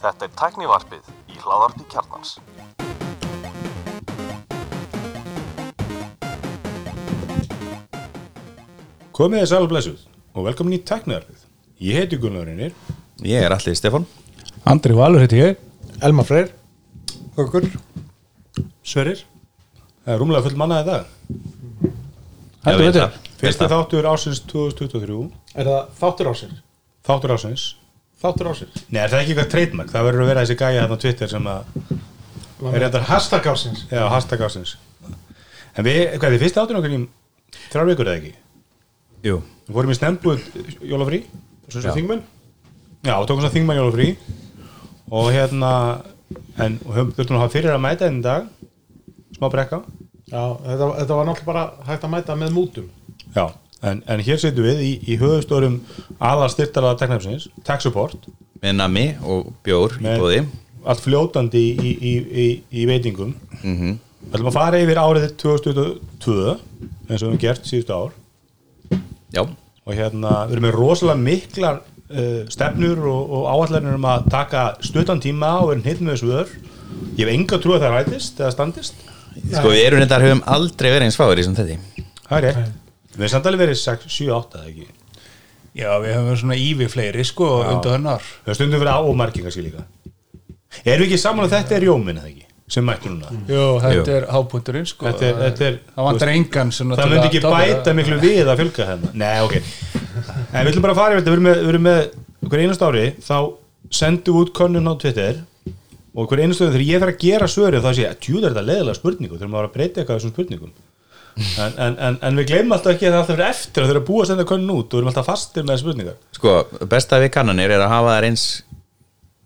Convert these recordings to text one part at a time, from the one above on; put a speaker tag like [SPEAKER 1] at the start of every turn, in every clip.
[SPEAKER 1] Þetta er tæknivarpið í hláðarpi kjarnans.
[SPEAKER 2] Komið þið sæl og blessuð og velkomin í Tekniðarfið. Ég heiti Gunnar Reynir
[SPEAKER 3] Ég er allir Stefan
[SPEAKER 4] Andri Valur heiti ég
[SPEAKER 5] Elmar Freyr Okkur
[SPEAKER 2] Sverir. Það er rúmlega full mannaði dag.
[SPEAKER 4] Heldur
[SPEAKER 3] Ég veit
[SPEAKER 4] betur.
[SPEAKER 3] það.
[SPEAKER 2] Fyrsti
[SPEAKER 3] Veist það.
[SPEAKER 2] þáttur ásins 2023.
[SPEAKER 5] Er það þáttur ásins?
[SPEAKER 2] Þáttur ásins.
[SPEAKER 5] Þáttur ásins
[SPEAKER 2] Nei, er það ekki eitthvað treytmark? Það verður að vera þessi gæja þarna á Twitter sem að,
[SPEAKER 5] Er þetta hashtag ásins?
[SPEAKER 2] já, hashtag ásins. En við, hvað er þið fyrsti þáttur okkur í þrjár vikur eða ekki?
[SPEAKER 3] Jú,
[SPEAKER 2] Við fórum í snembuð jólafrí.
[SPEAKER 5] Svo sem þingmenn?
[SPEAKER 2] Já, og tókum svo þingmann jólafrí. Og hérna, en og höfum- þurftum að hafa fyrir að mæta einn dag. Smá brekka.
[SPEAKER 5] Já, þetta, þetta var náttúrulega bara hægt að mæta með mútum
[SPEAKER 2] Já, en, en hér setjum við í, í höfustórum aðal styrtalaða teknafsins, tech support,
[SPEAKER 3] með nami og bjór í
[SPEAKER 2] Nei.
[SPEAKER 3] bóði
[SPEAKER 2] allt fljótandi í, í, í, í veitingum. Mm -hmm. ætlum að fara yfir árið 2022, eins og við höfum gert síðustu ár,
[SPEAKER 3] Já,
[SPEAKER 2] og hérna, við erum með rosalega miklar uh, stefnur og, og áallarnir um að taka stuttan tíma og erum hitt með þessu vör. Ég hef enga trú að það rætist eða standist.
[SPEAKER 3] sko við erum þetta höfum aldrei verið eins fáir í sem þetta
[SPEAKER 2] Það er rétt. Við erum samt alveg verið 6, 7, 8 eða ekki.
[SPEAKER 4] Já, við höfum verið svona ívi fleiri sko undan ár
[SPEAKER 2] Það er stundum verið á og margir kannski líka. Erum við ekki saman að þetta er jóminn eða ekki? sem mættur núna
[SPEAKER 5] Mm.
[SPEAKER 4] Jú, þetta
[SPEAKER 3] Jú.
[SPEAKER 4] er hábúndurinn sko
[SPEAKER 2] Þetta er- þetta er-
[SPEAKER 4] Það vantar engan svona
[SPEAKER 2] það
[SPEAKER 4] til
[SPEAKER 2] myndi
[SPEAKER 4] að
[SPEAKER 2] ekki
[SPEAKER 4] toppa
[SPEAKER 2] bæta
[SPEAKER 4] það.
[SPEAKER 2] miklu við að fjölga hérna nei ok en við ætlum bara að fara yfir þetta við erum með, við erum með hver einast ári þá sendum við út könnun á Twitter og hver einast ári þegar ég fer að gera svörin þá sé ég tjúðar þetta leðilega spurningu þurfum að vera að breyta eitthvað af þessum spurningum en, en, en, en við gleymum alltaf ekki að það er alltaf fyrir eftir að þeirra búið að senda könnun út og við erum alltaf fastir með spurningar
[SPEAKER 3] Sko, besta við kannanir er að hafa þær eins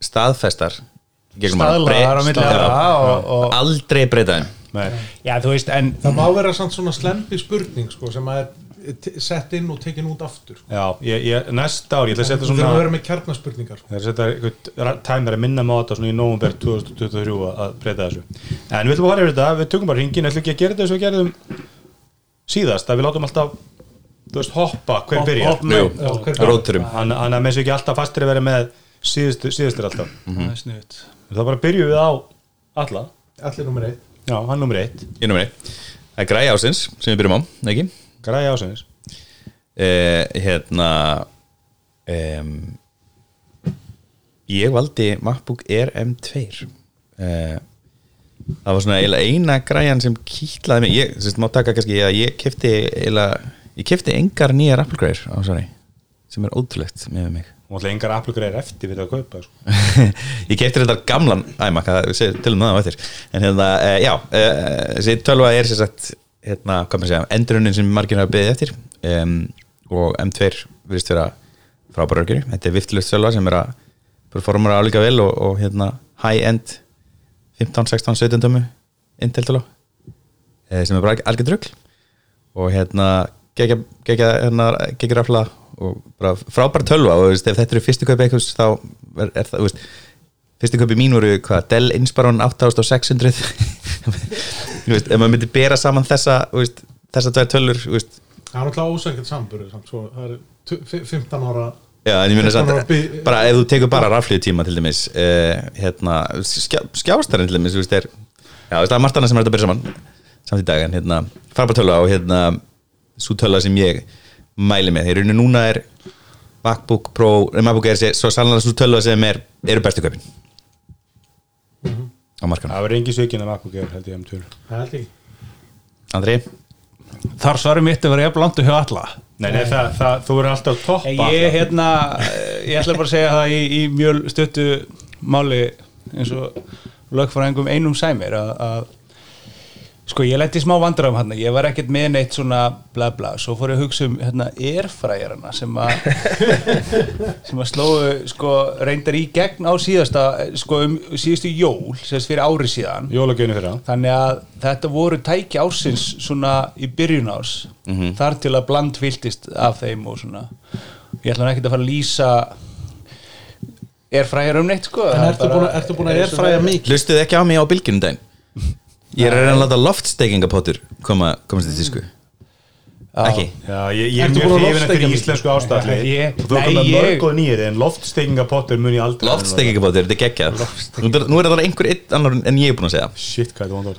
[SPEAKER 3] staðfestar
[SPEAKER 4] Staðlaðar á milli þeirra og- og-
[SPEAKER 3] og Aldrei breyta þeim
[SPEAKER 2] nei,
[SPEAKER 4] Já, þú veist, en
[SPEAKER 5] Það má vera samt svona slempi spurning sko, sem að er t- sett inn og tekin út aftur sko.
[SPEAKER 2] já, ég, ég, næsta ár ég ætla að
[SPEAKER 5] Þú
[SPEAKER 2] setja
[SPEAKER 5] þurfum
[SPEAKER 2] svona
[SPEAKER 5] að vera með kjarnaspurningar sko.
[SPEAKER 2] Það er setja eitthvað tæmar að minna maður á þetta svona í nóvumber 2023 að- að breyta þessu. En við ætlum að fara yfir þetta, við tökum bara hringin, ætlum ekki að gera þetta eins og við gerðum síðast, að við látum alltaf, þú veist, hoppa hver byrjar.
[SPEAKER 4] Hopp,
[SPEAKER 3] Jú,
[SPEAKER 5] Já, hver byrjar?
[SPEAKER 3] róturum
[SPEAKER 2] Hann hann að með þessu ekki alltaf fastir að vera með síðust- síðustir alltaf.
[SPEAKER 4] það er sniðut
[SPEAKER 2] Það bara byrjum við á alla.
[SPEAKER 5] Allir nummer eitt
[SPEAKER 2] Já, hann nummer eitt,
[SPEAKER 3] Í numeri Það er græja ásins sem við byrjum á, ekki?
[SPEAKER 2] græði ásins.
[SPEAKER 3] Eh, hérna um, ég valdi MacBook Air M2 eh, það var svona eiginlega eina græjan sem kýtlaði mig, ég, sérst, má taka kannski að ég kefti eiginlega, ég kefti engar nýjar Apple græjur á svari sem er ótrúlegt með mig
[SPEAKER 2] Og alltaf engar aflugræðir eftir við það að kaupa. Sko.
[SPEAKER 3] ég kefti þetta gamlan æmak, til um það á eftir en hérna, uh, já uh, þessi tölva er sér sagt hérna, hvað maður segja, endurunin sem margir hafa beðið eftir um, og M2 virðist vera frábæra örgjur þetta er viftlust tölva sem er að performara álíka vel og, og hérna high-end 15, 16, 17 dömu Intel tölva eh, sem er bara algjör drögl og hérna gegja, gegja, hérna, gegja rafla og bara frábæra tölva og þú veist, ef þetta eru fyrstu kaupi einhvers þá er, er það, þú veist fyrstu kaupi mín voru hvað, Dell Inspiron 8600 Þú veist, ef maður myndi bera saman þessa þú veist, þessa tvær tölur þú veist,
[SPEAKER 5] Það er náttúrulega ósækjart sambur samt, svo, það er tu- fi- 15 ára
[SPEAKER 3] Já, en ég meina samt,
[SPEAKER 5] Bara bi-
[SPEAKER 3] bara ef þú tekur bara raflið tíma til dæmis, uh, hérna skjá, skjástarinn til dæmis, þú veist, er já, þú veist, það er Martana sem er hægt að byrja saman samt í dag, en hérna, farbartöla og hérna svo töla sem ég mæli með, þeir eru núna er MacBook Pro, eh, MacBook Air sé- svo sannlega svo töla sem er, eru bestu kaupin á markanum
[SPEAKER 2] Það verður engin sökin að aflugræðir held ég um M2.
[SPEAKER 5] Það held ég
[SPEAKER 3] Andri,
[SPEAKER 4] Þar svarum mitt um að vera jafn langt og hjá alla
[SPEAKER 2] Nei, nei, það, það, þú verður alltaf toppa.
[SPEAKER 4] Ég, hérna, ég ætla bara að segja það í, í mjöl stuttu máli eins og lögfræðingum einum sæmir að, að sko ég lenti í smá vandræðum hann ég var ekkert með neitt svona bla bla svo fór ég að hugsa um hérna erfræjarana sem að sem að slóðu sko reyndar í gegn á síðasta sko um síðustu jól sérst fyrir ári síðan
[SPEAKER 2] Jólagjönu fyrir hann.
[SPEAKER 4] þannig að þetta voru tæki ásins svona í byrjun ás þar til að bland viltist af þeim og svona ég ætla nú ekkert að fara að lýsa er fræjar um neitt sko
[SPEAKER 5] En
[SPEAKER 4] það er
[SPEAKER 5] ertu
[SPEAKER 4] bara-
[SPEAKER 5] búin að- ertu búin að erfræja mikið?
[SPEAKER 3] hlustuðu ekki á mig á um bylgjunum daginn Ég er að reyna að láta loftsteikingapottur koma, komast í tísku ekki
[SPEAKER 2] Já, ég, ég er
[SPEAKER 5] Ertu
[SPEAKER 2] mjög
[SPEAKER 5] búin að
[SPEAKER 2] hrifin eftir
[SPEAKER 5] loftsteikja mikið?
[SPEAKER 2] íslensku ástæðli
[SPEAKER 4] Já, ég-
[SPEAKER 2] og þú er
[SPEAKER 4] Nei,
[SPEAKER 2] komið
[SPEAKER 4] ég-
[SPEAKER 2] mörg og nýjir en loftsteikingapottur mun ég aldrei
[SPEAKER 3] Loftstekkingabóttir, þetta er geggjað Nú er- Nú er það einhver einn annar en ég er búin að segja
[SPEAKER 2] Shit, hvað er þetta vondar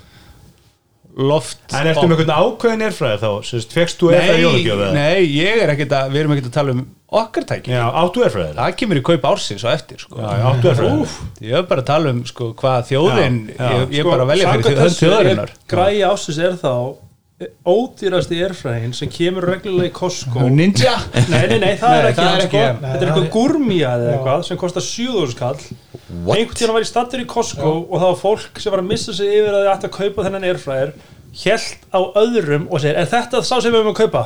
[SPEAKER 4] loft
[SPEAKER 2] En ertu með einhvern ákveðin erfræði þá? Sérst, fegst þú erfræði jólugjöf?
[SPEAKER 4] nei, nei, ég er ekkert að við erum ekkert að tala um okkar tæki
[SPEAKER 2] Já, áttu erfræði?
[SPEAKER 4] það kemur í kaup ársins og eftir sko.
[SPEAKER 2] Já, já, áttu er fræðir.
[SPEAKER 4] Úff, ég er bara að tala um sko, hvað þjóðin
[SPEAKER 2] Já, já. Sko,
[SPEAKER 4] ég, ég er bara að velja fyrir þjóðin þjóðarinnar
[SPEAKER 6] Græi ásins er þá eh, ódýrasti erfræðin sem kemur reglulega í Costco
[SPEAKER 4] ninja
[SPEAKER 6] Nei, nei, nei, það
[SPEAKER 4] Nei,
[SPEAKER 6] er
[SPEAKER 4] það
[SPEAKER 6] ekki hann
[SPEAKER 4] er
[SPEAKER 6] sko
[SPEAKER 4] ekki hann.
[SPEAKER 6] Þetta er eitthvað gurmíað eða eitthvað sem kostar 7000 kall
[SPEAKER 3] What?
[SPEAKER 6] Einhvern tíðan var ég stattur í Costco og það var fólk sem var að missa sig yfir að þið ætti að kaupa þennan airfryer Hjælt á öðrum og segir Er þetta sá sem við höfum að kaupa?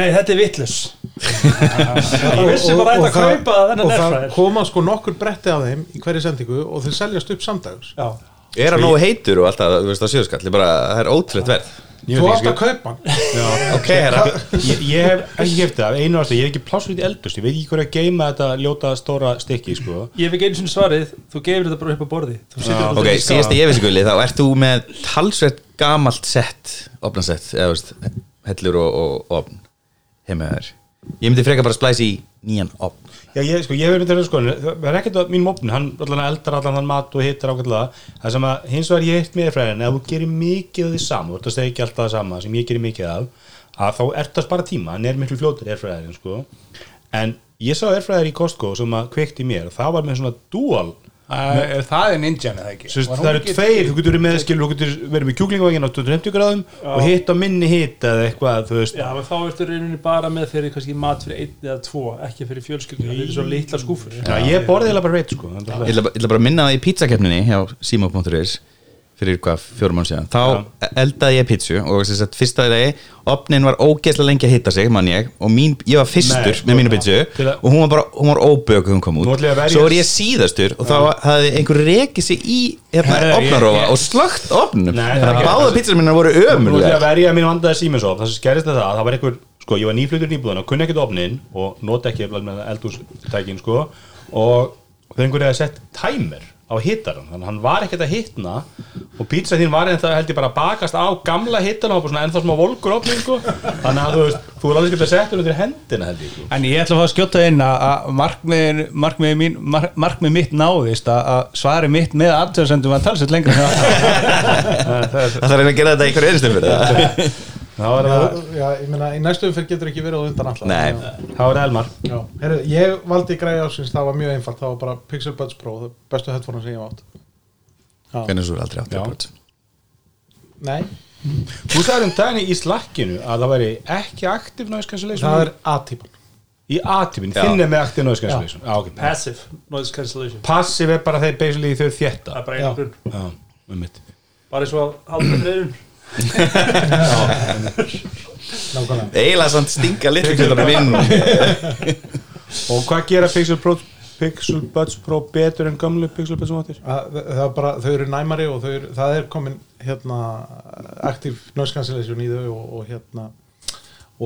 [SPEAKER 6] Nei, þetta er vittlus Ég vissi
[SPEAKER 5] Og- og-
[SPEAKER 6] bara að þetta
[SPEAKER 5] og það-
[SPEAKER 6] kaupa þennan
[SPEAKER 5] og það
[SPEAKER 6] airfryer
[SPEAKER 5] koma sko nokkur bretti af þeim í hverju sendingu og þeir seljast upp samdags
[SPEAKER 6] Já,
[SPEAKER 3] Er hann nógu heitur og alltaf, þú veist það sjöðskall Það er bara, það er ótrúlegt verð
[SPEAKER 2] Ég
[SPEAKER 5] þú
[SPEAKER 2] veit
[SPEAKER 5] átt
[SPEAKER 2] ekki,
[SPEAKER 5] að kaupa hann
[SPEAKER 3] Ok, herra
[SPEAKER 2] ég, ég hef ekki hefði það, af einu ástæð, ég hef ekki plássur í eldust, ég veit ekki hverju að geima þetta ljóta stóra stykki, sko.
[SPEAKER 6] ég hef ekki einu sinni svarið Þú gefur þetta bara upp á borði Þú situr þetta
[SPEAKER 3] Ok,
[SPEAKER 6] bara í skáp.
[SPEAKER 3] síðast ég veist ekki Þá ert þú með talsvert gamalt sett Opnansett, eða þú veist Hellur og, og opn Heima þær Ég myndi freka bara splæs í nýjan opn
[SPEAKER 2] Já, ég, sko, ég hef verið þetta, sko, það er ekkert að mín mópn, hann allan eldar allan hann mat og hittar ákveðlega, það sem að hins vegar ég heitt með fræðin, ef þú gerir mikið af því saman, þú ert að segja ekki alltaf það sama sem ég gerir mikið af, að þá ert að spara tíma, hann er miklu fljótur erfræðin, sko, en ég sá erfræðir í Costco sem að kveikti í mér, það var með svona dual,
[SPEAKER 4] Æ, það er ninjan eða ekki
[SPEAKER 2] Svo veist,
[SPEAKER 4] Var hún
[SPEAKER 2] það eru
[SPEAKER 4] ekki-
[SPEAKER 2] tveir, þú getur verið með skilur, þú getur verið með kjúklingavangin á 250 gráðum og hitt á minni hitt eða eitthvað, þú veist,
[SPEAKER 6] Já, menn þá ertu rauninni bara með fyrir kannski mat fyrir einn eða tvo, ekki fyrir fjölskyldur það er svo litla skúfur
[SPEAKER 2] Já, ég borði eða bara veit, sko, það er
[SPEAKER 3] Ég ætla, bara- ég ætla bara að minna það í pizzakeppninni hjá Simo.is fyrir hvað fjórum mánu síðan þá eldaði ég pizzu og sem sagt, fyrsta degi, opnin var ógeðslega lengi að hitta sig mann ég og mín, ég var fyrstur
[SPEAKER 2] Nei,
[SPEAKER 3] með mínu pizzu
[SPEAKER 2] til að-
[SPEAKER 3] og hún var bara, hún var óbög hún kom út,
[SPEAKER 2] Nú ætla ég að verja-
[SPEAKER 3] svo var ég síðastur og þá hafði einhver rekið sig í hérna,
[SPEAKER 4] Herra, ég-
[SPEAKER 3] opnarofa
[SPEAKER 4] ég-
[SPEAKER 3] og slögt opnum
[SPEAKER 2] Nei,
[SPEAKER 3] þannig
[SPEAKER 2] já.
[SPEAKER 3] að báða pizzur minna voru
[SPEAKER 2] Nú ætla ég að
[SPEAKER 3] ömurlega
[SPEAKER 2] verja mín vandaði síminsop Það sem skerist það að það var einhver Sko, ég var nýflutur nýbúðan og kunni ekkert opnin Og nota ekki alveg með eldústækin sko Og þau einhverju hefði sett tæmer á hittarum Þannig að hann var ekkert að hitna Og pizza þín var ennþá held ég bara að bakast á gamla hittana Og bara svona ennþá smá volgur opnin sko Þannig að þú veist, þú er alveg skipt að setja hún undir hendina held ég sko
[SPEAKER 4] En ég ætla að fá að skjóta inn að- að markmiðin, markmiðin mín, mark, markmið mitt náðist að, að svari mitt með aðtöðsendum að tala sér lengra en það.
[SPEAKER 3] það þarf að reyna að gera þetta einhver einstum fyrir það
[SPEAKER 2] Þá er
[SPEAKER 5] Já,
[SPEAKER 2] það,
[SPEAKER 5] já, ég meina, í næstu umferð getur ekki verið á undan alltaf
[SPEAKER 3] Nei.
[SPEAKER 5] Já.
[SPEAKER 2] þá er það Elmar
[SPEAKER 5] Já, heyrðu, ég valdi græði ásins, það var mjög einfalt það var bara Pixel Buds Pro, það bestu headphone sem ég hef átt
[SPEAKER 3] hvernig svo er aldrei átt að
[SPEAKER 5] Nei,
[SPEAKER 2] Þú sagði um daginn í slakkinu að það væri ekki aktiv noise cancellation
[SPEAKER 5] það er A-típan
[SPEAKER 2] Í A-típin,
[SPEAKER 3] Já.
[SPEAKER 2] þinn er með aktiv noise cancellation Já, ok.
[SPEAKER 6] Passive noise cancellation
[SPEAKER 2] Passive er bara þeir basically þau þétta
[SPEAKER 6] Það er bara einu grunn
[SPEAKER 2] Já, með mitt
[SPEAKER 6] Bara svo að halda friðun
[SPEAKER 5] Nákvæmlega
[SPEAKER 3] eiginlega samt stinga litlu kjöldar minn
[SPEAKER 2] Og hvað gera Pixel, Pro, Pixel Buds Pro betur en gamlu Pixel Buds mótir?
[SPEAKER 5] Að- Það er bara, þau eru næmari og þau eru, það er komin hérna aktiv noise cancellation í þau og, og hérna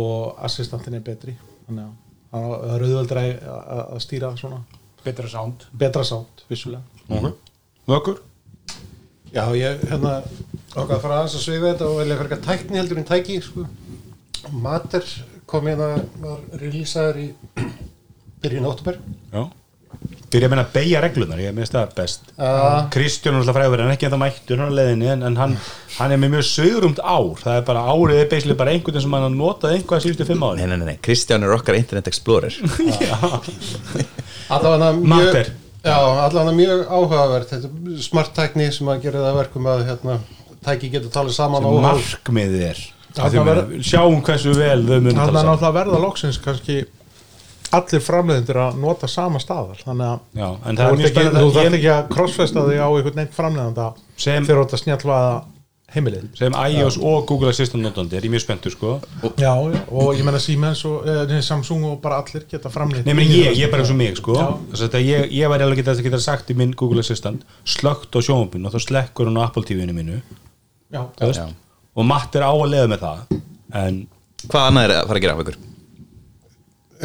[SPEAKER 5] og assistantin er betri þannig að það það er auðvöldra að stýra svona
[SPEAKER 4] Betra sound.
[SPEAKER 5] betra sátt, vissulega
[SPEAKER 2] Ok Vökkur?
[SPEAKER 7] Já, ég hérna okkar að fara aðeins að sviða þetta og velja fyrir tækni heldur en tæki sko. Mater kom hérna var releasaður í byrjun óttúber
[SPEAKER 2] Já Fyrir að meina að beigja reglunar, ég minnst það best
[SPEAKER 7] Já.
[SPEAKER 2] Kristján er alltaf fræður, hann er ekki en það mættur hann á leiðinni, en, en hann, hann er með mjög sögurumt ár, það er bara árið er basically bara einhvern veginn sem hann har notað einhvað síðustu fimm
[SPEAKER 3] Nei,
[SPEAKER 2] ári
[SPEAKER 3] nei, nei, nei, Kristján er okkar Internet Explorer
[SPEAKER 7] allavega mjög
[SPEAKER 2] Mater.
[SPEAKER 7] Já, allavega mjög áhugavert þetta er smart tækni sem að gera það að verkum að hérna, tæki getur talið saman óháð-
[SPEAKER 2] Markmiðið er
[SPEAKER 5] Það
[SPEAKER 2] Af því að
[SPEAKER 5] verður-
[SPEAKER 2] við Sjáum hversu vel þau munum
[SPEAKER 5] Þannig
[SPEAKER 2] tala
[SPEAKER 5] að
[SPEAKER 2] saman
[SPEAKER 5] náttúrulega verða loksins kannski allir framleiðendur að nota sama staðar þannig að
[SPEAKER 2] Já, en
[SPEAKER 5] þú
[SPEAKER 2] það er
[SPEAKER 5] ert
[SPEAKER 2] mjög
[SPEAKER 5] ekki,
[SPEAKER 2] spennandi
[SPEAKER 5] þú
[SPEAKER 2] að
[SPEAKER 5] þarf
[SPEAKER 2] ég-
[SPEAKER 5] ekki að crossfesta þig á einhvern einn framleiðanda
[SPEAKER 2] Sem-
[SPEAKER 5] þegar þú ert að snjallvaða heimilið
[SPEAKER 2] sem iOS og Google Assistant notandi er ég mjög spenntur sko
[SPEAKER 5] já, já, og ég menna Siemens og eh, nei, Samsung og bara allir geta framleitt
[SPEAKER 2] Nei, meni, ég, ég er bara eins og mig sko Þess að þetta- ég, ég væri alveg getað geta sagt í minn Google Assistant slögt á sjónvapinu og þá slekkur hún á Apple TV-inu mínu
[SPEAKER 5] já,
[SPEAKER 2] þú veist? og Matt er á að leiða með það en
[SPEAKER 3] Hvað annað er að fara að gera af ykkur?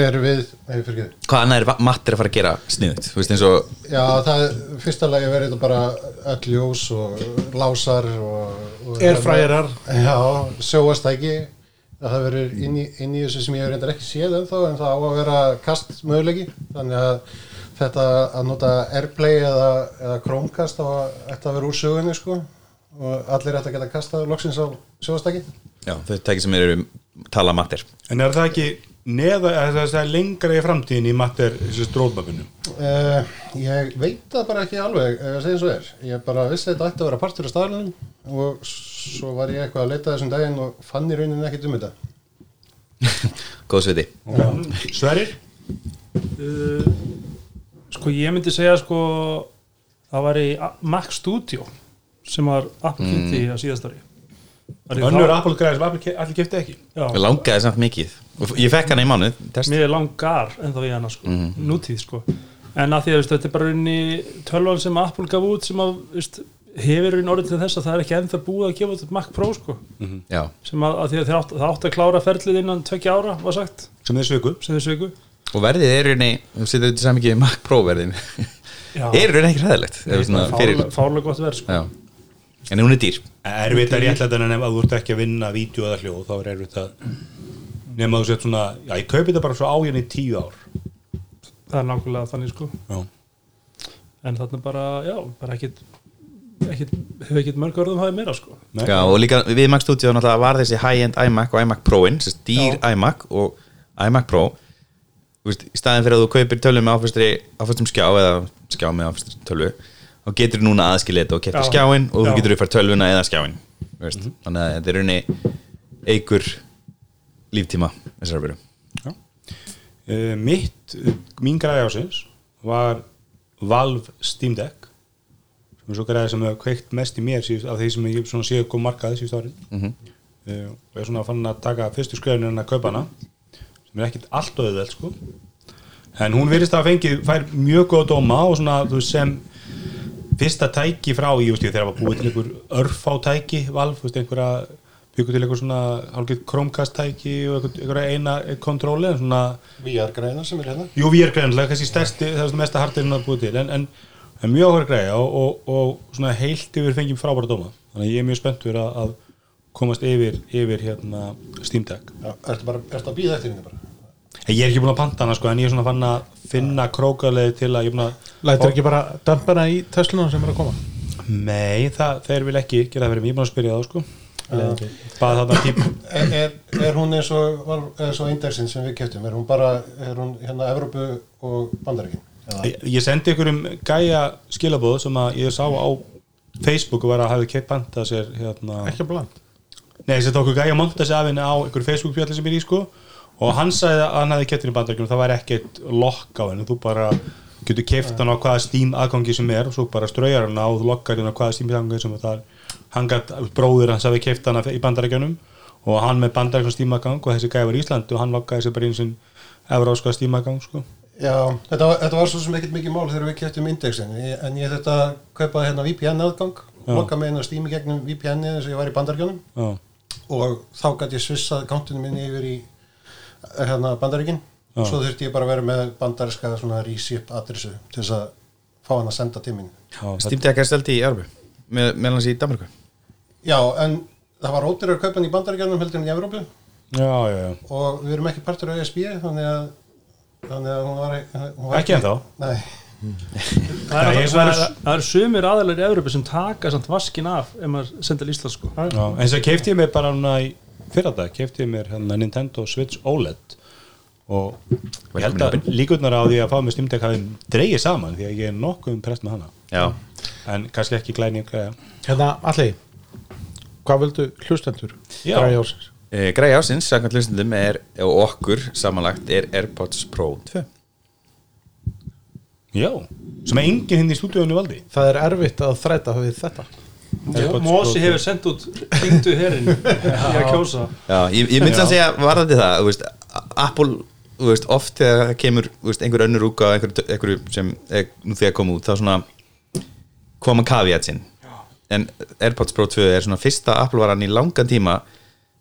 [SPEAKER 7] erum við, nei, fyrir ekki
[SPEAKER 3] Hvað annað er matt er að fara að gera sniðut? Þú veist eins og
[SPEAKER 7] Já, það fyrsta lagi verið þetta bara öll ljós og lásar og, og
[SPEAKER 5] Airfryerar.
[SPEAKER 7] Já, sjóastæki að það verður inn, í- inn í þessu sem ég hef reyndar ekki séð ennþá en það á að vera kast möguleiki þannig að þetta að nota Airplay eða, eða Chromecast þá ætti að vera úr sögunni sko og allir ætti að geta kastað loksins á sjóðastæki
[SPEAKER 3] Já, þau tæki sem eru tala matir
[SPEAKER 2] En er það ekki neða, er það, það er lengra í framtíðin í matter stróðmapinu?
[SPEAKER 7] Uh, ég veit það bara ekki alveg ef ég segi eins og er, ég bara vissi að þetta ætti að vera partur af staðlunum og s- svo var ég eitthvað að leita þessum daginn og fann í rauninni ekkert um þetta
[SPEAKER 3] Góðs við því
[SPEAKER 2] Sverir?
[SPEAKER 6] Uh, sko ég myndi segja sko það var í Mac Studio sem var Apple kynnti á síðast ári Var ég
[SPEAKER 2] Mm. Önnur
[SPEAKER 6] þá-
[SPEAKER 2] Apple græði sem Apple ke- allir kefti ekki
[SPEAKER 3] Mér
[SPEAKER 6] Já,
[SPEAKER 3] langaði samt mikið og ég fekk hana í mánuð test.
[SPEAKER 6] mér er langar en þá ég hana sko,
[SPEAKER 3] Mhm.
[SPEAKER 6] nútíð sko en að því að veist, þetta er bara unni tölvan sem Apple gaf út sem að veist, hefur unni orðin til þess að það er ekki ennþá búið að gefa út Mac Pro sko
[SPEAKER 3] Já,
[SPEAKER 6] sem að, að því að þeir átt, það átt að klára ferlið innan tvekja ára var sagt
[SPEAKER 2] sem þeir sviku
[SPEAKER 6] sem þeir sveiku
[SPEAKER 3] og verðið er rauninni þú setur þetta saman ekki Mac Pro verðin er rauninni ekki ræðilegt fyrir,
[SPEAKER 6] fárlega gott verð sko
[SPEAKER 3] já. En hún er dýr
[SPEAKER 2] Erfitt að réttlæta en ef þú ert ekki að vinna vídeo eða hljóð þá er erfitt að nema þú sett svona, já ég kaupi þetta bara svo á hérna í tíu ár
[SPEAKER 6] það er nákvæmlega þannig sko
[SPEAKER 2] Já.
[SPEAKER 6] en þarna bara, já, bara ekkit ekkit, hefur ekkit mörg orðum hafið meira sko
[SPEAKER 2] Nei.
[SPEAKER 3] Já, og líka við Mac Studio náttúrulega var þessi high-end iMac og iMac Pro-in þessi dýr iMac og iMac Pro Þú veist, í staðin fyrir að þú kaupir tölvu með áfæstri áfæstum skjá eða skjá með áfæstri tölvu þá getur þú núna aðskilið þetta og keftir
[SPEAKER 6] Já.
[SPEAKER 3] skjáin og þú
[SPEAKER 6] Já.
[SPEAKER 3] getur uppfært tölvuna eða skjáin þú veist, þannig að þetta er raunni eigur líftíma þessar veru
[SPEAKER 2] Uh, mitt, uh, mín græði ásins var Valve Steam Deck sem er svo græði sem hefur kveikt mest í mér síðust, af því sem ég svona séu kom markaði síðust árið uh, og ég er svona fann að taka fyrstu skröðinu en að kaupa hana sem er ekkit allt auðveld sko en hún virðist að fengið fær mjög góð dóma og svona þú veist, sem fyrsta tæki frá ég veist ég þegar var búið til einhver örfá tæki Valve, þú veist einhverja byggur til einhver svona hálfgeir Chromecast tæki og einhver- einhverja eina kontróli en svona
[SPEAKER 7] VR-græna sem er hérna
[SPEAKER 2] Jú, við erum greinlega, kannski stærsti, það er svona mesta hardir hún að búið til, en, en, en mjög áhverja greiða og, og, og svona heilt yfir fengjum frábæra dóma, þannig að ég er mjög spenntur að, að komast yfir, yfir hérna Steam Deck.
[SPEAKER 7] Já, ertu bara, ertu að býða eftir henni bara
[SPEAKER 2] En ég er ekki búin að panta hana sko, en ég er svona fann að finna krókaleið til að ég er búin að...
[SPEAKER 5] Ah. Lætur ekki bara dampana í Teslunum sem er að koma
[SPEAKER 2] Nei, það, þeir vil ekki gera það fyrir mig, ég er búin að spyrja það sko.
[SPEAKER 5] Ah,
[SPEAKER 2] Bað þarna tíma.
[SPEAKER 7] er, er, er hún eins og, var- eins og indexin Eh, sem við keftum er hún bara, er hún hérna Evrópu og Bandaríkin
[SPEAKER 5] Ah.
[SPEAKER 7] eða
[SPEAKER 2] Ég, ég sendi ykkur um gæja skilabóð sem að ég sá á Facebook og var að hafi keitt pantað sér hérna...
[SPEAKER 5] ekki bland
[SPEAKER 2] Nei, þessi tóku gæja monta sig af henni á einhver Facebook fjalli sem ég er í sko og hann sagði að hann hefði kettin í bandaríkjum það væri ekkert lokk á henni, þú bara getur keft hann á hvaða Steam aðgangi sem er og svo bara straujar hann á og þú lokkar hann á hvaða Steam aðgangi sem það er hann gætt, bróðir hans hafi keft hann í bandaríkjunum og hann með bandaríkjum Steam aðgang og þessi gæja var í Íslandi og hann lokkaði sér bara eins og evróska Steam aðgang sko
[SPEAKER 7] Já, þetta, var- þetta var svo sem ekkert mikið mál þegar við keftum indexin Ég- en ég þetta kaupaði hérna VPN aðgang loka með hérna Steam í gegnum VPN eins og ég var í Bandaríkjunum
[SPEAKER 2] Já,
[SPEAKER 7] og þá gæti ég svissað kántunum minni yfir í eh, hérna, bandaríkin og svo þurfti ég bara að vera með bandaríska svona resip adressu til þess að fá hann að senda til mín
[SPEAKER 3] Steam Deck er stelti í Arbu með, meðan hans í Danmarku
[SPEAKER 7] já, en það var ótir að kaupa hann í bandaríkjanum heldur en í Evrópu
[SPEAKER 2] já, já, já.
[SPEAKER 7] og við erum ekki partur af ESB þannig að, þannig að hún var, hún var
[SPEAKER 2] Ekki ennþá
[SPEAKER 7] nei,
[SPEAKER 6] það
[SPEAKER 2] Nei,
[SPEAKER 6] er,
[SPEAKER 2] ég
[SPEAKER 6] það
[SPEAKER 2] var-
[SPEAKER 6] er, það er sumir aðalir í Európa sem taka samt vaskin af ef maður sendar í Ísland sko
[SPEAKER 2] Já, eins og kefti ég mér bara núna í fyrir þetta, kefti ég mér hérna Nintendo Switch OLED og ég held að líkurnar á því að fá mér stimdek hafi dreigið saman því að ég er nokkuð um prest með hana
[SPEAKER 3] Já,
[SPEAKER 2] en kannski ekki glæni græja
[SPEAKER 5] hérna, allir hvað vildu hlustendur
[SPEAKER 2] Já.
[SPEAKER 5] draga ásins
[SPEAKER 3] e, græði ásins, samkvæmt hlustundum er og okkur samanlagt er AirPods Pro 2
[SPEAKER 2] Já, sem að enginn hindi í stúdíunni valdi
[SPEAKER 5] það er erfitt að þræta við þetta
[SPEAKER 6] Mósi hefur sendt út hringdu herin ég að kjósa
[SPEAKER 3] Já, ég, ég myndi að segja varðandi það þú veist, Apple þú veist, oft þegar það kemur þú veist, einhver önnur úka einhver, einhver sem er nú þegar kom út þá svona koma kaviat sinn en AirPods Pro 2 er svona fyrsta Apple varan í langan tíma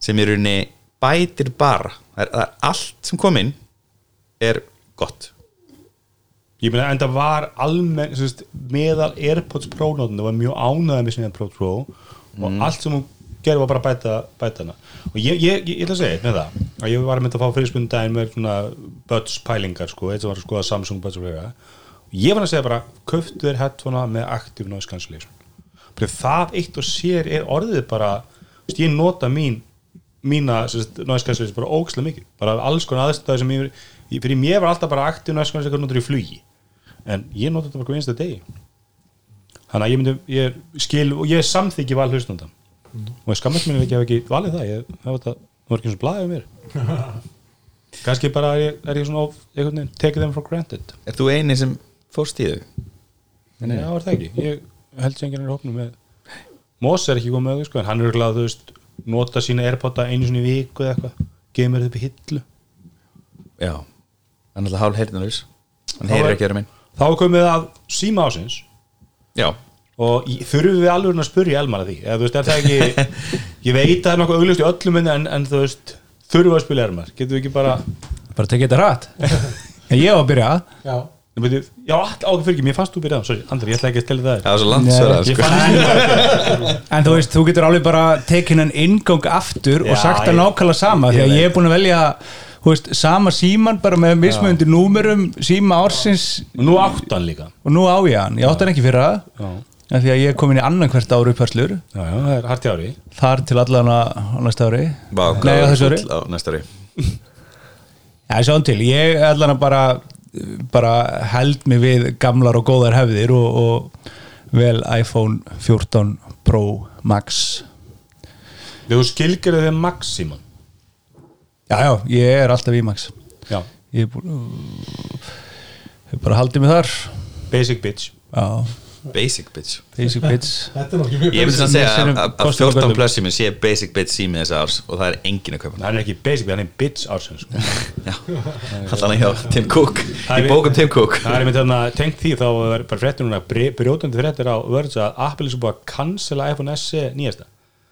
[SPEAKER 3] sem í rauninni bætir bara það er, það er allt sem kom inn er gott
[SPEAKER 2] Ég meina, enda var almenn, sem sagt, meðal AirPods Pro nótundu var mjög ánæðið með sinni AirPods Pro og allt sem hún gerði var bara að bæta, bæta hana og ég, ég, ég, ég ætla að segja eitt með það að ég var að mynda að fá frískundaginn með svona buds pælingar sko, eitt sem var að skoða Samsung buds og vega ég var að segja bara, köftu þér headphonea með active noise cancellation Bara það eitt og sér er orðið bara þú veist, ég nota mín mína sem sagt, noise cancellation bara ógæslega mikið bara alls konar aðstæði sem ég ég- fyrir mér var alltaf bara active noise cancellation notur í flugi en ég nota þetta bara hvernig einsta degi þannig að ég myndi, ég skil og ég samþyggi val hlustundam og ég skammast mér ekki að hafa ekki valið það ég hef þetta, það var ekki eins og blaðið mér kannski bara er ég, er ég svona of, einhvern veginn, take them for granted
[SPEAKER 3] Er þú eini sem fórst í þau?
[SPEAKER 2] en já, er það ekki, ég held sem enginn er í hópnum með Moss er ekki komið með þau sko en hann er glæð, þú veist, nota sína airpota einu svona í viku eða eitthvað geymir þetta upp í hillu
[SPEAKER 3] Já Hann er alltaf hálf heyrðanlaus Hann heyrir ekki öðrum einn
[SPEAKER 2] þá er komið að síma ásins
[SPEAKER 3] Já
[SPEAKER 2] og í- þurfum við alveg að spyrja Elmar að því eða þú veist, er það ekki ég veit að það er nokkuð augljóst í öllum minni en, en þú veist, þurfum við að spyrja Elmar getum við ekki bara,
[SPEAKER 4] bara tekið þetta rætt en ég var að byrja
[SPEAKER 5] já,
[SPEAKER 2] Nei, beti, já, ákveð fyrir ekki, mér fannst þú byrjað sorry, Andri, ég ætla ekki að stela það
[SPEAKER 3] Það var svo langt sverað
[SPEAKER 2] ég
[SPEAKER 3] sko.
[SPEAKER 2] fann
[SPEAKER 4] en þú veist, þú getur alveg bara tekin hann ingang aftur
[SPEAKER 2] Já,
[SPEAKER 4] og sagt það
[SPEAKER 2] ég-
[SPEAKER 4] nákvæmlega sama því að
[SPEAKER 2] ég
[SPEAKER 4] ég er búin að velja þú veist, sama síman bara með mismöndi númerum síma ársins
[SPEAKER 2] nú áttan líka
[SPEAKER 4] og nú á ég hann, ég átti hann ekki fyrir það
[SPEAKER 2] já,
[SPEAKER 4] en því að ég er komin í annan hvert ára upphörslur
[SPEAKER 2] já, já, það er harti ári
[SPEAKER 4] þar til allan á næsta ári
[SPEAKER 3] Vá, hvað
[SPEAKER 4] Nei, á þessu ári
[SPEAKER 3] full á Næsta ári
[SPEAKER 4] Já, sjáum til, ég allan að bara, bara held mig við gamlar og góðar hefðir og, og vel iPhone 14 Pro Max
[SPEAKER 2] þegar þú skilgir þig maximum
[SPEAKER 4] Já, já, ég er alltaf í Max
[SPEAKER 2] já,
[SPEAKER 4] Ég er búin Ég bara haldið mig þar
[SPEAKER 2] basic bitch
[SPEAKER 4] Já,
[SPEAKER 3] Basic bitch
[SPEAKER 4] basic bitch
[SPEAKER 5] þetta er nú ekki mjög
[SPEAKER 3] Ég myndi
[SPEAKER 5] basic.
[SPEAKER 3] að segja að- að- að
[SPEAKER 4] Kostar og
[SPEAKER 3] 14
[SPEAKER 4] göllum.
[SPEAKER 3] plus ég minn sé basic bitch sími þessa árs og það er engin að kaupa hann
[SPEAKER 2] hann er ekki basic, hann er bitch ársinn sko.
[SPEAKER 3] Já, allan hjá Tim Cook
[SPEAKER 2] Það
[SPEAKER 3] Í
[SPEAKER 2] er-
[SPEAKER 3] bókum Tim Cook
[SPEAKER 2] það er með þarna, tengt því þá er bara fréttir núna bre- brjótandi fréttir á vörðs að Apple er svo búið að cancela iPhone SE nýjasta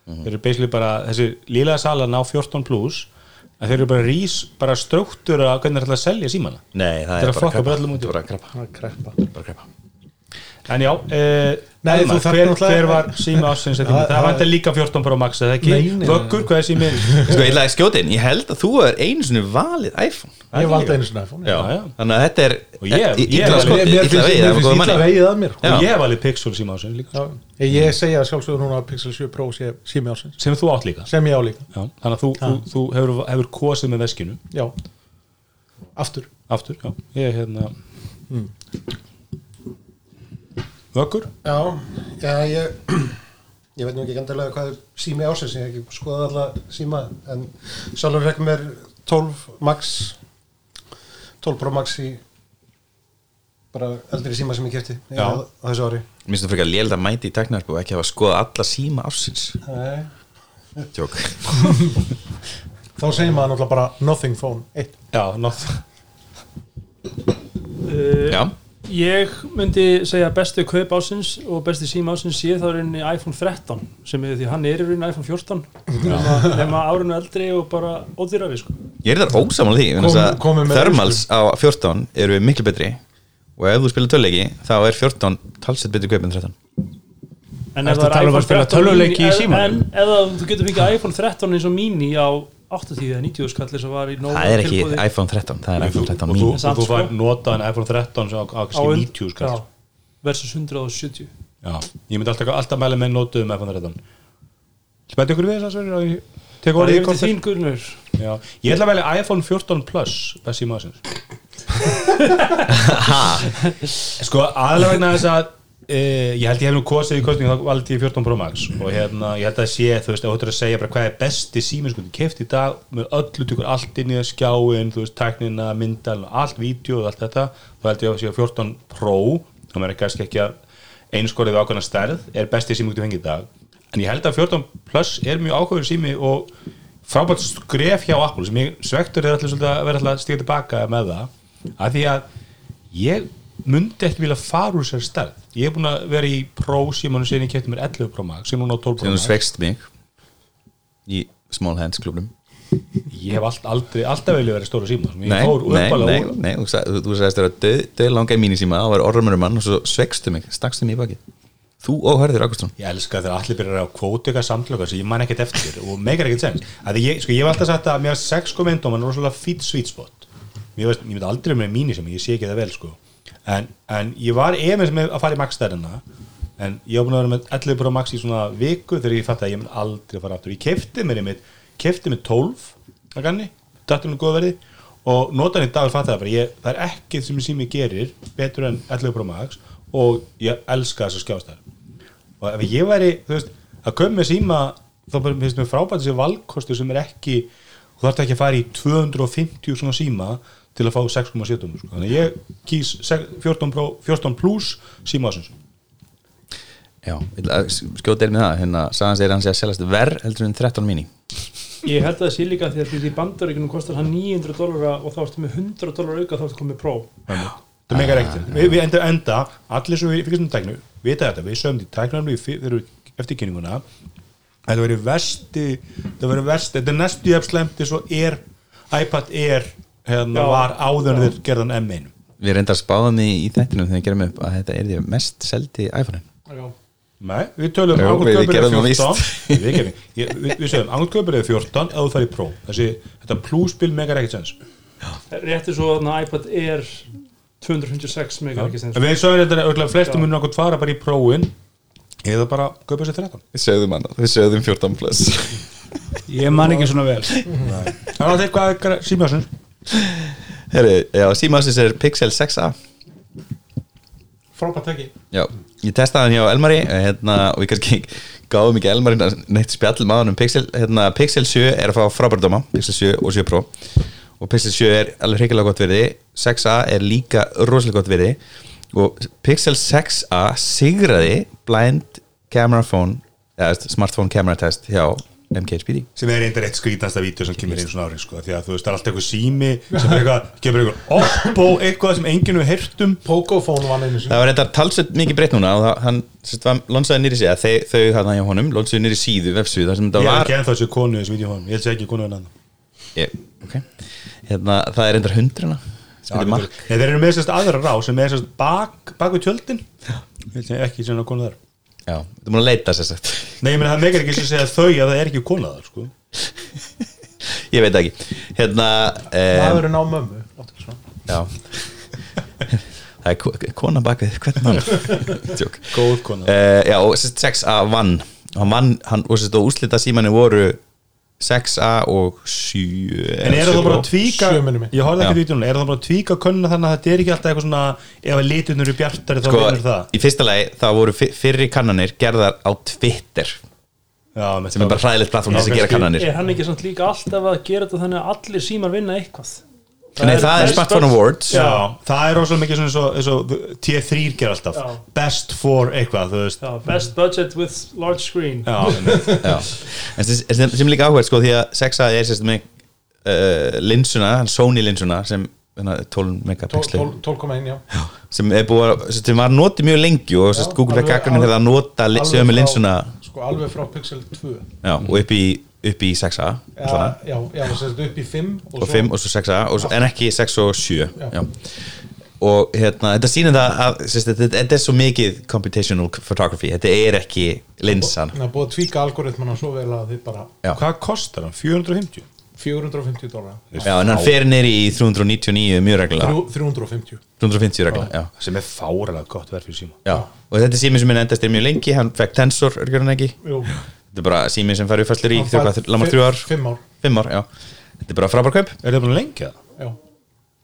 [SPEAKER 5] Mhm.
[SPEAKER 2] þeir eru basically bara, þessi lílega sala ná 14 plus að þeir eru bara rís, bara ströktur að hvernig þeir ætla að selja símana
[SPEAKER 3] Nei, það
[SPEAKER 2] Þetta er að
[SPEAKER 3] er bara
[SPEAKER 2] fokka bara
[SPEAKER 3] krabba
[SPEAKER 2] öllum út í.
[SPEAKER 3] Þetta er bara krabba
[SPEAKER 5] Það er kreppa.
[SPEAKER 3] bara krabba
[SPEAKER 2] en já, eh,
[SPEAKER 5] Nei,
[SPEAKER 2] Elmar,
[SPEAKER 5] þú þarft
[SPEAKER 2] hver,
[SPEAKER 5] náttúrulega-
[SPEAKER 2] hver var sími ásins þetta það,
[SPEAKER 5] Það-
[SPEAKER 2] það vantar líka 14 pro max eða
[SPEAKER 5] Nei,
[SPEAKER 2] ekki,
[SPEAKER 5] nei, nei.
[SPEAKER 2] vöggur hvað er sími
[SPEAKER 3] Sko, ég ætlaði að skjóta inn, ég held að þú er einu sinni valið iPhone
[SPEAKER 5] ég valdi einu svona iPhone
[SPEAKER 2] Já, já.
[SPEAKER 3] Þannig að þetta er
[SPEAKER 2] Og ég-
[SPEAKER 3] þetta-
[SPEAKER 2] ég-
[SPEAKER 3] illa
[SPEAKER 2] mér-
[SPEAKER 3] skotið,
[SPEAKER 5] mér
[SPEAKER 3] illa
[SPEAKER 5] finnst
[SPEAKER 3] vegið
[SPEAKER 5] mér
[SPEAKER 3] af
[SPEAKER 5] finnst
[SPEAKER 3] góðum
[SPEAKER 5] illa
[SPEAKER 3] manni.
[SPEAKER 5] vegið að mér sko.
[SPEAKER 3] Já.
[SPEAKER 2] og ég valið Pixel sími ásins líka
[SPEAKER 5] Já, ég, ég segja sjálfsögur núna að Pixel 7 Pro sé sími ásins
[SPEAKER 2] sem þú átt líka
[SPEAKER 5] sem ég á líka,
[SPEAKER 2] já, þannig að þú, þú, þú hefur, hefur kosið með veskinu
[SPEAKER 5] já aftur,
[SPEAKER 2] aftur, já, ég er hérna vöggur
[SPEAKER 7] Já, já ég, ég veit nú ekki gandilega hvað er sími ásins, ég hef ekki skoðað alla síma, en sjálfur fekk mér 12 max, 12 pro max í bara eldri síma sem ég kefti
[SPEAKER 2] Já.
[SPEAKER 7] á þessu ári.
[SPEAKER 3] Mér finnst það frekar léld að mæti í teknarku og ekki hafa skoðað alla síma ársins
[SPEAKER 7] Nei.
[SPEAKER 3] Tjók
[SPEAKER 5] þá segir maður náttúrulega bara nothing phone, eitt
[SPEAKER 2] já, nátt
[SPEAKER 6] uh,
[SPEAKER 3] Já,
[SPEAKER 6] Ég myndi segja að bestu kaup ásins og besti síma ásins sé þá rauninni iPhone 13 sem er því hann er í rauninni iPhone 14 nema, nema árinu eldri og bara ódýrari sko.
[SPEAKER 3] ég er þar ósamal því vegna
[SPEAKER 5] Kom-
[SPEAKER 3] þess að
[SPEAKER 5] komum með
[SPEAKER 3] Thermals á 14 eru miklu betri og ef þú spilar tölleiki þá er 14 talsett betri kaup en 13
[SPEAKER 6] En
[SPEAKER 4] Ertu að tala um að spila tölvuleiki í
[SPEAKER 6] mini-
[SPEAKER 4] símanum?
[SPEAKER 6] En eða þú getur fengið iPhone 13 eins og mini á 80 eða 90 skallir sem var í nóg
[SPEAKER 3] Það er ekki iPhone 13, það er iPhone 13
[SPEAKER 2] og þú,
[SPEAKER 3] mín
[SPEAKER 2] og
[SPEAKER 6] Samt,
[SPEAKER 2] þú fær
[SPEAKER 6] sko.
[SPEAKER 2] notaðan iPhone 13 sem á, á kannski 90 skall já.
[SPEAKER 6] versus 170
[SPEAKER 2] ég myndi alltaf, alltaf mæla með notuðum iPhone 13 spættu ykkur við þess að sverja og ég tek
[SPEAKER 6] Bara
[SPEAKER 2] orðið
[SPEAKER 6] yfir
[SPEAKER 2] ykkur
[SPEAKER 6] til þín Gunnur
[SPEAKER 2] já, ég ætla að velja iPhone 14 Plus best síma ásins sko aðlega vegna þess að Uh, ég held ég hef nú kosið í kostningu þá valdi ég 14 Pro Max og hérna, ég held að sé þú veist, ef þú ættir að segja bara hvað er besti síminn sko, keft í dag með öllu tökur allt inn í það skjáin, þú veist, tæknina, myndal allt vídeo og allt þetta þá held ég að sé 14 Pro þá maður er kannski ekki að einskorið við ákveðna stærð er besti síminn þú fengið í dag en ég held að 14 Plus er mjög ákveður sími og frábært skref hjá Apple sem ég svektur er alltaf svolítið að vera alltaf að stíka tilbaka með það af því að ég myndi ekki vilja fara úr sér stærð ég er búin að vera í Pro símanum síðan ég kefti mér 11 Pro Max sem núna á 12 Pro
[SPEAKER 3] Þegar þú
[SPEAKER 2] Max
[SPEAKER 3] svegst mig í small hands klubnum
[SPEAKER 2] ég hef allt, aldrei, alltaf vilja verið stóra síma sem ég
[SPEAKER 3] Nei,
[SPEAKER 2] fór
[SPEAKER 3] nei,
[SPEAKER 2] uppalega
[SPEAKER 3] nei,
[SPEAKER 2] úr
[SPEAKER 3] nei, um þú sa- þú- þú sagðist þér að döð langa í mínisíma, þá var orðrumurum mann og svo svegstu mig, stakstu mig í baki Þú og Hörður Ágústsson
[SPEAKER 2] Ég elska þegar allir byrjar að kvóta eitthvað samtlöka sem ég man ekkert eftir og megar ekkert sens að ég, sko, ég hef alltaf sagt að mér að sex kom einn og mann er rosalega fýtt sweet spot mér veist, ég veit aldrei með mínu sem ég sé ekki það vel sko. en, en ég var efins með að fara í maxstærina en ég var búin að vera með 11 pro max í svona viku þegar ég fatt að ég mun aldrei fara aftur ég kefti mér einmitt, kefti mér 12 að ganni, dættunum góða verði og notan í dag fatt að bara ég, það er ekkert sem ég sými gerir betur en 11 pro max og ég elska þess að og ef ég væri, þú veist, að köpa með síma þá bara, mér finnst mér frábært þessi valkostu sem er ekki, þú þarf ekki að fara í 250 svona síma til að fá 6,7 sko. þannig að ég kýs 14, pro, 14 plus síma ásins
[SPEAKER 3] Já, skjóta er með það hérna, Sagans er hann sé að selast verð heldur en 13 mini
[SPEAKER 6] Ég held að það sé líka því að því í bandaríkunum kostar hann 900 dólara og þá ertu með 100 dólara auka þá ertu komið pró
[SPEAKER 2] það megar ekkert, við, við enda, enda allir sem við fyrst um tæknu, vita þetta við sögum því tæknum við fyrir eftir kynninguna þetta verið versti þetta verið versti, þetta er næstu jafn slemt eins og er, iPad Air hérna
[SPEAKER 6] Já.
[SPEAKER 2] var áður en þeir gerðan M1
[SPEAKER 3] Við reyndar spáðum í, í þættinum þegar við gerum upp að þetta er því mest seldi iPhone-in
[SPEAKER 2] Nei, við tölum
[SPEAKER 3] Jú,
[SPEAKER 2] angut
[SPEAKER 3] við
[SPEAKER 2] kaupir er
[SPEAKER 3] gerðum það
[SPEAKER 2] 14
[SPEAKER 3] víst.
[SPEAKER 2] Nei, Við, gerðum- ég- við, við segjum angut kaupir er 14 eða þú færi pró Þessi, þetta plúspil megar ekkert sens
[SPEAKER 6] Rétti svo að iPad Air 256 megar ekki sem
[SPEAKER 2] En Við sögum þetta auðvitað flestum munum okkur fara bara í próin eða bara kaupa sér 13
[SPEAKER 3] Við sögðum hann, við sögðum 14 plus
[SPEAKER 4] Ég man ekki svona vel
[SPEAKER 2] Það er alltaf eitthvað að síma þessum
[SPEAKER 3] Herri, já, símaðsins er Pixel 6a
[SPEAKER 5] frábært tæki
[SPEAKER 3] Já, ég testaði hann hjá Elmari eh, hérna, og við kannski gáðum ekki Elmari neitt spjall maður um Pixel hérna, Pixel 7 er að fá frábærdóma Pixel 7 og 7 Pro og Pixel 7 er alveg hrikilega gott verði 6a er líka rosalega gott verði og Pixel 6a sigraði blind camera phone eða veist, smartphone camera test hjá MKHPD
[SPEAKER 2] sem er eindir eitt skrítnasta vídeo sem kemur inn svona árið sko, því að þú veist, það er alltaf eitthvað sími sem er eitthvað, kemur eitthvað oppo eitthvað sem enginu hertum
[SPEAKER 5] Pocophone vann einu sinni
[SPEAKER 3] Það var þetta talsveit mikið breytt núna og það, hann sérst, var, lonsaði nýri síða, þau, þau hann hjá honum lonsaði nýri síðu, vefsíðu, þar sem
[SPEAKER 2] Ég
[SPEAKER 3] þetta
[SPEAKER 2] er
[SPEAKER 3] var
[SPEAKER 2] ekki ennþá þessu konu í þessu vídeo honum, ég held sér ekki konu en annan
[SPEAKER 3] ég, ok hérna, það er endar hundrana sem heitir mark
[SPEAKER 2] Nei, þeir eru með sérst aðra rá sem er sérst bak, bak við tjöldin Ég held sem ekki sem að konu þar
[SPEAKER 3] já, þú er múin að leita sér sagt
[SPEAKER 2] Nei, ég meina það megar ekki sem segja þau að það er ekki konu þar sko.
[SPEAKER 3] ég veit það ekki hérna,
[SPEAKER 5] Það
[SPEAKER 3] um,
[SPEAKER 5] verður ná mömmu Láttu ekki svona.
[SPEAKER 3] já það er ko- kona bak við hvern mann tjók
[SPEAKER 2] Góð konu þar
[SPEAKER 3] uh, já, og sérst 6A vann hann vann, hann, og sérst, og úslita símanni voru 6A og 7
[SPEAKER 2] En er það bara að tvíka
[SPEAKER 5] Sjö minnum mig.
[SPEAKER 2] Ég horfði
[SPEAKER 3] Já.
[SPEAKER 2] ekki vítjónu Er það bara að tvíka konu þannig að þetta er ekki alltaf eitthvað svona Ef að litunur eru bjartari þá
[SPEAKER 3] sko,
[SPEAKER 2] vinnur það
[SPEAKER 3] í fyrsta lagi, það voru fi- fyrri kannanir gerðar á Twitter
[SPEAKER 2] Já, með
[SPEAKER 3] sem er bara hræðilegt plattform þess að gera kannanir
[SPEAKER 6] Er hann ekki samt líka alltaf að gera þetta þannig að allir símar vinna eitthvað
[SPEAKER 3] Nei, það er Smartphone Awards
[SPEAKER 2] Já, það er rosalega mikið svona eins og T3 ger alltaf
[SPEAKER 6] Já.
[SPEAKER 2] Best for eitthvað, þú veist
[SPEAKER 6] Já, best budget with large screen
[SPEAKER 2] Já, einmitt.
[SPEAKER 3] Já. en sem, sem, sem líka áhverð sko, því að 6A er sérst með uh, linsuna, hann Sony linsuna sem hérna, 12
[SPEAKER 5] Tól-
[SPEAKER 3] megapixel
[SPEAKER 5] tól- 12,1 já
[SPEAKER 3] sem er búið að, sem var notið mjög lengi og
[SPEAKER 5] Já,
[SPEAKER 3] sérst Google fekk
[SPEAKER 5] alveg-
[SPEAKER 3] gagnum þegar það nota li-
[SPEAKER 5] Alveg
[SPEAKER 3] sömu
[SPEAKER 5] frá-
[SPEAKER 3] linsuna
[SPEAKER 5] Sko alveg frá Pixel 2
[SPEAKER 3] já, og upp í, upp í 6A
[SPEAKER 5] Já,
[SPEAKER 3] ja,
[SPEAKER 5] já, já það setið upp í 5
[SPEAKER 3] og 5 og svo 6A og svo, en ekki 6 og 7
[SPEAKER 5] Já.
[SPEAKER 3] já. og hérna, þetta sýnir það að sérst, þetta, þetta er svo mikið computational photography, þetta er ekki linsan
[SPEAKER 5] Það er búið að tvíka algoritmana svo vel að þið bara
[SPEAKER 3] Já.
[SPEAKER 2] Hvað kostar hann? 450?
[SPEAKER 5] 450 dólar
[SPEAKER 3] já, en hann fer neyri í 399 mjög reglulega
[SPEAKER 5] 350
[SPEAKER 3] 350 reglulega, já
[SPEAKER 2] Sem er fáralega gott verð fyrir síma
[SPEAKER 3] Já, og þetta er sími sem minn endast er mjög lengi hann fekk tensor, er hann ekki
[SPEAKER 5] Jú,
[SPEAKER 3] þetta er bara sími sem fær uppfæslir í
[SPEAKER 5] Hann fær
[SPEAKER 3] lamar
[SPEAKER 5] fi-
[SPEAKER 3] þrjú ár,
[SPEAKER 5] fimm ár.
[SPEAKER 3] fimm ár já. þetta er bara frábær kaup
[SPEAKER 2] Er það búin að lengja það?
[SPEAKER 5] já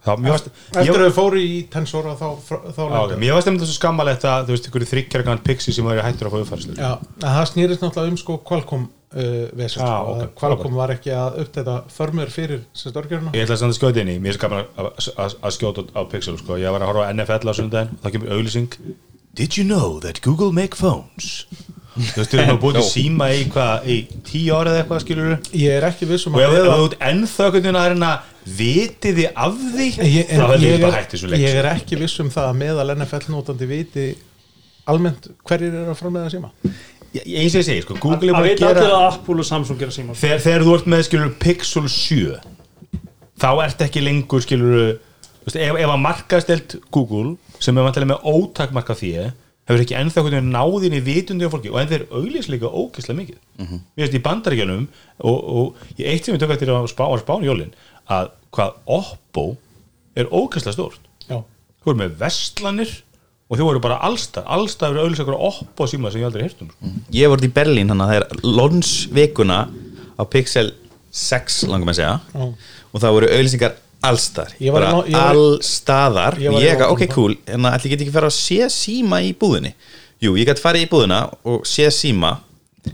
[SPEAKER 2] Það, mér varst, ég,
[SPEAKER 5] Eftir að þau fóru í Tensora þá, þá
[SPEAKER 2] Já, ok, Mér varst einmitt þessu skammalegt að þú veist, ykkur þryggjargan pixi sem væri hættur að fá uppfærslu
[SPEAKER 5] Já, en það snýrist náttúrulega um sko Qualcomm uh, vesent,
[SPEAKER 2] Já,
[SPEAKER 5] sko,
[SPEAKER 2] ok,
[SPEAKER 5] að Qualcomm var ekki að uppdæta förmur fyrir sem stórgjörna
[SPEAKER 2] Ég ætla að standa skjóti inn í, mér er skaman að, að, að skjóta á Pixel, sko. Ég var að horfa á NFL á sundaginn og það kemur auðlýsing Did you know that Google make phones? Þú veist, við erum að búið til síma í hvað, í tíu ára eða eitthvað, skilur við
[SPEAKER 5] Ég er ekki viss um
[SPEAKER 2] Og ef
[SPEAKER 5] að
[SPEAKER 2] ef þú ert ennþá einhvern veginn að reyna vitið þið af því
[SPEAKER 5] ég
[SPEAKER 2] þá
[SPEAKER 5] er,
[SPEAKER 2] heldur
[SPEAKER 5] ég,
[SPEAKER 2] við bara
[SPEAKER 5] er,
[SPEAKER 2] hætti sko. svo
[SPEAKER 5] ég
[SPEAKER 2] lengt
[SPEAKER 5] er ekki viss um það að meðal NFL notandi viti almennt hverjir eru að framlega síma
[SPEAKER 2] Ég- ég- Eins og ég segi, sko, Google er
[SPEAKER 6] Það
[SPEAKER 2] bara
[SPEAKER 6] veit
[SPEAKER 2] að
[SPEAKER 6] allir
[SPEAKER 2] gera
[SPEAKER 6] að Apple og Samsung gera símar
[SPEAKER 2] þegar, þegar þú ert með, skilur við, Pixel 7 þá ert ekki lengur, skilur við, þú veist, ef, ef að markaðstelt Google sem er vantilega með ótakmarka því hefur ekki ennþá hvernig náðinni vitundi á fólki og en þeir auglýs líka ókislega mikið mér veist í bandaríkjanum og, og ég eitt sem ég tök eftir á spá, á spáni jólin að hvað Oppo er ókislega stórt
[SPEAKER 5] Já.
[SPEAKER 2] þú eru með vestlanir og þú eru bara allstar, allstar eru auglýs eitthvað Oppo síma sem ég aldrei heyrt um sko.
[SPEAKER 3] ég voru í Berlín hann að það er lónsvikuna á Pixel 6 langum að segja og það voru auðlýsingar allstar
[SPEAKER 5] Ég var í
[SPEAKER 3] bara
[SPEAKER 5] Lon- ég var í-
[SPEAKER 3] allstaðar
[SPEAKER 5] Ég
[SPEAKER 3] og
[SPEAKER 5] var í
[SPEAKER 3] ég eitthvað, ok
[SPEAKER 5] London.
[SPEAKER 3] cool, en ætli ég get ekki fara að sé síma í búðinni jú, ég gæti farið í búðina og sé síma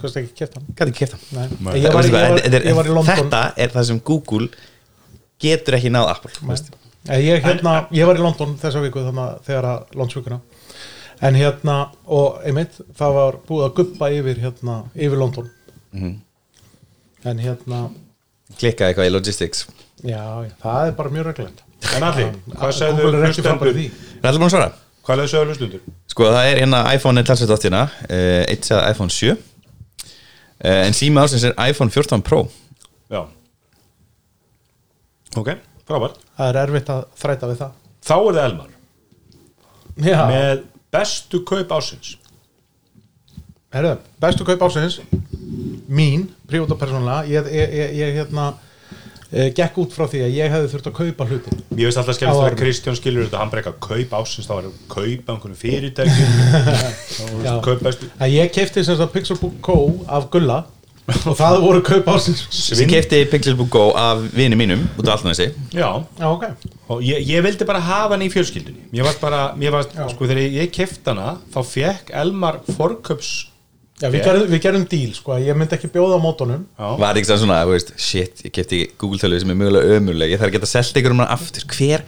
[SPEAKER 5] Kosti ekki kæft hann
[SPEAKER 3] gæti ekki kefta
[SPEAKER 5] Nei.
[SPEAKER 2] Nei.
[SPEAKER 5] Ég var, í- ég, var, ég var í London
[SPEAKER 3] þetta er það sem Google getur ekki náð Apple
[SPEAKER 5] Nei. Nei, ég, hérna, ég var í London þessa viku þannig að þegar að landsvíkuna en hérna og einmitt það var búið að guppa yfir hérna yfir London
[SPEAKER 2] Mhm.
[SPEAKER 5] en hérna
[SPEAKER 3] klikkaði eitthvað í logistics
[SPEAKER 5] já, já, það er bara mjög reglend
[SPEAKER 2] en allir, hvað segðu
[SPEAKER 5] Google er ekki frábæri
[SPEAKER 2] hlustendur
[SPEAKER 5] því
[SPEAKER 3] er allir búin að svara?
[SPEAKER 2] hvað leðu segðu hlustendur
[SPEAKER 3] Sko það er hérna iPhone er talsveit áttina uh, eitt segða iPhone 7 uh, en sími ásins er iPhone 14 Pro
[SPEAKER 2] já ok, frábært
[SPEAKER 5] það er erfitt að þræta við það
[SPEAKER 2] þá er það Elmar
[SPEAKER 5] já,
[SPEAKER 2] með bestu kaup ásins
[SPEAKER 5] herru, bestu kaup ásins mín, prívat og persónulega ég, ég, ég, ég hérna eh, gekk út frá því að ég hefði þurft að kaupa hlutin
[SPEAKER 2] Ég veist alltaf skemmst að
[SPEAKER 5] Ávarma.
[SPEAKER 2] Kristján skilur þetta hann bara eitthvað kaup ásins, þá er hann kaup einhvern fyrirtækjum
[SPEAKER 5] Já.
[SPEAKER 2] kaup bestu
[SPEAKER 5] að ég kefti sem sagt Pixelbook Co af Gulla og það voru kaup ásins
[SPEAKER 3] sem kefti Pixelbook Go af vini mínum út af allnæsi
[SPEAKER 2] Já,
[SPEAKER 5] já, ok
[SPEAKER 2] og ég, ég vildi bara hafa hann í fjölskyldunni Mér varst bara, mér varst,
[SPEAKER 5] Já.
[SPEAKER 2] sko þegar ég kefti hana þá fekk Elmar forköps
[SPEAKER 5] Já,
[SPEAKER 2] Ég-
[SPEAKER 5] við, gerum, við gerum díl, sko, ég myndi ekki bjóða á mótunum
[SPEAKER 2] Já,
[SPEAKER 3] var ekki það svona, þú veist, shit, ég kefti Google tölvi sem er mögulega ömurleg, ég þarf að geta selt ykkur um hann aftur, hver,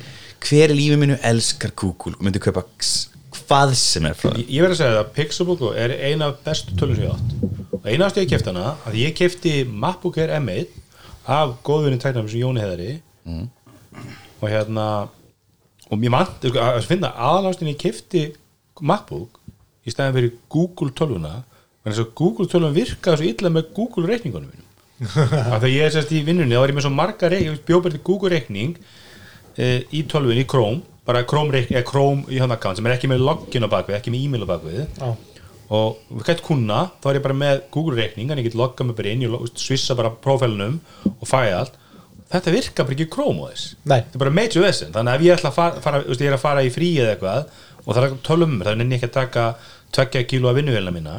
[SPEAKER 3] hver í lífi mínu elskar Google og myndi kaupa x- hvað sem er frá
[SPEAKER 2] Sko, ég,
[SPEAKER 3] þeim
[SPEAKER 2] ég verð að segja það Pixelbook Go er eina af bestu tölun sem ég átt og einast ég kefti hana að ég kefti MacBook Air M1 af góðvinni tæknafum sem Jóni Heðari og hérna og mér mann, sko, að að finna aðalástin ég kefti MacBook í stæðan fyrir Google tölvuna en þess að Google tölvun virkaði svo illa með Google reikningunum mínum af því að ég er sérst í vinnunni, þá var ég með svo marga reikning ég bjóð bara til Google reikning e, í tölvun, í Chrome bara Chrome, reik, eða Chrome í hann account sem er ekki með login á bakvið, ekki með e-mail á bakvið
[SPEAKER 5] Já.
[SPEAKER 2] og við gætt kunna þá er ég bara með Google reikning en ég get loggað mig bara inn, ég lo- svissa bara prófælunum og fæði allt þetta virka bara ekki í Chrome á þess
[SPEAKER 5] Nei.
[SPEAKER 2] þetta er bara major vesen, þannig að ef ég ætla að fara, fara þú veist, ég er að fara í frí eða eitthvað og það er eitthvað tölum, það um nenni ég ekki að taka 20 kíló af vinnuvélina mína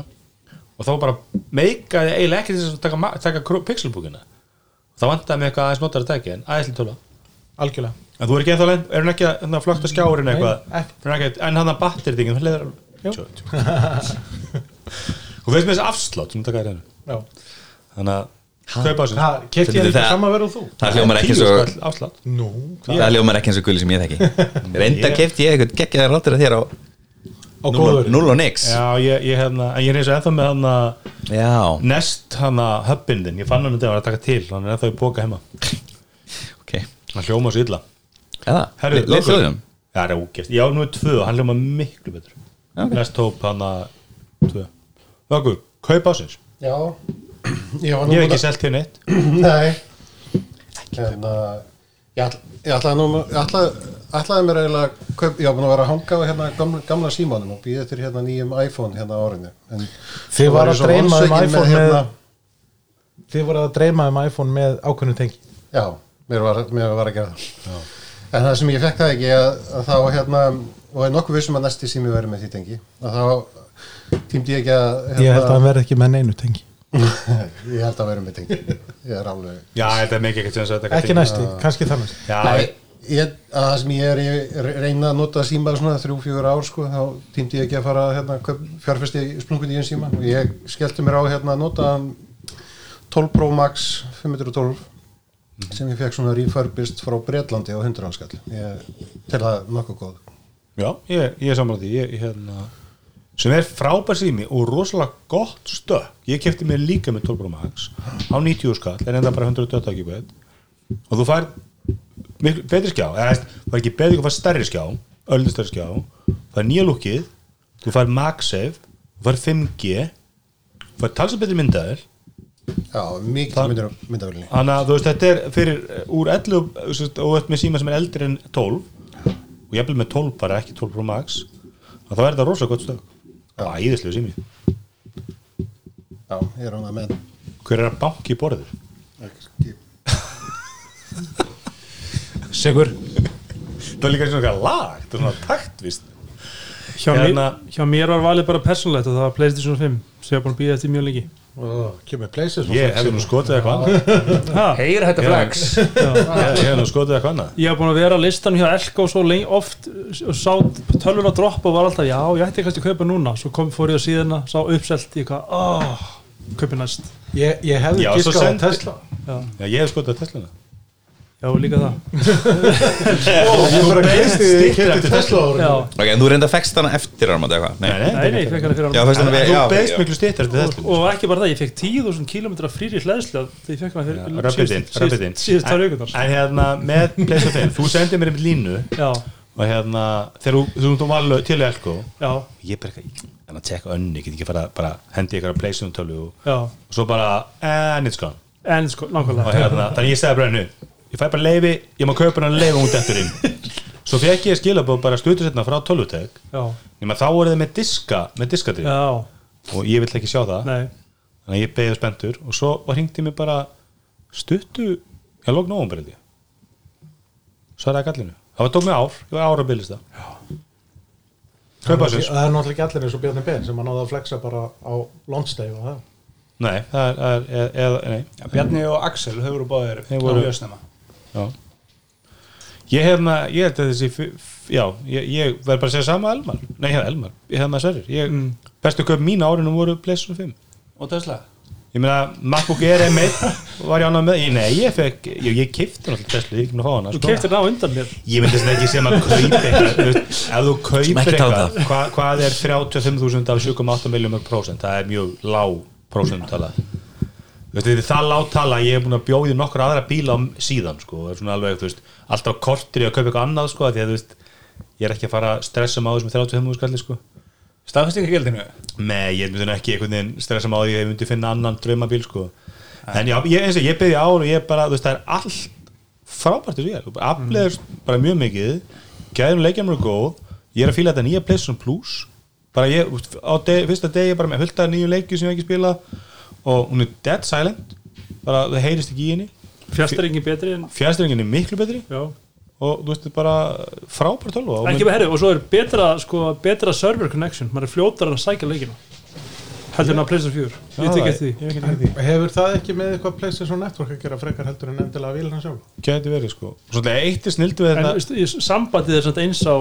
[SPEAKER 2] og þá bara meikaði eiginlega ekki þess að taka, ma- taka Chrome- pixelbookina þá vantaði mig eitthvað aðeins notar að taka en aðeins til tölva
[SPEAKER 5] algjörlega
[SPEAKER 2] en þú er ekki ennþá lenn, er hún ekki að hérna, flökta skjárin eitthvað,
[SPEAKER 5] Nei, ekki.
[SPEAKER 2] Er hún ekki, en hann að battir þig, hún leður
[SPEAKER 5] Jú.
[SPEAKER 2] og veist með þessi afslátt sem þú takaði hérna
[SPEAKER 5] Já,
[SPEAKER 2] þannig að kaupa þessu
[SPEAKER 5] það kefti ég
[SPEAKER 3] Þetta-
[SPEAKER 5] líka sama verð og þú
[SPEAKER 3] það hljómar ekki svo
[SPEAKER 2] skall afslátt
[SPEAKER 5] Nú,
[SPEAKER 3] það hljómar ekki eins og Gulli sem ég þekki reynda kefti ég eitthvað geggjaði ráttur að þér á
[SPEAKER 5] og
[SPEAKER 3] núll og-
[SPEAKER 5] góður
[SPEAKER 3] núll og nix já,
[SPEAKER 2] já, ég, ég, hérna, en ég er eins og ennþá með hann að Nest hann að höppindin, ég fann hann að það var að taka til hann er ennþá í boka heima,
[SPEAKER 3] ok eða,
[SPEAKER 2] hann hljóma svo illa Herru,
[SPEAKER 3] leitt
[SPEAKER 2] Lókur.
[SPEAKER 3] hljóðum
[SPEAKER 2] Já, það er ógæst, já, nú er tvö, hann hljóma miklu betur
[SPEAKER 3] Ok.
[SPEAKER 2] Nest hóp hann að tvö Lókur, kaupa ásins,
[SPEAKER 7] Já, ég var nú
[SPEAKER 2] ég hef
[SPEAKER 7] búin
[SPEAKER 2] ekki selt hérna eitt
[SPEAKER 7] Nei Hérna Ég, ætl, ég ætlaði, nú, ég ætlaði, ætlaði mér eiginlega að kaup, ég var búin að vera að hanga á hérna gamla, gamla símanum og býða eftir hérna nýjum iPhone hérna á árinu en
[SPEAKER 5] Þið var að
[SPEAKER 7] svo
[SPEAKER 5] dreyma um
[SPEAKER 7] vonsvikinn
[SPEAKER 5] iPhone með, Þið voru að dreyma um iPhone með ákveðnum tengi
[SPEAKER 7] Já, mér var, mér var að gera það En það sem ég fekk það ekki að, að þá hérna og er nokkuð vissum að næsti sími verið með því tengi að þá týmdi ég ekki að hérna,
[SPEAKER 5] Ég held að hann verði ekki með neinu tengi
[SPEAKER 7] ég held að verið með tengi ég er alveg
[SPEAKER 2] Já, þetta er mikið ekkert sem að þetta
[SPEAKER 5] Ekki næsti, kannski þannig
[SPEAKER 2] Já,
[SPEAKER 7] Nei, ég, að það sem ég er ég reyna að nota síma svona þrjú, fjögur ár sko, þá týndi ég ekki að fara hérna, kaup- fjárfesti í splungun í einn síma og ég skellti mér á hérna að nota hann 12 Pro Max 512 sem ég fekk svona refurbist frá Bretlandi á 100 hanskall ég tel það nokkuð góð
[SPEAKER 2] Já, ég, ég er samanlega því ég, ég, hérna, sem er frábær sími og rosalega gott stökk ég kefti mér líka með 12 Pro Max á 90 skall, en enda bara 120 gigabit og þú fær miklu, betri skjá, eða þú veist, þú fær ekki betri þú fær stærri skjá, öllu stærri skjá þú fær nýja lúkið, þú fær MagSafe þú fær 5G þú fær talsið betri myndaðir
[SPEAKER 7] Já, mikið myndir myndavillinni
[SPEAKER 2] Þannig að þú veist, þetta er fyrir eh, úr 11 og þú veist, og þú ert með síma sem er eldri en 12 og ég er með 12 bara, ekki 12 Pro Max að þá er þetta rosa gott stökk Æðislega sími
[SPEAKER 7] Já, ég er án að menn
[SPEAKER 2] Hver er að banki í borður?
[SPEAKER 7] Ekki
[SPEAKER 4] Sigur
[SPEAKER 2] Það er líka svona eitthvað lag, það er svona taktvist
[SPEAKER 6] hjá,
[SPEAKER 2] Hérna-
[SPEAKER 6] mér, hjá mér var valið bara persónlegt og það var Playstation 5 sem ég var búin að býða eftir mjög lengi
[SPEAKER 5] og kemur places
[SPEAKER 2] Ég hefði nú skotið eitthvað annað
[SPEAKER 6] ha,
[SPEAKER 8] Heyr þetta flex
[SPEAKER 2] Ég hefði nú skotið eitthvað annað
[SPEAKER 6] ég var búin að vera á listan hjá Elko svo lengi oft og sá tölvun að droppa og var alltaf já, ég ætti kannski að kaupa núna svo kom, fór ég á síðuna, sá uppselt ég hvað, oh, kaupi næst
[SPEAKER 5] ég, ég hefði
[SPEAKER 2] Já, svo
[SPEAKER 5] gískað á
[SPEAKER 2] sendi-
[SPEAKER 5] Tesla
[SPEAKER 2] Já, ég hefði skotið að Teslana
[SPEAKER 6] já, líka það
[SPEAKER 5] ég bara gískti því ég kemur Tesla
[SPEAKER 6] já,
[SPEAKER 3] Ok, en þú reynda fekst hana eftir áramót eða eitthvað?
[SPEAKER 2] Nei, nei,
[SPEAKER 6] nei, nei, ég fekk hana fyrir
[SPEAKER 3] Já,
[SPEAKER 6] áramót.
[SPEAKER 3] fyrst hana við, já,
[SPEAKER 2] Þú beðst
[SPEAKER 3] já.
[SPEAKER 2] miklu stýttar til
[SPEAKER 6] og,
[SPEAKER 2] Tesla
[SPEAKER 6] og ekki bara það, ég fekk 10.000 km fríri hlæðslu þegar ég fekk hana fyrir
[SPEAKER 2] Rapidin, rapidin
[SPEAKER 6] síðust tár sko. ykkur
[SPEAKER 2] En hérna, með Place of Fame, þú sendir mér einmitt línu
[SPEAKER 6] já,
[SPEAKER 2] og hérna, þegar þú- þú þú var til Elko
[SPEAKER 6] já,
[SPEAKER 2] Ég bara eitthvað, en að tekka önni, get ekki fara bara hendi ykkur að Place of Fame og
[SPEAKER 6] já
[SPEAKER 2] og svo bara, and it's gone
[SPEAKER 6] en sko,
[SPEAKER 2] og
[SPEAKER 6] nákvæmlega
[SPEAKER 2] hérna, þannig ég segði bara hennu ég fæ bara leifi, ég má kaupa hennar leifi út eftir inn svo fekk ég skilabóð bara stuttur setna frá tölvutek
[SPEAKER 6] já,
[SPEAKER 2] nema þá voru þið með diska, með diskadrif
[SPEAKER 6] já,
[SPEAKER 2] og ég vill ekki sjá það
[SPEAKER 6] nei
[SPEAKER 2] þannig að ég beðið spenntur og svo hringdi mér bara stuttu, ég lók nógum bara held ég svaraði gallinu það var tók mig ár, ég var ára byrðist það kaupa
[SPEAKER 5] það
[SPEAKER 2] þessins
[SPEAKER 5] er náttúrulega ekki allir eins og Bjarni Ben sem að náða að flexa bara á launch day og það
[SPEAKER 2] nei, það er, það er eða, nei,
[SPEAKER 4] Já, Bjarni og Axel höfur og báðir
[SPEAKER 2] Þeir voru-
[SPEAKER 4] mjög snemma
[SPEAKER 2] já ég hef maður, ég held að þessi f- f- já, ég, ég verð bara að segja sama Elmar nei, hérna Elmar, ég hef maður sverir ég, bestu köp mín árinu voru Playstation 5
[SPEAKER 4] og Tesla
[SPEAKER 2] ég meina, MacBook Air M1 var ég ánað með, ég, nei, ég fekk ég, ég kifti náttúrulega Tesla, ég er ekki með að fá hana
[SPEAKER 6] þú
[SPEAKER 2] sko.
[SPEAKER 6] keftir það á undan mér
[SPEAKER 2] ég myndi þess að ekki sem að kaupa eitthvað þú veist, ef þú kaupir
[SPEAKER 3] ekki tala um
[SPEAKER 2] eitthvað hva, hvað er 35.000 af 7,8 miljónum prósent, það er mjög lág prósentala Veistu, þetta er það lág tala, ég hef búin að bjóði nokkra aðra bíla á síðan sko, það er svona alveg, þú veist, alltaf kortir í að kaupa eitthvað annað sko, af því að þú veist ég er ekki að fara að stressa mig á þessum 35.000 skalli sko.
[SPEAKER 4] staðfestinga gildinu
[SPEAKER 2] Nei, ég myndi nú ekki einhvern veginn stressa mig á því að ég myndi finna annan draumabíl sko. En já, ég, eins og ég byrði ár og ég bara, þú veist, það er allt frábært þessu ég er,
[SPEAKER 6] Mm.
[SPEAKER 2] afleður bara mjög mikið gæðum leikjum eru góð ég er að fíla þetta nýja PlayStation Plus bara ég, þú veist, á deg, fyrsta degi bara með hulta nýju leikju sem ég hef ekki spila og hún er dead silent bara það heyrist ekki í henni
[SPEAKER 6] fjastaringin betri en
[SPEAKER 2] fjæðstyrningin er miklu betri
[SPEAKER 6] já.
[SPEAKER 2] og þú veist, þetta er bara frábært tölva og
[SPEAKER 6] ekki
[SPEAKER 2] mun-
[SPEAKER 6] bara herri og svo er betra sko, betra server connection maður er fljótar að sækja leikina heldur en að Playstation 4 ég tek eftir því
[SPEAKER 5] hefur það ekki með eitthvað PlayStation Network að gera frekar heldur en endilega að vila hann sjálf
[SPEAKER 2] gæti verið sko Svolítið, eitt er snildu við hérna.
[SPEAKER 6] en
[SPEAKER 2] þetta
[SPEAKER 6] veist, ég- sambandið er samt eins á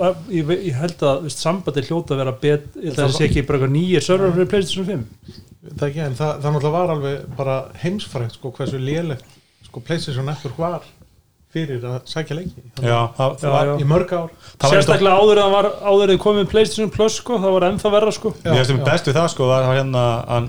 [SPEAKER 6] að- ég, ve- ég held að veist, sambandið hljóta að vera bet, ég held að það sé ekki bara eitthvað nýjir server fyrir Playstation 5
[SPEAKER 5] það ekki, en það, það náttúrulega var alveg bara heimsfrækt sko hversu lélegt sko PlayStation Network var fyrir að sækja leiki Þannig
[SPEAKER 2] já, það,
[SPEAKER 6] Já,
[SPEAKER 2] það var
[SPEAKER 6] já.
[SPEAKER 5] að í mörg
[SPEAKER 2] Það var
[SPEAKER 5] ár
[SPEAKER 2] eins og-
[SPEAKER 6] sérstaklega áður að var áður að komið Playstation Plus sko, það var ennþá verra sko
[SPEAKER 5] Já,
[SPEAKER 2] Mér finnst það
[SPEAKER 5] já.
[SPEAKER 2] best við það sko var, var hérna an,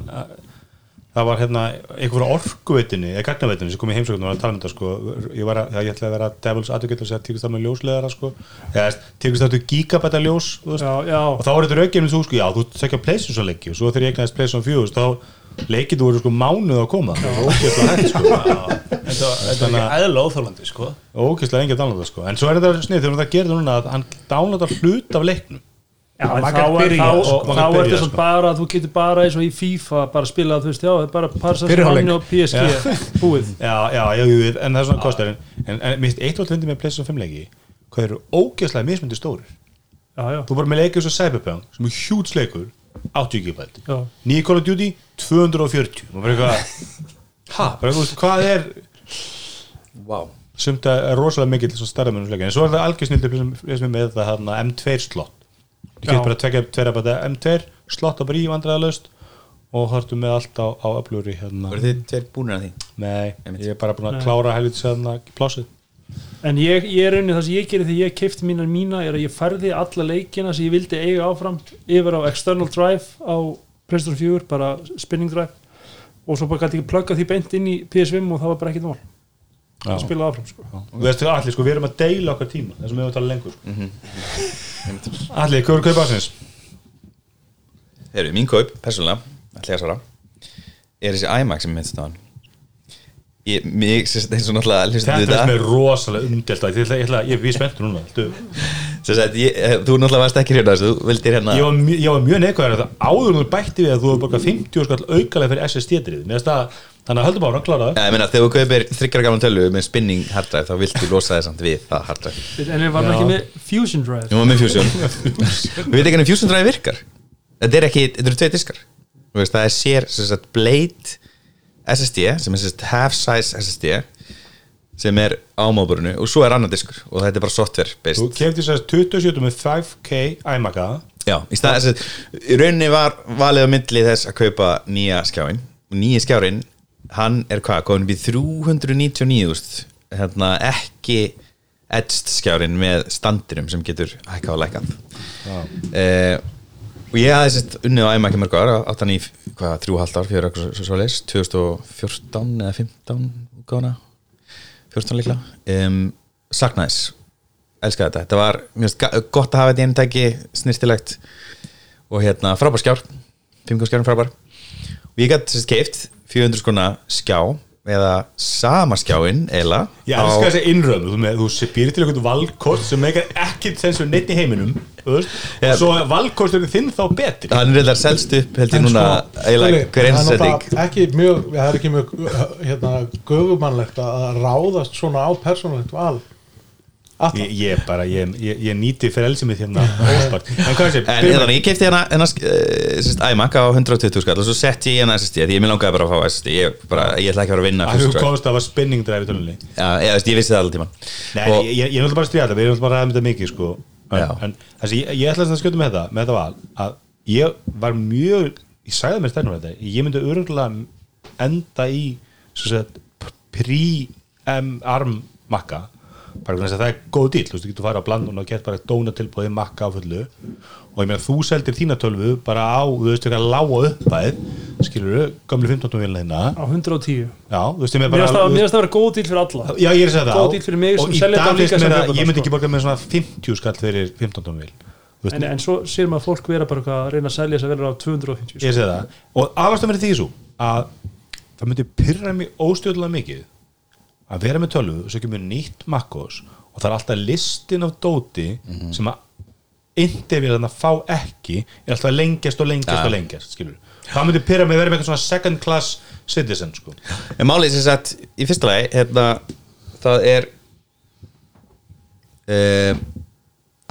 [SPEAKER 2] það var hérna einhver orkuveitinni eða gagnaveitinni sem kom í heimsóknum og var að tala um þetta sko ég, var að, já, ég ætlaði að vera devil's advocate og segja tíkust það með ljósleðara sko eða tíkust það með gigabæta ljós þú veist.
[SPEAKER 6] já, já,
[SPEAKER 2] og þá var þetta raukjum eins og sko já þú sækja pleysin svo leikju og svo þegar ég eignaðist pleysin fjú þá leikið þú voru sko mánuð að koma það var ógeðslega hægt sko
[SPEAKER 4] þetta þetta er
[SPEAKER 2] Þannig
[SPEAKER 4] ekki eðla óþólandi sko
[SPEAKER 2] ógeðslega engið að downloada sko en svo er þetta snið þegar það gerir núna að hann downloada hlut af leiknum
[SPEAKER 6] Já,
[SPEAKER 4] maður
[SPEAKER 6] en þá
[SPEAKER 4] gat
[SPEAKER 6] er
[SPEAKER 4] byrjað,
[SPEAKER 6] þá-
[SPEAKER 2] sko.
[SPEAKER 6] þá
[SPEAKER 2] Maður gat
[SPEAKER 6] er
[SPEAKER 2] byrjað,
[SPEAKER 6] þetta
[SPEAKER 2] sko.
[SPEAKER 6] svona bara að þú getur bara eins og í FIFA bara spilað, þú veist, já, það er bara parsa sem
[SPEAKER 4] Fyrirháleik.
[SPEAKER 6] hann og PSG búið
[SPEAKER 2] Já, já, já, já, en það er svona kostar en, en, en minnst eitt og alltaf með Playstation 5 leiki hvað eru ógeðslega mismyndi stórir
[SPEAKER 6] Já, já,
[SPEAKER 2] þú bara með leikið svo Cyberpunk sem er hjúts leikur 80 GB
[SPEAKER 6] já,
[SPEAKER 2] nýja Call of Duty 240 og bara eitthvað ha, bara eitthvað, hvað er
[SPEAKER 8] Vá
[SPEAKER 2] sumt að er rosalega mikill svo starfamennum leika en svo er það algjör snildi með það hana, M2 slott þú
[SPEAKER 6] Já.
[SPEAKER 2] getur bara að tvekja tverja bara M2 slott á bara í vandræðalaust og hortu með allt á, á öflúri hérna.
[SPEAKER 3] Voru þið tveir búnir að því?
[SPEAKER 2] nei,
[SPEAKER 3] Einmitt.
[SPEAKER 2] ég er bara búin
[SPEAKER 6] Nei.
[SPEAKER 2] að klára hérna helviti sérna plásið
[SPEAKER 6] en ég, ég er unni það sem ég gerir því ég keifti mínar mína er að ég færði alla leikina sem ég vildi eiga áfram yfir á external drive á Playstation 4, bara spinning drive og svo bara gæti ekki plugga því beint inn í PS5 og það var bara ekkit mál
[SPEAKER 2] Já.
[SPEAKER 6] að spila áfram, sko
[SPEAKER 2] Þú veist allir, sko, við erum að deila okkar tíma þessum við erum að tala lengur mm -hmm. Allir, hvað eru kaupasins?
[SPEAKER 3] Heyrðu, mín kaup, persónulega, ætla ég að svara Er þessi iMac sem minnst á hann Ég, mig, sérst, eins og náttúrulega hlustu
[SPEAKER 2] Þetta
[SPEAKER 3] þetta
[SPEAKER 2] er sem er rosalega umdelt Ég ætla, ég ætla, ég er spenntur núna Þú,
[SPEAKER 3] Sem sagt, ég, eh, þú náttúrulega varst ekki hérna þessu, þú vildir hérna
[SPEAKER 2] Ég var, mjö- ég var mjög neikvæður að það áður en þú bætti við að þú hefur borgað 50 skall aukalega fyrir SSD-drið Mér finnst það, þannig að höldum ára, kláraðu
[SPEAKER 3] Já, ég meina, þegar þú kaupir þryggjara gaman tölvu með spinning harddrive þá viltu losa þessand við það harddrive
[SPEAKER 6] En við varum ekki með Fusion Drive
[SPEAKER 3] Nú var með Fusion Við veit ekki hvernig Fusion drive virkar Þetta er ekki, þetta eru tvei diskar Þú veist, Það er sér, sem sagt, Blade SSD, sem er sem sagt half size SSD sem er á móburinu og svo er annar diskur og þetta er bara software
[SPEAKER 2] Þú
[SPEAKER 3] based
[SPEAKER 2] kefti þess að 27 með 5K iMac -a.
[SPEAKER 3] Já, í staðið sem sagt, í rauninni var valið á myndli þess að kaupa nýja skjáin og nýja skjárin, hann er hvað komin upp í 399 hérna ekki edst skjárin með standinum sem getur hækkað og lækkað eh, og ég hafði sérst unnið á æma ekki mörg ára, áttan í hvað, þrjú og hálft ár, fyrir okkur svo, svo leis 2014 eða 15 góna, 14 líkla um, saknaðis elskaði þetta, þetta var mjög gott að hafa þetta í einu tæki, snirtilegt og hérna frábær skjár 5K skjárinn frábær og ég gæti sérst keift 400 skona skjá eða sama skjáinn eila
[SPEAKER 2] Ég elska þessi innröðum, þú, með, þú býrir til eitthvað valkost sem meikar ekkit sens við neitt í heiminum þú veist,
[SPEAKER 3] Já.
[SPEAKER 2] og svo valkosturinn þinn þá betri
[SPEAKER 3] hann reyndar selst upp held ég
[SPEAKER 5] En
[SPEAKER 3] núna
[SPEAKER 5] sko,
[SPEAKER 3] eila
[SPEAKER 5] Skúli, það
[SPEAKER 3] hver
[SPEAKER 5] er
[SPEAKER 3] einsetting
[SPEAKER 5] náttúrulega ekki mjög, það er ekki mjög hérna, göfumannlegt að ráðast svona á persónulegt val
[SPEAKER 2] Ég, ég bara, ég, ég, ég nýti frelsi mitt hérna óspart. En hvað er
[SPEAKER 3] En hérna,
[SPEAKER 2] þessi?
[SPEAKER 3] ég kefti hérna, hérna uh, iMac á 120 skall og svo setti ég hérna SSD því ég mér langaði bara að fá SSD ég, bara, ég ætla ekki að vera að vinna
[SPEAKER 2] Að þú
[SPEAKER 3] fyrst og fremst.
[SPEAKER 2] komst að það var spinning drive í tölunni
[SPEAKER 3] Já, ég, veist, ég vissi það alveg tíman
[SPEAKER 2] Nei, og, ég, ég, ég er náttúrulega bara að stríða þetta, við erum náttúrulega bara að ræða um þetta mikið sko.
[SPEAKER 3] Já.
[SPEAKER 2] en, en þessi, ég, ég ætla að skjóta með þetta með þetta val að ég var mjög ég sagði mér stærnum þetta, ég myndi öruglega enda í svo sagt, pre-arm makka bara vegna þess að það er góð dýl, þú veist, þú getur farið á blandun og gett bara dóna tilbúið makka á fullu og ég meina þú seldir þína tölvu bara á, þú veist, eitthvað lága uppæð skilur þú, gamlu 15. vilna þína
[SPEAKER 6] á 110
[SPEAKER 2] já, þú veist, ég meina
[SPEAKER 6] Mér
[SPEAKER 2] bara
[SPEAKER 6] finnst það-
[SPEAKER 2] þú
[SPEAKER 6] mér
[SPEAKER 2] veist-
[SPEAKER 6] finnst það að vera góð díl fyrir alla
[SPEAKER 2] Já, ég er að segja það
[SPEAKER 6] Góð díll fyrir mig sem
[SPEAKER 2] Og í
[SPEAKER 6] selja
[SPEAKER 2] dag
[SPEAKER 6] þetta líka
[SPEAKER 2] finnst
[SPEAKER 6] sem
[SPEAKER 2] mér að
[SPEAKER 6] kaupa,
[SPEAKER 2] Ég myndi
[SPEAKER 6] sko.
[SPEAKER 2] ekki borga með svona 50 skall fyrir 15 vil Þú
[SPEAKER 6] en,
[SPEAKER 2] veist,
[SPEAKER 6] en svo sér maður fólk vera bara eitthvað að reyna að selja þess að vera á 250
[SPEAKER 2] ég segi það Og afastan verið því svo að það myndi pyrra mig óstjórnlega mikið að vera með tölvu og svo kemur nýtt makkos og það er alltaf listin af dóti sem að intervíðan að fá ekki er alltaf að lengjast og lengjast og lengjast skilur. það myndi pyrra mig að vera með eitthvað svona second class citizen sko.
[SPEAKER 3] En málið sem sagt, í fyrsta lagi hérna, það er uh,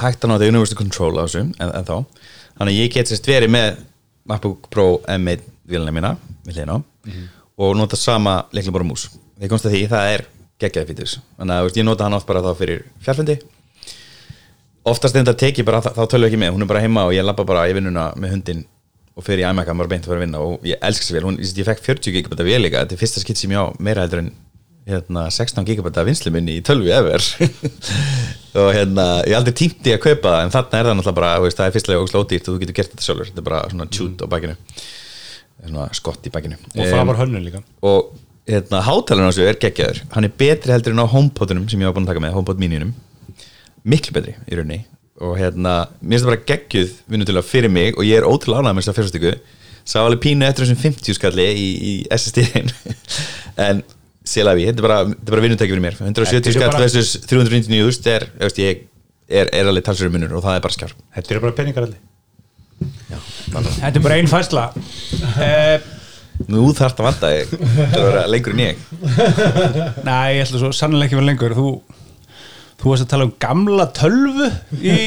[SPEAKER 3] hægt að náta universal control á þessum en, en þá, þannig að ég get sérst verið með MacBook Pro M1 vilina mína, við hliðina á
[SPEAKER 2] Mhm.
[SPEAKER 3] og nota sama leiklega bara mús ég komst að því, það er geggjaði fítus þannig að þú veist, ég nota hann oft bara þá fyrir fjallfundi oftast enda teki bara, þá, þá tölum við ekki með, hún er bara heima og ég labba bara í vinnuna með hundin og fyrir í iMac að maður beint að fara að vinna og ég elska sér vel, hún, ég, ég fekk 40 gigabæta vel líka, þetta er fyrsta skitt sem ég á meira heldur en hérna, 16 gigabæta vinslu minni í tölvi efer og hérna, ég aldrei tímti að kaupa það en þarna er það náttúrulega bara, þú veist, það er fyrstlega og slótýrt og þú getur gert þetta sjálfur, þetta er bara svona tjút á bakinu svona skott í bakinu
[SPEAKER 2] og
[SPEAKER 3] Em,
[SPEAKER 2] framar hönnun líka
[SPEAKER 3] og hérna, hátalun á þessu er geggjaður hann er betri heldur en á homepodunum sem ég var búin að taka með, homepod mininum miklu betri í rauninni og hérna, mér finnst það bara geggjuð vinnutulega fyrir mig og ég er ótrúlega ánægð með þess að fyrstöku sá alveg pínu eftir þessum 50 skalli í, í SSD-in en selafi, þetta er bara, þetta er bara vinnutæki fyrir mér 170
[SPEAKER 2] Þetta er
[SPEAKER 3] skall
[SPEAKER 2] bara-
[SPEAKER 3] versus 399 er, ég veist, ég er, er alveg talsverið munur og það er bara skjár
[SPEAKER 2] þetta eru bara peningar allir
[SPEAKER 4] Þetta er bara einn fæsla uh,
[SPEAKER 3] nú þarf það vanda, ég það vera lengur en ég
[SPEAKER 4] Nei, ég ætla svo sannlega ekki að vera lengur Þú, þú varst að tala um gamla tölvu í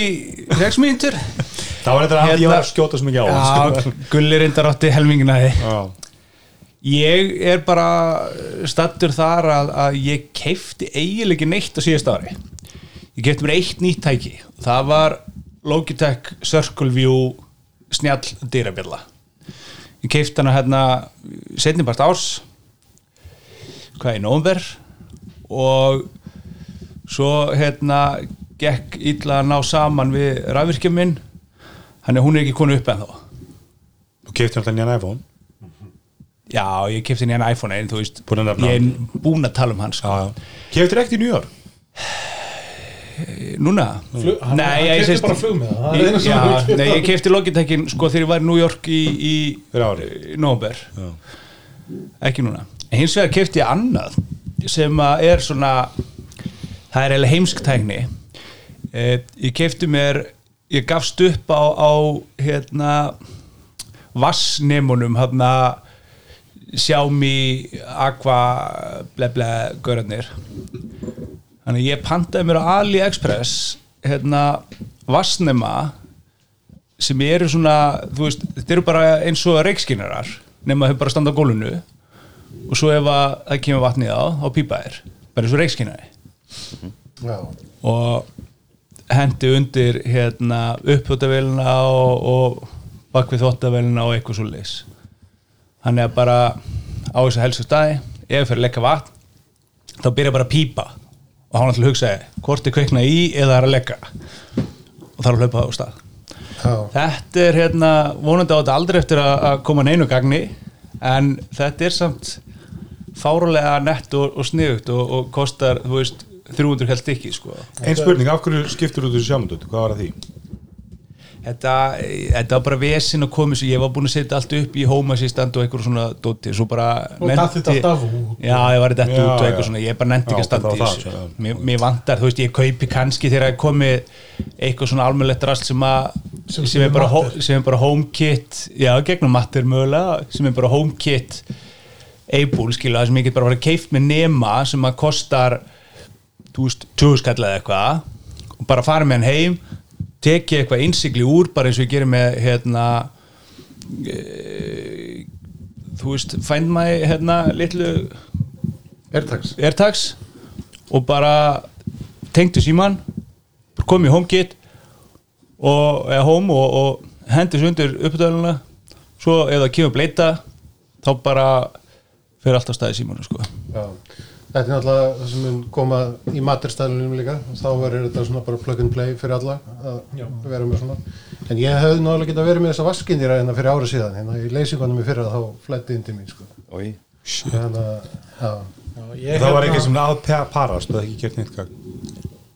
[SPEAKER 4] reksmýntur
[SPEAKER 2] það var þetta að ég
[SPEAKER 4] Hérna-
[SPEAKER 2] var að skjóta svo mikið á hann,
[SPEAKER 4] Já,
[SPEAKER 2] sko.
[SPEAKER 4] gulli reyndar átti helmingina því
[SPEAKER 2] Já.
[SPEAKER 4] Ég er bara stattur þar að, að ég keifti eiginlega ekki neitt á síðast ári Ég keifti mér eitt nýtt tæki Það var Logitech Circle View snjall dyrabjalla Ég keifti hana hérna setnibart árs hvað í nómver og svo hérna gekk illa að ná saman við rafvirkjum minn hann er hún er ekki konu upp en þó
[SPEAKER 2] þú keftir alltaf nýjan iPhone
[SPEAKER 4] Já, ég kefti nýjan iPhone einn, þú veist
[SPEAKER 2] Búin að nefna
[SPEAKER 4] Ég er búin að tala um hans sko.
[SPEAKER 2] Keftir ekkert í New York
[SPEAKER 4] Núna?
[SPEAKER 5] Flug- hann- hann
[SPEAKER 4] ég
[SPEAKER 5] keypti
[SPEAKER 4] sést-
[SPEAKER 5] bara flug með það, það er eina
[SPEAKER 4] Ég-
[SPEAKER 5] sem
[SPEAKER 4] Já,
[SPEAKER 5] hann keypti.
[SPEAKER 4] Nei, ég kefti Logitechin sko þegar ég var í New York í, í
[SPEAKER 2] Fyrir árið.
[SPEAKER 4] Nóber Ekki núna En Hins vegar kefti ég annað sem að er svona það er eiginlega heimsk tækni Eh, ég kefti mér ég gafst upp á, á hérna vassnemunum hérna Xiaomi Aqua bleble görðnir þannig að ég pantaði mér á AliExpress hérna vassnema sem eru svona, þú veist, þetta eru bara eins og reikskinarar, nema þau bara standa á gólunu og svo ef að það kemur vatnið á, þá pípa þér bara eins og reikskinari
[SPEAKER 7] Já,
[SPEAKER 4] og hendi undir hérna uppþjóttavélina og, og bakvið þóttavélina og eitthvað svo leis hann er bara á þessu helstu staði ef fyrir leika vatn þá byrja bara að pípa og hann ætla að hugsa hvort er kveikna í eða er að leika og þarf að hlaupa það á stað
[SPEAKER 7] já,
[SPEAKER 4] Þetta er hérna, vonandi á þetta aldrei eftir að, að koma neinu gagni en þetta er samt fárulega nett og, og sniðugt og, og kostar, þú veist, 300 held ekki, sko.
[SPEAKER 2] Einn spurning, af hverju skiptur þú þessu sjámundut? Hvað var að því?
[SPEAKER 4] Þetta, þetta var bara vesinn að koma þessu, ég var búin að setja allt upp í home assistant og einhver svona dóti, svo bara
[SPEAKER 5] Og datt þetta allt af út.
[SPEAKER 4] Já, ég var þetta
[SPEAKER 2] Já,
[SPEAKER 4] út og
[SPEAKER 2] já.
[SPEAKER 4] eitthvað svona, ég er bara nefndi ekki
[SPEAKER 2] Já,
[SPEAKER 4] að standa
[SPEAKER 2] það
[SPEAKER 4] í
[SPEAKER 2] var
[SPEAKER 4] þessu.
[SPEAKER 2] það, já.
[SPEAKER 4] Mér, mér vantar, þú veist, ég kaupi kannski þegar að komi eitthvað svona almennlegt rast sem að
[SPEAKER 5] Sem-
[SPEAKER 4] sem,
[SPEAKER 5] sem
[SPEAKER 4] er
[SPEAKER 5] er
[SPEAKER 4] bara, hó-
[SPEAKER 5] matter.
[SPEAKER 4] sem er bara home kit já, gegnum matter mögulega sem er bara home kit Able, skilu, það sem ég get bara að vera keift með nema sem að kostar þú veist, tjóðskallaði eitthvað og bara fara með hann heim tekið eitthvað innsikli úr, bara eins og ég gerir með hérna e, þú veist, find my hérna, litlu
[SPEAKER 7] ertags
[SPEAKER 4] AirTags og bara tengdu síman kom í HomeKit og, eða Home og, og hendi svo undir uppdæluna svo ef það kemur bleita þá bara fer allt á staði símanu sko.
[SPEAKER 7] Já, þetta er náttúrulega það sem mun koma í maturstæðlunum líka þá verður þetta svona bara plug and play fyrir alla að vera með svona en ég hefði náttúrulega getað verið með þessa vaskinir hérna fyrir ára síðan, hérna í leysingunum í fyrra þá flætti inn til mín sko
[SPEAKER 3] Oj.
[SPEAKER 7] hérna, já,
[SPEAKER 5] Ég,
[SPEAKER 2] Það var
[SPEAKER 5] hérna-
[SPEAKER 2] eitthvað sem aðparast, það er ekki kert neitt gagn.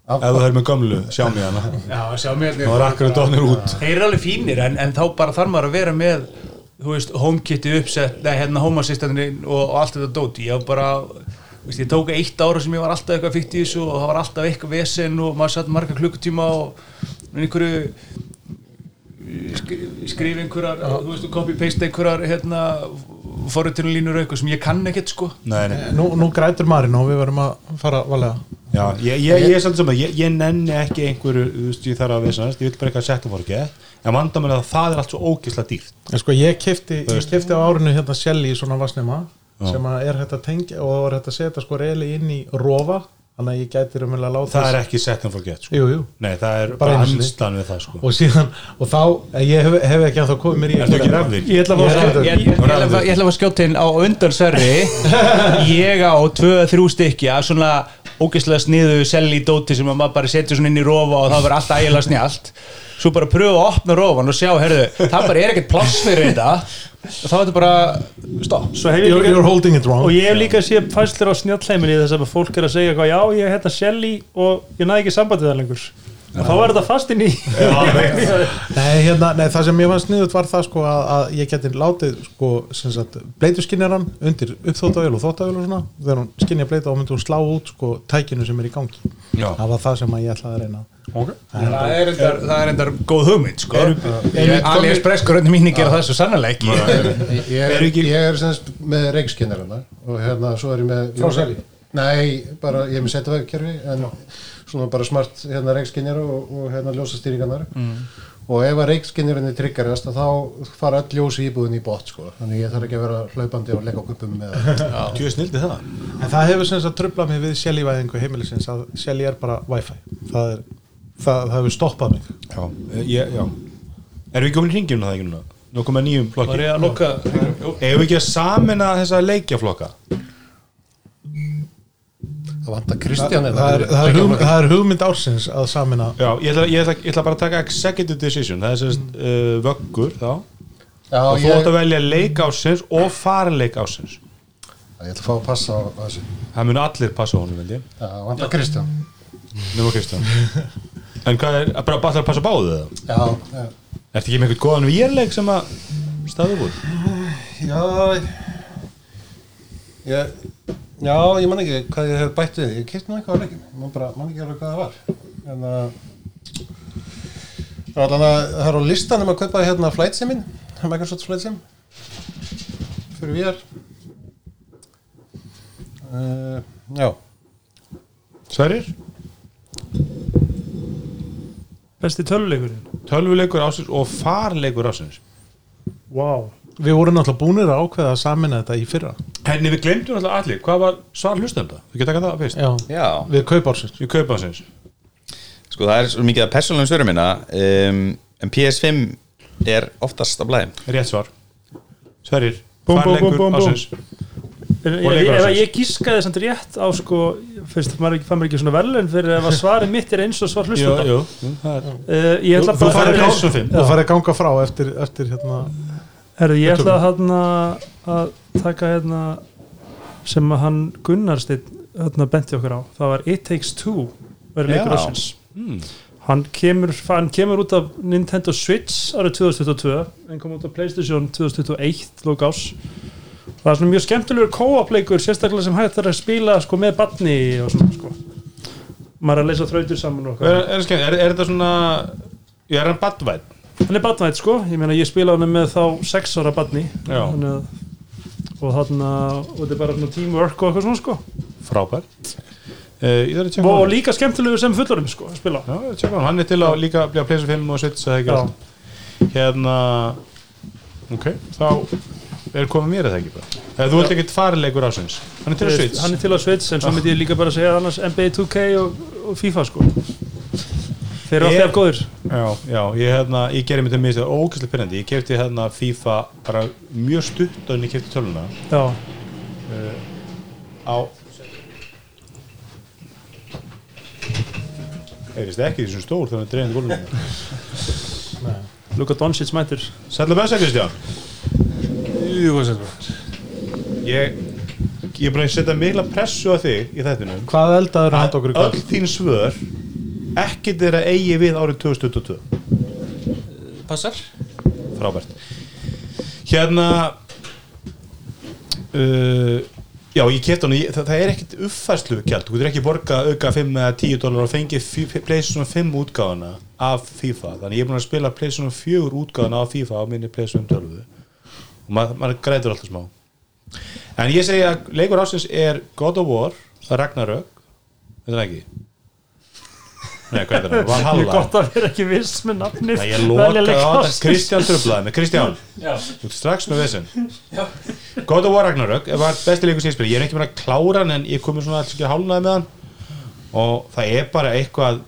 [SPEAKER 7] Af-
[SPEAKER 2] Ef þú er með gömlu, sjá mig hana.
[SPEAKER 4] Já, sjá mér hérna
[SPEAKER 2] Það var akkur að dónir út.
[SPEAKER 4] Þeir eru alveg fínir en, en þá bara þarf maður að vera með þú veist, HomeKiti uppsett nei, hérna HomeAssistantin og, og allt þetta dóti ég var bara, þú veist, ég tók eitt ára sem ég var alltaf eitthvað fyrkt í þessu og það var alltaf eitthvað vesen og maður satt marga klukkutíma og en einhverju eh, skri- skrifa einhverjar, þú veist, copy-paste einhverjar hérna, forritunulínur eitthvað sem ég kann ekkert, sko
[SPEAKER 2] Nei, nei.
[SPEAKER 5] Nú, nú grætur maðurinn og við verum að fara valega
[SPEAKER 2] Já, ég, ég, ég er svolítið saman, ég, ég nenni ekki einhverju, þú veist, ég þarf að vissanast, ég vil bara eitthvað að setja fórkið, en vandamenn að það er allt svo ógislega dýrt.
[SPEAKER 5] En sko ég kefti,
[SPEAKER 2] Þú
[SPEAKER 5] ég
[SPEAKER 2] veist.
[SPEAKER 5] kefti á árinu hérna Shelly í svona vassnema
[SPEAKER 2] Já.
[SPEAKER 5] sem að er hægt að tengja og það var hægt að setja sko reyli inn í rofa þannig að ég gæti raunverulega að láta
[SPEAKER 2] Það er ekki setja fórkið, sko.
[SPEAKER 5] Jú, jú
[SPEAKER 2] Nei, það er
[SPEAKER 5] Bara
[SPEAKER 2] bara
[SPEAKER 5] einu sinni.
[SPEAKER 2] hanslan við það, sko.
[SPEAKER 5] Og síðan, og þá, eh, ég hef, hef ekki að þá komið mér í
[SPEAKER 2] Ertu ekki rafðir?
[SPEAKER 5] Ég ætla að
[SPEAKER 4] Ég-
[SPEAKER 5] fá
[SPEAKER 4] ég- ég- ég ætla að fá- ég ætla að fá skjótin á undan Sverri ég á tvö, þrjú stykki að svona ógeðslega sniðu selli í dóti sem að maður bara setja svona inn í rofa og það verður alltaf ægilega snjált svo bara pröfa að opna rofan og sjá herðu, það bara er ekkert pláss fyrir þetta og þá er þetta bara stopp
[SPEAKER 6] Svo hef ég
[SPEAKER 5] You're,
[SPEAKER 6] líka
[SPEAKER 5] you're holding it wrong
[SPEAKER 6] og ég hef líka séð fæslir á snjallheiminni þess að fólk er að segja hvað já, ég hérna Shelly og ég næði ekki sambandið það lengur og þá var þetta fast inn í
[SPEAKER 5] Nei, hérna, nei, það sem ég fann sniðut var það sko að, að ég geti látið sko, sem sagt, bleituskinjaran undir uppþóttavél og þóttavél og svona þegar hún skinja bleita og myndi hún slá út sko tækinu sem er í gangi
[SPEAKER 2] Já.
[SPEAKER 5] það var það sem að ég ætlaði að reyna
[SPEAKER 4] það er endar, það er endar góð hugmynd sko.
[SPEAKER 7] Ég-
[SPEAKER 4] Alias Breskurinn mín gera það svo sannlega ekki
[SPEAKER 7] ég er, ég er semst með reikskinir hérna og hérna svo er ég með
[SPEAKER 5] Sally?
[SPEAKER 7] Nei, bara ég er með setavegkerfi en svona bara smart hérna reikskinir og, og hérna ljósastýringarnar og ef að reikskinirinn er tryggarast að þá fara all ljósi íbúðin í bótt sko. þannig ég þarf ekki að vera hlaupandi og leggja á kuppum með það
[SPEAKER 2] Tjóð snildi það.
[SPEAKER 5] En það hefur sem sagt trublað mig við sjálfvæðingu heimilisins að sjálf er bara wifi það, er, það, það hefur stoppað mig
[SPEAKER 2] Já. Eh, Ég, já. Erum við komin í ringjum það ekki núna? Nú komum við nýjum flokki.
[SPEAKER 4] að loka
[SPEAKER 2] Erum við ekki að samina þessa leikjaflokka?
[SPEAKER 7] það vantar Kristján hérna.
[SPEAKER 5] það er, það, er hugmynd, það er hugmynd ársins að samina
[SPEAKER 2] Já, ég ætla, ég, ætla, ég ætla bara að taka executive decision, það er sérst uh, vöggur þá.
[SPEAKER 7] Mm. Já,
[SPEAKER 2] og þú átt
[SPEAKER 7] ég,
[SPEAKER 2] að velja leik ásins og farleik ásins.
[SPEAKER 7] ég ætla að fá að passa á þessu
[SPEAKER 2] Það mun allir passa honum, veld ég.
[SPEAKER 7] það vantar Kristján
[SPEAKER 2] Nefnum Kristján En hvað er, bara bara ætlarðu að passa báðu það?
[SPEAKER 7] já, já,
[SPEAKER 2] Ertu ekki með einhvern góðan vírleik sem að staðu úr?
[SPEAKER 7] já ég, já, ég man ekki hvað ég hef bætt við ég kýrt nú eitthvað á leikinu, ég man bara man ekki alveg hvað það var en að Það er allan að það er á listanum að kaupa hérna Flight Simin, Microsoft Flight Sim fyrir VR uh, Já,
[SPEAKER 2] Sverir,
[SPEAKER 6] Besti töluleikurinn
[SPEAKER 2] tölvuleikur ásins og farleikur ásins
[SPEAKER 6] Vá
[SPEAKER 5] Við vorum náttúrulega búnir að ákveða að samina þetta í fyrra
[SPEAKER 2] Henni við glemdum alltaf allir, hvað var svar hlustenda? Við getum takað það fyrst
[SPEAKER 5] Já,
[SPEAKER 3] Já,
[SPEAKER 5] við kaupársins
[SPEAKER 2] Við kaupa ásins
[SPEAKER 3] sko það er svo mikið að persónulegum svörum minna um, en PS5 er oftast á blæðum
[SPEAKER 2] Rétt svar Sverir,
[SPEAKER 6] Búm, búm,
[SPEAKER 2] farleikur
[SPEAKER 6] búm, búm, búm.
[SPEAKER 2] ásins
[SPEAKER 6] En
[SPEAKER 2] Og
[SPEAKER 6] Ef
[SPEAKER 2] leikur
[SPEAKER 6] ef
[SPEAKER 2] ársins.
[SPEAKER 6] ég gískaði samt rétt á sko fyrst maður ekki, fann maður ekki svona verðlun fyrir ef að svarið mitt er eins og svar
[SPEAKER 2] Jú,
[SPEAKER 6] hlustanda
[SPEAKER 2] jú
[SPEAKER 6] uh, Ég ætla
[SPEAKER 2] Þú- þú
[SPEAKER 6] bara
[SPEAKER 2] farið
[SPEAKER 6] Herri,
[SPEAKER 2] eins og fimm.
[SPEAKER 5] Þú farið að ganga frá eftir, eftir hérna
[SPEAKER 6] Herri, ég ætla hérna að taka hérna sem að hann Gunnarsteinn hérna benti okkur á það var It Takes Two verið
[SPEAKER 3] Já.
[SPEAKER 6] leikur ásins hann, kemur, hann kemur út af Nintendo Switch árið 2022 en kom út af Playstation 2021 lók ás það er svona mjög skemmtilegur co-op leikur sérstaklega sem hægt er að spila sko, með batni og svona sko maður er að leysa þrautir saman og
[SPEAKER 2] Er,
[SPEAKER 6] okkar
[SPEAKER 2] er, er, er þetta svona Ég er hann badvæð
[SPEAKER 6] hann er batnætt sko, ég meina ég spila hann með þá sex ára batni
[SPEAKER 2] Já.
[SPEAKER 6] að, og þarna og þetta er bara svona teamwork og eitthvað svona sko
[SPEAKER 2] Frábært uh, Ég þarf að tjekka
[SPEAKER 6] og
[SPEAKER 2] hann.
[SPEAKER 6] líka skemmtilegur sem fullorum sko að spila
[SPEAKER 2] Já, ég tjekka hann, hann er til að líka bli að pleysa 5 og 6 eða ekki
[SPEAKER 6] Já.
[SPEAKER 2] allt Hérna Ok, þá er komið mér eða ekki bara Eða þú vilt ekkert farleikur ásins Hann er til að Ah.
[SPEAKER 6] Veist,
[SPEAKER 2] svits
[SPEAKER 6] hann er til að sveits en svo myndi ég líka bara segja annars NBA 2K og, og FIFA sko þeir eru
[SPEAKER 2] Ég-
[SPEAKER 6] alltaf jafn góðir
[SPEAKER 2] Já, já, ég, hérna, ég gerði mér til mér þetta ókvæslega pyrrandi Ég kefti hérna FIFA bara mjög stutt og en ég kefti töluna
[SPEAKER 6] já,
[SPEAKER 2] á Eirist ekki því sem stór þannig að dreifin gólfum
[SPEAKER 6] Luka Doncic mætir
[SPEAKER 2] Sætla besta Kristján
[SPEAKER 5] Jú, hvað segir þú?
[SPEAKER 2] Ég, ég er bara að setja mikla pressu á þig í þættinum
[SPEAKER 5] Hvað eldaður hann okkur í kvöld?
[SPEAKER 2] Öll þín svör ekki þeirra eigi við árið 2022
[SPEAKER 8] Passar
[SPEAKER 2] Frábært Hérna uh, Já, ég kefti hann ég, það, það er ekkit uppfærslu gjald Þú getur ekki borgað auka 5 eða 10 dólar og fengið fí- PlayStation 5 útgáfana af FIFA Þannig ég er búin að spila PlayStation 4 útgáfana af FIFA á minni PlayStation 12 og maður, maður grætur alltaf smá En ég segi að leikur ásins er God of War, Ragnarök Þetta er það ekki Nei, hvað er það?
[SPEAKER 6] ég er
[SPEAKER 2] Valhalla
[SPEAKER 6] gott að vera ekki viss með nafnið
[SPEAKER 2] Nei, ég
[SPEAKER 6] Velja
[SPEAKER 2] lokaði
[SPEAKER 6] leik
[SPEAKER 2] á þetta
[SPEAKER 6] ársins.
[SPEAKER 2] Kristján tröflaði mig Kristján, þú ert strax með vesen God of War Ragnarök var besti leikur sem ég spila Ég er ekki bara að klára hann en ég komi svona alls ekki hálnaði með hann og það er bara eitthvað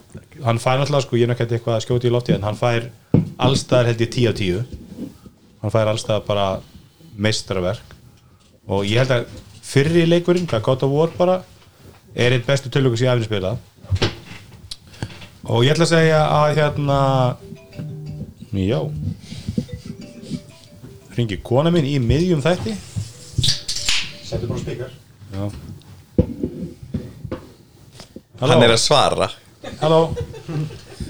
[SPEAKER 2] hann fær náttúrulega sko, ég er náttúrulega eitthvað að skjóti í lofti en hann fær allstaðar held ég 10 á 10 hann fær allstaðar bara meistarverk og ég held að fyrri leikurinn, hvað God of War bara er einn bestu tölugur sem ég hafði spilað og ég ætla að segja að hérna Já Ringi kona mín í miðjum þætti Settu bara spikar Já Halló,
[SPEAKER 3] hann er að svara
[SPEAKER 2] halló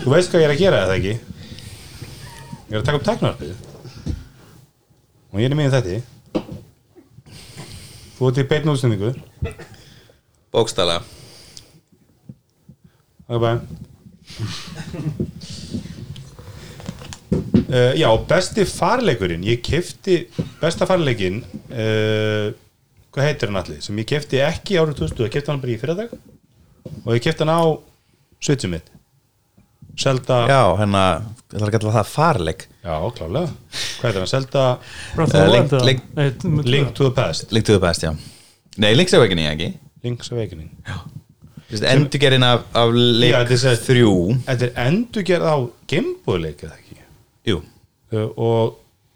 [SPEAKER 2] Þú veist hvað ég er að gera eða ekki Ég er að taka upp teknarpið Og ég er í miðjum þætti Þú ert í beitn útsendingu
[SPEAKER 3] bókstala
[SPEAKER 2] Það er bara Uh, já, besti farleikurinn ég kefti, besta farleikinn uh, hvað heitir hann allir sem ég kefti ekki árið 2000 ég kefti hann bara í fyrirdag og ég kefti hann á svitsum mitt Selda, já,
[SPEAKER 3] já, hérna, ég ætlar að kalla það farleik
[SPEAKER 2] klálega hvað heitir hann, Selda
[SPEAKER 6] Breath of the
[SPEAKER 3] Eh,
[SPEAKER 6] Wild,
[SPEAKER 3] Link-
[SPEAKER 6] eða?
[SPEAKER 3] Link-
[SPEAKER 6] Nei, t-
[SPEAKER 2] Link to the Past,
[SPEAKER 3] Link to the Past, já nei, Link's Awakening, ekki
[SPEAKER 2] Link's Awakening
[SPEAKER 3] Þessi endurgerinn af, af leik
[SPEAKER 2] Já, þetta er sem-
[SPEAKER 3] þrjú
[SPEAKER 2] Þetta er endurgerð á Gameboy-leik eða ekki
[SPEAKER 3] jú
[SPEAKER 2] uh, og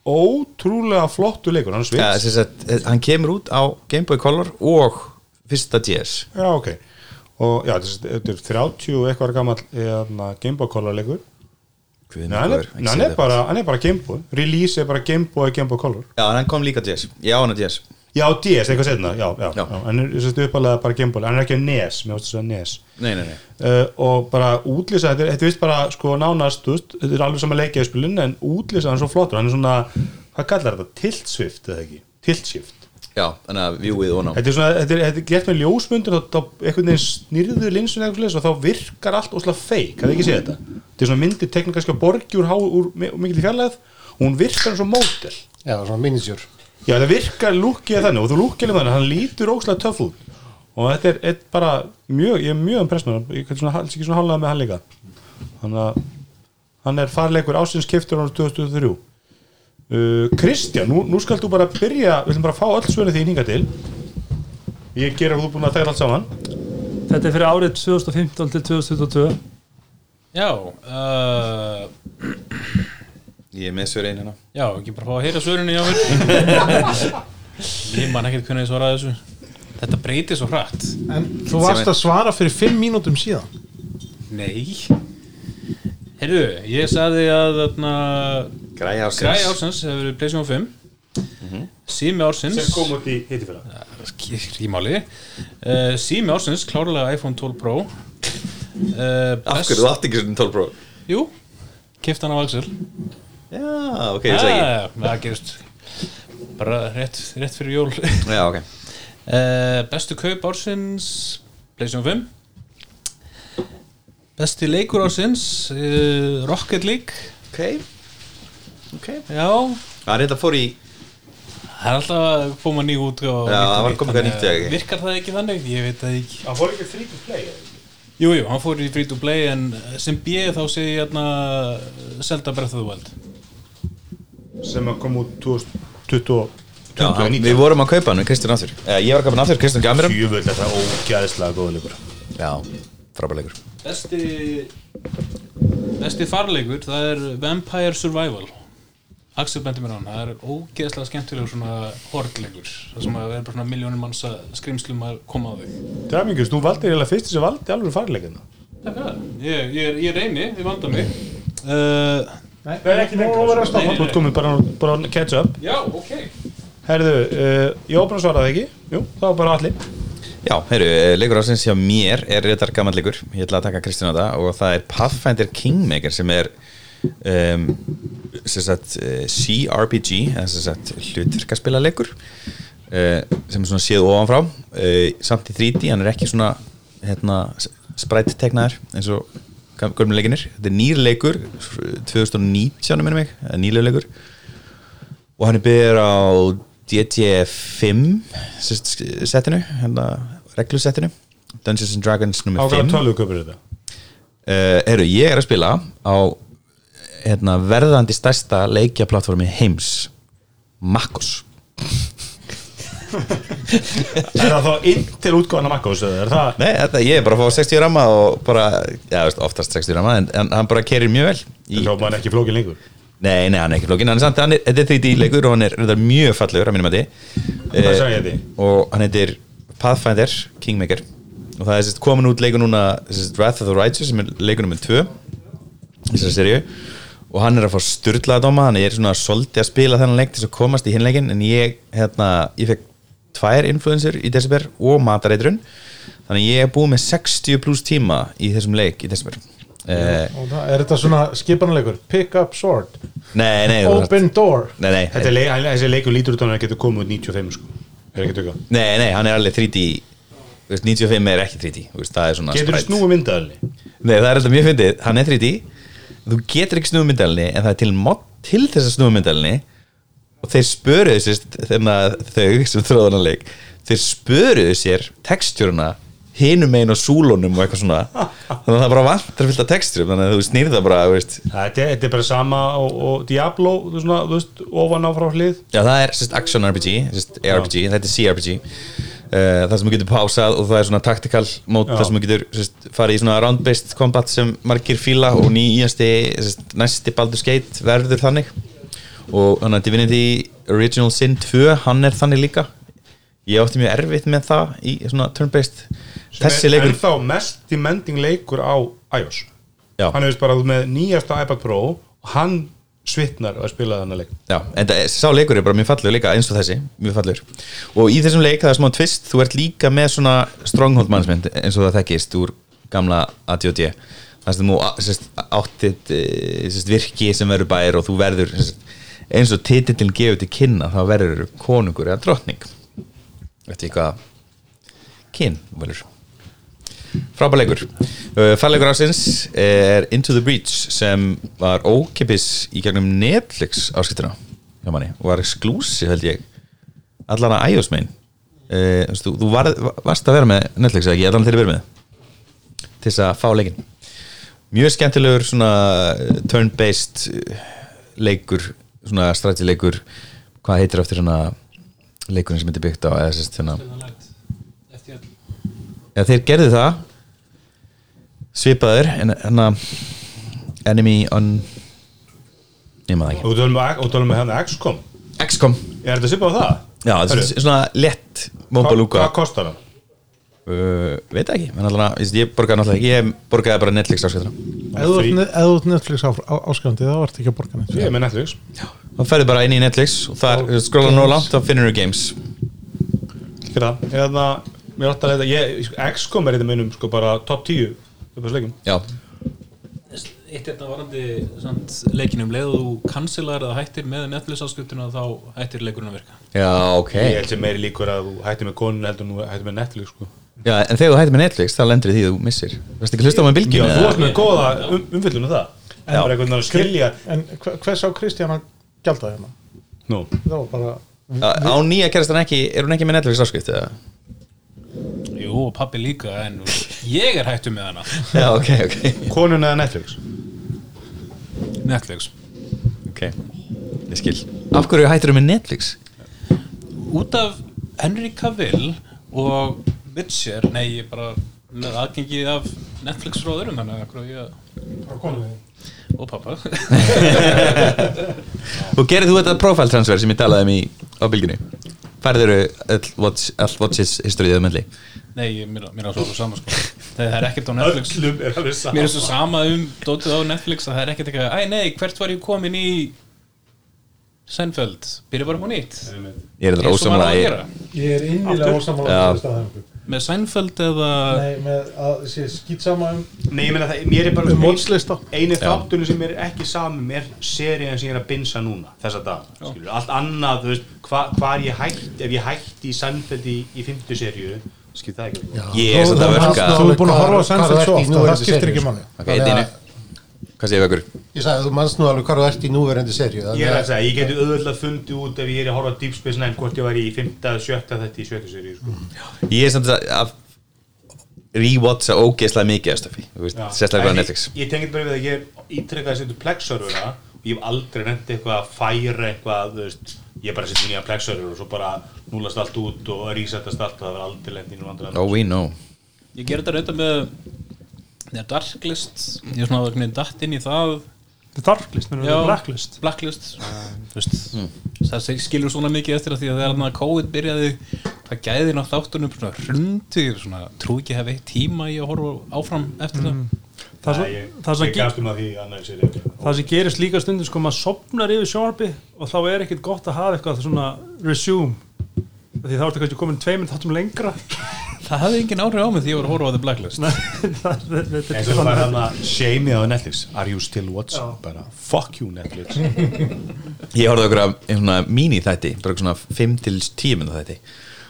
[SPEAKER 2] ótrúlega flottu leikur, hann er
[SPEAKER 3] ja,
[SPEAKER 2] svits
[SPEAKER 3] sem sagt, eh, hann kemur út á Game Boy Color og fyrsta DS
[SPEAKER 2] Já, ok og já, þessi- þetta er 30 og eitthvað gammal Gameboy Color leikur
[SPEAKER 3] Guð
[SPEAKER 2] Nei,
[SPEAKER 3] minn
[SPEAKER 2] hann er,
[SPEAKER 3] góður, ekki
[SPEAKER 2] nei, hann er
[SPEAKER 3] séð það.
[SPEAKER 2] bara, hann er bara Gameboy release er bara Gameboy, Gameboy Color
[SPEAKER 3] já, en hann kom líka á DS, já, hann á DS
[SPEAKER 2] já, DS, eitthvað setna, já, já,
[SPEAKER 3] Já.
[SPEAKER 2] já. hann er þessi uppalega bara Gameboy, hann er ekki á NES mér ástu að NES
[SPEAKER 3] nei, nei, nei
[SPEAKER 2] uh, og bara útlýsa, þetta er, þetta er vist bara sko nánast, þú veist, þetta er alveg sama leikja í spilin en útlýsa hann er svo flottur, hann er svona hvað kallar þetta, tilt swift eða ekki, tilt shift
[SPEAKER 3] já, þannig að viewið og ná
[SPEAKER 2] Þetta er svona, þetta er, þetta er gert með ljósmyndur þá, þá einhvern veginn snýrðu linsun eitthvað svoleiðis og þá virkar allt óslega feik hafði ekki séð þetta Þetta er svona myndir teknir kannski á borgi úr, há- úr mi- mikil í fjarlæð og hún virkar eins og mótel
[SPEAKER 7] Já, svona minisjur
[SPEAKER 2] Já, það virkar lúkkið þannig og þú lúkkið þannig, hann lítur óslega töff út og þetta er, er bara mjög, ég er mjög impress með hann ég kann svona, alls ekki svona hálfað með hann líka þannig að hann er farleikur ásins keftur árið 2003 Uh, Kristján, nú, nú skal þú bara byrja við viljum bara fá öll svönu þín hinga til ég ger að þú er búin að tæla allt saman
[SPEAKER 6] Þetta er fyrir árið 2015 til 2022
[SPEAKER 8] Já, uh,
[SPEAKER 3] Ég er með svör einn hérna
[SPEAKER 8] já, ekki bara fá að heyra svörinu hjá mér Ég man ekkert hvernig ég svaraði þessu Þetta breytir svo hratt
[SPEAKER 5] En þú varst að svara fyrir 5 mínútum síðan
[SPEAKER 8] Nei Heyrðu, ég sagði að þarna,
[SPEAKER 3] Græja
[SPEAKER 8] Græi ársins hefur verið Playstation 5 mm
[SPEAKER 3] Mhm.
[SPEAKER 8] Sími ársins
[SPEAKER 2] sem kom út í hittifæra
[SPEAKER 8] Rímáli uh, Sími ársins, klárlega iPhone 12 Pro uh,
[SPEAKER 3] Af hverju þú átt ekki svona 12 pro?
[SPEAKER 8] Jú, kefti hann á Axel
[SPEAKER 3] Já, ok, ég sagði
[SPEAKER 8] Ah, Það gerist bara rétt, rétt fyrir jól
[SPEAKER 3] ekki Já, ok
[SPEAKER 8] uh, Bestu kaup ársins Playstation 5 Besti leikur ársins uh, Rocket League
[SPEAKER 3] Ok, ok
[SPEAKER 8] Já,
[SPEAKER 3] Það er þetta fór í
[SPEAKER 8] það er alltaf að koma ný út og
[SPEAKER 3] Já,
[SPEAKER 8] nýtt og
[SPEAKER 3] það var
[SPEAKER 8] nýtt,
[SPEAKER 3] komið eitthvað
[SPEAKER 8] þannig
[SPEAKER 3] nýtt,
[SPEAKER 8] að
[SPEAKER 3] já, ekki?
[SPEAKER 8] Virkar það ekki þannig? Ég veit það ekki
[SPEAKER 2] hann fór ekki free to play
[SPEAKER 8] Jú, jú, hann fór í free to play en sem bjöð þá segi ég hérna Zelda Breath of the Wild
[SPEAKER 2] sem að kom út 2020
[SPEAKER 3] Já, hann- Við vorum að kaupa hann við Kristján aftur Eh, Ég var að kaupa hann aftur, Kristján gaf mér hann
[SPEAKER 2] Jöfull, þetta er ógæðislega góðleikur
[SPEAKER 3] Já, frábæleikur
[SPEAKER 8] Besti Besti farleikur, það er Vampire Survival Axel bendi mér á hann, það er ógeðslega skemmtilegur svona hortleikur það sem að vera bara svona miljónum manns að skrimslum að koma á þig
[SPEAKER 2] Dræmingus, þú valdir eiginlega fyrst sem valdi alveg farleikina
[SPEAKER 8] Takk að það, ég, ég, er- ég reyni, ég vanda mig uh,
[SPEAKER 2] Nei, ekki lengur Þú
[SPEAKER 8] Nei, nei, nei.
[SPEAKER 2] ert komið bara, bara að catch up
[SPEAKER 8] Já, ok
[SPEAKER 2] Herðu, uh, ég opna svaraði ekki Jú, það var bara allir
[SPEAKER 3] Já, heyrðu, eh, leikur ársins hjá mér er reyndar gammal leikur, ég ætla að taka Kristján á það og það er Pathfinder Kingmaker sem er um, sem sagt eh, CRPG eða sem sagt hlutverkaspila leikur sem er svona séð ofanfrá uh, samt í 3D, hann er ekki svona hérna, sprætteknaður eins og gömleikinir, þetta er nýr leikur 2019 minnum mig, nýlega leikur og hann er byrður á DT5 setinu, hérna reglusettinu Dungeons and Dragons nummer 5
[SPEAKER 2] Ákvæða tölvu köpur þetta
[SPEAKER 3] uh, Eru, ég er að spila á hérna, verðandi stærsta leikjaplatformi heims Makkos
[SPEAKER 2] Er það þá inn til útgáðan af Makkós eða er það
[SPEAKER 3] Nei, þetta, ég er bara að fá 60 ramma og bara, já, veist, oftast 60 ramma en, en hann bara kerir mjög vel í,
[SPEAKER 2] Þá maður ekki flókin lengur
[SPEAKER 3] Nei, nei, hann er ekki flókin hann er samt, hann er, þetta er 3D leikur og hann er, reyndar mjög fallegur að mínum að
[SPEAKER 2] Það
[SPEAKER 3] Eh,
[SPEAKER 2] sagði ég því
[SPEAKER 3] og hann heitir Pathfinder Kingmaker og það er sérst komin út leikur núna sérst Wrath of the Righteous sem er leikur nummer 2 í þessari seríu og hann er að fá styrlaða dóma hann er svona svolítið að spila þennan leik til þess að komast í hinleikin en ég, hérna, ég fekk tvær influencer í December og matareitrun þannig ég er búið með 60 pluss tíma í þessum leik í December eh,
[SPEAKER 5] Og það, er þetta svona skipanleikur? Pick up sword,
[SPEAKER 3] Nei, nei, þú þarft-
[SPEAKER 5] open door
[SPEAKER 3] nei, nei,
[SPEAKER 2] Þetta er leik, hann- þessi leikur lítur út á hann að geta komið út 95 sko Er ekki tökka
[SPEAKER 3] nei, nei, hann er alveg 3D þú veist, 95 er ekki 3D þú veist, það er svona
[SPEAKER 2] Getur þú
[SPEAKER 3] sprite.
[SPEAKER 2] snúið myndaðalni?
[SPEAKER 3] Nei, það er alltaf mjög fyndið, hann er 3D þú getur ekki snúið myndalni en það er til mod til þess að snúið myndalni og þeir spöruðu sér þegar þau sem þróðan að leik þeir spöruðu sér textjúruna hinum einu og súlunum og eitthvað svona þannig að það er bara vantar fyllt af textjúrum þannig að þú snýrð það bara, þú veist
[SPEAKER 2] Þetta er- þetta er bara sama og, og Diablo, þú, svona, þú veist, ofan á frá hlið
[SPEAKER 3] Já, það er sérst action RPG, sérst ARPG, þetta er CRPG uh, Það sem þú getur pásað og það er svona tactical mót
[SPEAKER 2] Já.
[SPEAKER 3] Það sem þú getur sérst, farið í svona round-based combat sem margir fíla og nýjasti, sérst, næsti Baldur Skate verður þannig og þannig að Divinity Original Sin 2, hann er þannig líka Ég átti mjög erfitt með það í svona turn-based Þessi leikur
[SPEAKER 2] En þá mest demanding leikur á iOS
[SPEAKER 3] Já.
[SPEAKER 2] Hann hefðist bara með nýjasta iPad Pro og hann svitnar að spila þennan leik
[SPEAKER 3] Já, en það, sá leikur er bara mjög fallur líka eins og þessi, mjög fallur og í þessum leik það er smá tvist, þú ert líka með svona stronghold management eins og það þekkist úr gamla ADOD þannig sem þú á- sérst, áttið eh, sérst, virki sem verður bæir og þú verður sérst, eins og titillin gefur til kynna þá verður konungur eða drottning eftir hvað kyn velur frábæleikur farleikur ásins Uh, er Into the Breach sem var ókipis í gegnum Netflix áskiptina hjá manni og var exclusive held ég allan að iOS mein uh, þú, þú var, varst að vera með Netflix eða ekki, allan þeirri verið með til þess að fá leikinn mjög skemmtilegur svona eh, turn-based eh, leikur svona strategileikur hvað heitir eftir svona leikurinn sem þetta er byggt á eða sérst hérna eða þeir gerðu það svipaður en, en að enemy on ég maður það
[SPEAKER 2] Og tölum við- og tölum við hérna XCOM
[SPEAKER 3] ekki XCOM
[SPEAKER 2] Er þetta svipað á það?
[SPEAKER 3] já, það er
[SPEAKER 2] Hörru,
[SPEAKER 3] svona lett
[SPEAKER 2] hvað-
[SPEAKER 3] mombalúka
[SPEAKER 2] Hvað kostar það?
[SPEAKER 3] uh, veit það ekki, en allan að ég- ég borgaði náttúrulega ekki, ég borgaði bara Netflix sko, áskiptuna
[SPEAKER 5] Ef þú ert ne- ef þú ert Netflix áskjöndi þá ert ekki að borga neitt
[SPEAKER 2] Ég er með Netflix
[SPEAKER 3] þá ferðu bara inn í Netflix og þar
[SPEAKER 5] Og
[SPEAKER 3] skróla nóg
[SPEAKER 5] games.
[SPEAKER 3] langt, þá finnur þú games
[SPEAKER 2] Ekki það Hérna, mér átti að leita ég- XCOM er þetta meinum sko bara top 10 uppáhaldsleikum.
[SPEAKER 3] já,
[SPEAKER 8] Eitt hérna varandi samt, leikinum leið og þú kansilar eða hættir með Netflix áskiptuna þá hættir leikurinn að virka
[SPEAKER 3] já, ok
[SPEAKER 2] Ég held sem meiri líkur að þú hættir með konun heldur nú hættir með Netflix sko
[SPEAKER 3] já, en þegar þú hættir með Netflix, þá lendir í því að þú missir veist ekki að hlusta á með
[SPEAKER 2] Já,
[SPEAKER 3] bylginu
[SPEAKER 2] þú
[SPEAKER 3] eða?
[SPEAKER 2] varst með góða um, umfyllunum það En það var einhvern veginn að skilja
[SPEAKER 5] En hve- hvers á Kristján að gjalda hérna?
[SPEAKER 2] Nú,
[SPEAKER 5] Það var bara
[SPEAKER 3] á á nýja kerastan ekki, er hún ekki með Netflix áskipt já,
[SPEAKER 8] Jú, og pappi líka, en ég er hættur með hana
[SPEAKER 3] ok, ok
[SPEAKER 2] konun eða Netflix
[SPEAKER 8] Netflix
[SPEAKER 3] Ok, ég skil Af hverju hættir með Netflix?
[SPEAKER 8] Út af Henry Cavill og Witcher, nei, ég er bara með aðgengið af Netflix frá öðrum þannig að hverju ég og pappa
[SPEAKER 3] Og gerir þú þetta profile transfer sem ég talaði um í á bylginu? Færður all, watch, all watches history eða myndli
[SPEAKER 8] Nei, ég- mér, mér er svo alveg sama sko Það er ekkert á Netflix
[SPEAKER 2] Öllum er alveg saman
[SPEAKER 8] Mér er svo sama um dótið á Netflix að það er ekkert eitthvað Æ, nei, hvert var ég komin í Seinfeld, byrja bara upp á nýtt
[SPEAKER 3] Ég er
[SPEAKER 8] Eins
[SPEAKER 3] þetta
[SPEAKER 8] og maður á
[SPEAKER 3] ósamlega
[SPEAKER 8] að
[SPEAKER 3] ég,
[SPEAKER 8] gera.
[SPEAKER 5] Ég er innilega ósamála
[SPEAKER 3] Já.
[SPEAKER 5] um staðhæfingu
[SPEAKER 8] Með Seinfeld eða
[SPEAKER 5] Nei, með að það sé skýtsama um
[SPEAKER 2] Nei, ég meina það, mér er bara
[SPEAKER 5] Um mótslista.
[SPEAKER 2] Einu þáttunum sem er ekki samum er serían sem ég er að binsa núna Þessa dag, skilur, allt annað, þú veist hva, Hvar ég hætt, ef ég hætti í sannfeldi í, í fymtu seríu Skilur það ekki Já,
[SPEAKER 3] ég er samt að verka
[SPEAKER 5] Þú er búin að horfa á Seinfeld svo oft og það skiptir ekki máli.
[SPEAKER 3] Ok, eitt einu Hvað segir við okkur?
[SPEAKER 7] Ég sagði, þú manst nú alveg hvað þú ert í núverandi serju
[SPEAKER 2] Ég er að segja, ég geti auðvitað fundið út ef ég er að horfa á Deep Space Nine hvort ég var í 5. 7. þetta í 7. seríu sko.
[SPEAKER 3] Ég er samt að, að rewatcha ógeðslega mikið af stöfi Sérslega
[SPEAKER 2] En
[SPEAKER 3] hvað á
[SPEAKER 2] ég-
[SPEAKER 3] Netflix
[SPEAKER 2] Ég tengið bara við að ég er ítrekkað að setja plexöruna og ég hef aldrei nefnt eitthvað að færa eitthvað, þú veist ég bara setja nýja plexörur og svo bara núlast allt út og resetast allt og það var aldrei lent í nú andra
[SPEAKER 3] Oh, we know
[SPEAKER 8] Ég gerði þetta reynda með Neða Darklist Ég er svona hvernig datt inn í það
[SPEAKER 6] The Darklist, mér
[SPEAKER 8] Já.
[SPEAKER 6] erum Blacklist
[SPEAKER 8] Blacklist
[SPEAKER 4] Ah,
[SPEAKER 8] Þú veist,
[SPEAKER 2] Mm.
[SPEAKER 8] Það skilur svona mikið eftir að því að þegar hann að COVID byrjaði það gæði nátt áttunum svona hrundi svona trú ekki að hef eitt tíma í að horfa áfram eftir
[SPEAKER 4] Mm.
[SPEAKER 2] Nei,
[SPEAKER 6] Það sem-
[SPEAKER 2] ég-
[SPEAKER 6] það sem
[SPEAKER 2] Ég
[SPEAKER 6] ge-
[SPEAKER 2] gafst um að því annars er ekki
[SPEAKER 6] það sem gerist líka stundum sko maður sopnar yfir sjónarbi og þá er ekkert gott að hafa eitthvað svona resume Af því þá ertu kannski komin tveimur þáttum lengra
[SPEAKER 8] það Það hafði engin áhrif á mig því ég var að horfa á The Blacklist
[SPEAKER 6] Það- þetta- þetta
[SPEAKER 2] En svo
[SPEAKER 6] er svona-
[SPEAKER 2] var hann að shamei á Netflix Are you still watching? Bara fuck you Netflix
[SPEAKER 3] ég horfði okkur að svona mini þætti bara svona 5-10 minna þætti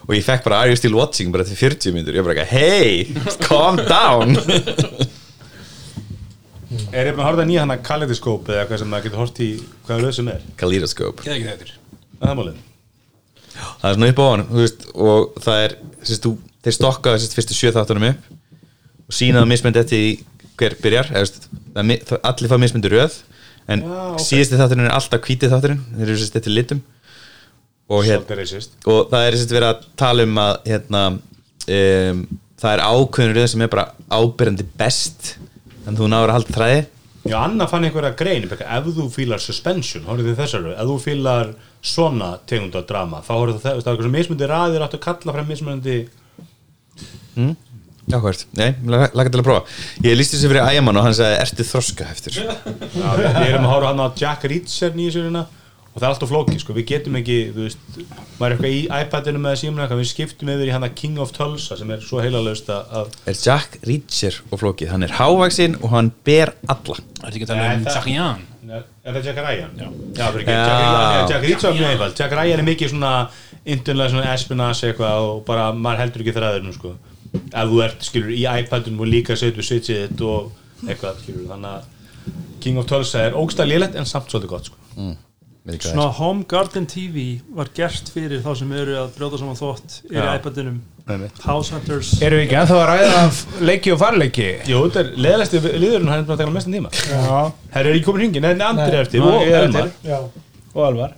[SPEAKER 3] og ég fekk bara Are you still watching bara til 40 minnur ég bara ekki hey calm down
[SPEAKER 2] Er ég búin að horfa nýja hann að Kaleidoscope eða eitthvað sem maður getur hort í hvaða lög sem er
[SPEAKER 3] Kaleidoscope
[SPEAKER 8] Geða ekki þettir
[SPEAKER 2] Er Það málið
[SPEAKER 3] það er svona upp á hann veist, og það er sérst, þú, þeir stokka sérst, fyrstu sjö þáttunum upp og sína það mismynd eftir því hver byrjar eða, sérst, það, mi- það, allir fá mismyndu röð en síðusti þátturinn er alltaf hvítið þátturinn þeir eru sérst, eftir litum og hérna
[SPEAKER 2] Svolítið racist
[SPEAKER 3] og það er sérst verið að tala um að hérna um, það er ákveðin röð sem er bara ábyrjandi best en þú náður að halda þræði
[SPEAKER 2] Já, Anna fann einhverja grein Rebecca, ef þú fílar suspension, horfðu þið þessar röð, ef þú fílar svona tegund af drama þá horfðu það, það er eitthvað sem mismundi raðir áttu að kalla frem mismunandi
[SPEAKER 3] Já, hvert, nei, laga til að prófa Ég lísti þessu fyrir ægjaman og hann sagði Ertu þroska heftur
[SPEAKER 2] Já, við við erum að horfa hann á Jack Reacher nýju sérina og það er alltaf flóki, sko, við getum ekki þú veist, maður er eitthvað í iPadinu með símuna eitthvað, við skiptum yfir í hann að King of Tulsa sem er svo heilalaust að að-
[SPEAKER 3] Er Jack Reacher og flókið Hann er hávaxinn og hann ber alla
[SPEAKER 8] Það er ekki að tala um
[SPEAKER 2] Nei, það-
[SPEAKER 8] Charian
[SPEAKER 2] Er það Jack Ryan? Já, Já fyrir ekki,
[SPEAKER 3] Já.
[SPEAKER 2] Jack, Jack Reacher er mjög einfald Jack Ryan er mikið svona internlega svona espionage eitthvað og bara maður heldur ekki þræðinu sko ef þú ert skilur í iPadunum og líka setur switchið þitt og eitthvað skilur þannig að King of Tulsa er ógsta lélegt en samt svolítið gott sko
[SPEAKER 3] Veit ekki hvað
[SPEAKER 6] Svona Home Garden TV var gert fyrir þá sem eru að brjóta saman þvott eru
[SPEAKER 2] Já.
[SPEAKER 6] í iPadunum
[SPEAKER 2] Einmitt.
[SPEAKER 6] House Hunters
[SPEAKER 4] Erum við ekki ennþá að ræða af leiki og farleiki?
[SPEAKER 2] Jú, þetta er leðalæsti liðurinn hann er búin að
[SPEAKER 4] um
[SPEAKER 2] taka mestan tíma
[SPEAKER 4] Já.
[SPEAKER 2] Herri, er ekki komin hringin, en Andri
[SPEAKER 5] Nei.
[SPEAKER 2] er eftir
[SPEAKER 4] Nei,
[SPEAKER 2] og
[SPEAKER 4] ég er
[SPEAKER 2] Elmar
[SPEAKER 5] Já,
[SPEAKER 4] og alvar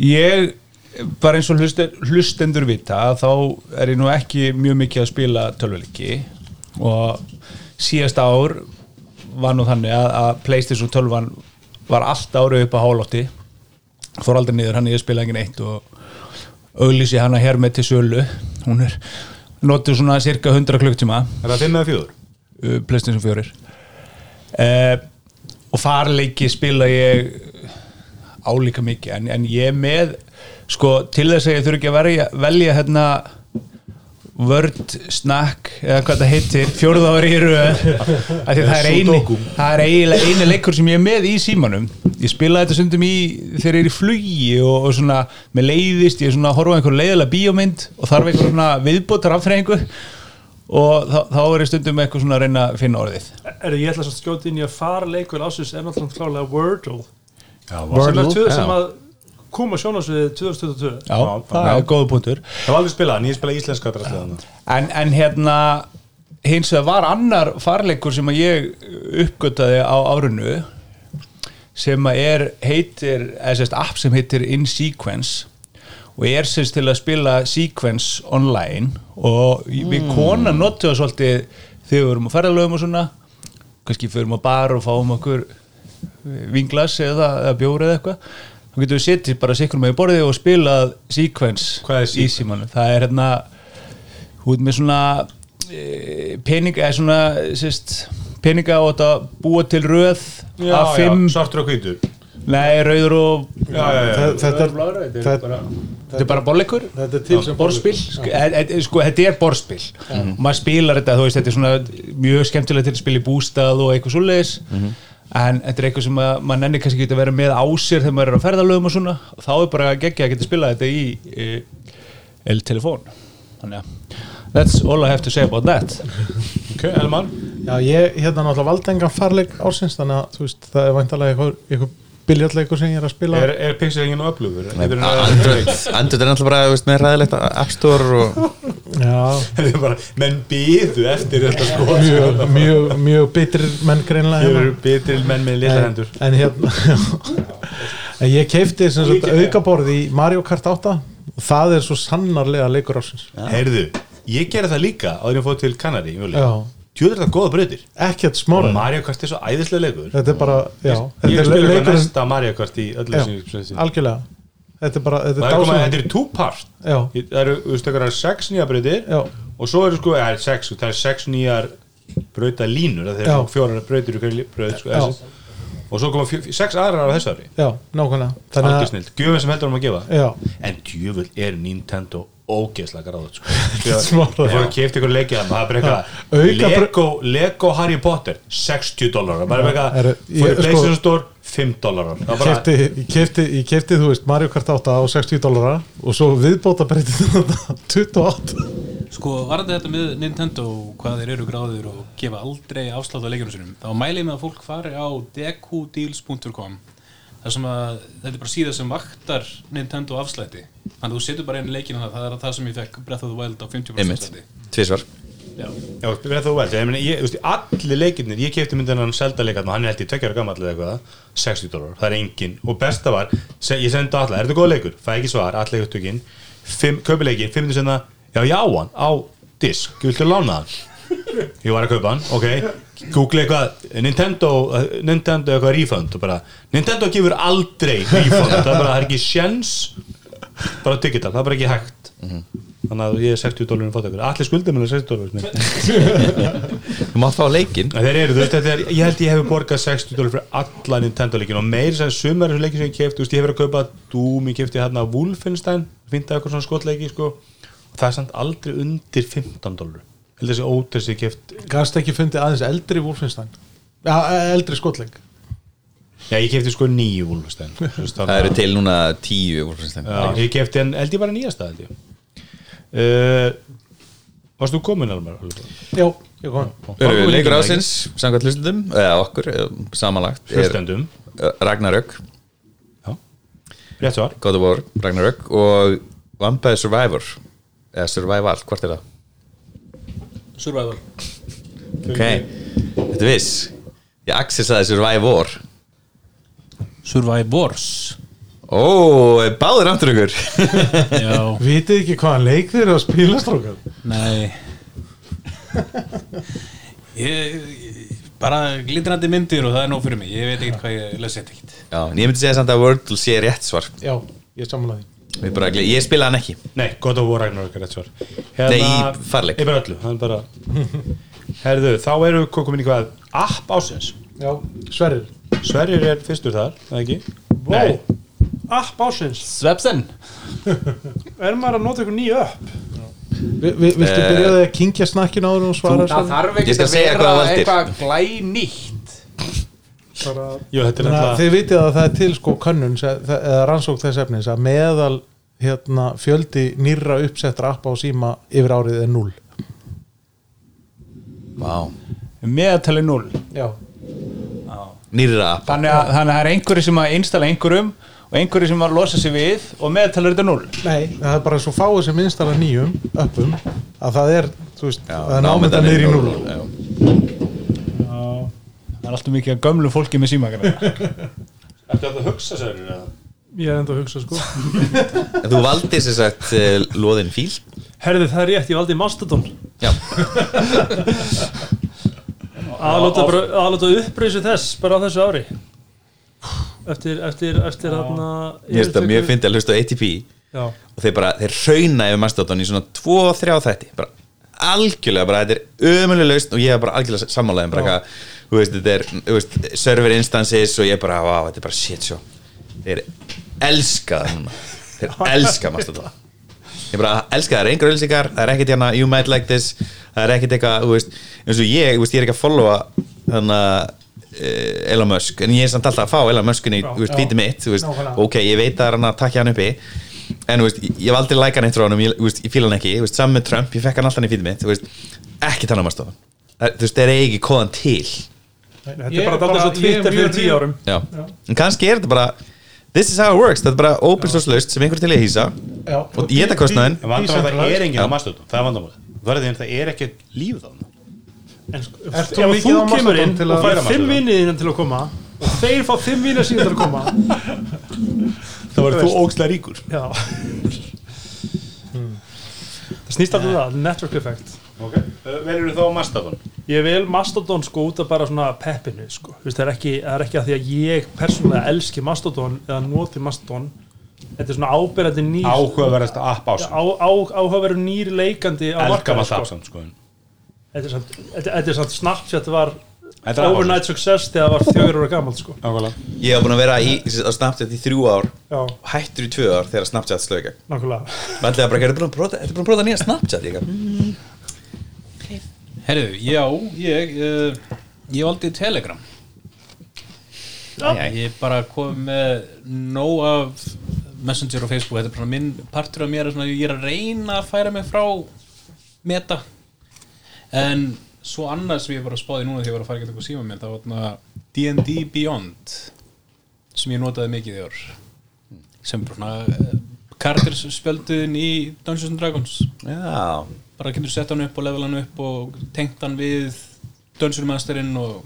[SPEAKER 4] ég bara eins og hlusten, hlustendur vita að þá er ég nú ekki mjög mikið að spila tölvuleiki og síðasta ár var nú þannig að, að Playstation 12 var allt árið upp á hálótti fór aldrei niður hann ég spilaði ekki neitt og auglýsi hana hér með til sölu hún er notuð svona cirka 100 klukktíma
[SPEAKER 2] Er það 5 eða 4?
[SPEAKER 4] uh, Playstation 4 uh, og farleiki spila ég álíka mikið en, en ég er með sko til þess að ég þurfi ekki að verja, velja hérna Word Snack eða hvað það heitir fjórða ári í röð af því það er, eini,
[SPEAKER 2] Sudoku.
[SPEAKER 4] það er eiginlega eini leikur sem ég er með í símanum ég spila þetta stundum í þegar ég er í flugi og, og svona með leiðist ég er svona að horfa á einhver leiðilega bíómynd og þarf einhver svona viðbótar afþreyingu og þá, þá er ég stundum með eitthvað svona að reyna að finna orðið
[SPEAKER 6] eru ég ætla að skjóta inn í að fara leikur ásins er náttúrulega klálega Wordle sem
[SPEAKER 4] Wordle,
[SPEAKER 6] er tvö sem
[SPEAKER 4] já.
[SPEAKER 6] að koma sjónasviðið 2022
[SPEAKER 4] Já, það er góða punktur
[SPEAKER 2] Það var aldrei spilað, en ég spilaði íslenska drastlega
[SPEAKER 4] en, en hérna hins vegar var annar farleikur sem að ég uppgötaði á árunu sem að er heitir, eða sérst app sem heitir In Sequence og er sérst til að spila Sequence online og við
[SPEAKER 6] Hmm.
[SPEAKER 4] konan notuða svolítið þegar við vorum á ferðalögum og svona kannski förum á bar og fáum okkur vinglas eða, eða bjóri eða eitthvað þá getum við setið bara sikkur með í borðið og spilað Sequence,
[SPEAKER 2] Hvað er
[SPEAKER 4] í símanum það er hérna hún er með svona eh, pening eða svona sérst, peninga og þetta búa til röð
[SPEAKER 2] Já,
[SPEAKER 4] af
[SPEAKER 2] já,
[SPEAKER 4] fimm,
[SPEAKER 2] svartur og hvítur
[SPEAKER 4] nei, rauður og
[SPEAKER 2] Já, já, já
[SPEAKER 5] Þe- þetta er
[SPEAKER 4] þetta er
[SPEAKER 5] þetta-
[SPEAKER 4] bara þetta er bara borleikur
[SPEAKER 5] Þetta er til sem
[SPEAKER 4] borðspil, sko, e- e- sko, þetta er borðspil
[SPEAKER 2] Mhm.
[SPEAKER 4] og maður spilar þetta, þú veist, þetta er svona mjög skemmtilegt til að spila í bústað og eitthvað svoleiðis
[SPEAKER 2] Mhm.
[SPEAKER 4] en þetta er eitthvað sem að, maður nenni kannski ekki að vera með á sér þegar maður er á ferðalögum og svona og þá er bara geggja að geta spilað þetta í e, el-telefón þannig að that's all I have to say about that
[SPEAKER 2] Ok, Elmar
[SPEAKER 5] Já, ég hérna náttúrulega valdi engan farleik ársins þannig að þú veist, það er væntalega eitthvað, eitthvað biljartleikur sem ég er að spila
[SPEAKER 2] Er, er pixelingin og öflugur? Þetta er
[SPEAKER 3] Android Android er náttúrulega bara þú veist, með ræðilegt App Store og
[SPEAKER 5] Já,
[SPEAKER 2] Þetta er bara, menn býðu eftir þetta sko
[SPEAKER 5] mjög, mjög, mjög bitrir menn greinlega
[SPEAKER 2] Þeir
[SPEAKER 5] hérna.
[SPEAKER 2] eru betril menn með litla hendur
[SPEAKER 5] en, en hérna en ég keipti sem sagt aukaborð í Mario Kart 8 og það er svo sannarlega leikur ársins
[SPEAKER 2] Heyrðu, ég gerði það líka áður en ég fóð til Kanari
[SPEAKER 5] Já.
[SPEAKER 2] Tjóður þetta góða bröðir
[SPEAKER 5] ekkert
[SPEAKER 2] Og
[SPEAKER 5] smára
[SPEAKER 2] Mario Kart er svo æðislega leikur
[SPEAKER 5] þetta er bara, já,
[SPEAKER 2] Ég
[SPEAKER 5] þetta er
[SPEAKER 2] spilur bara
[SPEAKER 5] leikur
[SPEAKER 2] næsta Mario Kart í öllu sem ég spilur
[SPEAKER 5] algjörlega, þetta er bara þetta
[SPEAKER 2] Það
[SPEAKER 5] er
[SPEAKER 2] er komið að
[SPEAKER 5] dásamlegt.
[SPEAKER 2] þetta er two-part
[SPEAKER 5] Já.
[SPEAKER 2] Ég- Það eru, þú veist, það eru sex nýja brautir
[SPEAKER 5] Já.
[SPEAKER 2] og svo eru sko, eða sex, sko, það eru sex nýjar brauta línur, það eru
[SPEAKER 5] Já.
[SPEAKER 2] sko fjórar brautir í hverju braut, sko,
[SPEAKER 5] Já.
[SPEAKER 2] þessi. og svo koma fjö, fjö, sex aðrar á þessu ári
[SPEAKER 5] já, nákvæmlega
[SPEAKER 2] Aldur
[SPEAKER 5] þannig að,
[SPEAKER 2] snill, gjöfum sem heldur um að gefa
[SPEAKER 5] já,
[SPEAKER 2] En djöfull er Nintendo ógeðslega gráðut sko.
[SPEAKER 5] Smára.
[SPEAKER 2] Ég var að kefti ykkur leikið hann Það er bara
[SPEAKER 5] Já.
[SPEAKER 2] eitthvað
[SPEAKER 5] Auka br-
[SPEAKER 2] Lego, Lego Harry Potter 60 dólarar Bara eitthvað
[SPEAKER 5] Herru, ég-
[SPEAKER 2] Fyrir
[SPEAKER 5] sko-
[SPEAKER 2] Playstation Store 5 dólarar Það bara
[SPEAKER 5] kefti, ég kefti, ég kefti þú veist Mario Kart 8 á 60 dólara og svo viðbóta breytið þetta 28
[SPEAKER 8] Sko, varðið þetta með Nintendo og hvað þeir eru gráðir og gefa aldrei afslátt á leikjunum sinum þá mæli ég með að fólk fari á dekudeals.com þar sem að þetta er bara síða sem vaktar Nintendo afslætti þannig að þú setur bara einu leikina það það er það sem ég fekk Breath of the Wild á 50%
[SPEAKER 3] einmitt,
[SPEAKER 8] afslætti
[SPEAKER 3] tvísvar
[SPEAKER 2] Já, verða þú vel Ég meina, ég, þú veist, Allir leikinnir, ég kefti myndan hann selda leikarn og hann er held í tveggjara gammal eða eitthvað 60 dólarar, það er engin Og besta var, se, ég sendi á alla, er þetta góð leikur? Fæ ekki svar, allir upptökin Kaupi leikin, 5 minnir senna Já, já, hann, á disk, viltu lána hann? ég var að kaupa hann, ok Google eitthvað, Nintendo eh, Nintendo eitthvað refund og bara Nintendo gefur aldrei refund það er bara, það er ekki sjens bara digital, það er bara ekki hægt
[SPEAKER 4] Mhm.
[SPEAKER 2] þannig að ég er 60 dólarin fótt ykkur allir skuldum er 60 dólarin
[SPEAKER 3] Þú mátt fá leikin
[SPEAKER 2] þeir eru, þú veist, þetta er, ég held ég hefur borgað 60 dólarin fyrir alla Nintendo leikin og meir sem sumar þessu leikin sem ég keft, þú veist, ég hefur að kaupa Doom, ég kefti hérna Wolfenstein fintaði eitthvað svona skotleiki, sko og það er samt aldrei undir 15 dólar held þessi ótress ég keft
[SPEAKER 5] gafst ekki fundið aðeins eldri Wolfenstein ja, eldri skotleik
[SPEAKER 2] Já, ég kefti sko nýju Wolfenstein þú veist,
[SPEAKER 3] Það eru
[SPEAKER 2] þannig að-
[SPEAKER 3] til núna tíu Wolfenstein.
[SPEAKER 2] Já, ég kefti en held ég bara nýjasta held ég uh, Varst þú komin alveg?
[SPEAKER 5] já, ég kom
[SPEAKER 3] Eru leikur ásins, samkvæmt hlustendum eða okkur, eh, samanlagt er
[SPEAKER 2] Hlustendum,
[SPEAKER 3] Ragnarök,
[SPEAKER 2] rétt svar
[SPEAKER 3] God of War Ragnarök og Vampire Survivor eða Survival, hvort er það?
[SPEAKER 8] Survival
[SPEAKER 3] Ok, þetta er viss Ég Axel sagði Survivor
[SPEAKER 8] Survivors
[SPEAKER 3] Ó, báður áttur ykkur
[SPEAKER 8] Já,
[SPEAKER 5] Vitið ekki hvaðan leik þeir eru að spila strókar?
[SPEAKER 8] nei Ég, ég bara glitrandi myndir og það er nóg fyrir mig ég veit ekkert hvað ég lesi þetta ekkert
[SPEAKER 3] Já, en ég myndi segja samt að Wordle sé rétt svar
[SPEAKER 5] Já, ég samanlega því
[SPEAKER 3] Ég, bara, gle- ég spila hann ekki
[SPEAKER 2] Nei, God of War Ragnarök er rétt svar Hérna,
[SPEAKER 3] Nei, í farleik.
[SPEAKER 2] Ég bara öllu, hann bara Herðu, þá erum við komin í hvað App ásins
[SPEAKER 5] Já, Sverrir
[SPEAKER 2] Sverrir er fyrstur þar, það ekki?
[SPEAKER 6] Wow. App ásins
[SPEAKER 8] Svepsen
[SPEAKER 6] Er maður að nota ykkur nýju upp?
[SPEAKER 5] vi, vi, Viltu
[SPEAKER 3] Eh,
[SPEAKER 5] byrja því að kingja snakkinu áður og svara
[SPEAKER 9] Það þarf
[SPEAKER 3] Ég
[SPEAKER 9] ekki
[SPEAKER 3] skal
[SPEAKER 9] að
[SPEAKER 3] segja
[SPEAKER 9] vera
[SPEAKER 3] hvað það veltir.
[SPEAKER 9] eitthvað glænýtt
[SPEAKER 2] Jú, þetta er
[SPEAKER 5] Þannig að
[SPEAKER 2] náttúrulega
[SPEAKER 5] þið vitið að það er til sko könnun se- þa- eða rannsók þess efnis að meðal hérna, fjöldi nýrra uppsettra appa á síma yfir árið er 0
[SPEAKER 3] Vá,
[SPEAKER 4] meðatali 0
[SPEAKER 5] Já,
[SPEAKER 3] nýrra app
[SPEAKER 4] þannig að, þannig að það er einhverju sem að installa einhverjum og einhverju sem að losa sig við og meðatali er þetta 0
[SPEAKER 5] nei, það er bara svo fáið sem installa nýjum uppum að það er, þú veist,
[SPEAKER 3] Já,
[SPEAKER 5] það er námynda niður í 0
[SPEAKER 3] Já.
[SPEAKER 4] það er alltaf mikið að gömlu fólki með símakana
[SPEAKER 2] Ertu að það hugsa Sverrir eða?
[SPEAKER 6] Ég er enda að hugsa sko
[SPEAKER 3] En Þú valdi sér sagt eh, loðin fíl
[SPEAKER 6] Herði það er rétt, ég valdi Mastodon
[SPEAKER 3] Já.
[SPEAKER 6] Aðláta bara- aðláta uppreysu þess bara á þessu ári Eftir, eftir, eftir þarna
[SPEAKER 3] Ég veist að mjög fyndi að hlusta á ATP
[SPEAKER 6] Já,
[SPEAKER 3] og þeir bara, þeir hrauna yfir Mastodon í svona 2-3 þætti bara algjörlega bara, þetta er ömulega lausn og ég er bara algjörlega sammálaðin bara hvað, þú veist, þetta er, þú veist, server instances og ég bara, vá, þetta er bara shit show þeir elska það núna þeir elska Mastodon ég bara elska það, það er engar ölsingar það er ekkert hérna, you might like this það er ekkert eitthvað, þú veist, eins og ég þú veist, ég er ekki að followa þannig að Elon Musk, en ég er samt alltaf að fá Elon Musk í, þú veist, lítið mitt, þú veist
[SPEAKER 5] Nákvæmlega.
[SPEAKER 3] ok, ég veit að það er hann að takja hann uppi en þú veist, ég hef aldrei lækan eitt frá hann ég, þú veist, ég fíla hann ekki, þú veist, saman með Trump ég fekk hann alltaf í fítið mitt, þú veist, ekki þannig að maður stofa þú veist, þeir eigi ekki kóðan til já,
[SPEAKER 6] þetta
[SPEAKER 5] Ég
[SPEAKER 6] er
[SPEAKER 5] er
[SPEAKER 6] bara
[SPEAKER 5] bara-
[SPEAKER 6] dálítið
[SPEAKER 5] ég
[SPEAKER 6] svo
[SPEAKER 5] er
[SPEAKER 6] Twitter fyrir
[SPEAKER 5] mjög
[SPEAKER 6] tíu
[SPEAKER 5] hrifinn.
[SPEAKER 6] árum
[SPEAKER 3] en kannski er þetta bara this is how it works, þetta er bara open source laust sem einhver er til að hýsa
[SPEAKER 5] Já.
[SPEAKER 3] og ég þetta kostnaðin
[SPEAKER 2] En vandamál það er enginn á
[SPEAKER 3] Já.
[SPEAKER 2] Mastodon, það er vandamálið Það er það er ekki líf þá
[SPEAKER 6] En sko,
[SPEAKER 5] Ert
[SPEAKER 6] ef
[SPEAKER 5] þú
[SPEAKER 6] ef
[SPEAKER 5] mikið
[SPEAKER 6] þú
[SPEAKER 5] á Mastodon
[SPEAKER 6] kemur inn
[SPEAKER 5] til
[SPEAKER 6] og
[SPEAKER 5] að-
[SPEAKER 6] fær
[SPEAKER 2] Meira
[SPEAKER 6] fimm
[SPEAKER 2] Mastodon.
[SPEAKER 6] vinniðinn til að koma og þeir fá fimm vinnið síðan til að koma
[SPEAKER 2] Það var þú ógstlega ríkur
[SPEAKER 6] Já Það snýst alltaf um það, network effect
[SPEAKER 2] Ok,
[SPEAKER 4] Eh,
[SPEAKER 2] verður þá á Mastodon?
[SPEAKER 6] Ég vel Mastodon sko út af bara svona peppinu sko. Þú veist, það, er ekki, það er ekki að því að ég persónulega elski Mastodon eða noti Mastodon Þetta er svona ábyrjandi nýr
[SPEAKER 2] Áhugaverðast app ásinn
[SPEAKER 6] á, á, áhugaveru nýr leikandi á
[SPEAKER 2] Elga
[SPEAKER 6] markaði
[SPEAKER 2] maður það
[SPEAKER 6] sko.
[SPEAKER 2] samt sko en-
[SPEAKER 6] Þetta er samt- þetta- þetta er samt Snapchat var
[SPEAKER 2] Þetta er app
[SPEAKER 6] overnight success þegar það var fjögur ára gamalt sko.
[SPEAKER 2] Nákvæmlega
[SPEAKER 3] ég hef búin að vera í, á Snapchat í þrjú ár
[SPEAKER 6] Já,
[SPEAKER 3] hættur í tvö ár þegar Snapchat slög gegn
[SPEAKER 6] nákvæmlega
[SPEAKER 3] og allir bara, ertu búin að prófa- ertu búin að prófa nýja Snapchat líka
[SPEAKER 8] Herðu, já, ég
[SPEAKER 4] eh,
[SPEAKER 8] uh, ég valdi Telegram
[SPEAKER 6] Já.
[SPEAKER 8] Ég bara kom með nóg af Messenger og Facebook, þetta er bara minn partur af mér er svona, ég er að reyna að færa mig frá meta en svo annars sem ég var að spáði núna þegar ég var að fara ekki að síma mér, það var þarna D&D Beyond sem ég notaði mikið í ár sem bara svona Carters spjölduðin í Dungeons and Dragons
[SPEAKER 3] já,
[SPEAKER 8] bara getur sett hann upp og level hann upp og tengt hann við Dungeon Masterinn og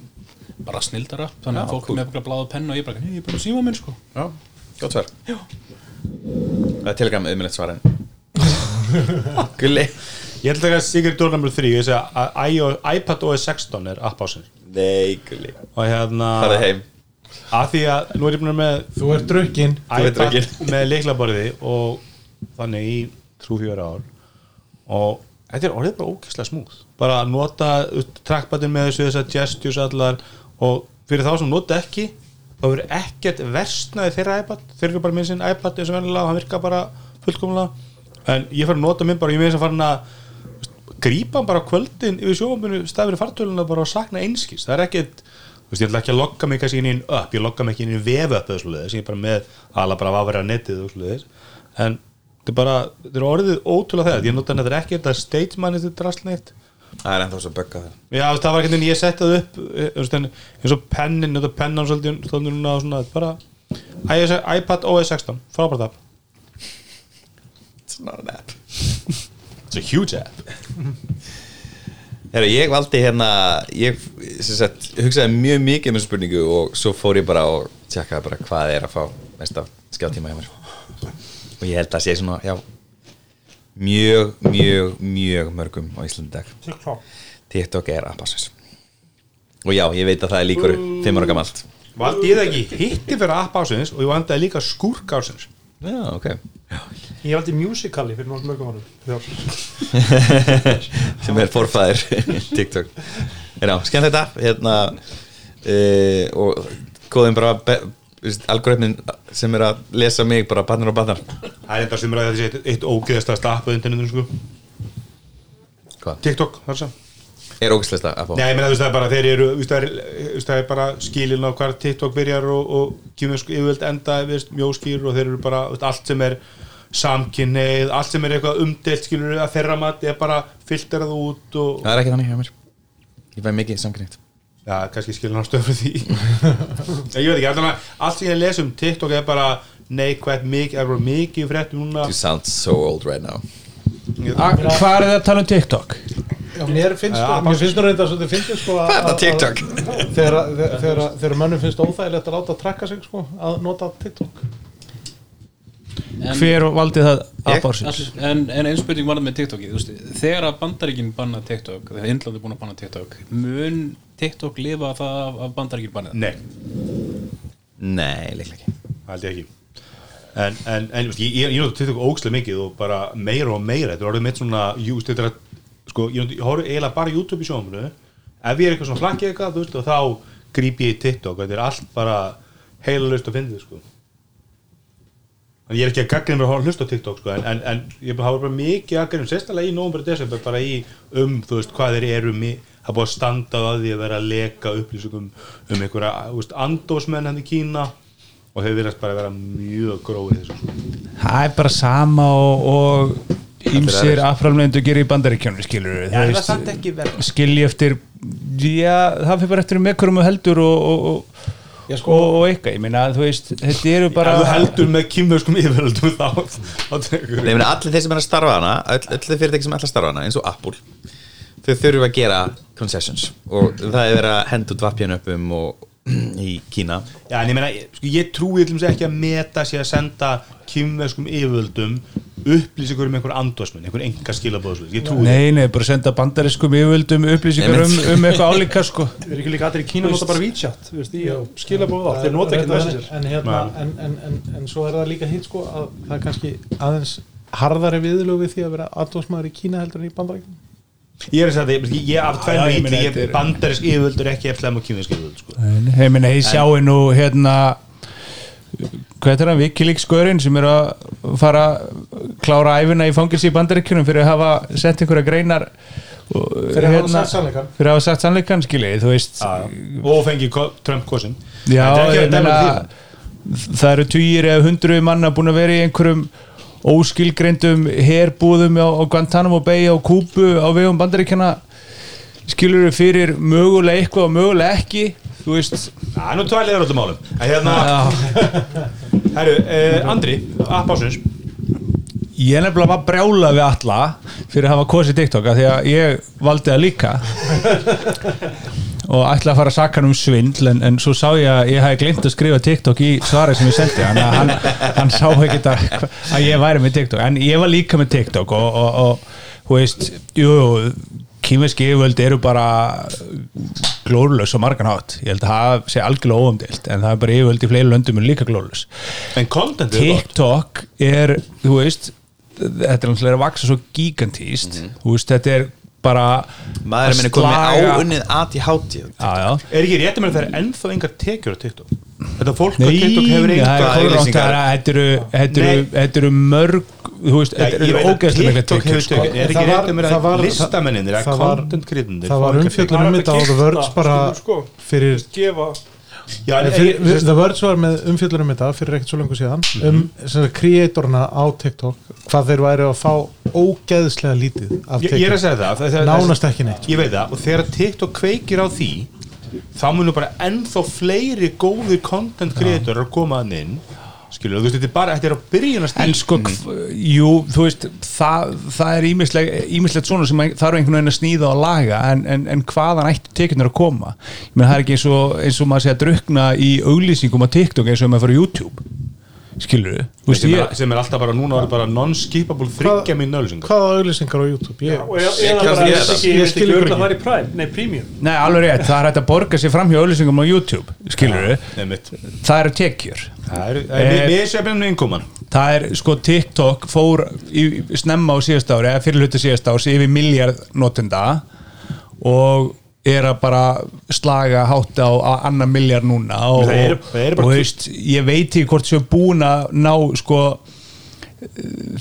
[SPEAKER 8] bara snildar upp þannig að fólk er með bara bláða penna og ég bara, "Hey, ég er bara síma minn sko
[SPEAKER 3] Já, gott svar Já Það er telegram auðmjöld svar en Gulli
[SPEAKER 2] Ég ætla að taka Secret Door number 3 Ég segja að iO- iPad OS 16 er app ásinn
[SPEAKER 3] Nei, gulli
[SPEAKER 2] Og hérna
[SPEAKER 3] Farðu heim
[SPEAKER 2] Að því að nú er ég búin að vera
[SPEAKER 5] Þú ert drukkin
[SPEAKER 2] með
[SPEAKER 3] veitir
[SPEAKER 2] iPad
[SPEAKER 3] ekki.
[SPEAKER 2] með leiklaborði Og þannig í 3-4 ár Og þetta er orðið bara ókesslega smúð Bara að nota trackpadin með þessu Þessar gestures allar Og fyrir þá sem nota ekki þá verður ekkert versnaði þeirra iPad þeir eru bara minn sinn iPad eins og vennilega og hann virka bara fullkomlega en ég fara að nota minn bara, ég með þess að fara að grípa hann bara á kvöldin yfir sjófambinu staðfyrir fartöluna bara og sakna einskis það er ekkert, þú veist, ég ætla ekki að logga mig kannski inn í einn upp, ég logga mig ekki inn í einn vef upp eða svoleiðis, ég er bara með ala bara vafra netið og svoleiðis en þetta er bara, þetta er orðið ótrúlega þegar ég nota hann þetta er ekki, þetta er stage manager drasl neitt
[SPEAKER 3] það er ennþá svo bögga það
[SPEAKER 2] já, þú veist, það var ekki en ég setti það upp eh, þú veist, en eins og pennin, þetta pennan svolítið stóðnir núna og svona, þetta er bara IS, iPad OS 16, frábært app
[SPEAKER 3] It's not an app
[SPEAKER 2] it's a huge app
[SPEAKER 3] Herra, ég valdi hérna ég sem sagt, hugsaði mjög mikið um þessu spurningu og svo fór ég bara og tjekkaði bara hvað er að fá mest af skjáttíma hjá mér og ég held að sé svona já, mjög, mjög, mjög mörgum á Íslandi í dag TikTok er appasvis og já, ég veit að það er líkur fimm ára gamalt
[SPEAKER 2] valdi ég það ekki, hitti fyrir app ásins og ég vandaði líka skúrk ásins
[SPEAKER 3] Já, ok
[SPEAKER 6] Ég valdi musicali fyrir mjög mörgum árum Já.
[SPEAKER 3] sem er forfæðir TikTok en já, skemmt þetta hérna, e, og góðum bara be, veist, algoritmin sem er að lesa mig bara bannar og bannar
[SPEAKER 2] það er enda sumur að þetta sé eitt, eitt ógeðast að stappa undanindunum sko,
[SPEAKER 3] Hvað?
[SPEAKER 2] TikTok, þar sem
[SPEAKER 3] er ógæslega að fá
[SPEAKER 2] Nei, ég meina þú veist það er bara þeir eru þú veist, það er- þú veist, það er bara skilin á hvar TikTok byrjar og, og kjumjösk yfirvöld enda þú veist, mjóskýr og þeir eru bara þú veist, allt sem er samkynneið allt sem er eitthvað umdelt skilur að þeirra mat er bara filterað út og
[SPEAKER 3] það er ekki þannig hjá mér ég fæ mikið samkynningt
[SPEAKER 2] já, kannski skilin ástöð fyrir því Nei, ég veit ekki, allan að allt sem ég les um TikTok er bara neikvægt mikið, er bara mikið frétt núna
[SPEAKER 3] you sound so old right now
[SPEAKER 4] Hvað er það að tala um TikTok?
[SPEAKER 5] Já, mér finnst, sko, mér finnst nú reynda svolítið fyndið sko að-
[SPEAKER 3] Þetta
[SPEAKER 5] að-
[SPEAKER 3] TikTok.
[SPEAKER 5] að- Þegar að- þegar- þegar- þegar mönnum finnst óþægilegt að láta að trakka sig sko að nota TikTok
[SPEAKER 8] En-
[SPEAKER 4] Hver valdi það aðbársins?
[SPEAKER 8] Allir- En, en einn spurning var það með TikTokið þú veist, Þegar að bandaríkin banna TikTok Þegar Indland er búin að banna TikTok Mun TikTok lifa það af, af bandaríkin bannið?
[SPEAKER 2] Nei,
[SPEAKER 3] nei, líklega ekki
[SPEAKER 2] það held ég ekki En, en, en ég, ég, ég náttu TikTok ógslega mikið og bara meira og meira Þetta er orðið mitt svona, jú, þetta er að sko, ég, nota- ég horf eiginlega bara YouTube í sjónumru Ef ég er eitthvað svona flakkið eitthvað, þú veist, og þá gríp ég í TikTok Þetta er allt bara heilalust að fyndið, sko En ég er ekki að gagnrið mér að horfa- hlusta á TikTok, sko En, en, en ég hafa bara mikið að gagnrið, sérstælega í nómur desember Bara í um, þú veist, hvað þeir eru mi- Það er búið að standa á því að vera að leka upplýsingum um einhverja, þú veist, andósmenn hann í Kína og þeir virðast bara að vera mjög gróið þessu sko.
[SPEAKER 4] Það er bara sama og, og ýmsir aframlegendu gerir í bandaríkjónu skilur já,
[SPEAKER 2] það er samt ekki verra.
[SPEAKER 4] skilji eftir já, það fyrir bara eftir um ekkurum og heldur og, og, og,
[SPEAKER 5] Já, sko.
[SPEAKER 4] og, og eitthvað, ég meina þú veist þetta eru bara
[SPEAKER 2] ef þú heldur með kýmverskum yfiröldum þá, þá tekur
[SPEAKER 3] Nei, ég meina, allir þeir sem er að starfa hana öll, öll þeir fyrirtæki sem ætla að starfa hana eins og Apple þau þurfa að gera concessions og það er verið að henda út vapjan upp um og í Kína
[SPEAKER 2] Já, en ég meina, ég- sko, ég trúi til þess ekki að meta sér að senda kýmverskum yfiröldum upplýsingur um einhver andosmenn, einhver enga skilabóðsvöld ég trúi
[SPEAKER 4] nei, nei, bara senda bandarískum yfirvöldum upplýsingar um,
[SPEAKER 3] Einmitt.
[SPEAKER 4] um eitthvað álíka sko
[SPEAKER 6] Við erum ekki líka allir í Kína nota bara WeChat Þú veist, ég skila búið það Þeir nota ekki
[SPEAKER 5] Reyndar-
[SPEAKER 6] Messenger
[SPEAKER 5] en, hérna, en, en, en, en svo er það líka hitt sko að það er kannski aðeins harðari viðlög við því að vera aðdósmaður í Kína heldur en í bandarækjum
[SPEAKER 2] ég er þess að ég, ég af
[SPEAKER 4] Já,
[SPEAKER 2] tvennu
[SPEAKER 4] já, ég meina,
[SPEAKER 2] íti, ég
[SPEAKER 4] þetta er-
[SPEAKER 2] bandarisk yfiröldur ekki eftir að maður kýmversk yfiröld sko.
[SPEAKER 4] ég meina, ég sjái nú hérna hvað er það, Wikileaks skörinn sem eru að fara að klára æfina í fangilsi í bandaríkjónum fyrir að hafa sett einhverja greinar og, hérna,
[SPEAKER 5] Þegar það er sann sannleikan
[SPEAKER 4] fyrir að hafa sagt sannleikann skilji þú veist
[SPEAKER 2] og fengi ko- Trump kosin
[SPEAKER 4] já,
[SPEAKER 2] Þetta er ekki
[SPEAKER 4] ég
[SPEAKER 2] að um dæma
[SPEAKER 4] meina,
[SPEAKER 2] því.
[SPEAKER 4] það eru týjir eða hundruð manna búin að vera í einhverjum óskilgreindum herbúðum á, á Guantanamo Bay á Kúbu á vegum bandaríkjana skilur við fyrir mögulega eitthvað og mögulega ekki þú veist
[SPEAKER 2] Já, nú tvær leiður öllum málum En hérna, herru, eh, Andri, appásins
[SPEAKER 4] Ég nefnilega var brjála við alla fyrir að hafa kosið TikTok af því að ég valdi það líka og ætla að fara að saka hann um svindl en, en svo sá ég að ég hafi glemt að skrifa TikTok í svarið sem ég sendi hann að hann, hann sá ekki að, að ég væri með TikTok en ég var líka með TikTok og, og, og hú veist, jú, kýmeski yfirvöld eru bara glórulegs og margan hátt ég held að það sé algjörlega óumdilt en það er bara yfirvöld í fleiri löndum en líka glórulegs
[SPEAKER 2] En kontentið er gott
[SPEAKER 4] TikTok er, þú veist þetta er náttúrulega að vaksa svo gigantíst
[SPEAKER 2] Mhm.
[SPEAKER 4] þú veist, þetta er bara
[SPEAKER 3] maður minn er komið áunnið ADHD
[SPEAKER 4] Já, já.
[SPEAKER 2] Er ekki rétt að mér að það er ennþá engar tekjur á TikTok? Þetta fólk á
[SPEAKER 4] Nei,
[SPEAKER 2] TikTok hefur
[SPEAKER 4] nei, það
[SPEAKER 2] engar
[SPEAKER 4] er
[SPEAKER 3] auglýsingar.
[SPEAKER 4] korrekt, það er- þetta eru- þetta eru-
[SPEAKER 2] Nei.
[SPEAKER 4] þetta eru mörg þú veist,
[SPEAKER 2] Ég
[SPEAKER 4] þetta
[SPEAKER 2] veit
[SPEAKER 4] eru
[SPEAKER 2] að
[SPEAKER 4] ógeðslega mikla
[SPEAKER 2] TikTok hefur
[SPEAKER 4] tekjur sko.
[SPEAKER 2] tekið, er ekki
[SPEAKER 5] Það var-
[SPEAKER 2] reyndum mér
[SPEAKER 5] það
[SPEAKER 2] að
[SPEAKER 5] var-
[SPEAKER 2] listamennir eða
[SPEAKER 5] það var-
[SPEAKER 2] content creatinir
[SPEAKER 5] það var umfjöldun um þetta á The Verge bara
[SPEAKER 6] sko,
[SPEAKER 5] fyrir
[SPEAKER 6] gefa
[SPEAKER 2] Já, en
[SPEAKER 5] Nei,
[SPEAKER 2] fyrir,
[SPEAKER 5] fyrir, The Verge var með umfjöllur um þetta fyrir ekkert svo lengur síðan
[SPEAKER 2] Mhm.
[SPEAKER 5] um sem sagt, kreatorna á TikTok hvað þeir væri að fá ógeðslega lítið af
[SPEAKER 2] ég, ég er að
[SPEAKER 5] TikTok,
[SPEAKER 2] segja það, það, það
[SPEAKER 5] nánast ekki neitt
[SPEAKER 2] Ég veit það, og þegar TikTok kveikir á því þá munum bara ennþá fleiri góðir content creator að koma hann inn skilur, þú veist, þetta er bara, þetta er á byrjun að
[SPEAKER 4] en
[SPEAKER 2] stíl
[SPEAKER 4] sko, hv- jú, þú veist það, það er ímislegt svona sem þarf einhvern veginn að sníða og laga en, en, en hvaðan ættu tekjurnar að koma ég menn það er ekki eins og, eins og maður sé að drukna í auglýsingum á TikTok eins og ef maður fyrir YouTube skilur þú veist,
[SPEAKER 2] sem,
[SPEAKER 4] ég,
[SPEAKER 2] er, sem er alltaf bara núna orðið bara non-skipable þryggja mín nöðlýsingar
[SPEAKER 5] hvaða auðlýsingar á YouTube ég,
[SPEAKER 6] og ég-
[SPEAKER 3] Ég
[SPEAKER 6] eða
[SPEAKER 3] kemst
[SPEAKER 6] bara
[SPEAKER 3] ekki í
[SPEAKER 6] ég
[SPEAKER 3] þetta.
[SPEAKER 6] ekki,
[SPEAKER 5] Ég
[SPEAKER 6] ég
[SPEAKER 5] skil ykkur
[SPEAKER 6] skil ekki
[SPEAKER 5] ekki.
[SPEAKER 6] að fara í Prime, nei Premium
[SPEAKER 4] Nei, alveg rétt, það er hægt að borga sér fram hjá auðlýsingum á YouTube, skilur
[SPEAKER 2] Einmitt.
[SPEAKER 4] það eru tekjur
[SPEAKER 2] það er, það er,
[SPEAKER 4] Eh,
[SPEAKER 2] við sveiflum við innkoman
[SPEAKER 4] það er, sko, TikTok fór í, snemma á síðasta ári, eða fyrirluta síðasta ári yfir miljard notenda og er að bara slaga hátt á, á annan miljard núna og,
[SPEAKER 2] Það eru- það eru bara
[SPEAKER 4] og
[SPEAKER 2] tu-
[SPEAKER 4] veist, ég veit ekki hvort sem búin að ná sko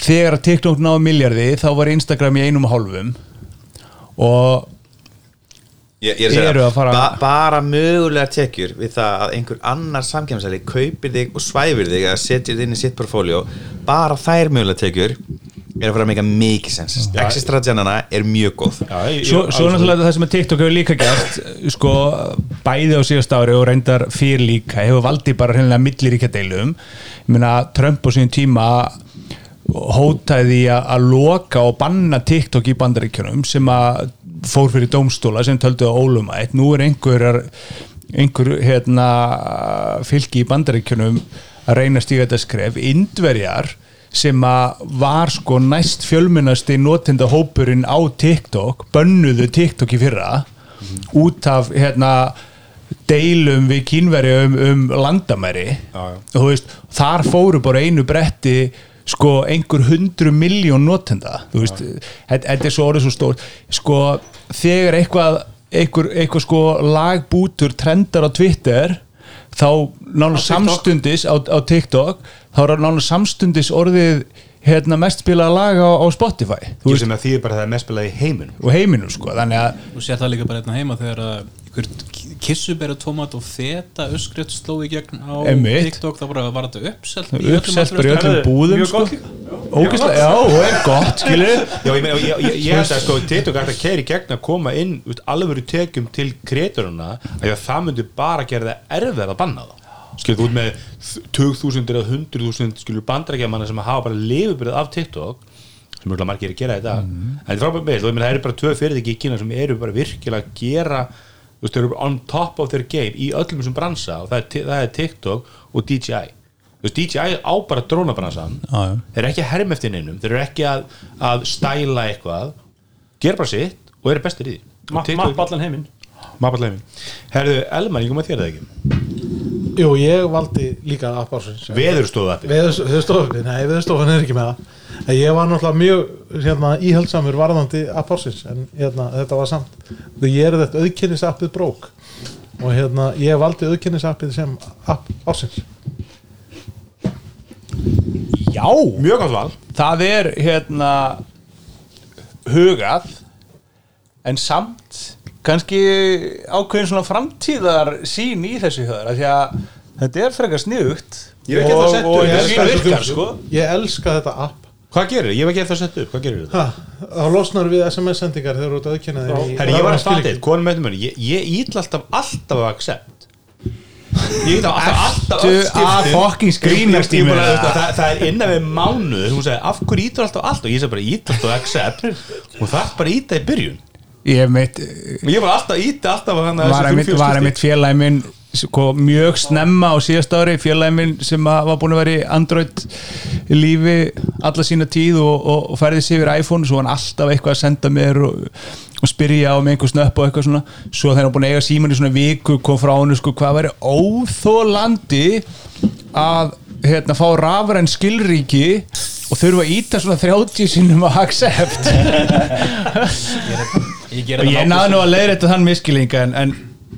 [SPEAKER 4] þegar TikTok náði miljardi þá var Instagram í einum og hálfum og
[SPEAKER 3] ég, ég er að segja
[SPEAKER 4] Eru að
[SPEAKER 3] það,
[SPEAKER 4] fara-
[SPEAKER 3] ba bara mögulega tekjur við það að einhver annar samkjæmsæli kaupir þig og svæfir þig að setja þig inn í sitt portfóljó bara þær mögulega tekjur er að fara að meika mikið sens
[SPEAKER 4] Mm.
[SPEAKER 3] exit-strategjanana er mjög góð
[SPEAKER 4] Svo, svo náttúrulega það sem að TikTok hefur líka gert sko bæði á síðast ári og reyndar fyrir líka hefur valdið bara hreinlega milliríkja deilum ég meina Trump á síðan tíma hótaði því að að loka og banna TikTok í bandaríkjunum sem að fór fyrir dómstóla sem töldu að óluma eitt nú er einhverjar einhver hérna fylki í bandaríkjunum að reyna að stíga þetta skref indverjar sem að var sko næst fjölmennasti notenda hópurinn á TikTok bönnuðu TikTok í fyrra út af hérna deilum við kínveri um, um landamæri og þú veist, þar fóru bara einu bretti sko einhver hundru miljón notenda þú veist, þetta þetta er svo orðið svo stór sko þegar eitthvað einhver, einhver sko lagbútur trendar á Twitter þá nánu samstundis á, á TikTok þá er nánu samstundis orðið hérna mest spilaða lag á, á Spotify þú
[SPEAKER 2] ég
[SPEAKER 4] veist,
[SPEAKER 2] sem að því er bara að það er mest spilað í heiminum
[SPEAKER 4] og heiminum sko þannig að
[SPEAKER 8] og sér það líka bara hérna heima þegar að ykkur kissubera tómat og feta öskrétt sló í gegn á
[SPEAKER 4] Einmitt.
[SPEAKER 8] TikTok þá bara var þetta uppselt í öllum
[SPEAKER 4] uppsett bara í
[SPEAKER 8] matvöruverslunum.
[SPEAKER 4] öllum
[SPEAKER 6] Herðu,
[SPEAKER 4] búðum
[SPEAKER 6] mjög
[SPEAKER 4] sko.
[SPEAKER 6] gott líka.
[SPEAKER 4] ógæslega, já, og er gott skilur
[SPEAKER 2] Já, ég, meina, ég, ég, ég held að sko TikTok ætti að keiri gegn að koma inn út alvöru tekjum til kreatoruna að það myndi bara gera það erfið að banna það skilur þú út með 20.000 eða 100.000 skilur bandarækjamanna sem hafa bara lifibrið af TikTok sem mjög margir eru að gera í dag en þetta er frábært með, og ég meina það eru bara tvö fyrirtæki í Kína sem eru bara virkilega að gera þú veist, þau eru on top of their game í öllum þessum bransa og það er, ti- það er TikTok og DJI Þú veist, DJI á bara drónabransan
[SPEAKER 4] Já, já.
[SPEAKER 2] þeir eru ekki að herma eftir neinum þeir eru ekki að, að stæla eitthvað gera bara sitt og eru bestir í því
[SPEAKER 6] Ma- mapp allan heiminn
[SPEAKER 2] Mappallegin Herðu, Elmar, ég kom að þér eða ekki
[SPEAKER 5] jú, ég valdi líka appársins
[SPEAKER 2] Veðurstóðu appi
[SPEAKER 5] veðurstofan, nei veðurstofan er ekki með það en ég var náttúrulega mjög hérna, íhaldsamur varðandi appársins en hérna, þetta var samt þegar ég er þetta auðkynnisappið brók og hérna, ég valdi auðkynnisappið sem app ársins
[SPEAKER 4] já,
[SPEAKER 2] Mjög gott val
[SPEAKER 4] það er hérna hugað en samt kannski ákveðin svona framtíðar sín í þessu höður af því að þetta er frekar sniðugt
[SPEAKER 2] Ég hef ekki eftir að setja upp.
[SPEAKER 4] og
[SPEAKER 2] Ég
[SPEAKER 4] þetta
[SPEAKER 2] elska
[SPEAKER 4] virkar,
[SPEAKER 2] þessa
[SPEAKER 4] virkar
[SPEAKER 2] þjónustu.
[SPEAKER 4] sko
[SPEAKER 5] ég elska þetta app
[SPEAKER 2] Hvað gerir þið? Ég hef ekki eftir að setja upp, hvað gerir þið?
[SPEAKER 5] Ha, þá losnar við SMS-sendingar þegar þú ert auðkynnaðir í
[SPEAKER 2] Herri, ég var að fatta eitt, konum með mér Ég, ég ítla alltaf, alltaf að accept Ég ítla alltaf, alltaf
[SPEAKER 4] Ertu
[SPEAKER 2] öll skiptin.
[SPEAKER 4] að fucking grínast í
[SPEAKER 2] Ég
[SPEAKER 4] mér?
[SPEAKER 2] bara, þú veist, Það það er innan við mánuð Hún sagði, af hverju ítur alltaf allt og ég sagði bara, ég ítla alltaf accept og það bara íta í byrjun
[SPEAKER 4] ég mitt
[SPEAKER 2] Og Ég var alltaf íta alltaf að hann að
[SPEAKER 4] var
[SPEAKER 2] þessi
[SPEAKER 4] einmitt,
[SPEAKER 2] fimm, fjögur
[SPEAKER 4] var
[SPEAKER 2] skipti.
[SPEAKER 4] einmitt félagi minn sko, mjög snemma á síðast ári félagi minn sem að var búin að vera í Android lífi alla sína tíð og, og, og færði sig yfir iPhone svo hann alltaf eitthvað að senda mér og, og spyrja um einhver snöpp og eitthvað svona svo þegar hann var búin að eiga síman í svona viku kom frá hann sko hvað væri óþólandi að hérna fá rafræn skilríki og þurfa að íta svona 30 sinnum að accept
[SPEAKER 8] ég
[SPEAKER 4] og
[SPEAKER 8] gera
[SPEAKER 4] ég
[SPEAKER 8] það hérna
[SPEAKER 4] náði nú að leiðrétta þann miskilinga en, en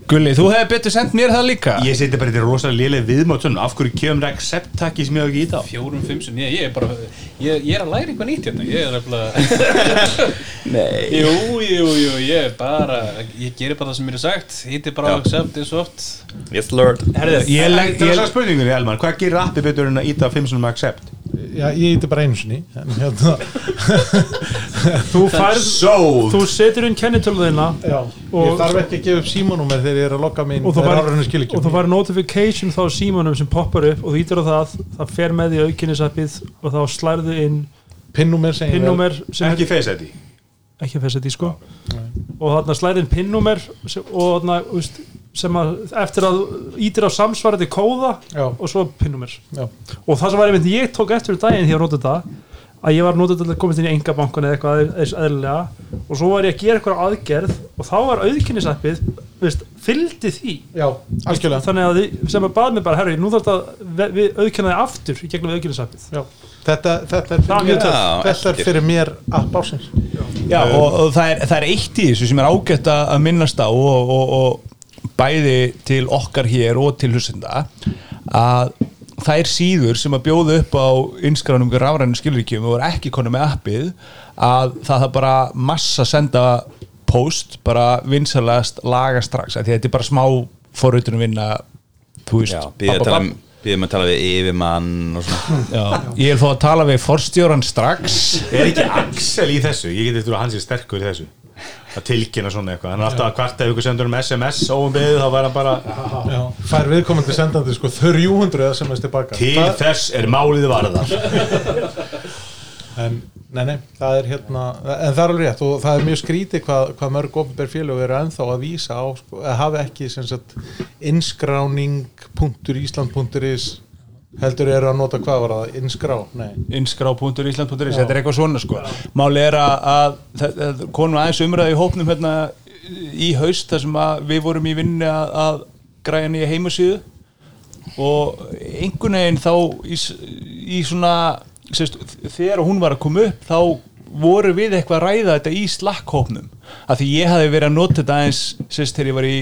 [SPEAKER 4] Gulli, þú hefði betur sendt mér það líka
[SPEAKER 2] Ég seti bara þetta er rosalega lélega viðmáttunum Af hverju kemur ekki septaki sem ég á ekki í þá
[SPEAKER 8] Fjórum, fimm sinni, ég, ég er bara ég, ég er að læra eitthvað nýtt hérna Ég er nefnilega
[SPEAKER 3] Nei
[SPEAKER 8] Jú, jú, jú, ég er bara Ég gerir bara það sem mér er sagt Hýtti bara á accept eins og oft
[SPEAKER 3] Yes lord
[SPEAKER 2] Herðu, ég legg
[SPEAKER 4] ég-
[SPEAKER 2] Það er spurningunni, Elmar Hvað gerir appi betur en að íta fimm sinum um accept?
[SPEAKER 5] Já, ég íti bara einu sinni en, hérna,
[SPEAKER 6] Þú færð,
[SPEAKER 2] Sold
[SPEAKER 6] þú setur inn kennitölu þína
[SPEAKER 5] já,
[SPEAKER 6] Og-
[SPEAKER 5] Ég þarf ekki að gefa upp símanúmer þegar ég er að lokka mig inn
[SPEAKER 6] og þú
[SPEAKER 5] þegar
[SPEAKER 6] færð-
[SPEAKER 5] árunni skil ekki
[SPEAKER 6] og þú færð notification þá á símanum sem poppar upp og þú ítir á það, það fer með því aukinnisappið og þá slærðu inn
[SPEAKER 5] Pinnúmer sem ég
[SPEAKER 6] pinnúmer sem er
[SPEAKER 2] Ekki face ID
[SPEAKER 6] ekki fæsat í sko og þarna slæðir inn pinnúmer sem, og þarna, þú veist, sem að eftir að þú ítir á samsvarandi kóða
[SPEAKER 5] Já.
[SPEAKER 6] og svo pinnúmer
[SPEAKER 5] Já.
[SPEAKER 6] og það sem var einmitt ég tók eftir daginn því að nota þetta að ég var notað til að komast inn í engabankan eða eitthvað eðs eðlilega og svo var ég að gera eitthvað aðgerð og þá var auðkynnisappið veist, fylgdi því
[SPEAKER 5] Já, algjörlega
[SPEAKER 6] þannig að þið, sem að bað mér bara herri, nú þarf þetta við, við auðkynnaði aftur í gegnum auðkynnisappið
[SPEAKER 5] Já. Þetta, þetta, er
[SPEAKER 6] Það er
[SPEAKER 5] fyrir mér,
[SPEAKER 6] mjög
[SPEAKER 3] töff.
[SPEAKER 5] þetta er
[SPEAKER 3] eftir.
[SPEAKER 5] fyrir mér app ásins
[SPEAKER 4] Já,
[SPEAKER 3] Eh,
[SPEAKER 4] og, og það, er, það er eitt í þessu sem er ágætt að að minnast á og, og, og bæði til okkar hér og til hlustenda að það er síður sem að bjóða upp á inskránum ykkur rafrænum skilríkjum og er ekki konu með appið að það það bara massa senda post bara vinsalast laga strax af því að þetta er bara smá forrautunum vinna þú veist
[SPEAKER 3] Já, býðum
[SPEAKER 4] babb,
[SPEAKER 3] að tala
[SPEAKER 4] babb.
[SPEAKER 3] um Býðum að tala við yfirmann og svona
[SPEAKER 4] Já, ég er þó að tala við forstjóran strax
[SPEAKER 2] Er ekki Axel í þessu? Ég geti trú að hann sé sterkur í þessu að tilkynna svona eitthvað, hann er alltaf að kvarta ef ykkur sendur um SMS óumbeðið, þá var hann bara
[SPEAKER 5] Já. Fær viðkomandi sendandi sko 300 SMS tilbaka
[SPEAKER 2] til
[SPEAKER 5] Það-
[SPEAKER 2] þess er málið varðar
[SPEAKER 5] en, Nei, nei, það er hérna en það er alveg rétt og það er mjög skrítið hvað, hvað mörg ofinber félög eru ennþá að vísa á sko, að hafa ekki sem sagt inskráning.ísland.is heldur eru að nota hvað var það inskrá, nei
[SPEAKER 4] inskrá.ísland.is, þetta er eitthvað svona sko máli er að, að, að, að konum aðeins umræði í hópnum hérna í haust þar sem að við vorum í vinni að, að græja nýja heimasíðu og einhvern veginn þá í, s- í svona sérst, þegar hún var að koma upp þá voru við eitthvað að ræða þetta í slakkhópnum af því ég hafi verið að nota þetta aðeins sérst, þegar ég var í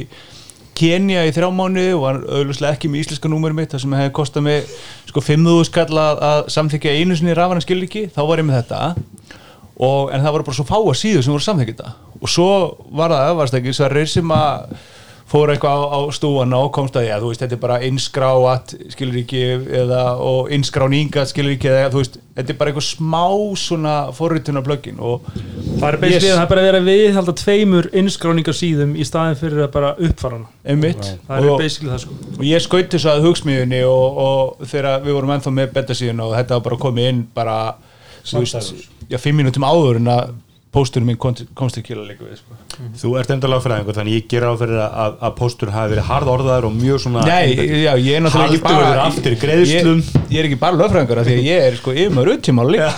[SPEAKER 4] Kenya í þrjá mánu og var auðvitað ekki með íslenska númur mitt þar sem hefði kostað mig sko 5.000 skall að, að samþykja einu sinni rafana skilriki þá var ég með þetta og, en það voru bara svo fáa síður sem voru samþykja þetta og svo var það aðvarstakir Sverrir sem að fór eitthvað á, á stúana og komst að því að þú veist þetta er bara inskráat skilriki eða og inskráninga skilriki eða þú veist þetta er bara eitthvað smá svona forrituna blöggin og
[SPEAKER 6] það er, yes.
[SPEAKER 4] Yes.
[SPEAKER 6] það er bara að vera við halda tveimur innskráningarsíðum í staðin fyrir að bara uppfara hana
[SPEAKER 4] einmitt
[SPEAKER 6] það
[SPEAKER 4] Og-
[SPEAKER 6] er basically það sko
[SPEAKER 4] og ég skaut þessu að hugsmíðunni og, og þegar við vorum ennþá með betasíðun og þetta var bara komið inn bara þú veist, já, fimm mínútum áður en að pósturinn minn kom, komst ekki að leika við sko.
[SPEAKER 2] Þú ert endalega fræðingur þannig ég ger á fyrir að, að póstur hafi verið harð orðaður og mjög svona
[SPEAKER 4] Nei, já, ég er náttúrulega ekki
[SPEAKER 2] Haldur verður
[SPEAKER 4] bara
[SPEAKER 2] aftur greiðslum.
[SPEAKER 4] ég, ég er ekki bara lögfræðingur af því að ég er sko yfirmaður uttíma líka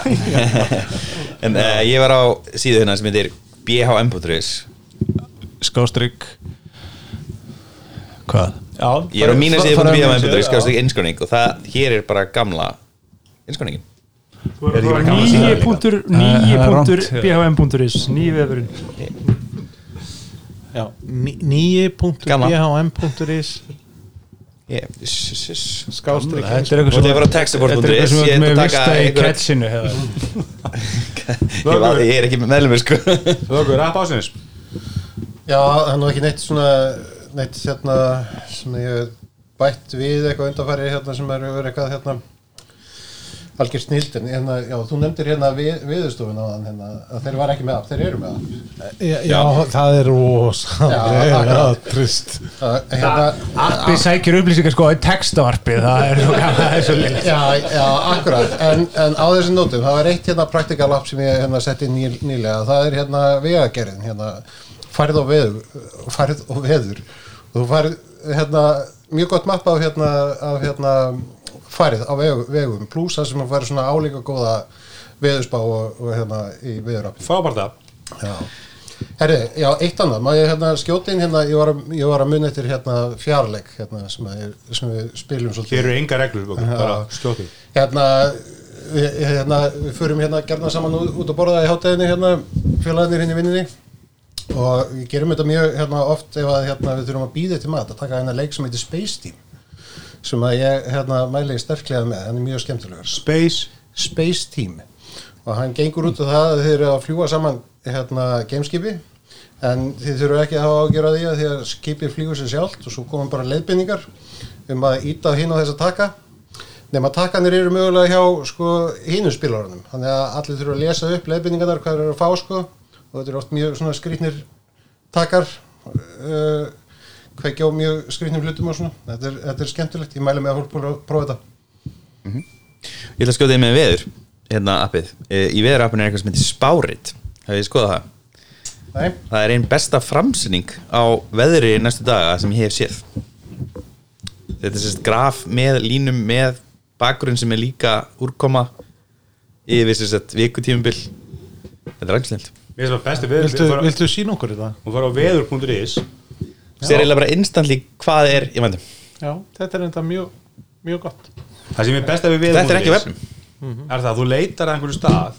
[SPEAKER 3] En uh, ég var á síðu hérna sem heitir bhm.is
[SPEAKER 4] skástrygg hvað? Já,
[SPEAKER 3] Ég er á
[SPEAKER 4] bara-
[SPEAKER 3] mínu síðu
[SPEAKER 4] bara- bara-
[SPEAKER 3] bhm.is Skáðast ekki innskráning sko, Og það, hér er bara gamla innskráning
[SPEAKER 2] Er ekki bara gaman að segja það líka?
[SPEAKER 6] 9.bhm.is nýi vefurinn
[SPEAKER 5] Já,
[SPEAKER 3] Gaman.
[SPEAKER 5] 9.bhm.is
[SPEAKER 3] Ég, ss, ss, ss
[SPEAKER 5] skástrík
[SPEAKER 4] Þetta er eitthvað
[SPEAKER 3] Og
[SPEAKER 4] sem
[SPEAKER 3] það var á textaboard.is,
[SPEAKER 4] Þetta er eitthvað
[SPEAKER 3] ég
[SPEAKER 4] sem
[SPEAKER 3] ætla að
[SPEAKER 4] við
[SPEAKER 3] taka
[SPEAKER 4] vista í
[SPEAKER 3] einhverja-
[SPEAKER 4] catchinu hefða.
[SPEAKER 3] ég, var- ég er ekki meðlumur sko
[SPEAKER 2] Vögur, app ásins
[SPEAKER 7] Já, það er nú ekki neitt svona neitt hérna sem ég hef bætt við eitthvað undanfæri hérna sem er verið eitthvað hérna algjör snild en hérna, já, þú nefndir hérna við, viðustofun á þann hérna að þeir var ekki með app, þeir eru með app
[SPEAKER 5] já, já, það er
[SPEAKER 7] Já,
[SPEAKER 5] rosalega ja,
[SPEAKER 7] akkurat.
[SPEAKER 5] trist
[SPEAKER 7] Það- hérna,
[SPEAKER 4] Appi sækir upplýsingar sko í textavarpið það er svo gaman það er svo leið
[SPEAKER 7] Já, já, akkurat en, en á þessum nótum, það var eitt hérna praktikal app sem ég hérna setti ný, nýlega það er hérna vegagerðin hérna, færð og veður færð og veður og þú færð hérna, mjög gott mappa af hérna, af, hérna færð á veg, vegum pluss það sem þú færð svona álíka góða veðurspá og, og hérna í veðurappi
[SPEAKER 2] Frábært app
[SPEAKER 7] Já. Herri, já, eitt annað, má ég hérna skjóta inn hérna, ég var að, ég var að muni eftir hérna fjarlæk hérna sem, að ég, sem við spilum svolítið
[SPEAKER 2] Hér eru enga reglur, Vögur, bara skjótið
[SPEAKER 7] hérna við, hérna, við förum hérna gerna saman ú- út að borða í hátæðinu hérna, félagarnir hérna í vinninni og við gerum þetta mjög hérna, oft ef að hérna, við þurfum að býða til mat að taka hérna leik sem heitir Space Team sem að ég hérna, mæli sterklega með hann er mjög skemmtilegur
[SPEAKER 2] Space
[SPEAKER 7] Space Team og hann gengur út af það að þið eru að fljúa saman hérna gameskipi en þið þurfum ekki að hafa ágjöra því að því að skipið flýgur sér sjálft og svo komum bara leiðbendingar um að íta hinn á þess að taka nema takkanir eru mögulega hjá sko hinu spilarunum þannig að allir þurfum að lesa upp leiðbendingarnar hvað þeir eru að fá sko og þetta eru oft mjög svona skrýtnir takkar uh, kveikja á mjög skrýtnum hlutum og svona þetta er, þetta er skemmtilegt, ég mæli með að fólk prófa- prófa þetta
[SPEAKER 3] Ég ætla að skjóta þið með veður hérna appið, e, í veðurappinu er eitthvað sem heitir spárit, hafið þið skoðað það
[SPEAKER 7] Nei,
[SPEAKER 3] það er einn besta framsýning á veðri næstu daga sem ég hef séð þetta er sérst graf með línum með bakgrunn sem er líka úrkoma yfir sérst vikutífumbil þetta er ræmslind
[SPEAKER 2] Mér finnst það besti veður
[SPEAKER 5] viltu,
[SPEAKER 2] Við fara-
[SPEAKER 5] viltu sína okkur þetta?
[SPEAKER 2] Hún fara á veður.is
[SPEAKER 3] sér eiginlega bara instantly hvað er ég væntum,
[SPEAKER 5] Já, þetta er enda mjög, mjög gott
[SPEAKER 2] Það sem er besta við veður.is
[SPEAKER 3] þetta er ekki vefnum
[SPEAKER 4] Mhm.
[SPEAKER 2] Er það að þú leitar að einhverju stað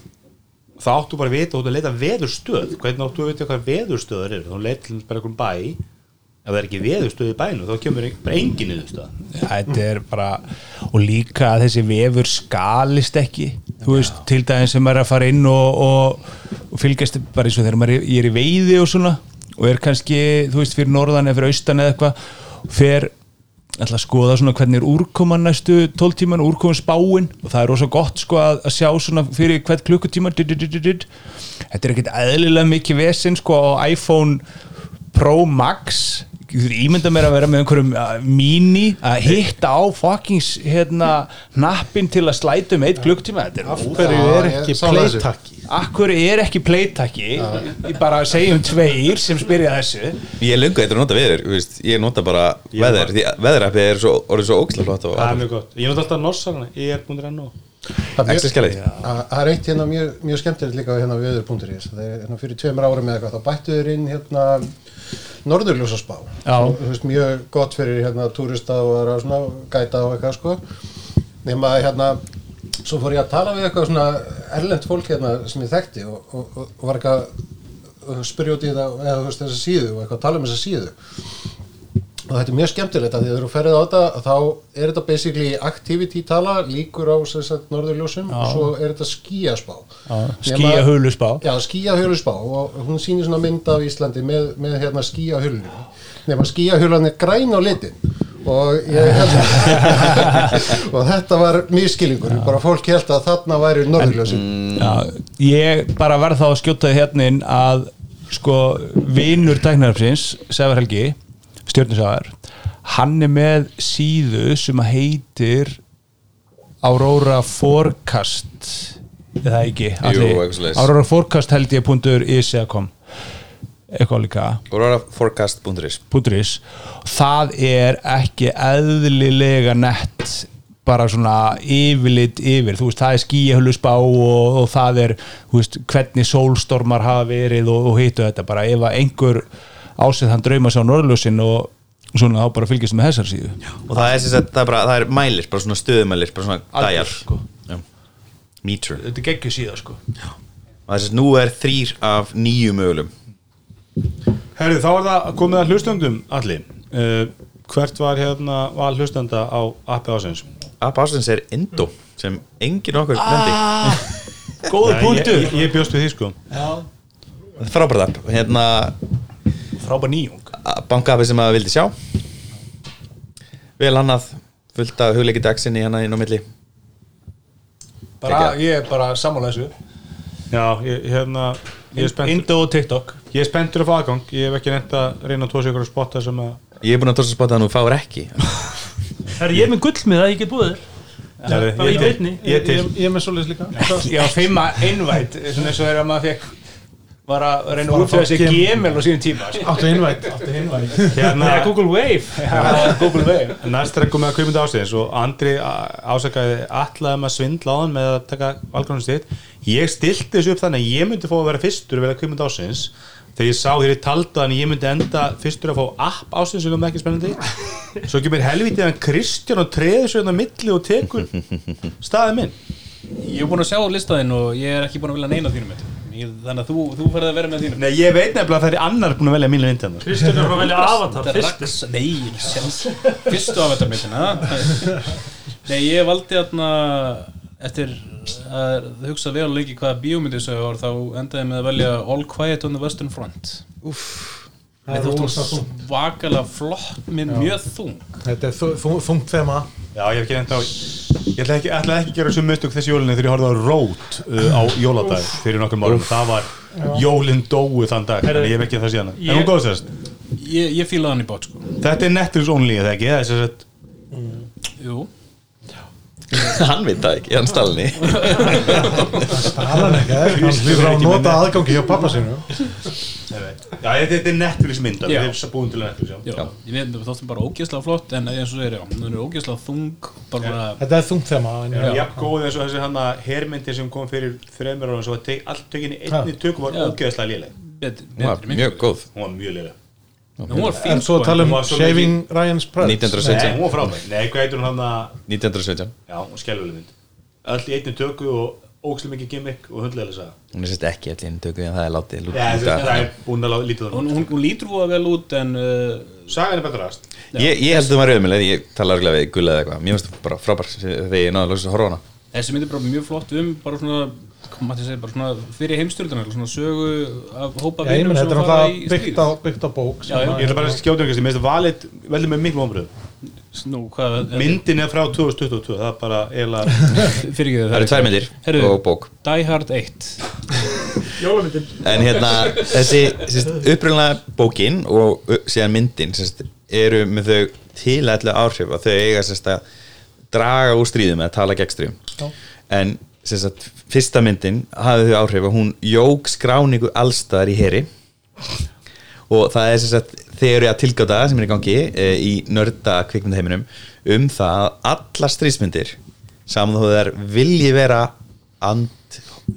[SPEAKER 2] þá áttu bara að vita, þú áttu að leita að veðurstöð hvernig áttu að vita hvað veðurstöður eru þú leitar til dæmis bara einhverjum bæ ef það er ekki veðurstöð í bænum þá kemur ein- bara engin niðurstöð
[SPEAKER 4] Þetta er bara og líka að þessi vefur skalist ekki þú veist, til dæmis sem maður er að fara inn og, og, og fylgjast bara eins og þegar maður er, ég er í veiði og svona og er kannski, þú veist, fyrir norðan eða fyrir austan eða eitthvað fer ætla að skoða svona hvernig er úrkoman næstu 12 tíman, úrkoman spáin og það er rosa gott sko að, að sjá svona fyrir hvert klukkutíma did, did, did, did. þetta er ekkit eðlilega mikið vesinn sko á iPhone Pro Max Ég getur ímynda mér að vera með einhverjum uh, mini að hitta á fuckings hérna hnappin til að slæta um eitt klukktíma þetta er ótrúlega
[SPEAKER 5] Hverju er
[SPEAKER 7] Já, ég
[SPEAKER 5] ekki
[SPEAKER 7] sá það þessu.
[SPEAKER 5] playtaki?
[SPEAKER 4] Akkur er ekki playtaki ég bara segjum tveir sem spyrja þessu
[SPEAKER 3] ég er lungu eitthvað að nota veður, þú veist, ég nota bara veður, því að veðurappið er svo, orðið svo óksla flott
[SPEAKER 2] það er
[SPEAKER 3] og
[SPEAKER 2] mjög gott, ég nota alltaf norsarna ég er búin að renna
[SPEAKER 7] það er
[SPEAKER 3] ekstra skellið
[SPEAKER 7] Það það er eitt hérna mjög, mjög skemmtilegt líka hérna við öður.is það er hérna fyrir tveimur árum eða eitthvað þá bættu þeir inn hérna norðurljósaspá
[SPEAKER 4] Já.
[SPEAKER 7] Sem, þú veist, mjög gott fyrir hérna túrista og aðra svona gæta og eitthvað sko nema að hérna svo fór ég að tala við eitthvað svona erlend fólk hérna sem ég þekkti og, og, og, og var eitthvað að spyrja út í það eða þú veist þessa síðu og eitthvað að tala um þessa síðu og þetta er mjög skemmtilegt að því að þegar þú ferðið á þetta þá er þetta basically activity tala líkur á sem sagt, norðurljósum og svo er þetta skíaspá
[SPEAKER 4] skýja hulusbá
[SPEAKER 7] já, skíahöluspá og hún sýnir svona mynd af Íslandi með, með hérna skíahölunni nema skíahölan er græn á litin og ég held og þetta var miskilingur bara fólk held að þarna væri norðurljósin
[SPEAKER 4] Já, ég bara verð þá að skjóta þið hérna inn að sko vinnur tæknaröfsins Sefar Helgi, stjórninsafar hann er með síðu sem að heitir Aurora Forecast eða ekki Atli?
[SPEAKER 3] eitthvað svoleiðis.
[SPEAKER 4] Aurora Forecast held ég punktur is eða kom eitthvað líka
[SPEAKER 3] Aurora Forecast.is
[SPEAKER 4] .is það er ekki eðlilega nett bara svona yfirlit yfir, þú veist, það er skíahölusbá og, og það er, þú veist, hvernig sólstormar hafa verið og, og hittu þetta bara, ef að einhver ásett hann drauma sér á norðljósin og svona þá bara fylgjast með þessar síðu
[SPEAKER 3] og það er, sem sagt, það, er bara, það er mælir, bara svona stöðumælir bara svona
[SPEAKER 4] Aldur,
[SPEAKER 3] dæjar
[SPEAKER 4] sko.
[SPEAKER 3] Já. meter
[SPEAKER 4] Þetta geggjur síða, sko
[SPEAKER 3] og þess að nú er þrýr af nýju mögulum
[SPEAKER 2] Herðu, þá er það komið að hlustendum allir uh, hvert var hérna val hlustenda á appi ásins
[SPEAKER 3] App Ásins er Indo sem engin okkur nefndi
[SPEAKER 4] Góður
[SPEAKER 2] ég,
[SPEAKER 4] punktur,
[SPEAKER 2] ég, ég bjóst við því sko
[SPEAKER 3] frábært app hérna
[SPEAKER 4] frábær nýjung
[SPEAKER 3] bankappi sem að vildi sjá vel annað fullt af hugleiki dagsinni hérna inn á milli
[SPEAKER 4] bara, Ég er bara sammála þessu
[SPEAKER 2] Já, ég, hérna, ég er spenntur
[SPEAKER 4] Indo og TikTok
[SPEAKER 2] Ég er spenntur að fá aðgang, ég hef ekki reynd að reyna að tósa ykkur að spotta sem að
[SPEAKER 3] ég er búin að tósa spotta að nú fáir ekki
[SPEAKER 6] Herri, ég er með gullmiða, ég get búið þér
[SPEAKER 2] Herðu,
[SPEAKER 6] Bara í
[SPEAKER 2] ég,
[SPEAKER 6] beinni.
[SPEAKER 2] ég, ég er til
[SPEAKER 5] Ég, ég er með svoleiðis líka
[SPEAKER 4] Já, fimma innvætt svona eins og þegar maður fekk var að reyna að útfæða sér
[SPEAKER 5] fólk kem-
[SPEAKER 4] gemel á sínum tíma sko.
[SPEAKER 5] Áttu innvægt Áttu innvægt
[SPEAKER 6] Það
[SPEAKER 2] hérna,
[SPEAKER 6] er Google Wave
[SPEAKER 4] Já, Google Wave
[SPEAKER 2] Næst er að koma að kvikmynda ásins og Andri a- ásakaði allaðum að svindla á hann með að taka valgrunum sitt Ég stilti þessu upp þannig að ég myndi fá að vera fyrstur að vera kvikmynda ásins þegar ég sá þegar ég taldi hann að ég myndi enda fyrstur að fá app ásins sem kom ekki spennandi Svo kemur helvítið hann Kristján og treður svo hérna á milli og tekur staðið minn
[SPEAKER 8] Ég er búin að sjá listaðinn og ég er ekki búin að vilja neina þínum mitt. ég, þannig að þú, þú færði að vera með þínum
[SPEAKER 2] Nei, ég veit nefnilega að það er annar búin að velja mínu vindjarnar
[SPEAKER 6] Kristján er að velja avatar fyrst
[SPEAKER 8] Drax, nei, sjans Fyrstu afvættarmyndina Nei, ég valdi hérna eftir að hugsa vel lengi hvaða bíómyndi þessu var þá endaði ég með að velja All Quiet on the Western Front
[SPEAKER 5] Það
[SPEAKER 8] Mér
[SPEAKER 5] er
[SPEAKER 8] þótti hún
[SPEAKER 5] rosa þungt.
[SPEAKER 8] svakalega flott minn mjög þung
[SPEAKER 5] Þetta er þu- þu- þungt þema
[SPEAKER 2] Já, ég hef ekki reynd á Ég ætla ekki, ætla ekki að gera sömu mistök þessi jólinni þegar ég horfði á Rót uh, á jóladag fyrir nokkrum árum, það var jólin dóu þann dag,
[SPEAKER 6] Herru,
[SPEAKER 2] þannig ég hef ekki það síðan
[SPEAKER 6] ég-
[SPEAKER 2] En hún góð sérst,
[SPEAKER 8] Ég, ég fílaði hann í bát sko
[SPEAKER 2] þetta er Netflix only eða ekki, það er sérst
[SPEAKER 8] Jú,
[SPEAKER 3] Hann veit það ekki, hann stalinni
[SPEAKER 5] Alan ekki, hann hlýður á að nota aðgangi hjá pappa sinu
[SPEAKER 2] Já, þetta þetta er Netflix mynda,
[SPEAKER 8] Já.
[SPEAKER 2] þetta er svo búin til að Netflix já.
[SPEAKER 8] já, ég veit, við þóttum bara ógeðslega flott en eins og þeir, já, hún er ógeðslega þung bara svona,
[SPEAKER 5] Þetta er þungt þema en- uh,
[SPEAKER 2] Já, jafn góð eins og þessi hann að hermyndi sem kom fyrir þreymur ára og svo að tek, allt tökinn í einni tökum var
[SPEAKER 8] Já.
[SPEAKER 2] ógeðslega léleg
[SPEAKER 8] betri,
[SPEAKER 3] Hún var
[SPEAKER 8] betri mynd,
[SPEAKER 3] mjög
[SPEAKER 8] sko.
[SPEAKER 3] góð
[SPEAKER 2] Hún var mjög léleg
[SPEAKER 8] En Hún var
[SPEAKER 5] En
[SPEAKER 8] fín
[SPEAKER 5] svo
[SPEAKER 8] sko,
[SPEAKER 5] tala um
[SPEAKER 2] Hún var svo
[SPEAKER 5] Shaving Ryan's Price
[SPEAKER 3] 1917
[SPEAKER 2] Nei, hún var frábæð Nei, hvað heitir hún hann að
[SPEAKER 3] 1917
[SPEAKER 2] Já, og skelvuleg mynd Öll í einni tökku og ókslega mikið gimmick og hundlega saga
[SPEAKER 3] Hún er sérst ekki allir inn tökum en það er látið lúta
[SPEAKER 2] Já,
[SPEAKER 3] út af-
[SPEAKER 2] það er búin að láta lítið
[SPEAKER 8] hún,
[SPEAKER 2] hún
[SPEAKER 8] hún, hún lítur fóða vel út en uh,
[SPEAKER 2] Sagan er betra rast
[SPEAKER 3] Ég, ég held að maður auðvitað, ég tala örgulega við gulla eða eitthvað, mér finnst það bara frábær þegar ég náði að loksins að horfa á hana
[SPEAKER 8] þessi mynd er bara mjög flott um bara svona, hvað maður til að segja, bara svona fyrir heimstyrlunar, svona sögu af hópa
[SPEAKER 5] Já, ég
[SPEAKER 8] vinum
[SPEAKER 5] meina,
[SPEAKER 8] sem
[SPEAKER 5] þetta er
[SPEAKER 8] fara í
[SPEAKER 5] náttúrulega byggt á,
[SPEAKER 8] stríð.
[SPEAKER 5] byggt á bók sko. sem
[SPEAKER 8] Já, já.
[SPEAKER 5] að-
[SPEAKER 2] Ég ætla bara að skjóta einhverjum, mér finnst að valið veldur með miklu ombröð
[SPEAKER 8] Nú, hvað,
[SPEAKER 2] Myndin er frá 2022, það er bara eiginlega
[SPEAKER 8] fyrir ekki þau
[SPEAKER 3] Það eru tvær myndir
[SPEAKER 8] Herru.
[SPEAKER 3] og bók
[SPEAKER 8] Die Hard 1
[SPEAKER 6] Jólamyndin
[SPEAKER 3] En hérna, þessi sérst, upprunlega bókin og ö, síðan myndin sérst, eru með þau tilætlu áhrif að þau eiga sérst, að draga úr stríðum eða tala gegn stríðum En sérst, að fyrsta myndin hafði þau áhrif að hún jók skráningu allstaðar í heri og það er sem sagt þeirri að tilgáta sem er í gangi e, í nörda kvikmyndaheiminum um það að allar strísmyndir saman þó þær vilji vera and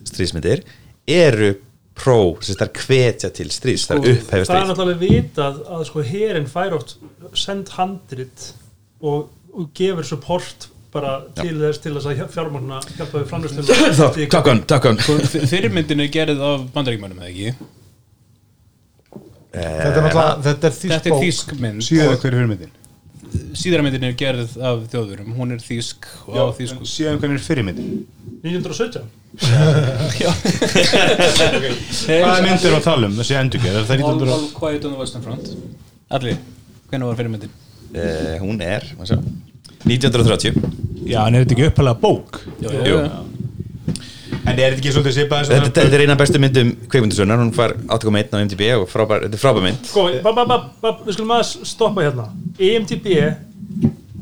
[SPEAKER 3] strísmyndir eru pró, sem sagt þær hvetja til strís, þær upphefja
[SPEAKER 6] það er
[SPEAKER 3] strís
[SPEAKER 6] náttúrulega vitað að sko herin fær oft send handrit og, og gefur support bara til þess til þess að fjármagna hjálpa við framlöstum
[SPEAKER 3] Takk hann, takk hann
[SPEAKER 8] Fyrirmyndin er gerð af bandaríkmönnum, eða ekki?
[SPEAKER 5] Þetta er náttúrulega, þetta er þýsk
[SPEAKER 8] Þetta er
[SPEAKER 5] bók
[SPEAKER 8] þýsk mynd
[SPEAKER 2] Síðan hverju fyrir myndin
[SPEAKER 8] Síðara myndin er gerð af þjóðurum Hún er þýsk og á þýsku
[SPEAKER 2] Síðan hverju er fyrir myndin
[SPEAKER 6] 1917
[SPEAKER 2] Hvaða mynd er að tala um þessi endurgerð? Er það
[SPEAKER 8] All,
[SPEAKER 2] 1900
[SPEAKER 8] all Quiet on the Western Front Alli, hvernig var fyrirmyndin?
[SPEAKER 3] e, Hún er, má sjá 1930
[SPEAKER 2] Já, en er þetta ekki uppalega bók?
[SPEAKER 8] Jú,
[SPEAKER 3] Jú.
[SPEAKER 2] En er þetta ekki svolítið sipað eins og
[SPEAKER 3] þetta, þetta er eina bestu myndum kvikmyndasunnar, hún far 8.1 á MDB og frábær, þetta er frábær mynd
[SPEAKER 6] sko, ba, ba, ba, ba, við skulum að stoppa hérna EMTB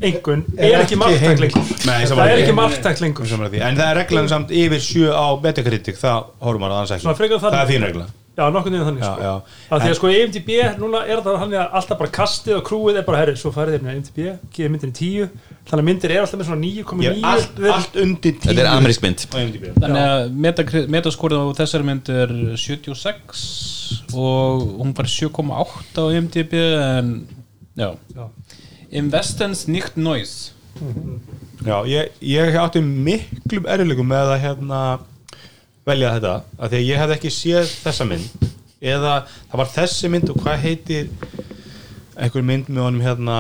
[SPEAKER 6] engun er,
[SPEAKER 5] Er
[SPEAKER 6] ekki
[SPEAKER 5] ekki
[SPEAKER 6] marktæk
[SPEAKER 5] heimild.
[SPEAKER 6] lengur
[SPEAKER 2] Nei,
[SPEAKER 6] það
[SPEAKER 2] sammála.
[SPEAKER 6] er ekki marktæk lengur
[SPEAKER 2] Sammála því. En það er reglan samt yfir sjö á betakritik Það horfum maður að hans
[SPEAKER 6] Svona
[SPEAKER 2] ekki
[SPEAKER 6] frekar þannig.
[SPEAKER 2] Það er þín regla
[SPEAKER 6] já, nokkur niður þannig
[SPEAKER 2] Já,
[SPEAKER 6] sko.
[SPEAKER 2] já.
[SPEAKER 6] að því
[SPEAKER 2] En-
[SPEAKER 6] að sko EMTB núna er það hann að alltaf bara kastið og krúið er bara herri, svo farið þeirna EMTB, gefið myndinni 10 þannig að myndir er alltaf með svona 9,9
[SPEAKER 2] Ég er allt,
[SPEAKER 6] við-
[SPEAKER 2] allt undir tíu
[SPEAKER 3] Þetta er amerísk mynd
[SPEAKER 2] á IMDb.
[SPEAKER 8] Þannig að metakri- metaskorið á þessari mynd er 76 og hún var 7,8 á IMDb en já
[SPEAKER 6] Já.
[SPEAKER 8] Investens nicht noise
[SPEAKER 2] Já, ég, ég átti miklum erfilegum með að hérna, velja þetta af því að ég hef ekki séð þessa mynd eða það var þessi mynd og hvað heitir einhver mynd með honum hérna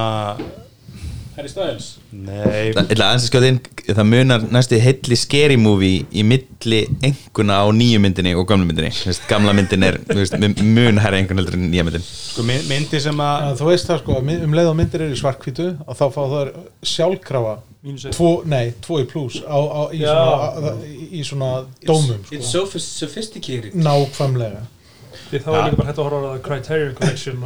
[SPEAKER 8] Harry Styles
[SPEAKER 2] nei,
[SPEAKER 3] Það, ætla aðeins að skjóta inn, það munar næstu heilli scary movie í milli enguna á nýju myndinni og gamla myndinni Vist, gamla myndin er þú veist, mun- mun hærri engun heldur en nýja myndin
[SPEAKER 2] sko, mynd, myndi sem að
[SPEAKER 5] En þú veist það sko, að mi- um leið og myndir eru í svarkvítu og þá fá það sjálfkrafa
[SPEAKER 6] Mínus eitt.
[SPEAKER 5] tvo, nei, tvo í pluss á, á, í,
[SPEAKER 6] Já.
[SPEAKER 5] svona, á- á, í, í svona dómum sko.
[SPEAKER 8] so sophisticated
[SPEAKER 5] nákvæmlega
[SPEAKER 6] Því þá er líka bara hægt að horfa á það Criterion Collection og...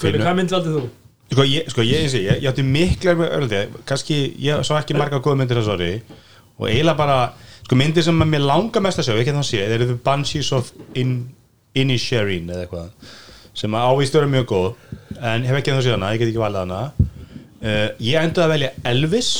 [SPEAKER 6] Fyrir, hvað myndir aldrei þú?
[SPEAKER 2] sko, ég, sko, ég, eins og ég, ég átti miklar með örlítið, kannski ég sá ekki marga góða myndir þess ári og eiginlega bara, sko myndir sem að mér langar mest að sjá, ekki þannig að sé, þeir eru The Banshees of In Inisherin eða eitthvað, sem að ávist vera mjög góð, en hef ekki þannig að sé hana ég get ekki valið hana uh, ég endaði að velja Elvis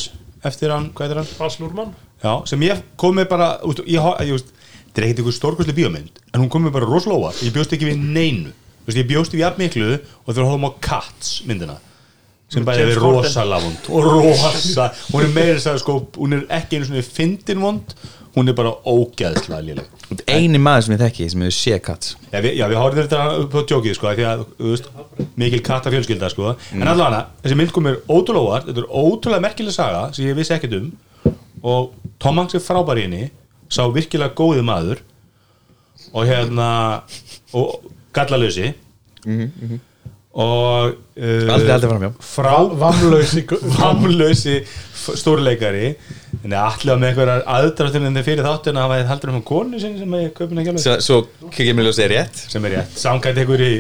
[SPEAKER 2] eftir hann, hvað er hann?
[SPEAKER 6] Bas Lúrmann?
[SPEAKER 2] Já, sem ég kom með bara út, ég, ho- ég, veist, þetta er ekkert einhver stórkostlega bíómynd en hún kom með bara rosalóa, ég bjóst ekki við neinu Þú veist, ég bjóst við jafn miklu og þegar hóðum á Cats myndina sem bæði
[SPEAKER 6] James
[SPEAKER 2] verið
[SPEAKER 6] Corden.
[SPEAKER 2] rosa lavond og rosa, hún er meira þess að sko hún er ekki einu svona fyndin vond hún er bara ógeðslega léleg
[SPEAKER 3] eini maður sem ég þekki sem hefur séð katt
[SPEAKER 2] Já, við, já, við horfum þetta upp á djókið sko, af því að, þú veist, mikil katta fjölskylda sko.
[SPEAKER 3] Mm.
[SPEAKER 2] en allavega, þessi mynd kom mér ótrúlega óvart þetta er ótrúlega merkileg saga sem ég vissi ekkert um og Tom Hanks er frábær í henni sá virkilega góði maður og hérna og gallalösi og uh,
[SPEAKER 3] Mhm, Aldrei haldið framhjá.
[SPEAKER 2] frá vamlösi vamlösi f- stórleikari en allavega með einhverjar aðdraftin en þeir fyrir þáttin að hafa haldur um konu sinni sem ég kaupin ekki alveg
[SPEAKER 3] svo, svo kikið mér ljósið rétt
[SPEAKER 2] sem er rétt, samkvæmt einhver í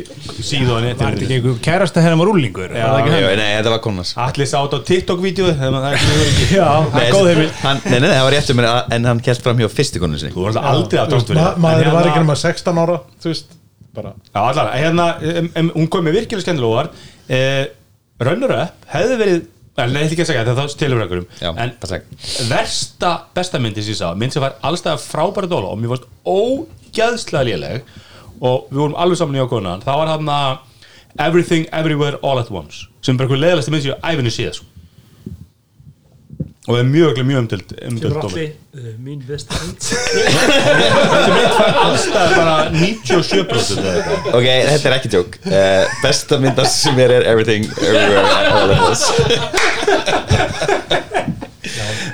[SPEAKER 2] síðu og netinu
[SPEAKER 4] Einhver Kærasta hérna hennar var úlingur
[SPEAKER 2] Já.
[SPEAKER 3] Jú, nei, þetta var konas
[SPEAKER 2] Allir sátt á TikTok-vídeóð þegar maður það er ekki verið
[SPEAKER 4] Já, það er góð heimil
[SPEAKER 3] hann, nei, nei, nei, það var rétt um mér en hann kælt fram hjá fyrstu konu sinni
[SPEAKER 2] Þú var alltaf aldrei að dótt
[SPEAKER 5] Ma maður var ekki nema 16 ára þú veist, bara
[SPEAKER 2] Já, allar, hérna, em, em, hún kom með virkilega skemmtilega óvart eh, Runner Up hefði verið eh, Nei, þetta ekki að segja, þetta þá stilur við
[SPEAKER 3] Já,
[SPEAKER 2] einhverjum
[SPEAKER 3] það
[SPEAKER 2] En versta, besta myndi sem ég sá Mynd sem var allstæða frábæra dóla Og mér varst ógeðslega léleg Og við vorum alveg saman í okkurna Það var þarna Everything, Everywhere, All at Once Sem er bara einhver leiðalasti mynd sem ég á æfinni séð sko. Og það er mjög, mjög umdild
[SPEAKER 6] Kemur
[SPEAKER 2] Umdild dómur
[SPEAKER 6] allir uh, mín besta mynd
[SPEAKER 2] allstað bara 97% eða eitthvað.
[SPEAKER 3] ok, þetta er ekki tjók uh, besta myndast sem mér er Everything Everywhere All of Us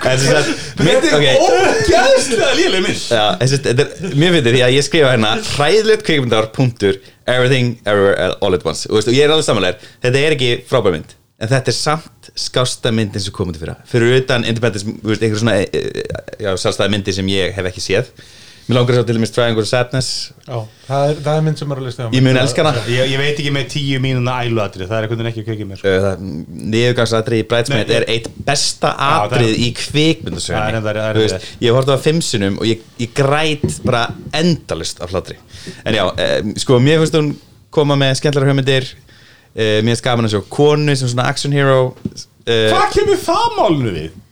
[SPEAKER 3] en sem sagt mynd, ok
[SPEAKER 2] ógæðslega léleg mynd
[SPEAKER 3] Já, en sem sagt, þetta er, mér finnir því að ég skrifa hérna hræðilegt kvikmyndar punktur everything, everywhere, uh, all at once og, veist, og ég er alveg samanlegar, þetta er ekki frábær mynd en þetta er samt skásta myndin sem komið til fyrir fyrir utan independence, þú veist, einhver svona eh, eh, já, sjálfstæða myndi sem ég hef ekki séð mér langar að sjá til dæmis Triangle of Sadness
[SPEAKER 5] já, það er, það er mynd sem er að lista
[SPEAKER 3] ég mun elska hana
[SPEAKER 2] ég, ég veit ekki með tíu mínuna æluatri það er einhvern veginn ekki að kveikið mér sko.
[SPEAKER 3] niðurgangsatrið Eh, í Bridesmaid
[SPEAKER 2] Nei, ég-
[SPEAKER 3] er eitt besta
[SPEAKER 2] Já, það er-
[SPEAKER 3] atrið
[SPEAKER 2] Það
[SPEAKER 3] í
[SPEAKER 2] er-
[SPEAKER 3] kvikmyndasögunni
[SPEAKER 2] það er- það er-
[SPEAKER 3] Þú veist, ég horfði á fimm sinnum og ég, ég græt bara endalust af hlátri en já, um, sko, mér finnst hún koma með skemmtlar hugmyndir uh, mér finnst gaman að sjá konu sem svona action hero uh,
[SPEAKER 2] hvað kemur það málinu við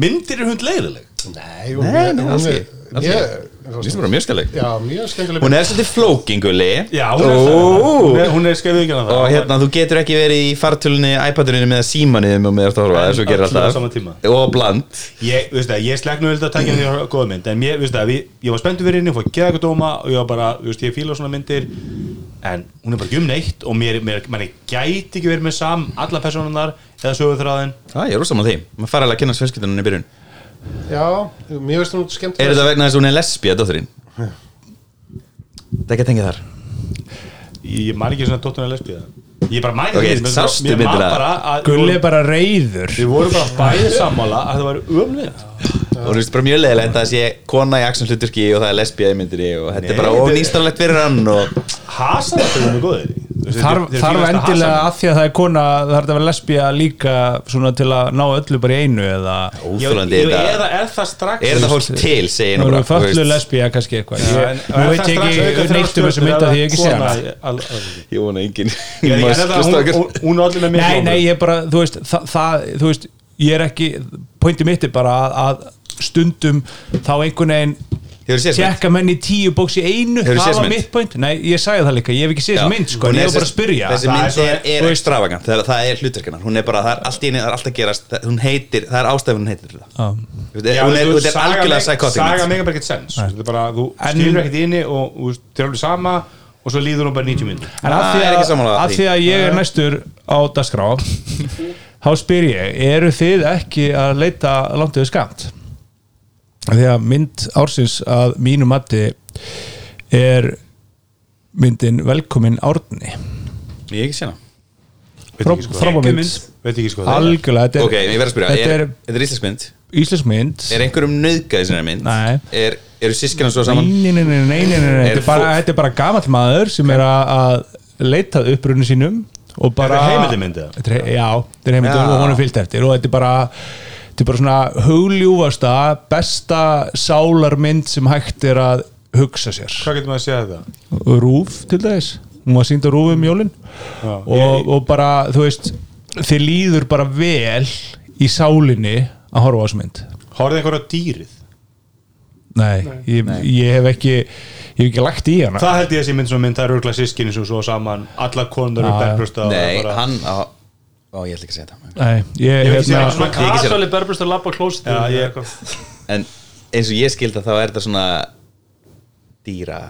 [SPEAKER 2] myndir er hund leiðileg
[SPEAKER 7] Nei, hún,
[SPEAKER 3] Nei, nei,
[SPEAKER 7] hún-
[SPEAKER 3] alls
[SPEAKER 7] hún-
[SPEAKER 3] ekki, alls
[SPEAKER 7] ég-
[SPEAKER 3] mér finnst hún bara mjög skemmtileg
[SPEAKER 7] Já, mjög skemmtileg
[SPEAKER 3] hún er svolítið flókinguli
[SPEAKER 2] já hún er,
[SPEAKER 3] Ó.
[SPEAKER 2] hún er, hún er skefið ekki að það
[SPEAKER 3] og hérna þú getur ekki verið í fartölunni iPadunni með símanuðum og með að horfa þessu gerir
[SPEAKER 2] öllu á
[SPEAKER 3] alltaf
[SPEAKER 2] sama tíma.
[SPEAKER 3] og bland
[SPEAKER 2] ég, þú veist það, ég slekk nú veldig að taka því að góða mynd en ég, þú veist það, ég, ég var spenntur fyrir henni ég fór að geða eitthvað dóma og ég var bara, þú veist, ég fíla svona myndir en hún er bara ekki um neitt og mér, mér, mér gæti ekki verið með sam alla personunar eða sögurþráðin
[SPEAKER 3] Já, ég er rosamann því, maður fara alveg að kynna svölskyldunum í byrjun
[SPEAKER 7] Já, mjög veist hún skemmtileg
[SPEAKER 3] Er þetta vegna þess að hún er lesbía, dótturinn? Það er ekki að tengja þar
[SPEAKER 2] ég, ég man ekki svona dóttunar lesbíða ég bara man ekki
[SPEAKER 3] Ok,
[SPEAKER 2] því, mér-
[SPEAKER 3] sástu
[SPEAKER 2] mér man
[SPEAKER 3] myndina?
[SPEAKER 2] bara að-
[SPEAKER 4] Gulli er bara reyður
[SPEAKER 2] Við vorum bara bæðið sammála að það um var umlind
[SPEAKER 3] Og þú veist bara mjög leiðilegt að það sé kona í aksum hluturki og það er lesbía í myndinni og þetta
[SPEAKER 2] Nei,
[SPEAKER 3] er bara
[SPEAKER 2] þetta er-
[SPEAKER 3] ónýstarlegt fyrir hann og
[SPEAKER 2] Hasarðar er góðir í. Þú veist,
[SPEAKER 4] Þarf,
[SPEAKER 2] þeir- þeir
[SPEAKER 4] þarf
[SPEAKER 2] fílast að
[SPEAKER 4] endilega
[SPEAKER 2] hasa.
[SPEAKER 4] að því að það er kona þarf þetta að vera lesbía líka svona til að ná öllu bara í einu eða
[SPEAKER 3] óþúlandi
[SPEAKER 2] Jú,
[SPEAKER 3] þetta
[SPEAKER 2] Eða er það strax
[SPEAKER 3] Er þetta fólk til, segi ég
[SPEAKER 4] Nú
[SPEAKER 3] nú bara
[SPEAKER 4] erum
[SPEAKER 3] þú
[SPEAKER 4] föllu
[SPEAKER 3] veist.
[SPEAKER 4] lesbía kannski eitthvað
[SPEAKER 2] Já,
[SPEAKER 4] Ég-
[SPEAKER 2] en-
[SPEAKER 4] Nú
[SPEAKER 2] er
[SPEAKER 4] veit
[SPEAKER 2] það strax
[SPEAKER 4] ég
[SPEAKER 2] auka þrjár
[SPEAKER 4] ekki neitt um þessu
[SPEAKER 2] stjörnur
[SPEAKER 4] mynda
[SPEAKER 2] eða
[SPEAKER 4] því ég hef ekki sé
[SPEAKER 2] kona
[SPEAKER 4] hana
[SPEAKER 2] í- al- al-
[SPEAKER 3] Ég vona engin
[SPEAKER 2] Ég er ekki að það,
[SPEAKER 3] Hlusta
[SPEAKER 2] hún-
[SPEAKER 3] okkur.
[SPEAKER 2] hún- Hún er allir með mér
[SPEAKER 4] Nei, nei, ég bara, þú veist, það, það þú veist, ég er ekki, pointi mitt er bara að, að stundum þá einhvern veginn
[SPEAKER 3] Hefur séð þetta?
[SPEAKER 4] tjekka menn í tíu bóks í einu
[SPEAKER 3] Hefurðu séð
[SPEAKER 4] það
[SPEAKER 3] þessa
[SPEAKER 4] var
[SPEAKER 3] mynd?
[SPEAKER 4] mitt point, nei, ég sagði það líka ég hef ekki séð
[SPEAKER 3] Já.
[SPEAKER 4] þessi mynd, sko,
[SPEAKER 3] Hún
[SPEAKER 4] en
[SPEAKER 3] er
[SPEAKER 4] ég var bara að
[SPEAKER 3] sess-
[SPEAKER 4] spyrja
[SPEAKER 3] Þessi
[SPEAKER 4] Það
[SPEAKER 3] mynd
[SPEAKER 4] svo-
[SPEAKER 3] er, er
[SPEAKER 4] þú veist-
[SPEAKER 3] extravagant, það, það er hluturkinn hún er bara, það er allt í henni, það er allt að gerast það- hún heitir, það er ástæðun hún heitir til það.
[SPEAKER 4] Já.
[SPEAKER 3] Þú veist, hún er, hún er algjörlega psychotic
[SPEAKER 2] Saga
[SPEAKER 3] mynd.
[SPEAKER 2] mega bara ekkert sens Þetta er bara, þú
[SPEAKER 4] En-
[SPEAKER 2] skilur ekkert inni og þú veist, þeir eru alveg sama og svo líður hún bara 90 minn
[SPEAKER 4] en að
[SPEAKER 3] Ah,
[SPEAKER 4] því
[SPEAKER 3] ég er ekki
[SPEAKER 4] að,
[SPEAKER 3] sammála
[SPEAKER 4] að,
[SPEAKER 3] því. Ah.
[SPEAKER 4] því að ég er næstur á dagskrá þá spyr ég, eru þið ekki að leita langt yfir skamt því að mynd ársins að mínu mati er myndin velkomin árni
[SPEAKER 3] Ég hef ekki séð hana
[SPEAKER 4] frábæð mynd
[SPEAKER 2] sko. Veit ekki sko það er.
[SPEAKER 4] algjörlega, þetta er,
[SPEAKER 3] Ok, ég verð að spyrja,
[SPEAKER 4] þetta
[SPEAKER 3] er,
[SPEAKER 4] er,
[SPEAKER 3] þetta er íslensk mynd
[SPEAKER 4] íslensk mynd
[SPEAKER 3] Er einhverjum nöðgæði sinna mynd?
[SPEAKER 4] Nei.
[SPEAKER 3] er, Eru sískina svo
[SPEAKER 4] nei,
[SPEAKER 3] saman?
[SPEAKER 4] nei, nei, nei, nei, nei, nei.
[SPEAKER 3] Er
[SPEAKER 4] Þetta, er bara,
[SPEAKER 3] fólk-
[SPEAKER 4] þetta er bara gamall maður sem er að, að leita að upprunni sínum og
[SPEAKER 2] Er
[SPEAKER 4] bara
[SPEAKER 2] þetta heimildamynd eða?
[SPEAKER 4] Þetta er- Já, þetta er heimildamynd
[SPEAKER 3] Já.
[SPEAKER 4] og hún er fyllt eftir og þetta er bara þetta er bara svona hugljúfasta besta sálarmynd sem hægt er að hugsa sér
[SPEAKER 2] Hvað getur maður að segja þetta?
[SPEAKER 4] Rúf til dæs hún var sínd á Rúf um jólin og, og bara, þú veist þið líður bara vel í sálinni að horfa á þessu mynd
[SPEAKER 2] Horfðu einhver á dýrið
[SPEAKER 4] Nei, Ég, ég hef ekki ég hef ekki lagt í hana
[SPEAKER 2] Það held ég að þessi mynd svona mynd, það eru örgla sískinni sem svo saman Alla konur eru
[SPEAKER 4] Já, já.
[SPEAKER 2] berbrjósta og
[SPEAKER 3] Nei,
[SPEAKER 2] bara-
[SPEAKER 3] hann á, Ó, ég ætla ekki að segja þetta
[SPEAKER 4] Nei, ég,
[SPEAKER 6] Það er
[SPEAKER 4] hérna,
[SPEAKER 6] svona
[SPEAKER 3] Ég ekki séð-
[SPEAKER 6] kasali berbrist að labba klósit
[SPEAKER 2] Já, ég-
[SPEAKER 3] En eins og ég skildi þá er þetta svona dýra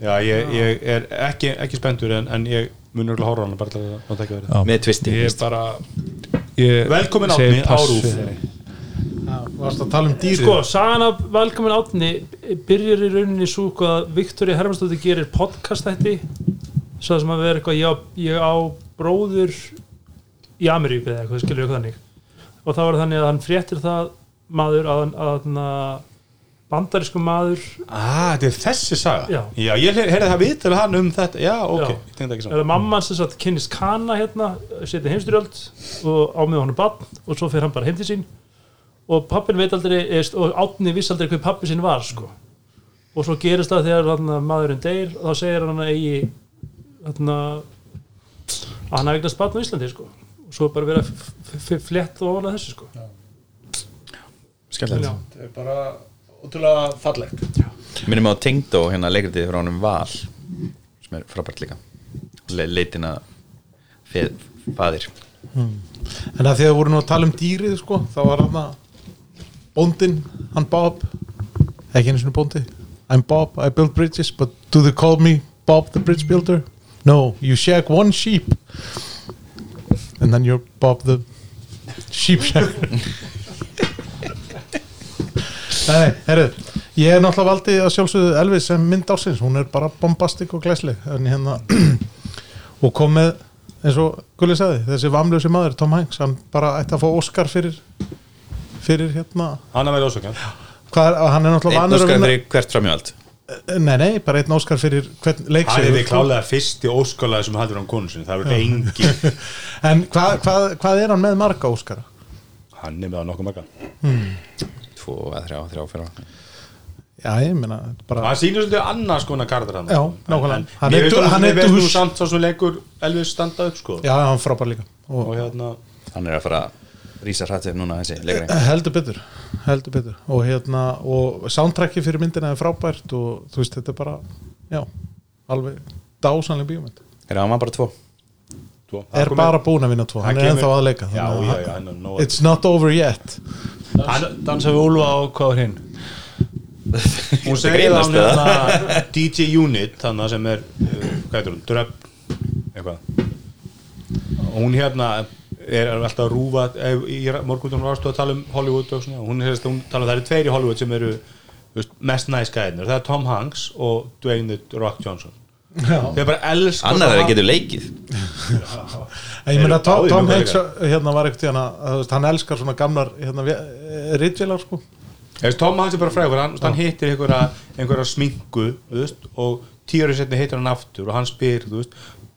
[SPEAKER 2] Já, ég, ég er ekki, ekki spendur en, en ég mun örgulega horfa á hana bara til að að tekja verið
[SPEAKER 4] Já.
[SPEAKER 3] með tvisti
[SPEAKER 4] ég bara ég
[SPEAKER 2] Velkomin
[SPEAKER 4] segi
[SPEAKER 2] Árni á
[SPEAKER 4] pass
[SPEAKER 2] RÚV.
[SPEAKER 4] fyrir þeirri.
[SPEAKER 5] varst að tala um dýri
[SPEAKER 6] Sko, sagan af Velkomin átni byrjar í rauninni svo hvað Viktoria Hermansdóttir gerir podcast þætti svo sem að vera eitthvað ég á, ég á bróður í Ameríku eða eitthvað, skilur við þannig og þá var þannig að hann fréttir það maður að, að, að bandarísku maður
[SPEAKER 2] Ah, þetta er þessi saga
[SPEAKER 6] Já.
[SPEAKER 2] ég heyrði heyrði það viðtölu hann um þetta Já, ok,
[SPEAKER 6] Já.
[SPEAKER 2] ég tengdi ekki
[SPEAKER 6] eða
[SPEAKER 2] saman
[SPEAKER 6] mamman sem satt kynnist Kana hérna setja heimstyrjöld og á með honum bann og svo fer hann bara heim til sín og pappin veit aldrei eðst, og átni viss aldrei hver pappi sín var sko. og svo gerist það þegar hann, maðurinn deyr og þá segir hann að eigi hann að hann hafi eignast bann á Íslandi sko. og svo er bara verið að f- f- fletta ofan að þessu sko.
[SPEAKER 3] Skellilegt.
[SPEAKER 6] Já.
[SPEAKER 5] það er bara ótrúlega fallegt
[SPEAKER 3] Minnum á Tengdó, hérna leikritið frá honum Val sem er frábært líka Le leitina feð, faðir
[SPEAKER 5] en að því að voru nú að tala um dýrið sko, þá var hann að bóndin, hann Bob ekki einu sinni bóndi I'm Bob, I build bridges, but do they call me Bob the bridge builder? No, you shag one sheep and then you're Bob the sheep shag Nei, nei, herru ég er náttúrulega valdið að sjálfsögðu Elvis sem mynd ásins, hún er bara bombastik og glæsleg en hérna og kom með, eins og Gulli sagði þessi vamlösi maður, Tom Hanks hann bara ætti að fá Oscar fyrir fyrir hérna,
[SPEAKER 2] Hanna verið ósökan
[SPEAKER 5] hvað er, hann er náttúrulega
[SPEAKER 3] Einn
[SPEAKER 5] vanur að
[SPEAKER 3] óskar
[SPEAKER 5] vinna, Eh,
[SPEAKER 3] fyrir hvert framjöld
[SPEAKER 5] nei nei, bara einn Oscar fyrir hvern
[SPEAKER 2] Hann er
[SPEAKER 5] leiksegur
[SPEAKER 2] því klálega fyrsti óskalega sem haldur án konu sinni Það er engi
[SPEAKER 5] en hvað hva, hva er hann með marga Oscara?
[SPEAKER 2] Hann er með það nokkuð marga
[SPEAKER 3] Tvo að þrjá, þrjá fyrir
[SPEAKER 5] já, ég meina, þetta er bara
[SPEAKER 2] Hann sýnir svolítið annars konar kardur hann
[SPEAKER 5] Já, nákvæmlega. Hann
[SPEAKER 2] Hann
[SPEAKER 5] er
[SPEAKER 2] er
[SPEAKER 5] dú- hann
[SPEAKER 2] Hann
[SPEAKER 5] er
[SPEAKER 2] er þú
[SPEAKER 5] dús.
[SPEAKER 2] samt svo sem leikur Elvis standa upp sko
[SPEAKER 5] já, hann er frábær líka og,
[SPEAKER 2] Og hérna
[SPEAKER 3] Hann er að fara að rísa hrættið núna þessi leikari
[SPEAKER 5] heldur betur, heldur betur og hérna, og soundtracki fyrir myndina er frábært og þú veist, þetta er bara já, alveg dásanlega bíómynd
[SPEAKER 3] Er hann var bara tvo
[SPEAKER 2] tvo. Það
[SPEAKER 5] er
[SPEAKER 2] komið-
[SPEAKER 5] bara búin að vinna tvo, hann,
[SPEAKER 2] Hann
[SPEAKER 5] er
[SPEAKER 2] kemur-
[SPEAKER 5] ennþá að leika
[SPEAKER 2] Já, já,
[SPEAKER 5] þannig að hann-
[SPEAKER 2] já, hann er nóg
[SPEAKER 5] It's not over yet
[SPEAKER 4] Dansa- dansa við Úlfa og hvað var hinn
[SPEAKER 2] Hún segir að
[SPEAKER 3] grínast,
[SPEAKER 2] hún er hérna DJ Unit þannig að sem er, uh, hvað heitir hún, Dröpp eitthvað Og hún hérna er alltaf að rúfa ef, í morgundum varstu að tala um Hollywood og svona, hún, hefst, hún tala um það eru tveir í Hollywood sem eru þú veist, mest næs gæðinir, það er Tom Hanks og Dwayne The Rock Johnson þau bara elskar Tom
[SPEAKER 3] Annar er að
[SPEAKER 2] Hanks.
[SPEAKER 3] getur leikið
[SPEAKER 5] En Ég meina
[SPEAKER 2] Eru
[SPEAKER 5] Tom,
[SPEAKER 2] báðir
[SPEAKER 5] Tom
[SPEAKER 2] með
[SPEAKER 5] Hanks
[SPEAKER 2] leikar?
[SPEAKER 5] hérna var ekkert hérna, að, hann elskar svona gamlar hérna, ritvilar sko
[SPEAKER 2] Þú veist, Tom Hanks er bara frægur, hann, hann hittir einhverja, einhverja sminku þú veist, og tíu árið setni hittir hann aftur og hann spyr, þú veist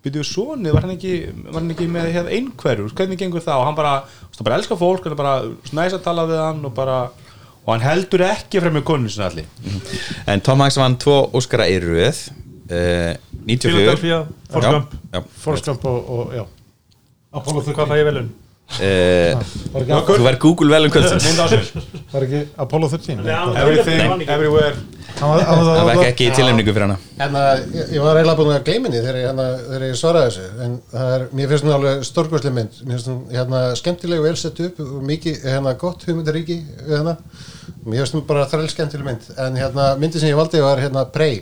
[SPEAKER 2] byrjuðu sonið, var hann ekki, var hann ekki með hérna, einhverjur, hvernig gengur það og hann bara, þú veist, hann bara elskar fólk, hann er bara snæs að tala við hann og bara og hann heldur ekki frem með konu sinna allir
[SPEAKER 3] En Tom Hanks vann tvo óskara í röð uh, 94
[SPEAKER 6] Philadelphia, Forrest Gump.
[SPEAKER 5] Forrest Gump og, og já Apollo
[SPEAKER 6] hvað fæ ég velun?
[SPEAKER 3] uh,
[SPEAKER 5] var ekki,
[SPEAKER 3] Þú verð Google um velum kvöldsins
[SPEAKER 2] Mynd á sér,
[SPEAKER 5] var ekki Apollo 13 Nei,
[SPEAKER 2] everything, everywhere
[SPEAKER 5] hann var- hann
[SPEAKER 3] Það
[SPEAKER 5] var-
[SPEAKER 3] var ekki í tilhemningu fyrir hana
[SPEAKER 7] En að, Hérna, ég, ég var eiginlega búin að gleyma henni þegar ég, hérna, þegar ég svaraði þessu en það er, mér finnst hún alveg stórkvæsli mynd mér finnst hún hérna, skemmtileg og vel sett upp og mikið hérna, gott hugmyndaríki við hérna. mér finnst hún bara þræl skemmtileg mynd en hérna, myndi sem ég valdi var hérna, Prey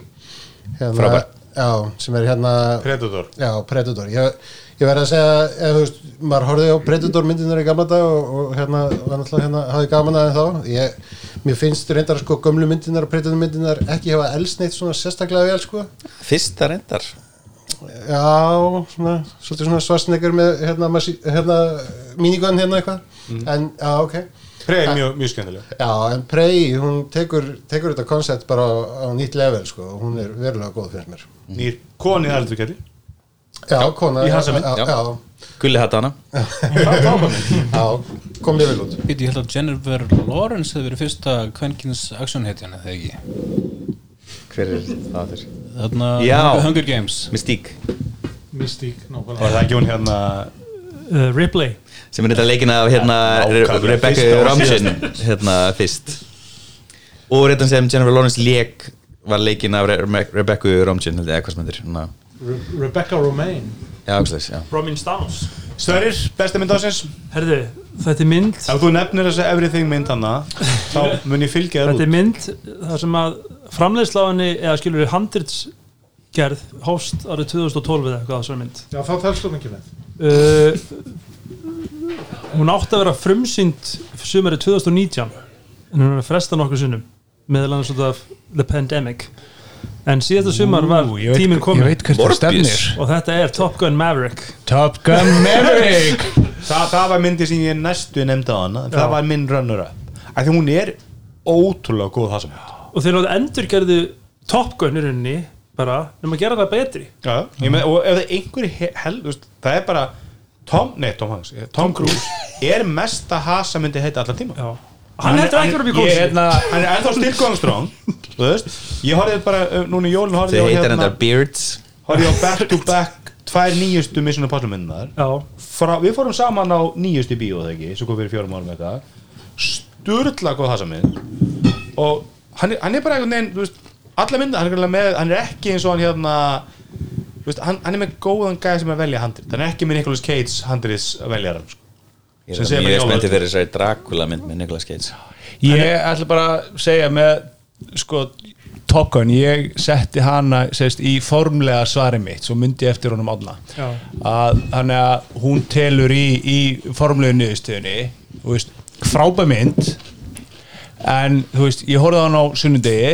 [SPEAKER 7] hérna,
[SPEAKER 3] Frábær.
[SPEAKER 7] já, sem er hérna
[SPEAKER 2] Predator
[SPEAKER 7] já, Predator ég, ég verði að segja, eða, þú veist, maður horfði á Predator myndinar í gamla dag og, og hérna, var náttúrulega hérna, hafði gaman aðeins þá ég, mér finnst reyndar sko gömlu myndinar og Predator myndinar ekki hafa elsneitt svona sérstaklega vel sko
[SPEAKER 3] Fyrsta reyndar
[SPEAKER 7] Já, svona, svolítið svona svarsnekkar með hérna, massi, hérna minigun hérna eitthvað
[SPEAKER 2] Mhm.
[SPEAKER 7] en, já, ok
[SPEAKER 2] Preið mjög, mjög skemmtileg
[SPEAKER 7] Já, en Prey, hún tekur, tekur þetta koncept bara á, á nýtt level, sko og hún er verulega góð fyrir mér
[SPEAKER 2] Nýr konið aldrei kæri
[SPEAKER 7] Já, kona
[SPEAKER 2] í hans að mynd,
[SPEAKER 7] já,
[SPEAKER 3] já.
[SPEAKER 7] já,
[SPEAKER 3] Gulli hatt hana
[SPEAKER 7] já, kom mjög vel út
[SPEAKER 8] Býti, ég held að Jennifer Lawrence hefði verið fyrsta kvenkins actionhetjan eða ekki
[SPEAKER 3] Hver er það þurr?
[SPEAKER 8] þarna
[SPEAKER 3] Já.
[SPEAKER 8] Hunger- Hunger Games
[SPEAKER 3] Mystík
[SPEAKER 5] Mystík, nákvæmlega
[SPEAKER 2] Var það ekki hún hérna
[SPEAKER 6] Uh, Ripley
[SPEAKER 3] sem er þetta leikin af hérna, Re-
[SPEAKER 2] nákvæmlega.
[SPEAKER 3] Rebecca
[SPEAKER 2] Fyrsta og
[SPEAKER 3] Ramsey hérna fyrst og reyndan sem Jennifer Lawrence leik var leikin af Re Re- Rebecca Ramsey held ég, eða hvað sem hendur
[SPEAKER 5] Re Rebecca Romaine
[SPEAKER 3] já, áksleis, já.
[SPEAKER 6] Romin Stowns
[SPEAKER 2] Störir, besta mynd ásins
[SPEAKER 6] Herðu, þetta er mynd
[SPEAKER 2] Ef þú nefnir þessa everything mynd hana þá mun ég fylgja þér
[SPEAKER 6] Þetta
[SPEAKER 2] út
[SPEAKER 6] er mynd þar sem að framleiðsláðinni eða skilur við handritsgerð hófst árið 2012 eða eitthvað svona mynd
[SPEAKER 5] Já, þá telst þú mikið með
[SPEAKER 6] uh, hún átti að vera frumsýnd sumarið 2019 en hún er frestað nokkur sinnum meðal annars út af the pandemic en síðasta sumar var
[SPEAKER 4] Ú, ég veit-
[SPEAKER 6] tíminn
[SPEAKER 4] Ég
[SPEAKER 6] komið
[SPEAKER 4] veit hvert það stefnir
[SPEAKER 6] og þetta er Top Gun Maverick
[SPEAKER 4] Top Gun Maverick
[SPEAKER 2] Þa, Það var myndi sem ég næstu nefndi á hana
[SPEAKER 6] Já.
[SPEAKER 2] það var minn runner up Af Því hún er ótrúlega góð það sem mynd
[SPEAKER 6] og þeir náttúrulega endurgerðu Top Gun í rauninni bara nema að gera það betri
[SPEAKER 2] Já, ég með, og ef það er einhverju he- hel, þú veist, það er bara Tom, nei Tom Hanks, eh, Tom Cruise er mesta hasa myndi heita allar tíma
[SPEAKER 6] Já. hann heldur ekki að vera mjög
[SPEAKER 2] ég-
[SPEAKER 6] góð
[SPEAKER 2] hérna- Hann er ennþá stilgóðanstrón Þú veist, ég horfði bara eh, núna í jólun horfði
[SPEAKER 3] Þau
[SPEAKER 2] ég á,
[SPEAKER 3] heitir
[SPEAKER 2] hérna,
[SPEAKER 3] hendar Beards
[SPEAKER 2] horfði ég á back to back tvær nýjustu Mission Impossible myndunar
[SPEAKER 6] Já,
[SPEAKER 2] Frá, Við fórum saman á nýjustu bíó þegar ekki sem kom fyrir fjórum árum eitthvað Sturla góð hasa mynd og hann er, hann er bara einhvern veginn þú veist, alla mynda, hann er, greinilega með, hann er ekki eins og hann hérna þú veist, hann, hann er með góðan gæð sem er að velja handrit hann er ekki með Nicolas Cage handrits að velja hann sko.
[SPEAKER 3] Ég
[SPEAKER 2] Sem
[SPEAKER 3] er
[SPEAKER 2] segir mér
[SPEAKER 3] mjög
[SPEAKER 2] Jólfur.
[SPEAKER 3] spenntið fyrir þessari Dracula mynd með Nicolas Cage
[SPEAKER 4] Ég ætla bara að segja með sko Top Gun, ég setti hana segist, í formlega svari mitt svo myndi ég eftir honum átna
[SPEAKER 6] Já.
[SPEAKER 4] að hann er að hún telur í, í formlegu niðurstöðunni þú veist, frábæ mynd en þú veist, ég horfði á hann á sunnudegi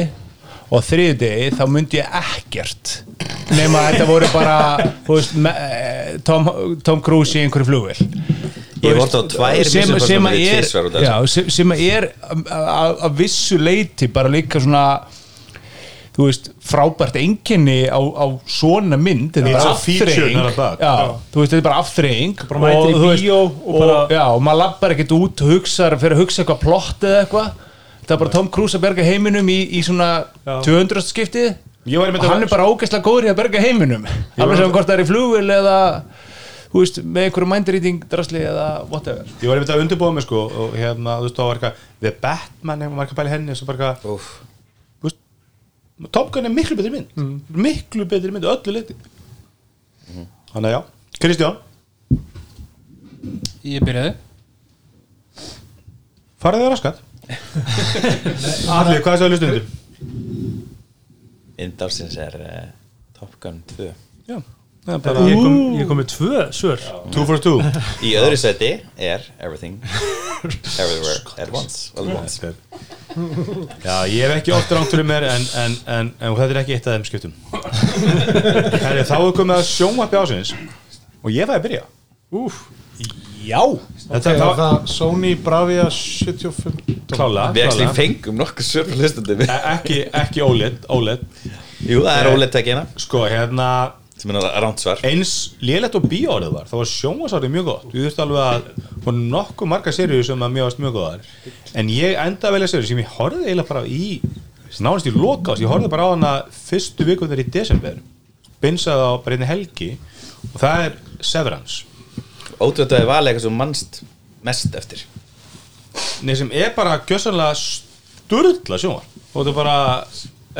[SPEAKER 4] og þriðudegi þá myndi ég ekkert nema að þetta voru bara þú veist, me, eh, Tom, Tom Cruise í einhverju flugvill
[SPEAKER 3] Ég vorst á tvær
[SPEAKER 4] sem,
[SPEAKER 3] Mission
[SPEAKER 4] sem,
[SPEAKER 3] Impossible
[SPEAKER 4] að er,
[SPEAKER 3] tvisvar sko. út af þessu.
[SPEAKER 4] já, sem, sem að er að- að að vissu leiti bara líka svona þú veist, frábært enginni á, á svona mynd þetta er
[SPEAKER 2] It's
[SPEAKER 4] bara
[SPEAKER 2] a feature,
[SPEAKER 4] afþreying
[SPEAKER 2] not a bug.
[SPEAKER 4] já, þú veist, þetta er bara afþreying
[SPEAKER 6] Bara mætir í
[SPEAKER 4] þú veist,
[SPEAKER 6] bíó og bara-
[SPEAKER 4] já, og maður lappar ekkert út og hugsar fyrir að hugsa eitthvað plott eða eitthvað það er bara Tom Cruise að berga heiminum í, í svona
[SPEAKER 6] Já.
[SPEAKER 4] 200 skiptið
[SPEAKER 2] Ég var einmitt
[SPEAKER 4] og
[SPEAKER 2] að-
[SPEAKER 4] hann er bara ógeðslega góður í að berga heiminum alveg sem hvort það er í flugvil eða þú veist, með einhverju mindreading drasli eða whatever
[SPEAKER 2] ég var einmitt að undirbúa mig sko og hérna, þú veist, þá var eitthvað The Batman, ef maður ekki að pæla í henni svo bara eitthvað
[SPEAKER 3] Úff.
[SPEAKER 2] þú veist, Top Gun er miklu betri mynd
[SPEAKER 4] Mm.
[SPEAKER 2] miklu betri mynd, öllu liti þannig að já, Kristján
[SPEAKER 8] Ég byrjaði
[SPEAKER 2] farið þið raskat Allir, hvað er það að lusta undir?
[SPEAKER 3] Indarsins er uh, Top Gun 2
[SPEAKER 2] Já, það er bara
[SPEAKER 6] ég kom, ég kom með tvö svör
[SPEAKER 2] Two for two
[SPEAKER 3] Í öðru seti er Everything Everywhere At Once All at Once
[SPEAKER 2] Já, ég hef ekki oft rangt fyrir mér en, en, en, en þetta er ekki eitt af þeim skiptum Herri, þá er komið að sjónvarpi ásins og ég fæði að byrja Úf, já Þetta
[SPEAKER 5] Það
[SPEAKER 2] okay,
[SPEAKER 5] var
[SPEAKER 2] þá,
[SPEAKER 5] það Sony Bravia 75
[SPEAKER 2] klála,
[SPEAKER 3] Við ekki
[SPEAKER 2] klála.
[SPEAKER 3] fengum nokkuð sörf hlustandi
[SPEAKER 2] E- ekki, ekki OLED, OLED
[SPEAKER 3] Jú, það er óleitt ekki hérna
[SPEAKER 2] Sko, hérna
[SPEAKER 3] sem er ránt svar
[SPEAKER 2] eins lélegt og bíórið var þá var sjónvarsárið mjög gott við þurftum alveg að voru nokkuð marga seríu sem að mjög varst mjög góðar en ég enda að velja seríu sem ég horfði eiginlega bara í nánast í lokás, ég horfði bara á hana fyrstu vikum þegar í desember binsaði á bara einni helgi og það er Severance
[SPEAKER 3] Ótrúðaði valið eitthvað sem mannst mest eftir
[SPEAKER 2] Nei, sem er bara gjössanlega sturðla sjónvar og þetta er bara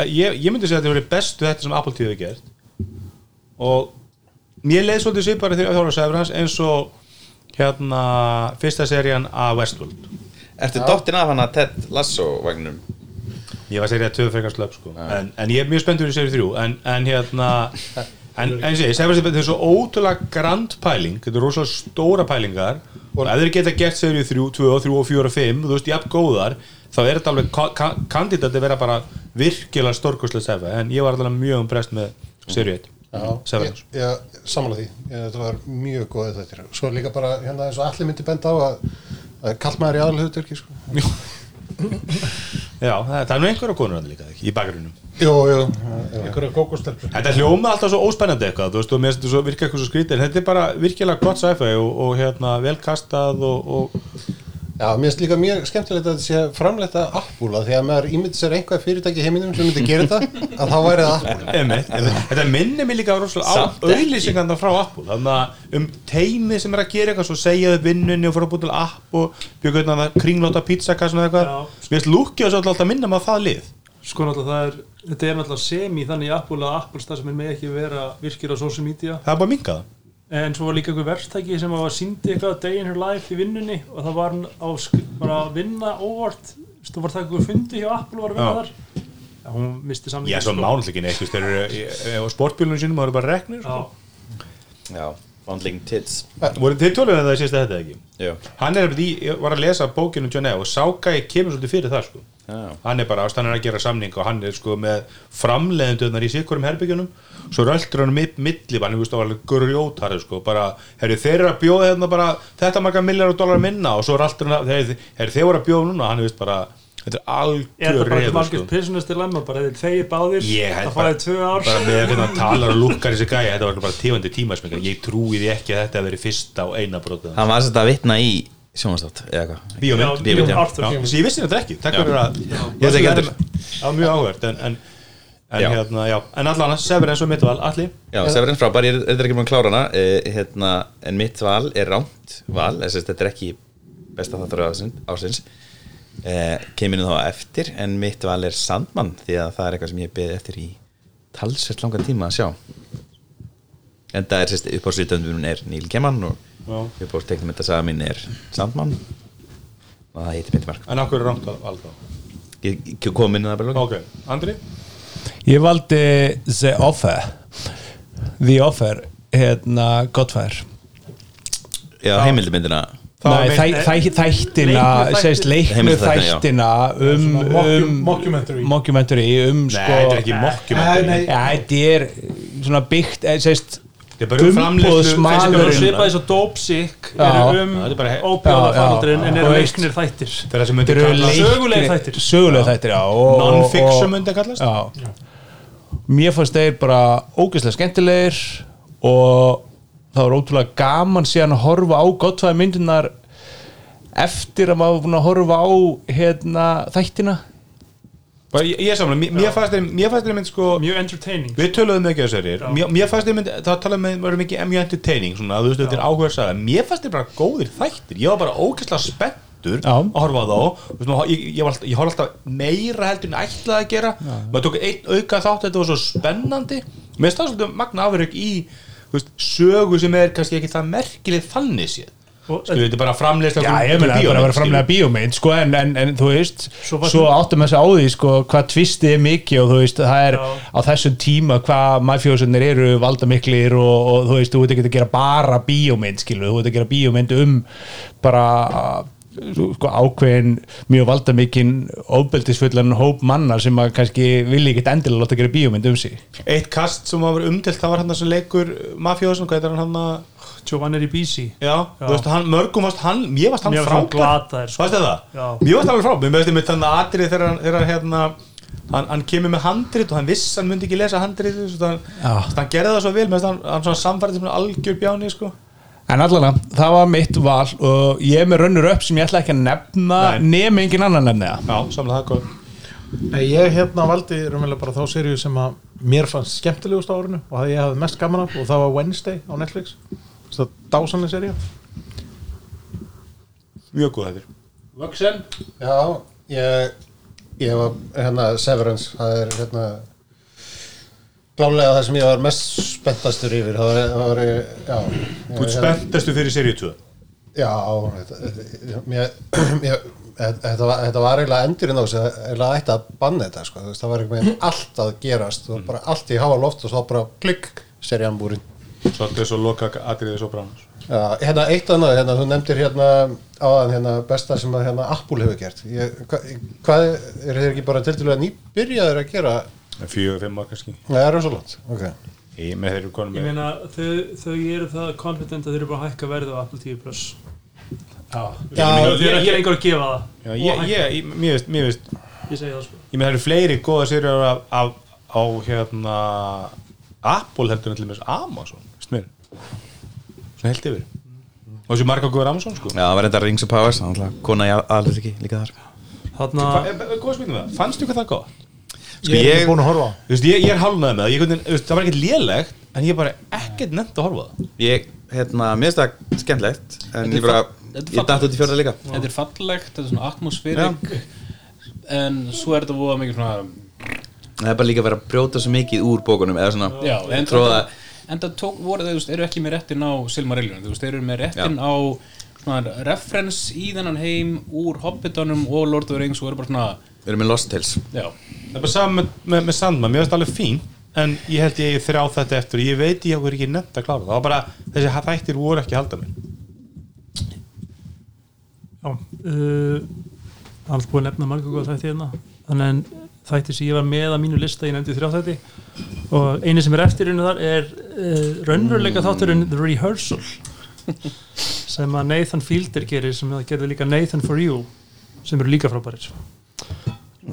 [SPEAKER 2] eh, ég, ég myndi segja að þetta verið bestu þetta sem Apple TV hefur gert og mér leið svolítið sér bara þegar Þóra Severans eins og hérna fyrsta serían að Westworld
[SPEAKER 3] Ertu dottinn af hana Ted Lasso vagnum?
[SPEAKER 2] ég var serið að töðu frekar slöpp sko en, en ég er mjög spenntur í serið þrjú en, en hérna en, en sé, ég segi þetta er svo ótrúlega grand pæling þetta er rosalega stóra pælingar og ef þeir geta gert serið þrjú, tvö og þrjú og fjör og fimm þú veist, jafn góðar þá er þetta alveg ka- ka- kandidat að vera bara virkilega stórkoslega sefa en ég var alveg mjög umbreyst með serið
[SPEAKER 7] ég, ég, samanlega því, ég, þetta var mjög góðið þetta svo líka bara hérna eins og allir myndi benda á að, að kallmaður í aðalhugdurki sko.
[SPEAKER 2] já, það, það er nú einhverja konur hann líka ekki, í bakgrunum
[SPEAKER 7] jú, jú, já, já.
[SPEAKER 5] Einhverja kókostelpur
[SPEAKER 2] Þetta hljóma alltaf svo óspennandi eitthvað þú veist, og mér finnst þetta svo virka eitthvað svo skrítið en þetta er bara virkilega gott sci-fi og, og hérna, velkastað og, og
[SPEAKER 7] já, mér finnst líka mjög skemmtilegt að þetta sé framleitt að appúla því að maður ímyndi sér einhvað fyrirtæki í heiminum sem myndi gera þetta, að þá væri það appúla
[SPEAKER 2] Einmitt, einmitt. þetta minnir mér líka rosalega á
[SPEAKER 3] Samt ekki.
[SPEAKER 2] auðlýsingarna frá Apple þannig að um teimi sem er að gera eitthvað svo segja þau vinnunni og fór að búið til app og bjögur hérna að kringlóta pizzakassin og eitthvað
[SPEAKER 6] Já.
[SPEAKER 2] mér finnst lúkja þessu alltaf að minna maður það lið
[SPEAKER 6] Sko náttúrulega það er, þetta er náttúrulega semi þannig í Apple að Apple starfsmenn með ekki vera virkir á social media
[SPEAKER 2] það er bara minkað
[SPEAKER 6] en svo var líka einhver verstæki sem var síndi eitthvað Day in her life í vinnunni og það var hann á, sk- var að vinna óvart þú var það eitthvað fundi hjá Apple og var að vinna
[SPEAKER 2] Já.
[SPEAKER 6] þar já, hún sko. misti samlingi
[SPEAKER 2] Já, svo mánleikin eitthvað, þeir eru eh, á sportbílunum sínum og eru bara reknir sko.
[SPEAKER 6] já,
[SPEAKER 3] Já, Bundling Tits
[SPEAKER 2] Voru þið tölum en það sést að þetta ekki
[SPEAKER 3] Já,
[SPEAKER 2] Hann er, í- ég var að lesa bókinu John E og Sákai kemur svolítið fyrir það sko
[SPEAKER 3] já,
[SPEAKER 2] Hann er bara ástæðan að gera samning og hann er sko með framleiðendunar í sikkurum herbygjunum svo röldur hann mitt milli hann er veist, það var alveg grjótarður sko bara, herri, þeir eru að bjóða hérna bara þetta marga milljara dólar minna og svo röldur hann herri, herri, þeir voru að bjóða núna, hann er veist bara þetta er
[SPEAKER 6] er
[SPEAKER 2] algjör
[SPEAKER 6] það bara
[SPEAKER 2] reyður
[SPEAKER 6] margir
[SPEAKER 2] sko
[SPEAKER 6] sko. prisonist dilemma bara þeir þegir báðir
[SPEAKER 2] Ég held
[SPEAKER 6] það fæði tvö ár
[SPEAKER 2] bara með hvernig hann talar og lukkar þessi gæja þetta var bara tífandi tímasmengar ég trúi því ekki að þetta hafi verið fyrsta og eina brotið
[SPEAKER 3] hann var svolítið að vitna í sjónastátt eða hvað
[SPEAKER 2] bíómynd
[SPEAKER 6] já,
[SPEAKER 3] Bíómynd, já.
[SPEAKER 6] Arthur.
[SPEAKER 2] Já, þessi ég vissi þetta ekki takk
[SPEAKER 3] Já.
[SPEAKER 2] fyrir að
[SPEAKER 3] Ég vissi ekki heldur.
[SPEAKER 2] það var mjög áhverð en, en, en
[SPEAKER 3] Já.
[SPEAKER 2] hérna já en allan að Severins og Midtval allir
[SPEAKER 3] Já, Severin frábær, ég er þetta er ekki búin að klára hana eh, hérna, en mitt val er rámt val, þess að þetta er ekki besta þáttur ársins, ársins. Eh, kemur nú þá eftir, en mitt val er Sandmann, því að það er eitthvað sem ég beði eftir í talsvert langan tíma að sjá en það er sérst uppáðsriðtöndunum er Níl Kemann og uppáðsteknum þetta saga mín er Sandmann og það heitir mitt verk
[SPEAKER 2] en af hverju er rangt að valda
[SPEAKER 3] ég, ég kom inn að það bara lóka
[SPEAKER 2] ok Andri
[SPEAKER 4] Ég valdi The Offer The Offer hérna Godfire
[SPEAKER 3] Já, heimildumyndina
[SPEAKER 2] Það var
[SPEAKER 4] Nei,
[SPEAKER 2] meir-
[SPEAKER 4] þæ, þæ, þættina
[SPEAKER 6] Leiknu þætti-
[SPEAKER 4] segist leiknu
[SPEAKER 3] Heimildarþættina, já.
[SPEAKER 4] þættina um,
[SPEAKER 5] Svona mockum-
[SPEAKER 4] um
[SPEAKER 5] mockumentary.
[SPEAKER 4] mockumentary um
[SPEAKER 2] nei
[SPEAKER 4] sko
[SPEAKER 2] þetta er ekki mokkjum
[SPEAKER 5] Nei,
[SPEAKER 4] ja, þetta er svona byggt eh, segist
[SPEAKER 2] Þetta er bara um framleiðslu-
[SPEAKER 6] Það er
[SPEAKER 4] smalurinn
[SPEAKER 6] svipað eins og Dopesick
[SPEAKER 4] Já.
[SPEAKER 6] eru um
[SPEAKER 2] þetta er bara he-
[SPEAKER 4] Já,
[SPEAKER 6] óbjóðafaldurinn
[SPEAKER 4] já.
[SPEAKER 6] en
[SPEAKER 4] Og
[SPEAKER 6] eru
[SPEAKER 4] veist-
[SPEAKER 6] leiknir þættir
[SPEAKER 2] þeirra sem myndi
[SPEAKER 4] Þetta eru
[SPEAKER 2] kalla
[SPEAKER 6] leik-
[SPEAKER 4] leiknir
[SPEAKER 6] Sögulegir þættir.
[SPEAKER 4] sögulegir þættir já, og- og-
[SPEAKER 2] non-fiction myndi að kallast
[SPEAKER 4] já. mér fannst þeir bara ógeðslega skemmtilegir og það var ótrúlega gaman síðan að horfa á gottfæði myndunar eftir að maður var búin að horfa á hérna, þættina
[SPEAKER 2] Bara ég, ég samla mér- mér fannst þeir mér fannst þeir mynd sko
[SPEAKER 6] Mjög entertaining
[SPEAKER 2] Við töluðum ekki á þessari, mér, mér fannst ég myndi, það talaðum við varum ekki mjög entertaining, svona, þú veist, þetta er áhuga að sagða, mér fannst þið bara góðir þættir, ég var bara ógæslega spenntur
[SPEAKER 4] Já.
[SPEAKER 2] að horfa á þá, Þú veist, maður- ég, ég, var alltaf- ég horf alltaf meira heldur en ég ætlaði að gera, maður tók einn auka þátt, þetta var svo spennandi, mér finnst það svolítið magna afrök í, þú veist, sögu sem er kannski ekki það merkileg þannig séð,
[SPEAKER 6] Og-
[SPEAKER 2] skilu, þetta er bara framleiðslega
[SPEAKER 4] Já, ég meina, það er bara að vera framlega bíómynd sko, en, en, en þú veist,
[SPEAKER 6] Svo
[SPEAKER 4] svo,
[SPEAKER 6] var-
[SPEAKER 4] áttum þess að á því sko, hvað tvistið er mikið og þú veist, það er
[SPEAKER 6] Já.
[SPEAKER 4] á þessum tíma hvað mafjósunir eru valdamiklir og, og þú veist, þú veit ekki að gera bara bíómynd, skilu, þú veit að gera bíómynd um bara sko, ákveðin mjög valdamikinn ofbeldisfullan hóp manna sem að kannski vilja ekkert endilega láta gera bíómynd um sig
[SPEAKER 2] Eitt kast sem var umtilt, það var hann sem leikur mafjóðsson, hvað heitir hann hann að
[SPEAKER 6] Giovanni Ribisi
[SPEAKER 2] Já, þú veist, hann, mörgum varst hann, mér varst hann
[SPEAKER 6] Mér
[SPEAKER 2] frábær
[SPEAKER 6] fannst hann glataður, sko.
[SPEAKER 2] Varst það það?
[SPEAKER 6] Já.
[SPEAKER 2] Mér varst hann alveg frábær, mér varst einmitt þannig atrið þegar, hann- þegar hérna, hann, hann kemur með handrit og hann viss, hann myndi ekki lesa handrit svo hann,
[SPEAKER 4] Já.
[SPEAKER 2] svo hann gerði það svo vel, mér varst hann, hann svona samfærið sem algjör bjáni, sko
[SPEAKER 4] En allan, það var mitt val og ég er með rönnur upp sem ég ætla ekki að nefna nefn engin annan nefna það
[SPEAKER 2] Já, samlega það góð
[SPEAKER 5] Nei, ég hérna valdi raunverulega bara þá seríu sem að mér fannst skemmtilegust á árinu og það ég hafði mest gaman af og það var Wednesday á Netflix þess að dásanlega seríu
[SPEAKER 2] Mjög góð þetta
[SPEAKER 6] Vöxen
[SPEAKER 7] Já, ég, ég var hérna Severance, það er hérna klálega það sem ég var mest spenntastur yfir, það var, það var já. ég-
[SPEAKER 2] Þú ert spenntastu fyrir seríu 2
[SPEAKER 7] Já, þetta, mér, mér, þetta, var, þetta var eiginlega endurinn á þessu, eiginlega ætti að banna þetta, sko, þú veist, það var einhvern veginn allt að gerast og bara allt í háa loft og svo bara klikk, serían búrin.
[SPEAKER 2] Svolítið svo loka atriðið svo bránus
[SPEAKER 7] Já, hérna eitt annað, hérna, þú nefndir hérna áðan hérna besta sem að hérna Apple hefur gert. Ég, hva, hvað er þeir ekki bara tildulega nýbyrjaður að gera?
[SPEAKER 2] Fjögur, fimm ár kannski
[SPEAKER 7] Nei, það er svo langt. Ok.
[SPEAKER 2] Ég með þeir eru konum
[SPEAKER 6] Ég
[SPEAKER 2] með
[SPEAKER 6] meina, þau, þau eru það confident að þau eru bara að hækka verðið á Apple TV Plus
[SPEAKER 7] Já,
[SPEAKER 6] Þau eru ekki lengur að gefa
[SPEAKER 2] Já,
[SPEAKER 6] það
[SPEAKER 2] ég,
[SPEAKER 6] Og hækka.
[SPEAKER 2] ég, ég, mér veist, mér veist
[SPEAKER 6] Ég segi það sko
[SPEAKER 2] ég með það eru fleiri góða sérjur af, af, á hérna Apple heldur en til með Amazon veist mér svona held yfir og þessi marga góður Amazon sko
[SPEAKER 3] Já, það var þetta Rings of Powers, þannig að kona í aðlut ekki líka þar
[SPEAKER 6] Þarna
[SPEAKER 2] Hva- e- e- góð spurning með það, fannst þú hvað það gott?
[SPEAKER 3] Sko ég,
[SPEAKER 5] búin að horfa á
[SPEAKER 2] Þú veist, ég, ég er hálfnaði með það, ég, hvernig, veist, það var ekkert lélegt en ég er bara ekkert nefnt að horfa á það
[SPEAKER 3] ég, hérna, mér finnst það skemmtlegt En ég bara,
[SPEAKER 8] þetta er
[SPEAKER 3] ég datt út í fjörða líka
[SPEAKER 8] þetta er fallegt, þetta er svona atmosférik en svo er þetta voða mikið svona
[SPEAKER 3] Það er bara líka að vera að brjóta svo mikið úr bókunum Eða svona,
[SPEAKER 8] Já, en-
[SPEAKER 3] tróða
[SPEAKER 8] en það tók, voru, þeir, þú veist, eru ekki með réttin á Silmarillion, þú veist, þeir eru með réttin á svona reference í þennan heim úr Hobbitanum og Lord of the Rings og eru bara svona,
[SPEAKER 3] Við erum með Lost Tales
[SPEAKER 8] já,
[SPEAKER 2] Það er bara saman með, með, með Sandman, mér finnst það alveg fín En ég held ég eigi þrjá þetta eftir og Ég veit ég okkur ekki nefnt að klára það Það var bara, þessi þættir voru ekki að halda mér
[SPEAKER 6] Já, uh, alls búin að nefna margur góð þætti hérna þannig en þætti sem ég var með að mínu lista ég nefndi þrjá þætti og eini sem er eftirinu þar er uh, raunveruleika þátturinn The Rehearsal sem að Nathan Fielder gerir sem það gerði líka Nathan for You sem eru líka frábærir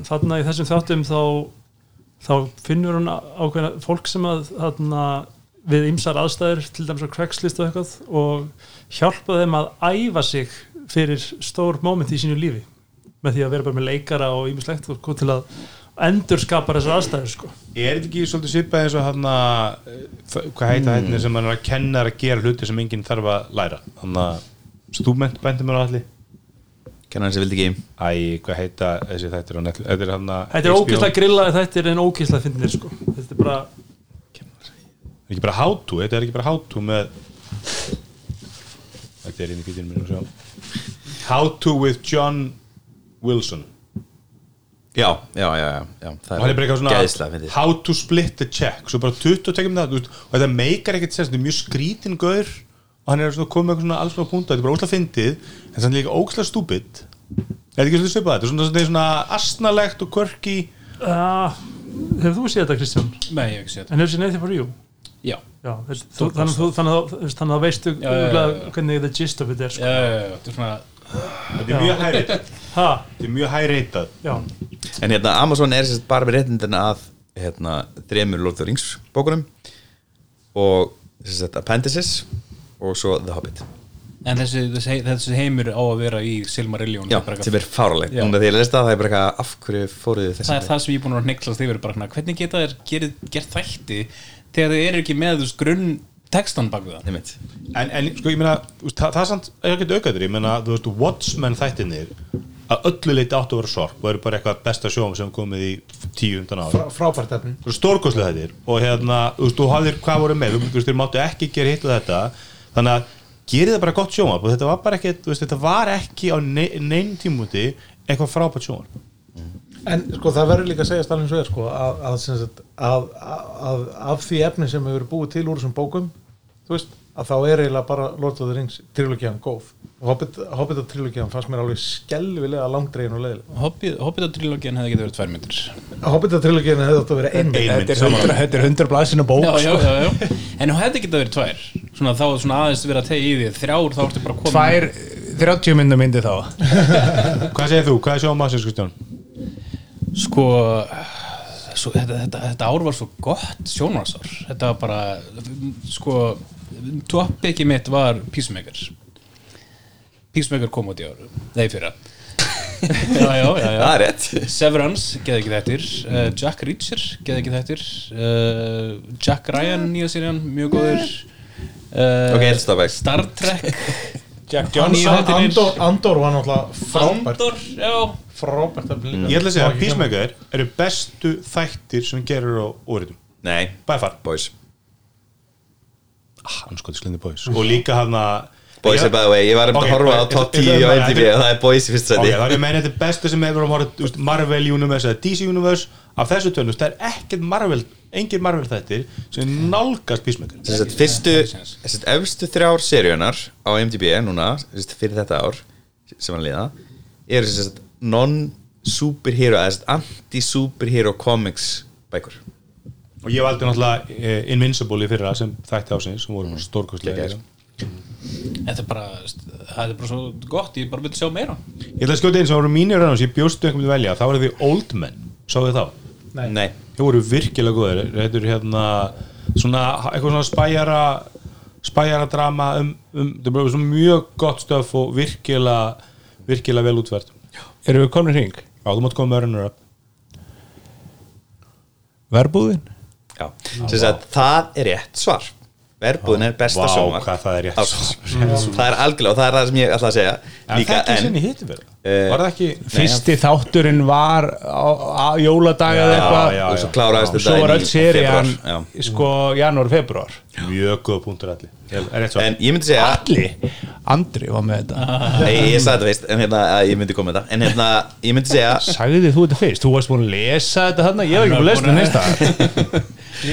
[SPEAKER 6] þarna í þessum þáttum þá þá finnur hún ákveðna fólk sem að þarna við ymsar aðstæður til dæmis á Craigslist og eitthvað og hjálpa þeim að æfa sig fyrir stór moment í sínu lífi með því að vera bara með leikara og ýmislegt og kom til að endurskapa þessar aðstæður sko.
[SPEAKER 2] Er þetta ekki svolítið svipað eins og hann Hvað heita mm. hérna sem hann er að kenna að gera hluti sem enginn þarf að læra Hann að stúment bændi mér á allir
[SPEAKER 3] Kennan sem vildi ekki
[SPEAKER 2] Æ, hvað heita þessi þættir á netlu Þetta er hann að
[SPEAKER 6] Þetta er ógeðslega grillaði þættir en ógeðslega finnir sko. þetta er bara,
[SPEAKER 2] Er ekki bara hátú, þetta er ekki bara hátú með Þetta er inn í kvítunum minn og sjá Hátú with John Wilson
[SPEAKER 3] Já, já, já, já, já Það
[SPEAKER 2] og hann er bara eitthvað svona
[SPEAKER 3] Gæðslega, finnst
[SPEAKER 2] how to split the check svo bara 20 tekjum það þú veist, og þetta meikar ekkert sens, þetta er mjög skrítin gaur og hann er svona komið með eitthvað svona alls svona púnta þetta er bara óslega fyndið, en þannig líka óslega stúbid er þetta ekki svona svipað þetta er svona, svona, svona asnalegt og kvörki
[SPEAKER 6] uh, hefur þú séð þetta Kristján?
[SPEAKER 8] nei, ég hef ekki séð þetta,
[SPEAKER 6] En hefur séð Nathan for You?
[SPEAKER 8] já,
[SPEAKER 6] Já, þetta, þú, þannig, að þú, þannig, að þú- þú veist, þannig að þú veistu
[SPEAKER 8] já, já, já.
[SPEAKER 6] örugglega hvernig the gist of it er
[SPEAKER 8] já,
[SPEAKER 6] sko.
[SPEAKER 8] já, já, já, þetta er svona
[SPEAKER 2] þetta er mjög hæreitað
[SPEAKER 6] ha,
[SPEAKER 2] þetta er mjög hæreitað
[SPEAKER 6] já,
[SPEAKER 3] það En hérna, Amazon er sérst bara með réttindina að hérna, þremur Lord of the Rings bókunum og sérst Appendices og svo The Hobbit
[SPEAKER 8] En þessi, þessi, þessi heimur á að vera í Silmarillion
[SPEAKER 3] Já,
[SPEAKER 8] það er
[SPEAKER 3] sem
[SPEAKER 8] bara eitthvað-
[SPEAKER 3] er fáralegt
[SPEAKER 8] Já.
[SPEAKER 3] Núna þegar ég lest það, það er bara eitthvað af hverju fóruð þið
[SPEAKER 8] það
[SPEAKER 3] þessum
[SPEAKER 8] er það sem ég er búin að neklast yfir bara, svona, hvernig geta þér gerð, gerð þætti þegar þið eru ekki með þú veist, grunn textan bak við það
[SPEAKER 3] Einmitt.
[SPEAKER 2] en, en sko ég meina þú veist, það, það er samt er ekki aukaður ég meina þú veist Watchmen þættinir að öllu leiti áttu að vera sorg og eru bara eitthvað besta sjóum sem komið í 10-15 ára
[SPEAKER 5] Frá, frábært efni
[SPEAKER 2] stórkoslega þættir og hérna, þú veist, þú hafðir hvað voru með þú veist, þér máttu ekki gera hitt og þetta þannig að gerið það bara gott sjónvarp og þetta var bara ekki, þú veist, þetta var ekki á ne- neinn tímúti eitthvað frábært sjónvarp
[SPEAKER 5] En sko það verður líka að segja stallins vegar sko að, að, sem sagt, að, að, að af því efni sem hefur verið búið til úr þessum bókum þú veist að þá er eiginlega bara Lord of the Rings trilogían góð Hobbit, Hobbit og trilogían fannst mér alveg skelvilega langdregin og leiðilega
[SPEAKER 8] Hobbit- Hobbita-trilógin hefði getið verið tvær myndir
[SPEAKER 5] Hobbit og trilogían hefði átt að vera einmitt
[SPEAKER 2] einmitt, saman
[SPEAKER 4] Þetta er 100 blæsina bók
[SPEAKER 8] já, já, já, já. en hún hefði getið verið tvær svona, þá er svona aðeins verið að tegja í því þrjár þá ertu bara komin
[SPEAKER 4] Tvær, 30 minnum myndi þá
[SPEAKER 2] hvað segir þú, hvað er sjónvarp sér skustjón?
[SPEAKER 8] sko svo, þetta, þetta, þetta ár var svo gott sjónvarsár þetta var bara sko, toppikið mitt var Peacemaker Peacemaker kom út í áru nei fyrra já, já, já, já.
[SPEAKER 3] Það er rétt
[SPEAKER 8] Severance, geði ekki þettir uh, Jack Reacher, geði ekki þettir uh, Jack Ryan, nýja sérjan mjög góður uh,
[SPEAKER 3] Ok, elsta bæk.
[SPEAKER 8] Star Trek
[SPEAKER 5] Jack
[SPEAKER 8] Johnson,
[SPEAKER 5] Andor, Andor var náttúrulega frábært
[SPEAKER 8] Andor, já
[SPEAKER 5] frábært efni líka
[SPEAKER 2] ég ætla að segja að
[SPEAKER 5] Má ekki gleyma.
[SPEAKER 2] Peacemaker eru bestu þættir sem gerir á úrritum
[SPEAKER 3] Nei,
[SPEAKER 2] bæfar,
[SPEAKER 3] boys
[SPEAKER 2] anskotis glindi boys og líka hann að
[SPEAKER 3] Boys er by the way, ég var um
[SPEAKER 2] Ok,
[SPEAKER 3] að horfa á
[SPEAKER 2] ok,
[SPEAKER 3] top
[SPEAKER 2] ég- ég-
[SPEAKER 3] 10 á
[SPEAKER 2] ég-
[SPEAKER 3] MTV
[SPEAKER 2] ég-
[SPEAKER 3] og það er Boys í fyrsta
[SPEAKER 2] Ok,
[SPEAKER 3] sæti
[SPEAKER 2] það er ég meina þetta er besta sem hefur um horið, úst, Marvel Universe eða DC Universe af þessu tönust, það er ekkert Marvel engin Marvel þættir sem nálgast Peacemaker
[SPEAKER 3] Sem sagt, fyrstu, sem sagt, efstu þrjár seríunar á MDB núna, sem sagt, fyrir þetta ár sem hann liða, eru sem sagt, non-superhero eða sem sagt, anti-superhero comics bækur
[SPEAKER 2] og ég valdi náttúrulega uh, Invincible í fyrra sem þætti ásins sem voru mm. stórkostlega
[SPEAKER 3] Gekkjaðir.
[SPEAKER 8] þetta er bara, það er bara svo gott ég bara vil sjá meira
[SPEAKER 2] ég ætla að skjóta eins og voru mínir rannum sem ég bjóstu einhvern veginn velja þá voru því Old Men, sáu þið þá
[SPEAKER 3] Nei, Nei.
[SPEAKER 2] þeir voru virkilega góðir þetta eru hérna svona, eitthvað svona spæjara spæjara drama um, um þetta er bara svona mjög gott stöf og virkilega virkilega vel útvært já,
[SPEAKER 4] Erum við komin hring?
[SPEAKER 2] þú mátt koma með runner up
[SPEAKER 4] Verbúðin?
[SPEAKER 3] Já. Sem sagt, það er rétt svar verbúðin er besta
[SPEAKER 2] Vá,
[SPEAKER 3] sjónvarp
[SPEAKER 2] hvað það er rétt
[SPEAKER 3] ársins. það er algjörlega og það er það sem ég ætla að segja líka
[SPEAKER 2] það ekki
[SPEAKER 3] en
[SPEAKER 2] sinni hittum við
[SPEAKER 3] Eh,
[SPEAKER 2] Var það ekki
[SPEAKER 4] Fyrsti þátturinn var á, á jóladag eða eitthvað
[SPEAKER 2] já,
[SPEAKER 3] og svo kláraðist
[SPEAKER 4] Svo var
[SPEAKER 3] þetta inn í
[SPEAKER 4] öll serían
[SPEAKER 3] febrúar,
[SPEAKER 4] sko janúar, februar
[SPEAKER 2] Mjög góð punktur allir Er rétt
[SPEAKER 3] já.
[SPEAKER 2] svo
[SPEAKER 3] en ég myndi segja
[SPEAKER 2] Ah.
[SPEAKER 4] Alli, Andri var með þetta
[SPEAKER 3] Nei, ég sagði þetta veist, en hérna, að ég myndi koma með þetta En hérna, ég myndi segja
[SPEAKER 4] Sagði þú þetta fyrst, þú varst búin að lesa þetta þarna Ég var ekki búin að lesa þetta neins það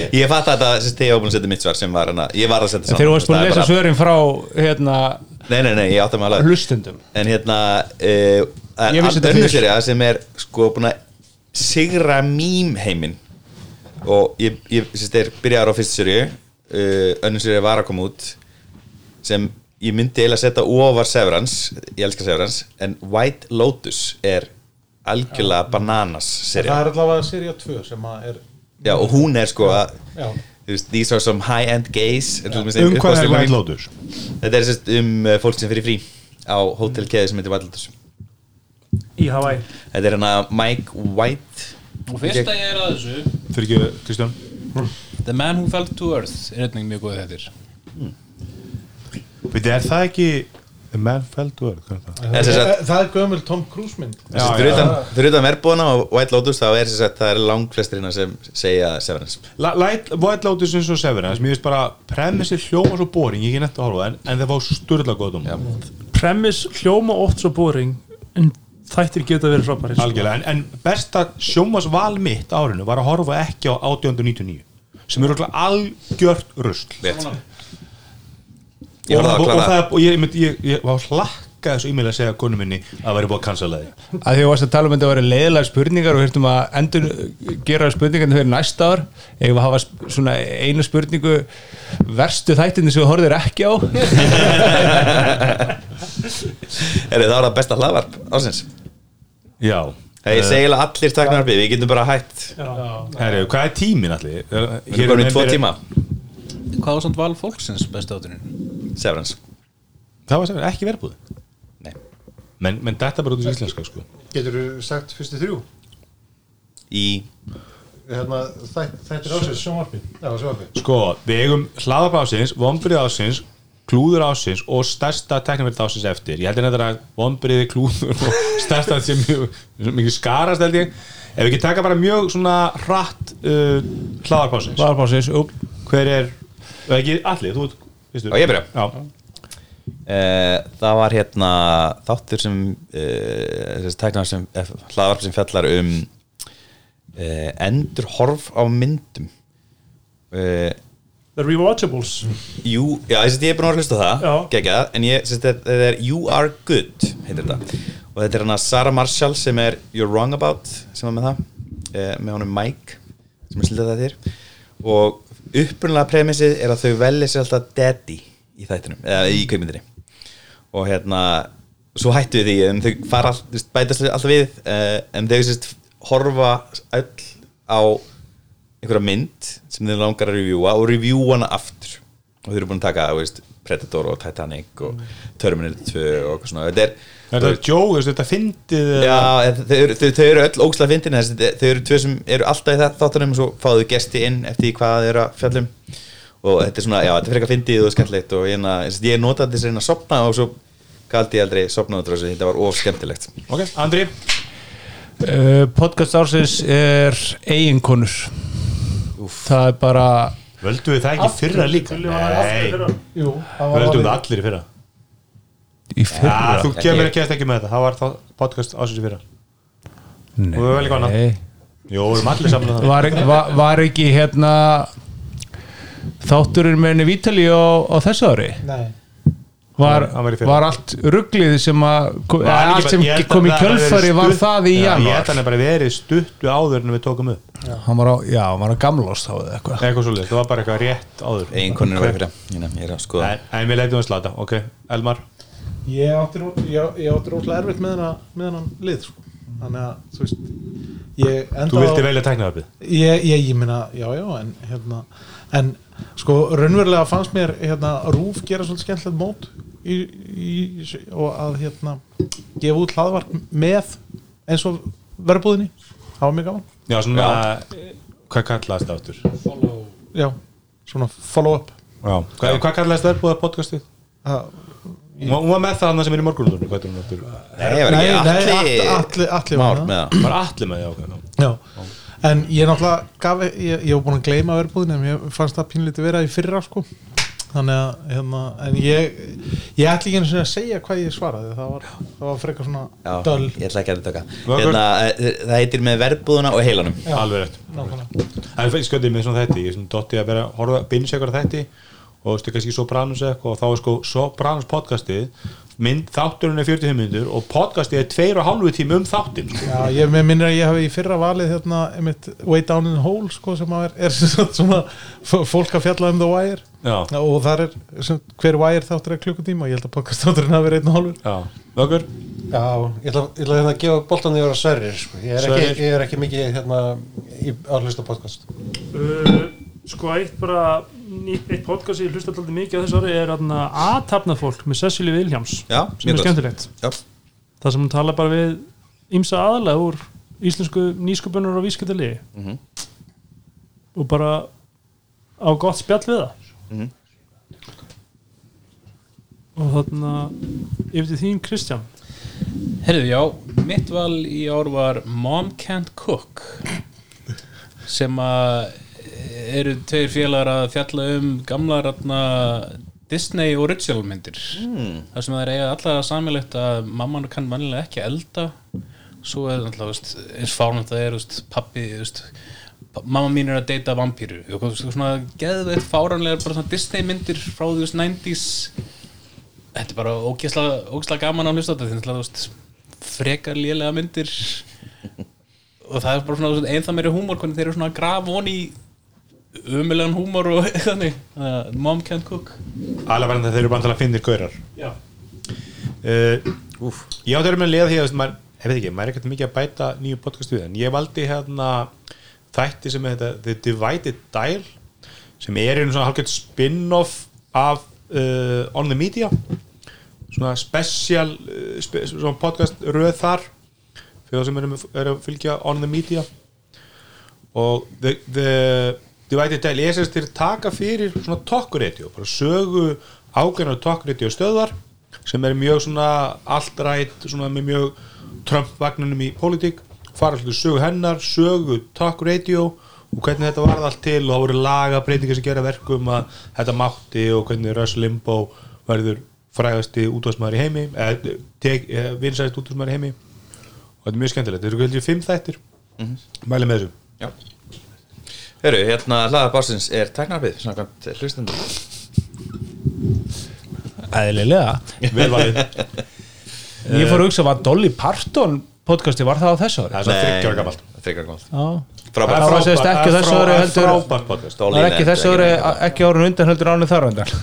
[SPEAKER 3] Ég fatt að þetta, þegar ég var búin að setja mitt svar sem var hana Ég var að setja
[SPEAKER 4] Þegar þú varst búin að lesa
[SPEAKER 3] svar
[SPEAKER 4] svörin frá hérna,
[SPEAKER 3] Nei, nei, nei, ég átti að maður
[SPEAKER 4] hlustundum
[SPEAKER 3] En hérna, eh, það
[SPEAKER 4] Ég
[SPEAKER 3] er
[SPEAKER 4] vissi þetta
[SPEAKER 3] önnur
[SPEAKER 4] fyrst.
[SPEAKER 3] serið sem er sko búin að sigra mím heiminn Og ég, ég sérst, þeir byrjaður á fyrstu serið uh, Önnur serið var að koma út Sem ég myndi eiginlega setja ofar Severance Ég elska Severance En White Lotus er algjörlega bananas serið
[SPEAKER 5] það er allavega serið 2 sem að er
[SPEAKER 3] Já, og hún er sko að
[SPEAKER 5] Já.
[SPEAKER 3] þú veist, These are some high-end gays er þú veist,
[SPEAKER 2] Um hvað er
[SPEAKER 3] uppáhaldslögin
[SPEAKER 2] White
[SPEAKER 3] mín.
[SPEAKER 2] Lotus?
[SPEAKER 3] Þetta er sérst um uh, fólk sem fyrir frí á hótelkeði sem heitir White Lotus
[SPEAKER 6] í Hawaii
[SPEAKER 3] Þetta er hana Mike White
[SPEAKER 8] Og fyrst að ég er að þessu
[SPEAKER 2] Fyrir ekki, Kristján
[SPEAKER 8] The Man Who Fell to Earth er einnig mjög góð þetta
[SPEAKER 2] Veitir, er það ekki The Man Fell to Earth? Hvað er það?
[SPEAKER 3] er
[SPEAKER 5] það,
[SPEAKER 3] sem sagt-
[SPEAKER 5] Eh, það er gömul Tom Cruise mynd
[SPEAKER 3] Fyrir utan, fyrir utan verbúðana og White Lotus þá er sérst það er langflestir hérna sem segja Severance
[SPEAKER 2] La- Light- White Lotus eins og Severance Mér finnst bara Premissir hljóma svo boring Ég er netta að horfa á það, en, en það var sturla góðum Já,
[SPEAKER 6] premis hljóma oft svo boring en þættir geta verið frábæri
[SPEAKER 2] Algjörlega, en, en besta sjómasval mitt árinu var að horfa ekki á 1899 sem eru örugglega algjört rusl
[SPEAKER 3] Rétt.
[SPEAKER 2] og,
[SPEAKER 3] Ég var
[SPEAKER 2] og,
[SPEAKER 3] það að
[SPEAKER 2] og,
[SPEAKER 3] klára
[SPEAKER 2] það, og ég, ég, ég, ég var hlakka þessu e-mail að segja konu minni að það væri búið að cancela því
[SPEAKER 4] að því þú varst að tala um að þetta væri leiðilega spurningar og hértum að endur gera spurningarnir fyrir næsta ár eða að hafa sp- svona einu spurningu verstu þættinni sem þú horfir ekki á
[SPEAKER 3] Er það það besta hlaðvarp ásins?
[SPEAKER 2] Já,
[SPEAKER 3] Það
[SPEAKER 2] Eh.
[SPEAKER 3] ég segja eiginlega allir taknarfið, við getum bara hætt
[SPEAKER 2] herru, hvað er tíminn allir?
[SPEAKER 3] Við erum komin í tvo tíma
[SPEAKER 8] Hvað var samt val fólksins besta átturinn?
[SPEAKER 3] Severance
[SPEAKER 2] Það var sem ekki verðbúið
[SPEAKER 3] Nei.
[SPEAKER 2] menn, menn þetta bara út í íslenska sko
[SPEAKER 7] Getur þú sagt fyrstu þrjú?
[SPEAKER 3] Í
[SPEAKER 7] Hérna, þætt, þættir ásins Sjónvarpi Já, sjónvarpi
[SPEAKER 2] Sko, við eigum hlaðarp ásins, vombrið ásins klúður ásins og stærsta tekniverð ásins eftir, ég held að þetta er að vombriði klúður og stærsta sem mjög, mikið skarast held ég ef við ekki taka bara mjög svona hratt uh, hlaðarp ásins
[SPEAKER 4] Varpásins, úp
[SPEAKER 2] hver er, eða ekki allir, þú ert fyrstur.
[SPEAKER 3] Á, ég byrja?
[SPEAKER 2] Já,
[SPEAKER 3] Eh, það var hérna þáttur sem uh, tæknar sem eh, hlaðvarp sem fjallar um uh, endur horf á myndum uh,
[SPEAKER 6] The Rewatchables
[SPEAKER 3] jú, já, ég, sést, ég er búin að hlusta á það
[SPEAKER 6] Já.
[SPEAKER 3] geggjað, en ég, sést, þetta þetta er You Are Good heitir þetta og þetta er hana Sarah Marshall sem er You're Wrong About sem var með það uh, með honum Mike sem er slitað það þér og upprunlega premissið er að þau velja sér alltaf daddy í þættinum, eða í kveikmyndinni og hérna svo hættu við því en þau fara all- þú veist, bætast alltaf við uh, en þau sérst horfa öll á einhverja mynd sem þeir langar að revjúa og revjúa hana aftur og þau eru búin að taka þú veist, Predator og Titanic og Terminator 2 og eitthvað svona þetta er,
[SPEAKER 2] er þetta Joe, þú veist, þetta fyndið eða-
[SPEAKER 3] Já, en þau, eru- þau, þau eru öll ógslag fyndin þessi, þau eru tvö sem eru alltaf í það þáttunum og svo fáðu gesti inn eftir því hvað þau eru að fjallum og þetta er svona, já, þetta er frekar fyndið og skemmtilegt og ég, ég, ég notaði þess að reyna að sopna og svo galdi ég aldrei sopna út frá þessu, þetta var of skemmtilegt
[SPEAKER 2] Ok, Andri,
[SPEAKER 4] uh, Podcast ársins er eiginkonur Það er bara
[SPEAKER 2] völdum við það ekki aftur, fyrra líka? Nei,
[SPEAKER 7] Jú, það var
[SPEAKER 2] völdum við allir í fyrra
[SPEAKER 4] í fyrra
[SPEAKER 2] Já, Ah, þú
[SPEAKER 3] Ekki-
[SPEAKER 2] kemur ekki eftir ekki með þetta, það var þá podcast ásins í fyrra og
[SPEAKER 4] Nei.
[SPEAKER 2] við erum vel eitthvað annað. Jó, við erum allir saman um það
[SPEAKER 4] var, ekki- va- var ekki hérna þátturinn með henni Vítali á, á þessu ári
[SPEAKER 5] Nei.
[SPEAKER 4] var,
[SPEAKER 2] Hann var í fyrra.
[SPEAKER 4] var allt rugglið sem að kom,
[SPEAKER 2] Var ekki
[SPEAKER 4] allt
[SPEAKER 2] bara-
[SPEAKER 4] sem
[SPEAKER 2] ég held að
[SPEAKER 4] kom í
[SPEAKER 2] það hafi verið
[SPEAKER 4] kjölfari var
[SPEAKER 2] stutt-
[SPEAKER 4] það í
[SPEAKER 2] Já, Ég held að
[SPEAKER 4] janúar
[SPEAKER 2] hann er bara verið stuttu áður en við tókum upp
[SPEAKER 4] hann var á, já, hann var á gamlost þá eða eitthvað
[SPEAKER 2] Eitthvað svolítið, það var bara eitthvað rétt áður
[SPEAKER 3] einhvern
[SPEAKER 2] Ok.
[SPEAKER 3] veginn fyrir, Hérna, ég er að skoða
[SPEAKER 2] En, en við leitum að slata, ok, Elmar
[SPEAKER 5] ég átti, nú- ég, ég átti rótlega erfitt með hennan, með hennan lið sko. þannig að þú veist ég enda
[SPEAKER 2] Þú vildi velja tæknaðarbið
[SPEAKER 5] ég, ég, ég minna, já já en, hérna, en sko raunverulega fannst mér hérna, Rúf gera svolítið skemmtilegt mót í, í, og að hérna, gefa út hlaðvarp með eins og verðbúðinni það var mjög gaman
[SPEAKER 2] Já, svona, hvað kallaðast það áttur?
[SPEAKER 5] já, svona follow up
[SPEAKER 2] Hvað, hvað kallaðist þær búið að podcastið? Hún var- hún var með það annað sem er í morgunlundunum Hvað er hún aftur?
[SPEAKER 3] Nei, var ekki
[SPEAKER 5] nei,
[SPEAKER 3] allir
[SPEAKER 5] Atli, Atli var
[SPEAKER 3] Már
[SPEAKER 5] það.
[SPEAKER 3] með það
[SPEAKER 2] Var allir með því ákveðan
[SPEAKER 5] Já, en ég náttúrulega gaf, e- ég, ég var búin að gleyma verbúðin en ég fannst það pínlítið vera í fyrra sko þannig að, hérna, en ég ég ætli ekki einu sinni að segja hvað ég svaraði það var, það var frekar svona
[SPEAKER 3] Já,
[SPEAKER 5] döl
[SPEAKER 3] ég ætla ekki að þetta
[SPEAKER 2] Vökkur.
[SPEAKER 3] hérna, eh, Það heitir með verðbúðuna og heilanum
[SPEAKER 2] Alveg rétt Það er fyrir sköndið með svona þætti Ég er svona dotti að vera að horfa Binnis eitthvað þætti Og veistu kannski Sopranos eitthvað Og þá er sko Sopranos podcastið Mynd þátturinn er 45 minnur Og podcastið er 2,5 tími um þáttinn sko.
[SPEAKER 5] Já, ég með minnir að ég hafi í fyrra valið hérna, einmitt, Way Down in Hole sko, sem að er, er sem sagt svona f- fólk að fjalla um The Wire
[SPEAKER 2] Já,
[SPEAKER 5] og þar er, sem, hver Wire þáttur er klukkutíma og ég held að podcast þátturinn hafi verið einn og hálfur
[SPEAKER 2] já Vöggur?
[SPEAKER 7] Já, ég ætla, ég ætla hérna að gefa boltan því að vera sverrir sko. ég, er
[SPEAKER 2] Sverrir.
[SPEAKER 7] ekki, ég er ekki mikið hérna, í, að hlusta á podcast
[SPEAKER 6] uh, sko eitt bara ný- eitt podcast sem ég hlusta alltaf mikið á þessu ári er aðtapna fólk með Cecilie Williams
[SPEAKER 3] Já,
[SPEAKER 6] sem er
[SPEAKER 3] gott.
[SPEAKER 6] skemmtilegt
[SPEAKER 3] Já.
[SPEAKER 6] það sem hún tala bara við ímsa aðalega úr íslensku nýsköpunar og vískjöldalegi og bara á gott spjall við það og þarna yfir til þín Kristján
[SPEAKER 8] Herðu, já, mitt val í ár var Mom Can't Cook sem að eru tveir félagar að fjalla um gamla ratna Disney original myndir mm. þar sem það er eiga allar samilegt að mamman kann vannilega ekki elda svo er það alltaf veist, eins fánum það er veist, pappi veist, pa- mamma mín er að deyta vampíru og veist, svona geðveitt fáranlegar bara svona Disney myndir frá því veist, 90s þetta er bara ógeðslega, ógeðslega gaman að hlusta á þetta þetta er náttúrulega, þú veist, frekar lélega myndir og það er bara svona þú veist, ennþá meiri húmor hvernig þeir eru svona að grafa honi í umulegan húmor og þannig uh, mom can't cook
[SPEAKER 2] Alveg verðan þeir eru bara að finna gaurar
[SPEAKER 8] já,
[SPEAKER 2] uh, Ég átti að vera með að leiða því að þú veist, maður, ég veit ekki, maður er ekkert mikið að bæta nýju podcast við en ég valdi hérna þætti sem er þetta The Divided Dial sem er einu svona halkett spin-off af uh, On The Media svona special uh, spe, svona podcast röð þar fyrir það sem erum er að fylgja On The Media og the, the Divided Dial E er sérst til að taka fyrir svona tokkurétjó, bara sögu ágæðan tokkurétjó stöðvar sem er mjög svona alltrætt svona með mjög Trump-vagnunum í pólitík, fara alltaf sögu hennar sögu tokkurétjó og hvernig þetta varð allt til og það voru lagabreitingar sem gera verkum að þetta mátti og hvernig Russ Limbaugh verður frægasti útvarsmaður í heimi eða tek- eða vinsæðist útvarsmaður í heimi og þetta er mjög skemmtilegt, þetta eru held ég fimm þættir mæli með þessu
[SPEAKER 3] Já Hörru, hérna hlaða básins er tæknarbið samkvæmt hlustendur
[SPEAKER 2] um-
[SPEAKER 4] Æðlilega
[SPEAKER 2] Vel valið
[SPEAKER 4] Ég fór að hugsa var Dolly Parton podcasti var það á þessu ári
[SPEAKER 2] Það er svona 30 ára gamalt
[SPEAKER 3] Þryggjar gamalt
[SPEAKER 4] Já
[SPEAKER 3] Frábært
[SPEAKER 4] Það var sem sagt ekki á þessu ári heldur
[SPEAKER 2] Frábært podcast
[SPEAKER 4] Það er ekki þessu ári, ekki árun undan heldur árun þar undan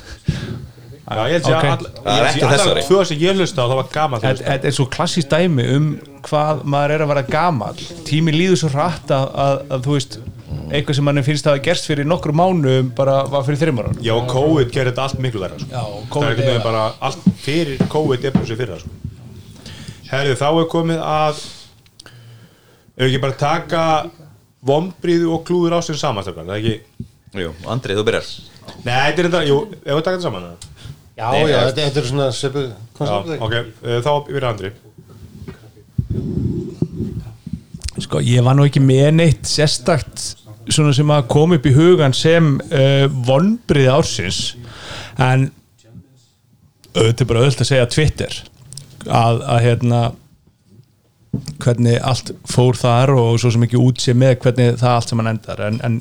[SPEAKER 2] Já, ég held sé
[SPEAKER 4] Ok.
[SPEAKER 2] að all- ég
[SPEAKER 3] Það er
[SPEAKER 2] held sé
[SPEAKER 3] ekki
[SPEAKER 2] að
[SPEAKER 3] þessu
[SPEAKER 2] allar
[SPEAKER 3] ári.
[SPEAKER 2] tvö sem ég hlusta á það var gaman
[SPEAKER 4] Þetta þetta er svo klassíst dæmi um hvað maður er að vera gamall Tími líður svo hratt að, að, að þú veist eitthvað sem manni finnst að hafa gerst fyrir nokkru mánuðum bara var fyrir þreymar ára
[SPEAKER 2] Já, og COVID gerir þetta allt miklu verra sko.
[SPEAKER 4] Já,
[SPEAKER 2] Það
[SPEAKER 4] og
[SPEAKER 2] er
[SPEAKER 4] COVID
[SPEAKER 2] einhvern
[SPEAKER 4] er-
[SPEAKER 2] veginn bara allt fyrir COVID er bara sér fyrir það sko. Herðu, þá er komið að ef ekki bara taka vombriðu og klúður ásins saman strákar, það er ekki
[SPEAKER 3] Jú, Andri, þú byrjar
[SPEAKER 2] Nei, þetta er þetta, jú, ef við taka þetta saman eða?
[SPEAKER 7] Já,
[SPEAKER 3] Nei,
[SPEAKER 7] já,
[SPEAKER 3] já.
[SPEAKER 7] þetta, þetta er svona svipuð
[SPEAKER 2] Já,
[SPEAKER 7] konceptið.
[SPEAKER 2] ok, eh, þá yfir andri
[SPEAKER 4] Sko, ég var nú ekki með neitt sérstakt svona sem að kom upp í hugan sem uh, vonbrið ársins en auðvitað er bara auðvitað að segja Twitter að, að hérna hvernig allt fór þar og svo sem ekki út sé með hvernig það allt saman endar en, en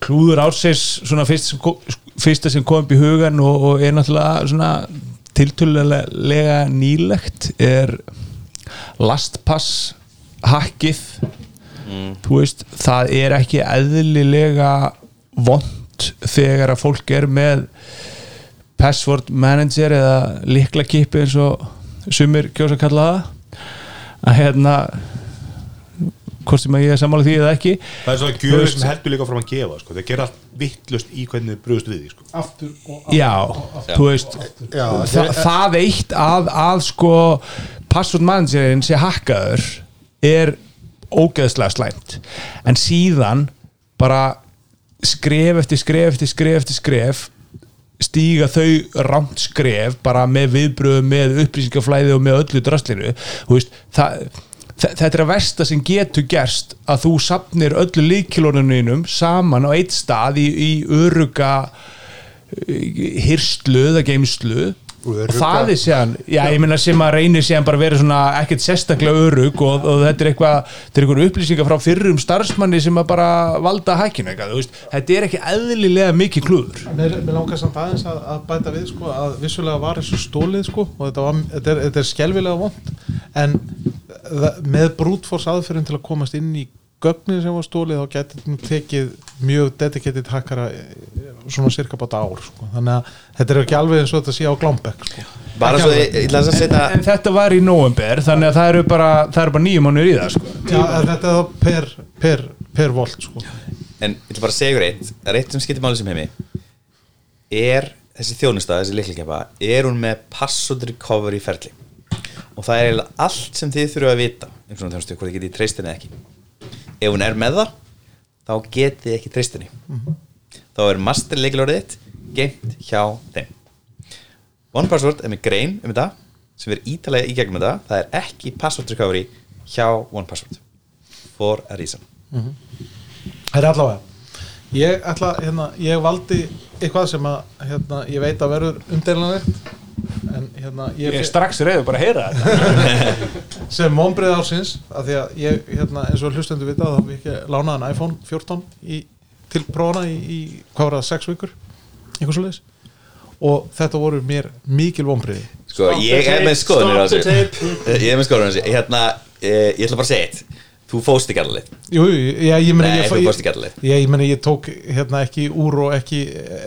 [SPEAKER 4] klúður ársins svona fyrst sem kom, fyrsta sem kom upp í hugan og, og er náttúrulega svona tiltölulega nýlegt er lastpass hackið þú veist, það er ekki eðlilega vond þegar að fólk er með password manager eða líkla kipi eins og sumir kjósa að kalla það að hérna hvort sem að ég er sammála því eða ekki
[SPEAKER 2] Það er svona gjöður sem heldur líka frá að gefa sko. þeir gera allt vittlust í hvernig þau brugðust við því sko.
[SPEAKER 5] aftur og
[SPEAKER 4] já, þú veist
[SPEAKER 7] Já,
[SPEAKER 4] þa það eitt að, að sko password managerinn sé hakkaður er ógeðslega slæmt en síðan bara skref eftir skref eftir skref eftir skref stíga þau rámt skref bara með viðbröðum, með upplýsingaflæði og með öllu drastlinu Þú veist, það, þe- þetta er að versta sem getur gerst að þú sapnir öllu líkilónuninum saman á eitt stað í, í öruga hirslu eða geimslu
[SPEAKER 7] Örugga.
[SPEAKER 4] og það er séðan, já ég meina sem að reynir séðan bara verið svona ekkert sérstaklega örug og, og þetta er eitthvað, þetta er eitthvað upplýsingar frá fyrrum starfsmanni sem að bara valda hækinu eitthvað, þú veist, þetta er ekki eðlilega mikið klúður
[SPEAKER 5] Mér, mér langar samt aðeins að, að bæta við sko, að vissulega var þessu stólið sko, og þetta, var, þetta, er, þetta er skelfilega vond en eh, það, með brútfors aðferðin til að komast inn í gögnin sem var stólið þá getur nú tekið mjög dedicated hackara eh, svona cirka báta ár sko. þannig að þetta er ekki alveg eins og þetta sé á Glámbekk sko.
[SPEAKER 3] bara svo ég ég ætla að
[SPEAKER 4] en,
[SPEAKER 3] setja
[SPEAKER 4] en þetta var í november, þannig að það eru bara það eru bara nýjum mánur í það, sko
[SPEAKER 5] Já, en þetta er þá per, per, per volt sko.
[SPEAKER 3] en ég ætla bara að segja ykkur eitt það er eitt sem skiptir máli sem heimi er þessi þjónusta, þessi liklikepa er hún með password recovery ferli og það er eiginlega allt sem þið þurfa að vita um svona þjónustu, hvort þið getið treyst henni eða ekki ef hún er með það þá getið þið ekki treyst henni þá er master leikilorðið þitt geimt hjá þeim One Password er með grein um þetta sem er ítalega í gegnum þetta það er ekki password recovery hjá One Password for a reason
[SPEAKER 5] Það er allavega Ég, ætla, hérna, ég valdi eitthvað sem að, hérna, ég veit að verður umdeilanlegt en hérna, ég,
[SPEAKER 4] ég er strax reyður bara að heyra þetta
[SPEAKER 5] sem vonbreið ársins af því að ég, hérna, eins og hlustendur vita þá hef ég ekki lánaðan iPhone 14 í, til prófana í, í hvað var það, 6 vikur eitthvað svo og þetta voru mér mikil vonbreiði
[SPEAKER 3] Sko, ég er með skoðunir á
[SPEAKER 6] Stop the
[SPEAKER 3] þessu Ég er með skoðunir á þessu Hérna, eh, ég ætla bara að segja eitt Þú fóst ekki alveg
[SPEAKER 5] Jú, jú, já, ég meni
[SPEAKER 3] Nei,
[SPEAKER 5] ég,
[SPEAKER 3] þú
[SPEAKER 5] ég,
[SPEAKER 3] fórst ekki allir.
[SPEAKER 5] ég, ég, meni, ég tók hérna ekki úr og ekki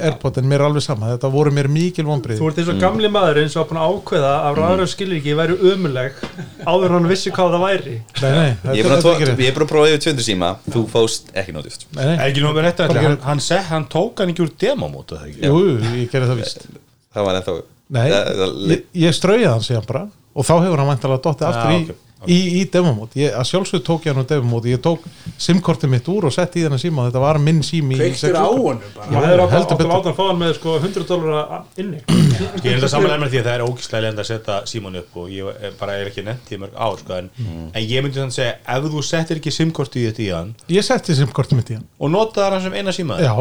[SPEAKER 5] AirPod en mér er alveg sama, þetta voru mér mikil vonbreiði
[SPEAKER 6] Þú ert eins og gamli maðurinn sem var búin að ákveða
[SPEAKER 5] Mm.
[SPEAKER 6] að ráðröf skilur ekki væri ömuleg áður en hann vissi hvað það væri
[SPEAKER 5] Nei, nei,
[SPEAKER 3] Ég
[SPEAKER 5] þetta-
[SPEAKER 3] er búin að,
[SPEAKER 5] þetta er ekki
[SPEAKER 3] tó-
[SPEAKER 5] rétt.
[SPEAKER 3] ég er búin að prófa yfir 200 síma Þú fóst ekki nótið
[SPEAKER 5] Nei, nei.
[SPEAKER 2] ekki nómur rétt að
[SPEAKER 5] Hvað
[SPEAKER 2] hann,
[SPEAKER 5] gerir-
[SPEAKER 2] hann, set, hann tók hann ekki úr demómóta það ekki
[SPEAKER 5] Jú, jú, ég gerði það víst
[SPEAKER 3] Það var ennþá
[SPEAKER 5] Nei,
[SPEAKER 3] það, það,
[SPEAKER 5] ég, ég strauði hann síðan bara og þá hefur hann væntalega dottið aftur í, í, í demamót, ég, að sjálfsögðu tók ég hann úr demamót, ég tók simkortið mitt úr og sett í þennan síma, þetta var minn sími í sex vikur.
[SPEAKER 4] honum bara
[SPEAKER 6] og hefur átt
[SPEAKER 5] heldur
[SPEAKER 6] að
[SPEAKER 5] betur.
[SPEAKER 6] láta hann fá hann með sko 100 dólar inni
[SPEAKER 2] ég er þetta samanlega með því að það er ógíslega lenda að setja símónu upp og ég er bara er ekki nefnt í mörg ár sko, en, en ég myndi þannig að segja ef þú settir ekki simkortið í þetta í hann
[SPEAKER 5] Ég setti simkortið mitt í hann
[SPEAKER 2] og notaðar hann sem eina síma
[SPEAKER 5] Já,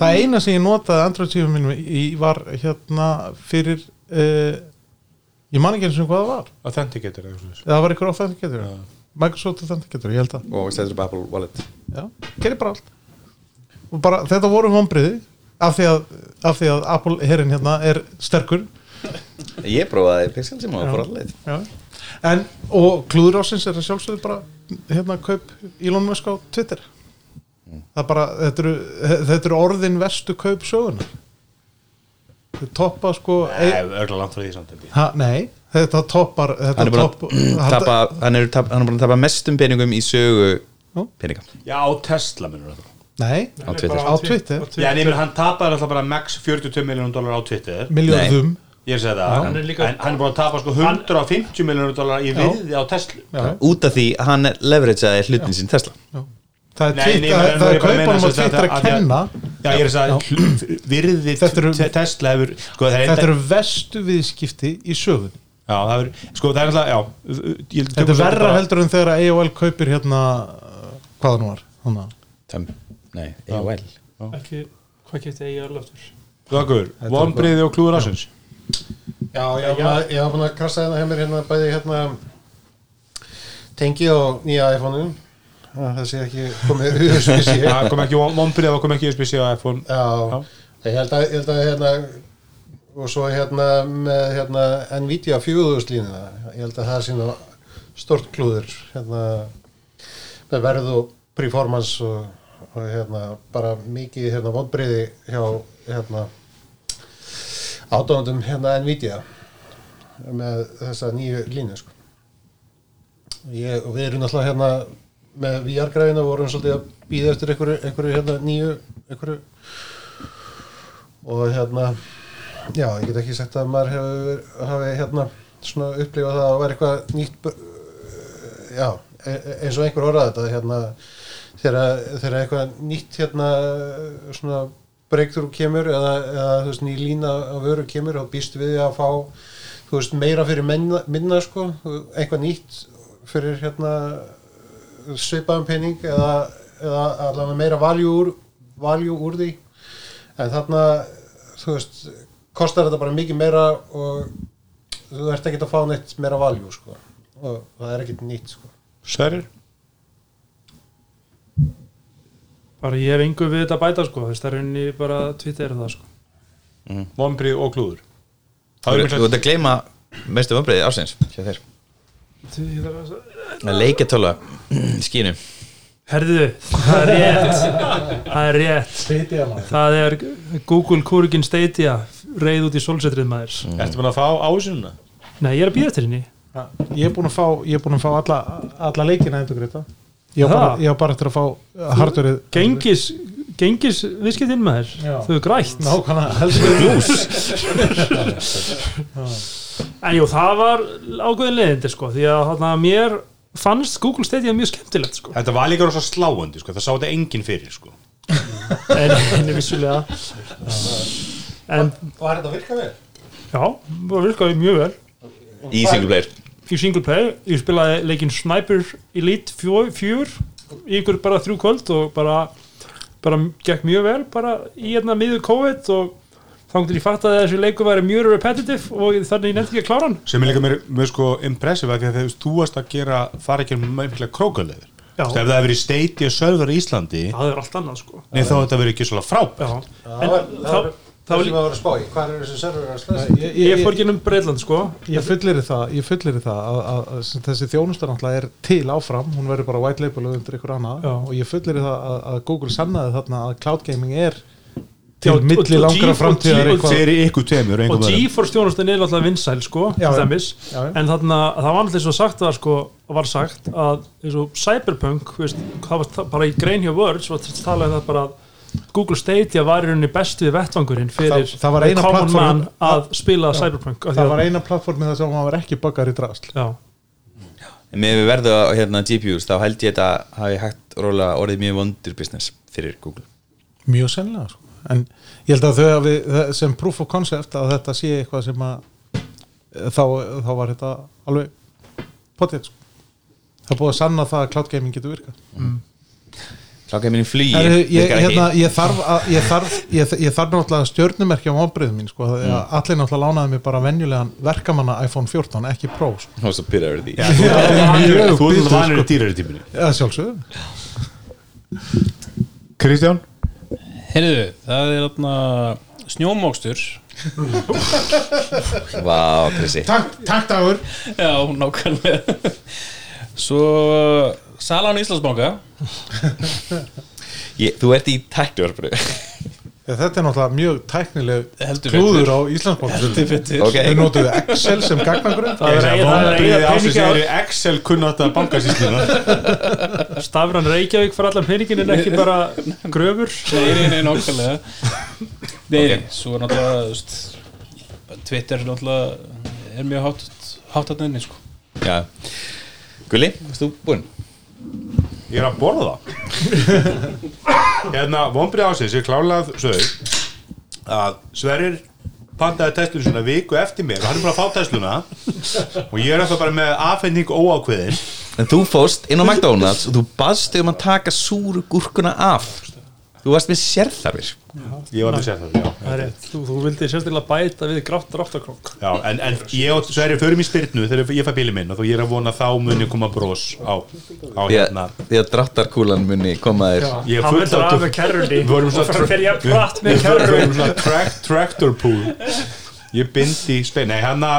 [SPEAKER 5] það eina sem ég notaði Android síma mínum í var hérna fyrir uh, ég man ekki eins og hvað það var
[SPEAKER 2] authenticator eða eitthvað svoleiðis.
[SPEAKER 5] eða það var ykkur authenticator Microsoft authenticator, ég held að
[SPEAKER 3] Og settur upp Apple Wallet
[SPEAKER 5] Já, gerir bara allt og bara, þetta voru vonbriði af því að, af því að Apple herrin hérna er sterkur
[SPEAKER 3] Ég prófaði Pixel síma og fór allir
[SPEAKER 5] Já. En, og klúður ásins er að sjálfsögðu bara hérna kaup Elon Musk á Twitter
[SPEAKER 3] Mm.
[SPEAKER 5] það er bara, þetta eru, þetta eru orðin verstu kaup söguna þau toppa sko
[SPEAKER 2] Nei,
[SPEAKER 5] e
[SPEAKER 2] örgulega langt frá því samt held ég.
[SPEAKER 5] ha, nei, þetta toppar þetta
[SPEAKER 3] Hann er búin
[SPEAKER 5] topp-
[SPEAKER 3] að
[SPEAKER 5] þetta-
[SPEAKER 3] tapa, hann er, tap, hann er búin að tapa mestum peningum í sögu
[SPEAKER 5] Nú?
[SPEAKER 3] peninga
[SPEAKER 2] Já, Tesla minnur það
[SPEAKER 5] nei,
[SPEAKER 3] á Twitter
[SPEAKER 5] á Twitter
[SPEAKER 2] Já, en ég minn, hann tapaði alltaf bara max 47 miljónum dólar á Twitter
[SPEAKER 5] miljóðum
[SPEAKER 2] Ég er að segja það
[SPEAKER 6] Hann er líka-
[SPEAKER 2] En hann er búin að tapa sko 150 miljónur dólar í virði á Tesla
[SPEAKER 3] Út af því að hann leverageaði hlutin sín Tesla
[SPEAKER 5] það er,
[SPEAKER 2] Nei, nei,
[SPEAKER 5] Twitter-
[SPEAKER 2] nei,
[SPEAKER 5] það
[SPEAKER 2] nei,
[SPEAKER 5] er
[SPEAKER 2] ég bara meina
[SPEAKER 5] kaupanum á
[SPEAKER 2] sem sagt
[SPEAKER 5] Twitter
[SPEAKER 2] að-
[SPEAKER 5] að
[SPEAKER 2] að-
[SPEAKER 5] kenna
[SPEAKER 2] Já, ég er að segja hlu- virði
[SPEAKER 5] Þetta eru-
[SPEAKER 2] Te- Tesla hefur sko, það er
[SPEAKER 5] þetta
[SPEAKER 2] enda-
[SPEAKER 5] eru verstu viðskipti í sögun
[SPEAKER 2] Já, það er, sko, það er alltaf, já ég- tökum
[SPEAKER 5] þetta er
[SPEAKER 2] svolítið
[SPEAKER 5] verra
[SPEAKER 2] bara-
[SPEAKER 5] heldur en þegar AOL kaupir hérna uh, hvað það nú var þannig að
[SPEAKER 3] Töm, Nei, AOL
[SPEAKER 6] ekki, hvað getið ég alveg aftur
[SPEAKER 2] Þakkur, vonbriði og klúður ásins
[SPEAKER 7] Já, ég var búin að- ég var búin að krasa hérna heimir hérna bæði hérna tengi á nýja iPhone-unum það sé ekki komið USB-C
[SPEAKER 2] Það kom ekki vonbriði og kom ekki USB-C á iPhone
[SPEAKER 7] Já, ég held að, ég held að hérna, og svo hérna með hérna Nvidia 4000 línuna ég held að það sé nú stort klúður hérna með verð og performance og, og hérna bara mikið hérna vonbreyði hjá hérna átóndum hérna Nvidia með þessa nýju línu sko ég, og við erum náttúrulega hérna með VR-græðina vorum svolítið að býða eftir einhverju, einhverju hérna nýju einhverju og hérna já, ég get ekki sagt að maður hefur hafi hérna svona upplifað það að vera eitthvað nýtt bu- já, e- e- eins og einhver orðað þetta hérna þegar, þegar eitthvað nýtt hérna svona breakthrough kemur eða, eða þú veist ný lína á vöru kemur og býst við því að fá þú veist meira fyrir menna, minna sko eitthvað nýtt fyrir hérna svipaðan pening eða, eða allavega meira valjú úr, valjú úr því en þarna þú veist kostar þetta bara mikið meira og þú ert ekki að fá neitt meira valjú sko og það er ekkert nýtt sko
[SPEAKER 2] Sverir?
[SPEAKER 6] bara ég hef engu við þetta að bæta sko þess það er unni bara Twitter það sko
[SPEAKER 2] Vombri og klúður
[SPEAKER 3] Þú
[SPEAKER 2] Það er
[SPEAKER 3] ert þú
[SPEAKER 2] mikilvægt
[SPEAKER 3] ert að gleyma mestu vambriði ásins hjá þér
[SPEAKER 6] Því-
[SPEAKER 3] að leikja tóla skínu
[SPEAKER 6] herðu, það er rétt það er rétt
[SPEAKER 5] Steiti að maður
[SPEAKER 6] það er Google kúrugin Stadia reið út í solsetrið maður
[SPEAKER 3] Mm.
[SPEAKER 2] Ertu búin að fá ásununa?
[SPEAKER 6] nei, ég er að býða eftir henni
[SPEAKER 5] Ja, Ég er búin að fá, ég er búin að fá alla, alla leikina endur greita Ég á
[SPEAKER 6] Ha?
[SPEAKER 5] bara, ég á bara eftir að fá hardverið
[SPEAKER 6] gengis, gengis viðskiptinn maður
[SPEAKER 5] Já.
[SPEAKER 6] þau er grætt
[SPEAKER 5] Nákvæmlega, heldur við lús
[SPEAKER 6] en jú, það var ágöðin leiðindi sko því að þarna, mér fannst Google Stadia mjög skemmtilegt sko
[SPEAKER 2] Þetta var líka rosa sláandi sko. Það sá þetta enginn fyrir sko.
[SPEAKER 6] en, en vissulega en
[SPEAKER 7] Var þetta að virka vel?
[SPEAKER 6] já, það virkaði mjög vel
[SPEAKER 3] í single player
[SPEAKER 6] í single player, ég spilaði leikinn Sniper Elite 4 í ykkur bara þrjú kvöld og bara bara gekk mjög vel bara í hérna miður COVID og þangt til ég fatt að þessi leiku væri mjög repetitive og þannig ég nefndi ekki að klára hann
[SPEAKER 2] sem er líka mér, mér sko impressive af því að þegar þú varst að gera fara ekki með mikla krókaleður
[SPEAKER 6] Já.
[SPEAKER 2] ef það hefur verið steiti og sörður í Íslandi
[SPEAKER 6] það er allt annað sko
[SPEAKER 2] nei þá þetta verið ekki svona frábært
[SPEAKER 6] já. en
[SPEAKER 7] Það var, það var,
[SPEAKER 6] þá, þá
[SPEAKER 7] það
[SPEAKER 6] lí-
[SPEAKER 7] sem að vera að spá í, hvað er þessi server að slæsa?
[SPEAKER 5] Ég,
[SPEAKER 6] ég
[SPEAKER 5] ég,
[SPEAKER 6] fór gennum Breitland sko
[SPEAKER 5] Ég fullir það, ég fullir það að, að, að sem þessi þjónusta náttúrulega er til áfram hún verður bara white label undir ykkur annað
[SPEAKER 6] Já.
[SPEAKER 5] og ég fullir það að, að Google sannaði þarna að cloud gaming er
[SPEAKER 6] Já,
[SPEAKER 5] til
[SPEAKER 6] og-
[SPEAKER 5] milli
[SPEAKER 6] og-
[SPEAKER 5] langra
[SPEAKER 6] og-
[SPEAKER 5] framtíðar
[SPEAKER 6] og-
[SPEAKER 5] eitthvað
[SPEAKER 2] þeir eru ykkur tveimur
[SPEAKER 6] og
[SPEAKER 2] engum öðrum.
[SPEAKER 6] GeForce þjónustan er alltaf vinsæl sko til
[SPEAKER 5] Já, já.
[SPEAKER 6] dæmis.
[SPEAKER 5] Já, já.
[SPEAKER 6] en þarna, það var alltaf svo sagt var, sko, var sagt að eins og Cyberpunk þú veist, það var það- bara í grein hjá Words var talaði það bara að Google Stadia var í rauninni bestu við vettvangurinn fyrir
[SPEAKER 5] Það- það var eina
[SPEAKER 6] common
[SPEAKER 5] platformin-
[SPEAKER 6] man að spila Cyberpunk af því
[SPEAKER 5] það
[SPEAKER 6] að-
[SPEAKER 5] var eina plattformið þar sem hann var ekki buggar í drasl
[SPEAKER 6] já,
[SPEAKER 3] með við verðu á hérna, GPUs þá held ég þetta hafi hægt róla orðið mjög vondur business fyrir Google
[SPEAKER 5] mjög sennilega sko. en ég held að þau hafi það- sem proof of concept að þetta sé eitthvað sem að eh, þá, þá var þetta alveg potið sko. það er búið að sanna það að cloud gaming getur virkað
[SPEAKER 3] klákaði minni flugi
[SPEAKER 5] Heru, ég,
[SPEAKER 3] virkar ekki.
[SPEAKER 5] hérna, ég, þarf að, ég, þarf, ég, ég þarf náttúrulega stjörnumerkja á ábreyðum mín sko, mm. allir náttúrulega lánaði mér bara venjulegan verkamanna iPhone 14, ekki Pro sko.
[SPEAKER 3] og svo pyrraður því
[SPEAKER 2] Já, þú ert- þú ert
[SPEAKER 5] bitur,
[SPEAKER 2] vanur í dýrari tíminu
[SPEAKER 5] eða sjálfsögðu
[SPEAKER 2] Kristján?
[SPEAKER 8] Heyrðu, það er þarna snjómókstur
[SPEAKER 3] Vá, Krissi
[SPEAKER 5] takk, takk dagur
[SPEAKER 8] Já, nákvæmlega Svo Salan í Íslandsbanka
[SPEAKER 3] ég, Þú ert í tæknivarpinu
[SPEAKER 5] þetta er náttúrulega mjög tæknileg
[SPEAKER 8] Heldur
[SPEAKER 5] klúður á Íslandsbóksum
[SPEAKER 3] Ok,
[SPEAKER 5] þau notuðu Excel sem gagnagrunn
[SPEAKER 6] það er eigið- það er
[SPEAKER 2] Vonbriði
[SPEAKER 6] eigið
[SPEAKER 2] ásins
[SPEAKER 6] peningi
[SPEAKER 2] eru Excel kunnata bankasýsluna
[SPEAKER 6] á stafran Reykjavík fyrir allan peningin en ekki bara gröfur
[SPEAKER 8] Nei, nei, nei, nákvæmlega Nei, nei, svo er náttúrulega þú veist, bara Twitter er náttúrulega er mjög hátt hátt að nefni, sko
[SPEAKER 3] já Gulli, varst þú búinn?
[SPEAKER 2] Ég er að borða Hérna, vonbrið ásins ég klálað sög að Sverrir pantaði testlun svona viku eftir mér og hann er bara að fá testluna og ég er eftir bara með afhending óákveðin
[SPEAKER 3] En þú fóst inn á McDonalds og þú baðst þig um að taka súru gúrkuna af Þú varst með sérþarfir
[SPEAKER 2] Ég var með sér það, já
[SPEAKER 6] Það er rétt. þú, þú vildi sérstaklega bæta við grátt ráttakrók
[SPEAKER 2] Já, en, en ég og Sverri förum í spyrnu þegar ég fæ bíli minn og þó ég er að vona að þá muni koma brós á, á
[SPEAKER 3] Því
[SPEAKER 2] hérna
[SPEAKER 3] að- því að dráttarkúlan muni koma þér
[SPEAKER 2] Ég er
[SPEAKER 6] hann
[SPEAKER 2] fullt
[SPEAKER 6] vildur
[SPEAKER 2] á
[SPEAKER 6] af með kerrunni
[SPEAKER 2] Við vorum
[SPEAKER 6] og
[SPEAKER 2] svona
[SPEAKER 6] fyrir að ferja pratt
[SPEAKER 2] Við
[SPEAKER 6] með kerrunni
[SPEAKER 2] förum um svona track, tractor pool Ég bindi í stein Nei, hérna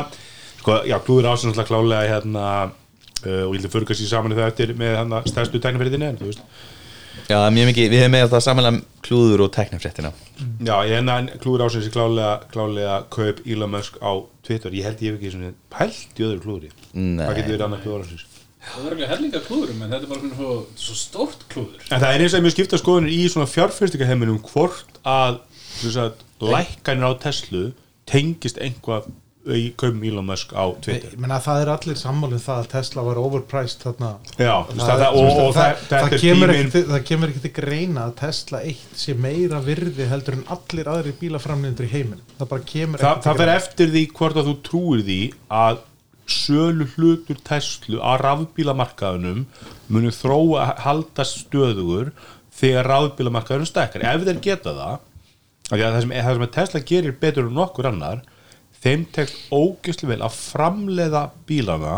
[SPEAKER 2] sko, Já, klúður ásinn alltaf klálega hérna uh, og ég held að fyrkast í saman í það eftir með hérna stærstu tæknafyrirtinni en þú veist
[SPEAKER 3] Já, það er mjög mikið, við hefum með það samanlega klúður og tæknafréttina
[SPEAKER 2] Já, ég hérna en klúður ásinn sem klálega, klálega kaup Elon Musk á Twitter Ég held ég hef ekki svona pælt í öðru klúðri
[SPEAKER 3] Nei.
[SPEAKER 2] Það getur verið annað klúður ásins
[SPEAKER 8] Það var ekki hellinga klúðurum, en þetta er bara svona svo, svo stórt klúður
[SPEAKER 2] En það er eins og mjög skipta skoðunir í svona fjárfyrstingaheiminum hvort að, sem sagt, lækkanir á Tesla tengist einhvað í kaupum Elon Musk á Twitter
[SPEAKER 5] Ég meina það er allir sammálið það að Tesla var overpriced þarna
[SPEAKER 2] Já, þú veist að það, og, og það,
[SPEAKER 5] það,
[SPEAKER 2] þetta er
[SPEAKER 5] kemur
[SPEAKER 2] tíminn-
[SPEAKER 5] ekki, til- það kemur ekki til greina að Tesla 1 sé meira virði heldur en allir aðrir bílaframlindur í heiminn það bara kemur
[SPEAKER 2] Þa,
[SPEAKER 5] ekki til
[SPEAKER 2] það fer
[SPEAKER 5] greina.
[SPEAKER 2] eftir því hvort að þú trúir því að sölu hlutur Tesla að rafbílamarkaðunum munu þróa að haldast stöðugur þegar rafbílamarkaðunum stekkar ef þeir geta það af því að það sem, það sem að Tesla gerir betur en nokkur annar þeim tekst ógeðslega vel að framleiða bílana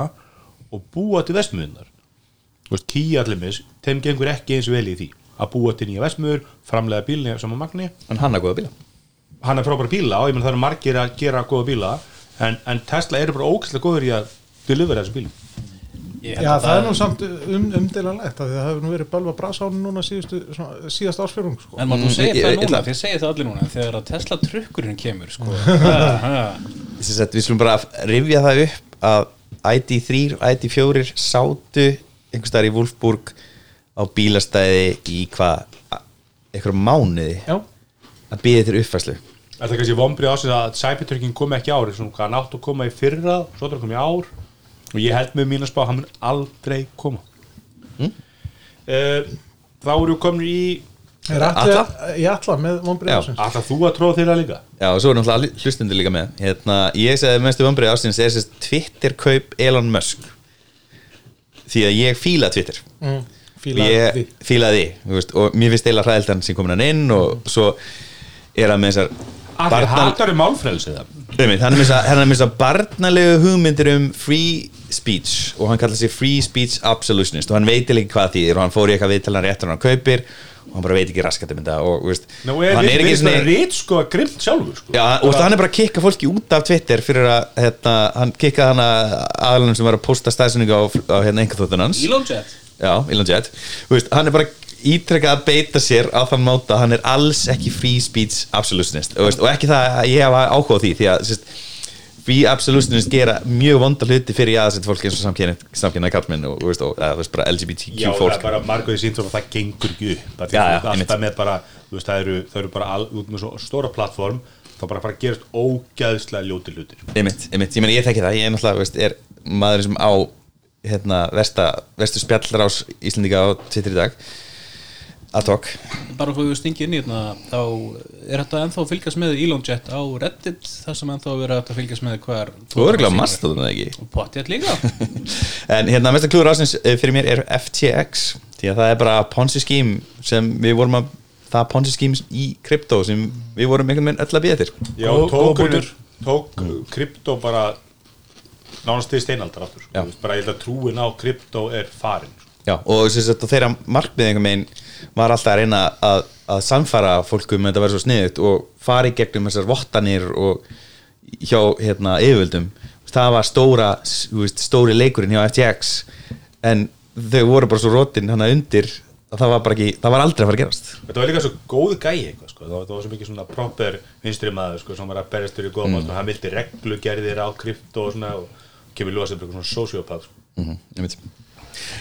[SPEAKER 2] og búa til vestmiðunar Þú veist, Kia allimis, þeim gengur ekki eins vel í því að búa til nýja vestmiður, framleiða bílina sem að magni
[SPEAKER 3] en hann að góða bíla
[SPEAKER 2] hann er frábæra bíla og ég menn það eru margir að gera góða bíla en, en Tesla eru bara ógæslega góður í að delivera þessum bílum
[SPEAKER 5] Já, það er nú samt um, umdelanlegt af því það hefur nú verið bölva brasánu núna síðustu, svona, síðast ársfjörung sko.
[SPEAKER 8] En maður, þú segir
[SPEAKER 3] Mm, ég-
[SPEAKER 8] það
[SPEAKER 3] ég-
[SPEAKER 8] núna,
[SPEAKER 3] ég-
[SPEAKER 8] þið segir það allir núna Þegar að Tesla trukkurinn kemur sko. ha, ha.
[SPEAKER 3] Þess að við slum bara rifja það upp að ID3, ID4 sátu einhverstaðar í Wolfsburg á bílastæði í hvað einhverjum mánuði
[SPEAKER 5] Já.
[SPEAKER 3] að býða þér uppfæslu
[SPEAKER 2] Þetta er kannski vombrið ásins að Cybertrucking kom ekki árið svona hvað nátt að koma í fyrra svo það kom í ár og ég held með mín að spá að hann mun aldrei koma mm? Þá eru komin í
[SPEAKER 5] Er allir í alla með
[SPEAKER 3] Já.
[SPEAKER 5] vonbreið ásins
[SPEAKER 2] alltaf þú að tróða þeirra líka
[SPEAKER 3] Já, og svo er náttúrulega allir hlustendur líka með hérna, Ég segði að mestu vombrið ástins er sérst Twitter kaup Elon Musk Því að ég fíla Twitter
[SPEAKER 5] mm,
[SPEAKER 3] ég
[SPEAKER 5] Fílaði
[SPEAKER 3] fílaði þú veist, og mér finnst eila hræðilt hann sem komin hann inn og svo er hann með þessar
[SPEAKER 2] Allir
[SPEAKER 3] barnal-
[SPEAKER 2] hattar um málfrelsið það
[SPEAKER 3] Einmitt, hann er með þess að- hann er með þess að barnalegu hugmyndir um free speech og hann kallar sig free speech absolutionist og hann veit eiginlega ekki hvað því og hann fór í eitthvað viðtalan réttur hann kaupir og hann bara veit ekki raskat um þetta og, þú veist,
[SPEAKER 2] Nú
[SPEAKER 3] og
[SPEAKER 2] er
[SPEAKER 3] hann er ekki
[SPEAKER 2] svona
[SPEAKER 3] svona
[SPEAKER 2] rít sko að grimt sjálfur sko
[SPEAKER 3] Já, og hann er bara að kikka fólki út af Twitter fyrir að hérna, hann kikkaði hann aðalunum sem var að posta stæðsynningu á, á hérna einkaþóttun hans
[SPEAKER 8] Elon Jet
[SPEAKER 3] Já, Elon Jet Þú veist, Hann er bara ítrekkað að beita sér á þann máta að hann er alls ekki free speech absolutionist Þú veist, og ekki það að ég hafa áhuga á því því að sérst, free absolutionist gera mjög vonda hluti fyrir jaðarsett fólk eins og samkynnaði kallmenn og, þú veist, og eða, þú veist, bara
[SPEAKER 2] Já,
[SPEAKER 3] LGBTQ
[SPEAKER 2] það
[SPEAKER 3] fólk
[SPEAKER 2] er bara margóðið sínt og það gengur ekki upp Það
[SPEAKER 3] Já, já,
[SPEAKER 2] er alltaf
[SPEAKER 3] einmitt.
[SPEAKER 2] með bara, þú veist, það eru, það eru bara all, út með svo stóra plattform þá bara bara gerast ógæðslega ljóti hlutir
[SPEAKER 3] einmitt, einmitt, ég meni ég þekki það ég er náttúrulega, þú veist, er maður sem á hérna, versta, verstu spjallrás Íslendinga á Twitter í dag að tók
[SPEAKER 8] bara hvað við stingið inn í hérna þá er þetta ennþá að fylgjast með Elon Jet á Reddit þar sem ennþá verður þetta að fylgjast með hver
[SPEAKER 3] Þú eru gláð mastaðum það ekki
[SPEAKER 8] og potið líka
[SPEAKER 3] en hérna mesta klúður ásins eh, fyrir mér er FTX því að það er bara ponzi skím sem við vorum að það ponzi skím í krypto sem við vorum einhvern veginn öll að býða þér
[SPEAKER 2] Já,
[SPEAKER 3] Góð- góð
[SPEAKER 2] tókunir,
[SPEAKER 3] punktur.
[SPEAKER 2] tók krypto bara nánast til steinaldar aftur, sko,
[SPEAKER 3] Já.
[SPEAKER 2] þú veist, bara ég held að trúin á krypto er farin sko.
[SPEAKER 3] Já, og sem sagt, og þeirra markmið einhvern veginn var alltaf að reyna að, að samfara fólkum að þetta verður svo sniðut og fara í gegnum þessar vottanir og hjá hérna, yfirvöldum það var stóra, þú veist, stóri leikurinn hjá FTX en þau voru bara svo rótin hana undir að það var, bara ekki, það var aldrei að fara að gerast
[SPEAKER 2] Þetta var líka svo góð gæi eitthvað, sko. það, var, það var svo mikið svona proper vinstri maður sko, sem var að berjast fyrir góðum mm. hann vildi reglugerðir á krypto og svona og kemur ljóða sem bara svona sociopath sko.
[SPEAKER 3] mm -hmm,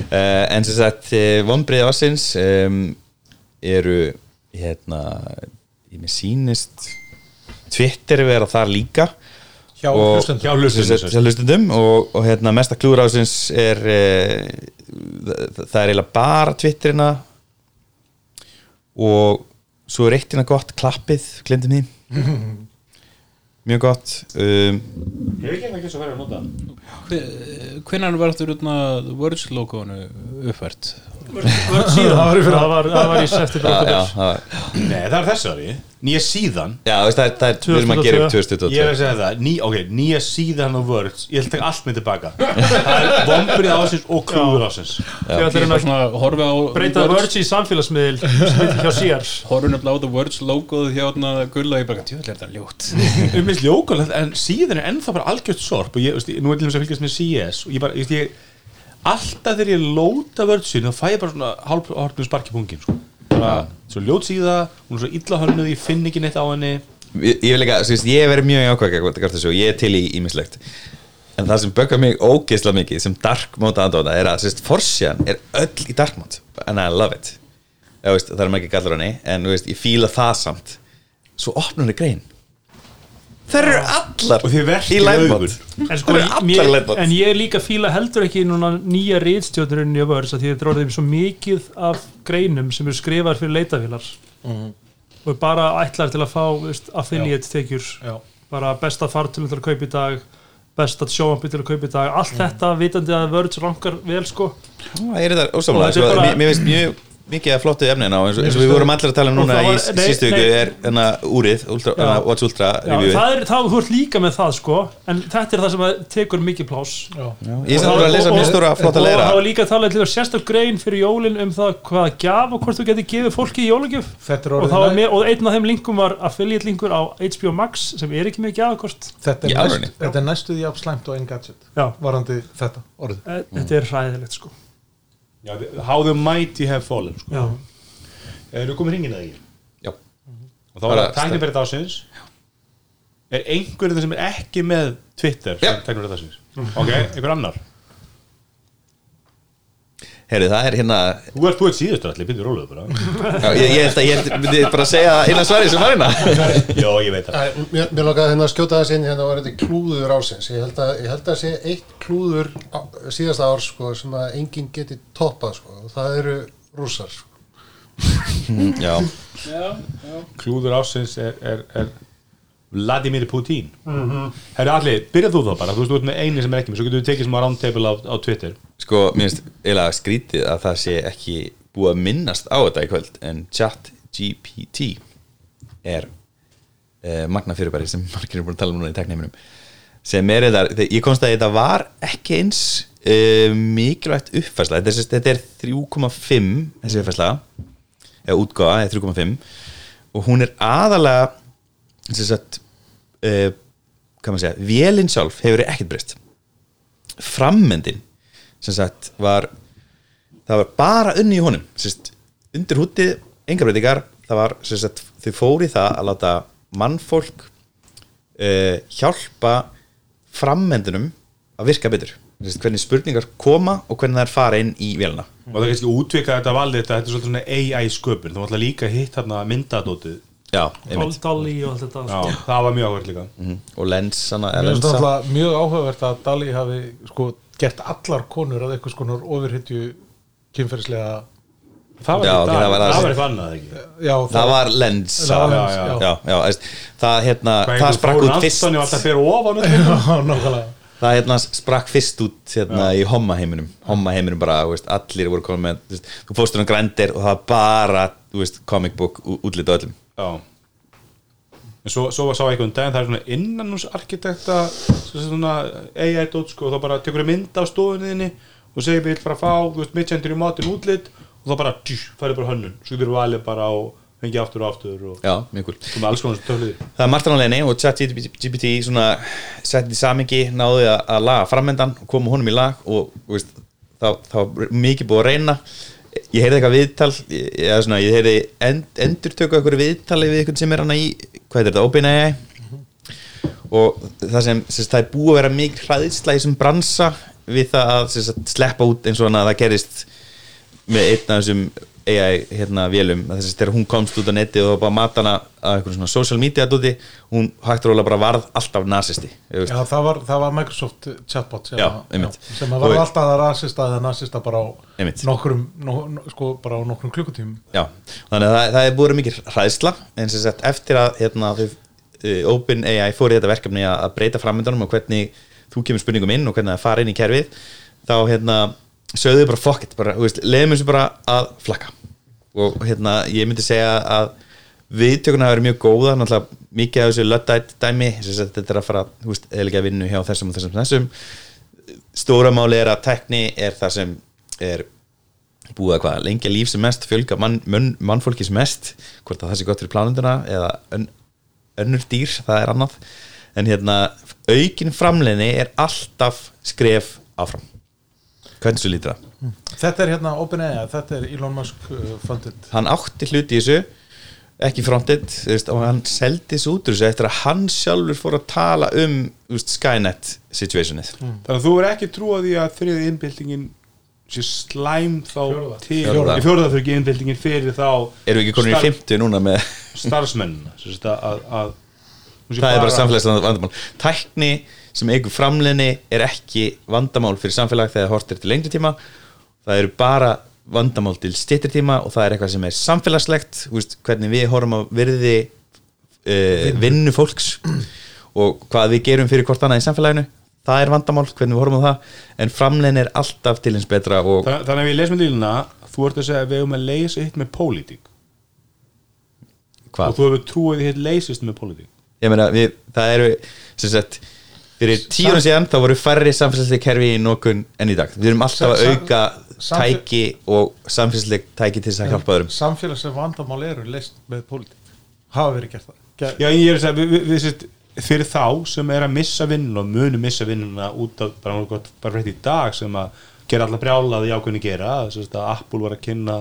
[SPEAKER 3] uh, en sem sagt uh, vonbreiði ásins um, eru hérna ég með sýnist Twitter vera þar líka
[SPEAKER 5] Hjá
[SPEAKER 3] Og-
[SPEAKER 5] hlustendum.
[SPEAKER 2] Hjá hlustendum,
[SPEAKER 3] Sem sagt,
[SPEAKER 2] sem sagt.
[SPEAKER 3] hjá hlustendum og, og hérna mesta klúður ásins er uh, það, það er eiginlega bara Twitterina og svo er eittina gott klappið, glendum því mjög gott um,
[SPEAKER 2] Hefur ekki eitthvað ekki svo verið að nota?
[SPEAKER 8] hvernig var þetta rútna Words logoinu uppvært
[SPEAKER 6] síðan það var, það var, það var í september
[SPEAKER 3] já,
[SPEAKER 6] október.
[SPEAKER 3] já, það,
[SPEAKER 2] Nei, það er þessari, nýja síðan
[SPEAKER 3] já, þú veist, það, er- það er, við erum að gera upp 2022
[SPEAKER 2] Ég er að segja það, ný, ok, nýja síðan og words Ég ætla að taka allt með tilbaka Það er vombrið ásins og klúður ásins
[SPEAKER 6] Þegar allir
[SPEAKER 8] ég
[SPEAKER 6] hann
[SPEAKER 8] var
[SPEAKER 6] að
[SPEAKER 8] svona að horfa á
[SPEAKER 6] breyta Verge í samfélagsmiðil smitt hjá síjar
[SPEAKER 8] horfum nefnilega á The Words logoð hjá hérna gulla og ég bara, djúvel er þetta ljótt
[SPEAKER 2] Mér finnst ljókulegt, en síðan er ennþá bara algjört sorp Og ég, veist, ég- nú er til þess að fylgjast með CS Og ég bara, ég veist, ég Alltaf þegar ég lóta vördsinn Þá fæ ég bara svona hálfhortnum sparki pungin sko. Bara, Svo ljót síða, hún er svo illa hönnuð Ég finn ekki neitt á henni
[SPEAKER 3] ég ég vil ekki að, þú veist, ég hef verið mjög ákvæð gert þessu og ég er til í ímislegt en það sem böggar mig ógeðslega mikið sem dark mode aðdóta er að, þú veist, forsjan er öll í dark mode and I love it Eða, þú veist, það er maður ekki gallar henni en, þú veist, ég fíla það samt svo opnur henni grein Það eru allar
[SPEAKER 2] Og þið verkið
[SPEAKER 3] í live
[SPEAKER 2] augun.
[SPEAKER 3] mode
[SPEAKER 6] En, sko,
[SPEAKER 3] Það eru allar
[SPEAKER 6] mér,
[SPEAKER 3] leitband.
[SPEAKER 6] en ég líka fíla heldur ekki núna nýja rítstjóðurinn í vörs að því þetta er orðið svo mikið af greinum sem eru skrifar fyrir leitavílar
[SPEAKER 3] Mhm.
[SPEAKER 6] og bara ætlar til að fá veist, affiliate tekjur
[SPEAKER 5] Já.
[SPEAKER 6] bara besta fartölu til að kaupa í dag besta sjóampi til að kaupa í dag
[SPEAKER 3] Mhm.
[SPEAKER 6] allt þetta vitandi að vörð rankar vel sko
[SPEAKER 3] Það er þetta
[SPEAKER 6] Og
[SPEAKER 3] ósamlega
[SPEAKER 6] þetta
[SPEAKER 3] sko,
[SPEAKER 6] er bara-
[SPEAKER 3] mér, mér finnst mjög mikið að flottu efnin á eins og, eins og við vorum allir að tala um
[SPEAKER 6] Og
[SPEAKER 3] núna
[SPEAKER 6] það
[SPEAKER 3] í
[SPEAKER 6] var-
[SPEAKER 3] s-
[SPEAKER 6] nei,
[SPEAKER 3] sístu viku
[SPEAKER 6] nei.
[SPEAKER 3] er enna úrið Ultra,
[SPEAKER 6] Já.
[SPEAKER 3] enna Watch Ultra
[SPEAKER 6] Já,
[SPEAKER 3] review
[SPEAKER 6] það er, þá þú ert líka með það sko en þetta er það sem að tekur mikið pláss
[SPEAKER 3] Ég sem voru að lesa mjög stóra flotta
[SPEAKER 6] og
[SPEAKER 3] leira
[SPEAKER 6] það var líka talað til að sérstak grein fyrir jólin um það hvaða gaf og hvort þú getur gefið fólki í jólagjöf
[SPEAKER 5] Þetta er
[SPEAKER 6] og,
[SPEAKER 5] orðið
[SPEAKER 6] það var
[SPEAKER 5] næ-
[SPEAKER 6] mér, og einn af þeim linkum var affiliate linkur á HBO Max sem er ekki mjög gafakort
[SPEAKER 5] þetta
[SPEAKER 3] Í
[SPEAKER 5] er,
[SPEAKER 3] alvörunni?
[SPEAKER 5] næst, þetta er næstu því afslæmt og engadget
[SPEAKER 6] já,
[SPEAKER 5] varandi þetta orðið
[SPEAKER 6] e- þetta er hræðilegt sko
[SPEAKER 2] Já, How the mighty have fallen sko.
[SPEAKER 6] já,
[SPEAKER 2] Eru komið hringin að því?
[SPEAKER 3] Já.
[SPEAKER 2] Og þá var
[SPEAKER 3] Bara
[SPEAKER 2] það tæknibæri dagsins Er einhverjum sem er ekki með Twitter
[SPEAKER 3] Já.
[SPEAKER 2] sem tæknibæri dagsins? Ok, einhver annar
[SPEAKER 3] Herri, það er hérna
[SPEAKER 2] Þú ert búið síðust allir, býttu róluðu bara
[SPEAKER 3] já, ég, ég held að ég held- myndi bara að segja það innan svarið sem var hérna
[SPEAKER 2] Jó, ég veit það
[SPEAKER 7] Æ, Mér, mér lokaði hérna að skjóta þess inn hérna var þetta klúður ásins ég held að, ég held að sé eitt klúður á- síðasta ár sko, sem að enginn geti toppað sko. og það eru rússar sko.
[SPEAKER 3] Já,
[SPEAKER 2] Klúður ásins er, er, er Vladimir Putin Herri allir, byrjað þú þá bara Þú veist, þú ert með eini sem er ekki með Svo getur við tekið sem á roundtable á, á Twitter
[SPEAKER 3] sko, mér finnst eiginlega skrítið að það sé ekki búið að minnast á þetta í kvöld en chat GPT er uh, magna fyrirbæri sem margir eru búin að tala um núna í tekneiminum sem er þetta, þe- ég komst að þetta var ekki eins uh, mikilvægt uppfærsla þetta er, sem sagt- þetta er 3,5 þessi uppfærsla eða útgáða, eða 3,5 og hún er aðalega sem sagt uh, hvað maður segja, vélinn sjálf hefur ekkert breyst frammyndin sem sagt var það var bara unni í honum sem sagt, undir hútið, enga breytingar það var, sem sagt, þau fóru í það að láta mannfólk uh, hjálpa frammyndinum að virka betur Sem sagt, hvernig spurningar koma og hvernig það er fara inn í vélina
[SPEAKER 2] Og það er kannski útvika þetta valið þetta Þetta er svolítið svona AI sköpun Þú ætla líka að hitt hérna myndadótið
[SPEAKER 3] já, einmitt
[SPEAKER 6] Doldali og allt þetta
[SPEAKER 2] Já,
[SPEAKER 6] sko.
[SPEAKER 2] það var mjög áhverð líka
[SPEAKER 3] Mhm. og lensana eða
[SPEAKER 5] Mér finnst
[SPEAKER 3] lensa.
[SPEAKER 5] alltaf mjög áhugavert að Dali hafi sko gert allar konur að eitthvað skonar ofurhytju kynferðislega
[SPEAKER 2] Það var
[SPEAKER 3] Já,
[SPEAKER 2] í
[SPEAKER 3] ok,
[SPEAKER 2] dag.
[SPEAKER 3] það var aðeins.
[SPEAKER 2] það var eitthvað annað ekki
[SPEAKER 5] já,
[SPEAKER 3] það var lensa
[SPEAKER 5] Það var
[SPEAKER 3] já,
[SPEAKER 5] lens,
[SPEAKER 3] já,
[SPEAKER 5] já.
[SPEAKER 3] já, já, veist, það, hérna,
[SPEAKER 2] Hvað
[SPEAKER 3] það
[SPEAKER 2] einhver
[SPEAKER 3] sprakk
[SPEAKER 2] Þórunn
[SPEAKER 3] út fyrst
[SPEAKER 2] Anton og alltaf fyrir ofan
[SPEAKER 5] Já, nákvæmlega
[SPEAKER 3] það hérna sprakk fyrst út hérna, í hommaheiminum hommaheiminum bara, þú veist, allir voru komið með þú, veist, þú fóstur um grændir og það var bara þú veist, comic book ú- útlit á öllum
[SPEAKER 2] Já En svo, svo sá ég einhvern daginn, það er svona innanúsarkitekta svo sem svona AI dot sko, og þá bara tekur ég mynd af stofunniðinni og segir við vill bara fá, þú veist, mittsendur í matinn útlit og þá bara, tjú, færðu bara hönnun svo getur við valið bara og fengi aftur og aftur og
[SPEAKER 3] já, mjög kúl
[SPEAKER 2] komið alls konar töflið
[SPEAKER 3] það er margt á leginni og ChatGPT svona settið í samingi náði að, að laga framöndan og koma honum í lag og þú veist, þá, þá var mikið búið að reyna ég heyrði eitthvað viðtal ég, eða svona, ég heyrði end, endurtöku eitthvað viðtali við eitthvað sem er hana í hvað er þetta, OpenAI og það sem, sem sagt, það er búið að vera mikið hræðisla í þessum bransa við það að sem sagt, sleppa út eins og hana það gerist með einn af þessum AI hérna vélum að þess að þegar hún komst út á neti og það var bara matana að einhverjum svona social media dóti hún hægt róla bara varð alltaf nasisti já,
[SPEAKER 5] Já, það var, það var Microsoft chatbot sem,
[SPEAKER 3] Já,
[SPEAKER 5] að-
[SPEAKER 3] einmitt.
[SPEAKER 5] sem að
[SPEAKER 3] Og-
[SPEAKER 5] var alltaf að rasista eða nasista bara á
[SPEAKER 3] Einmitt.
[SPEAKER 5] nokkrum, no, no, sko, bara á nokkrum klukkutímum
[SPEAKER 3] já. þannig að það, það er búið mikið hræðsla en sem sagt eftir að hérna, þau, uh, Open AI fór í þetta verkefni að að breyta framöndanum og hvernig þú kemur spurningum inn og hvernig það fara inn í kerfið þá hérna sögðu þau bara fuck it bara, þú veist, leiðum þessu bara að flakka og hérna ég myndi segja að viðtökuna hafa verið mjög góða náttúrulega mikið af þessu löddætt dæmi sem sagt, þetta er að fara, þú veist, eðlilega vinnu hjá þessum og þessum, og þessum stóra máli er að tekni er það sem er búið að hvað, lengja líf sem mest fjölga mann, mann, mannfólki sem mest hvort að það sé gott fyrir plánunduna eða ön, önnur dýr, það er annað en hérna, aukin framleginni er alltaf skref áfram hvernig svo lítur það?
[SPEAKER 5] Þetta er hérna OpenAI, þetta er Elon Musk uh, funded
[SPEAKER 3] hann átti hluti í þessu ekki frontið, þú veist, og hann seldi þessu út úr þessu eftir að hann sjálfur fór að tala um þú veist, Skynet situationið
[SPEAKER 2] Þannig að þú er ekki trú að því að þriðið innbyltingin sé slæm Mm, þá
[SPEAKER 5] Fjórða.
[SPEAKER 2] til,
[SPEAKER 3] Fjórða.
[SPEAKER 2] í fjórða fyrir ekki innbyltingin fyrir þá
[SPEAKER 3] erum við ekki konur í
[SPEAKER 2] starf-
[SPEAKER 3] 50 núna með
[SPEAKER 2] starfsmennina sem sagt, að, að, að Þú sé
[SPEAKER 3] það er
[SPEAKER 2] bara-
[SPEAKER 3] bara samfélagslega vandamál tækni sem eigur framleginni er ekki vandamál fyrir samfélag þegar hort er til lengri tíma það eru bara vandamál til stytri tíma og það er eitthvað sem er samfélagslegt þú veist, hvernig við horfum á virði uh, vinnu fólks og hvað við gerum fyrir hvort annað í samfélaginu það er vandamál, hvernig við horfum á það en framleginni er alltaf til hins betra og
[SPEAKER 2] Þa- Þannig að við lesum líluna Þú ert að segja að við hefum að leysa hitt með pólitík Og
[SPEAKER 3] hvað
[SPEAKER 2] þú hefur trúið hitt leysist með pólitík
[SPEAKER 3] ég meina, við, það eru sem sagt, fyrir tíu ára síðan þá voru færri samfélagsleg kerfi í nokkun en í dag, við erum alltaf að
[SPEAKER 5] Sam-
[SPEAKER 3] auka
[SPEAKER 5] sam-
[SPEAKER 3] tæki og samfélagsleg tæki til þess að hjálpa öðrum
[SPEAKER 5] samfélagslega vandamál eru leist með pólitík hafa verið gert það Ger,
[SPEAKER 2] Já, ég er að segja, við, við, við sérst fyrir þá sem er að missa vinnuna og munu missa vinnuna út af bara nokkuð gott bara frétt í dag sem að gera alla brjálaði ákveðni gera, sérst að Apple var að kynna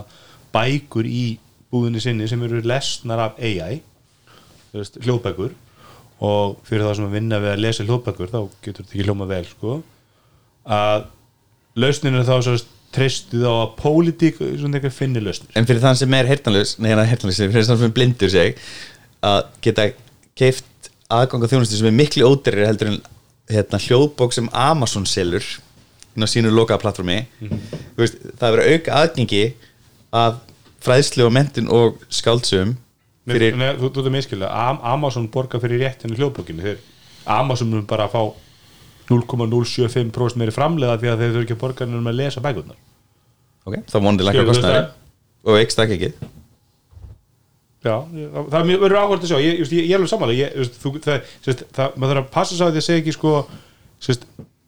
[SPEAKER 2] bækur í búðinni sinni sem eru lesnar af AI sérst, hljóðbækur og fyrir það sem að vinna við að lesa hljóðbækur þá getur þetta ekki hljóma vel sko að lausninu þá sérst treystu þá að pólitík svona eitthvað finni lausnir
[SPEAKER 3] en fyrir þann sem er hertanlaus, nei, hérna hertanlaus fyrir þann sem er blindur seg að geta keift aðgang á þjónustu sem er miklu ódýrari heldur en hérna, hljóðbók sem Amazon selur inn á sínu lokaða plattformi
[SPEAKER 5] Mhm.
[SPEAKER 3] Þú veist, það er verið að auka aðgengi að fræðslu og mentin og skáldsum
[SPEAKER 2] Nei, nei, þú, þú ert að miskilja, Am Amazon borgar fyrir réttinu hljóðbókinu þeir Amazon mun bara að fá 0,075% meiri framlega því að þeir þurfi ekki að borga nefnum að lesa bækurnar
[SPEAKER 3] ok, þá vonandi lækka
[SPEAKER 2] Skilur þú
[SPEAKER 3] kostnæður og veikst ekki
[SPEAKER 2] Já, ég- það það er mjög verður áhvert að sjá ég, just, ég, ég er alveg sammála ég, just, þú, það, sérst, það, maður þarf að passa sá að ég segja ekki sko, sérst,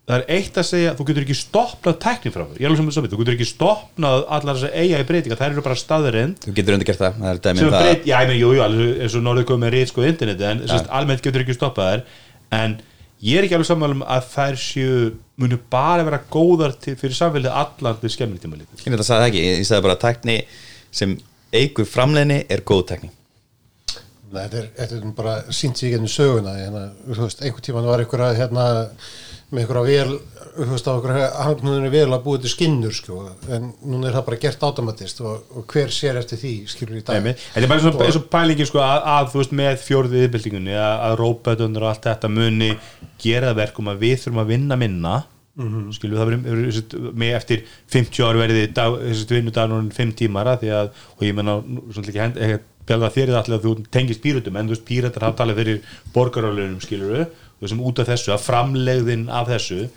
[SPEAKER 2] það er eitt að segja þú getur ekki stopnað tækni frá þér ég er alveg sammála sammála, þú getur ekki stopnað allar þess að eiga í breytinga, það eru bara staðurinn
[SPEAKER 3] þú getur undir gert það, það er dæmi
[SPEAKER 2] sem
[SPEAKER 3] um það
[SPEAKER 2] breyt, já, ég meina, jú, jú, alveg eins og norðið komið með reyt sko interneti, en sérst, almennt getur ekki stoppað þær en ég er ekki alveg sammála um að þær séu, munu bara vera góðar til, fyrir samfélagið allan til skemmri tíma lítið
[SPEAKER 3] ég veit að sagði það ekki, ég- ég sagði bara að tækni sem eigur framleginni er góð tækni
[SPEAKER 7] Nei, þetta er, þetta er nú bara sínt sér gennum söguna hérna, þú veist, einhvern tíman var ykkur að hérna, með ykkur að vel þú veist, á ykkur hangnúðinu vel að búa til skinnur sko, en núna er það bara gert automatist og, og hver sér eftir því skilur í dag
[SPEAKER 2] Nei, þetta er bara svona, eins og pælingin sko, að, að þú veist með fjórðið yfirbyltingunni að, að róbötunur og allt þetta muni gera það verkum að við þurfum að vinna minna mm -hmm. skilju það verður- verður þessi- með eftir 50 ár verði dag, vinnudagurinn 5 tímar að því að og ég menna svona ekki hend ekki að bjálfa þér í það allir að þú tengist píratum en þú veist píratar hafa talað fyrir borgarálunum skilju og sem út af þessu að framlegðin af þessu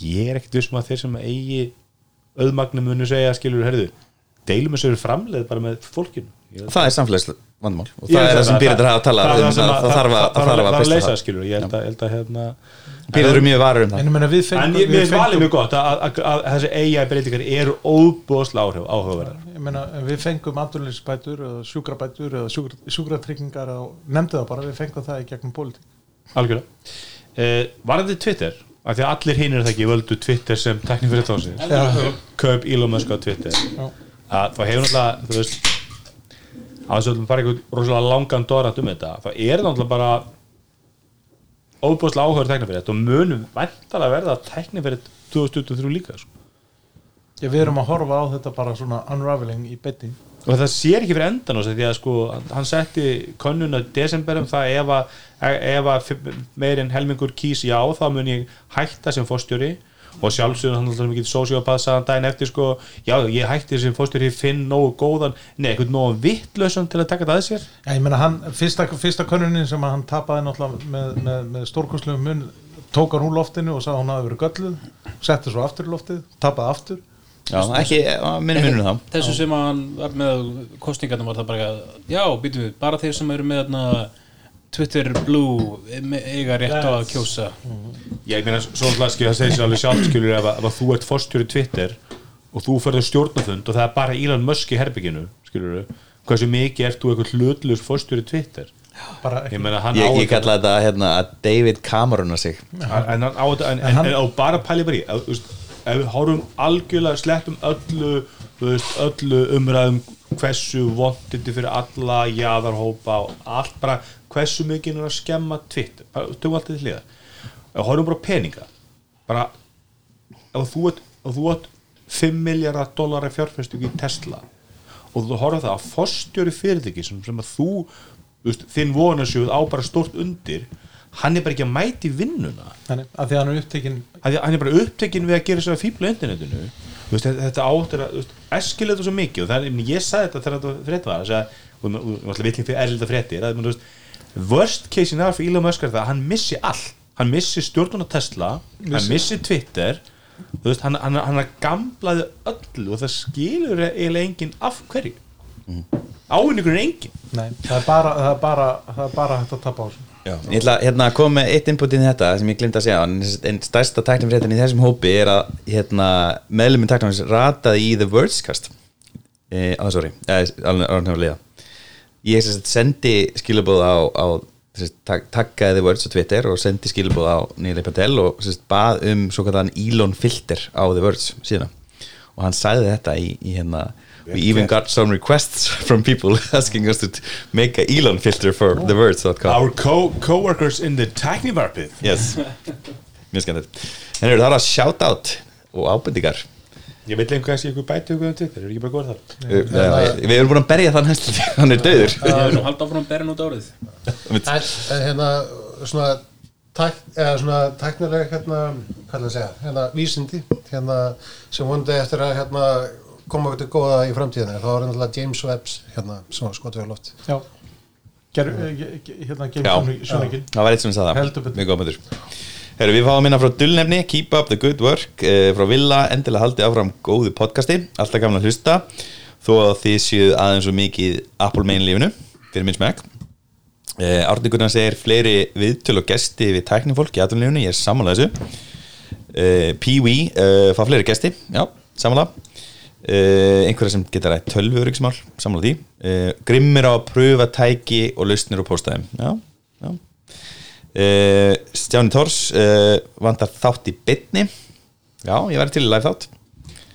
[SPEAKER 2] ég er ekkert vissum að þeir sem eigi auðmagnum munu segja skilur herðu, deilum þessu framleið bara með fólkinu Ég-
[SPEAKER 3] það er samfélagslega vandamál og
[SPEAKER 2] Ég
[SPEAKER 3] það er
[SPEAKER 2] held
[SPEAKER 3] það sem
[SPEAKER 2] að-
[SPEAKER 3] býrðar hafa að tala
[SPEAKER 2] það,
[SPEAKER 3] um
[SPEAKER 2] það,
[SPEAKER 3] það það þarf að það þarf að
[SPEAKER 2] leysa
[SPEAKER 3] breysta
[SPEAKER 2] það skilur ég held að, held að hérna
[SPEAKER 3] það býrðar eru mjög varur um það
[SPEAKER 5] en ég meina við
[SPEAKER 2] en
[SPEAKER 5] fengum
[SPEAKER 2] ég- mér
[SPEAKER 5] við
[SPEAKER 2] finnst valið mjög gott að, að, að þessi AI breytingar eru óbúðslega áhrif áhugaverðar
[SPEAKER 5] ég meina, en við fengum andurlýsbætur eða sjúkrabætur eða sjúkra, sjúkratryggingar og nefndi það bara, við fengum það í gegnum pólitík
[SPEAKER 2] algjörlega uh, varðið Twitter, af því að allir hinir er það ekki völdu Twitter sem teknir fyrir tónsins kaup Elon Musk á Twitter að þá hefur náttúrulega þú veist að þessu öllum bara eitthvað rosalega langan dorant um þetta þá er það náttúrulega bara óbúðslega áhugaverð teknir fyrir þetta og munum væntalega verða teknir fyrir 2023 líka sko.
[SPEAKER 5] Já, við erum að horfa á þetta bara svona unraveling í beti
[SPEAKER 2] og það sér ekki fyrir endan á þessu því að sko hann setti könnuna desember um það ef að, ef að meir en helmingur kýs já þá mun ég hætta sem fórstjóri og sjálfsögur hann alltaf mikið sociopath sagðan daginn eftir sko já ég hætti sem fórstjóri finn nógu góðan nei eitthvað nógu vittlausan til að taka þetta að sér
[SPEAKER 5] Já, ég meina, hann, fyrsta, fyrsta könnunin sem að hann tapaði náttúrulega með, með, með stórkonslegum mun tók hann úr loftinu og sagði að hún hafi verið gölluð setti svo aftur í loftið, tapaði aftur
[SPEAKER 3] Já, ekki, minnum minnum um þá
[SPEAKER 8] þessu sem hann var með kostningarnum var það bara að já, býtum við, bara þeir sem eru með na, Twitter Blue em- eiga rétt á að kjósa
[SPEAKER 2] Já, ég meina, svo náttúrulega skilur það segir sér alveg sjálf skilur ef, að- ef að þú ert forstjóri Twitter og þú ferður stjórnafund og það er bara Elon Musk í herbygginu, skilur þú hversu mikið ert þú eitthvað hlutlust forstjóri Twitter
[SPEAKER 5] bara ekki
[SPEAKER 2] ég meina, hann
[SPEAKER 3] ég,
[SPEAKER 2] á
[SPEAKER 3] ég kalla þetta hérna að David Camerona sig
[SPEAKER 2] en, en, á, þetta- en, en, en, og bara pæli bara í ef, þú veist, ef við horfum algjörlega sleppum öllu, þú veist, öllu umræðum hversu vondindi fyrir alla jaðarhópa og allt bara hversu mikið er að skemma Twitter, bara tökum allt til hliðar ef horfum bara á peninga bara ef þú ert, ef þú ert 5 miljardar dólar fjárfæstingu í Tesla og þú horfum það að fórstjóri fyrirtæki sem, sem að þú þú veist, þinn vonasjóð á bara stort undir hann er bara ekki að mæti vinnuna
[SPEAKER 5] þannig að því að hann er upptekinn
[SPEAKER 2] hann hann er bara upptekinn við að gera sér að fíbla internetinu þú veist, þetta- þetta áttir að eskilega þetta svo mikið og það er, ég meina, ég sagði þetta þegar þetta frétt var þess að, og og- og alltaf villing fyrir erlita fréttir að, þú veist, worst case in for Elon Musk er það að hann missi allt hann missi stjórnuna Tesla hann missi Twitter þú veist, hann, hann, hann gamlaði öllu og það skilur eiginlega enginn af hverju mm. ávinningurinn er enginn
[SPEAKER 5] nei, það er bara, það er bara, það er bara hægt að tapa á þessu
[SPEAKER 3] Ég ætla hérna, að koma með eitt input inn í þetta sem ég glemt að segja en, en stærsta tæknumfréttin í þessum hópi er að hérna, meðluminn tæknumfréttin rataði í The Wordscast e, að sorry, alveg ég sem sagt, sendi skilabóð á, á sem sagt, tak- taggaði The Words á Twitter og sendi skilabóð á Nýli Patel og sem sagt, bað um svo kallan Elon Filter á The Words síðan og hann sagði þetta í, í hérna We even got some requests from people asking us to t- make a Elon filter for the words.com
[SPEAKER 2] Our co- co-workers in the technivarpið
[SPEAKER 3] yes. mjög skemmtilegt en eru það eru að shoutout og ábendingar
[SPEAKER 2] Ég vil einhvern kannski ykkur bæti ykkur um Twitter, er ekki bara góð þar
[SPEAKER 3] við, við erum búin að berja þann hæsli hann er döður
[SPEAKER 8] Við erum haldið áfram að bera nút árið
[SPEAKER 7] en, en hérna svona, tæk, eða, svona tæknilega hérna, hvað er að segja, hérna vísindi hérna, sem vonandi eftir að hérna, koma við til góða í framtíðinu þá er náttúrulega James Webbs hérna, sem var skotuð á loft
[SPEAKER 5] já Ger, eh, ge- hérna
[SPEAKER 3] Já.
[SPEAKER 5] gefum sjónleikinn
[SPEAKER 3] það var eitt sem sagði
[SPEAKER 5] Heldur
[SPEAKER 3] það,
[SPEAKER 5] betur.
[SPEAKER 3] mjög góð myndur Heru, við fáum minna frá Dullnefni, Keep Up The Good Work eh, frá Villa, endilega haldið áfram góðu podcasti, alltaf gamla hlusta þó að þið séu aðeins og mikið Apple main lífinu, fyrir minn smekk eh, Árni Gunnar segir fleiri viðtöl og gesti við tæknifólk í aðunlífinu, ég er samanlega þessu eh, Pee-wee, eh, fá fleiri gesti já, samanlega eh, einhverja sem geta rætt tölvuryggsmál samanlega því, eh, grimmir á að pröfa tæki og lausnir og póstaðum já, já uh, Stjáni Tórs uh, vandar þátt í bytni já, ég væri til í live þátt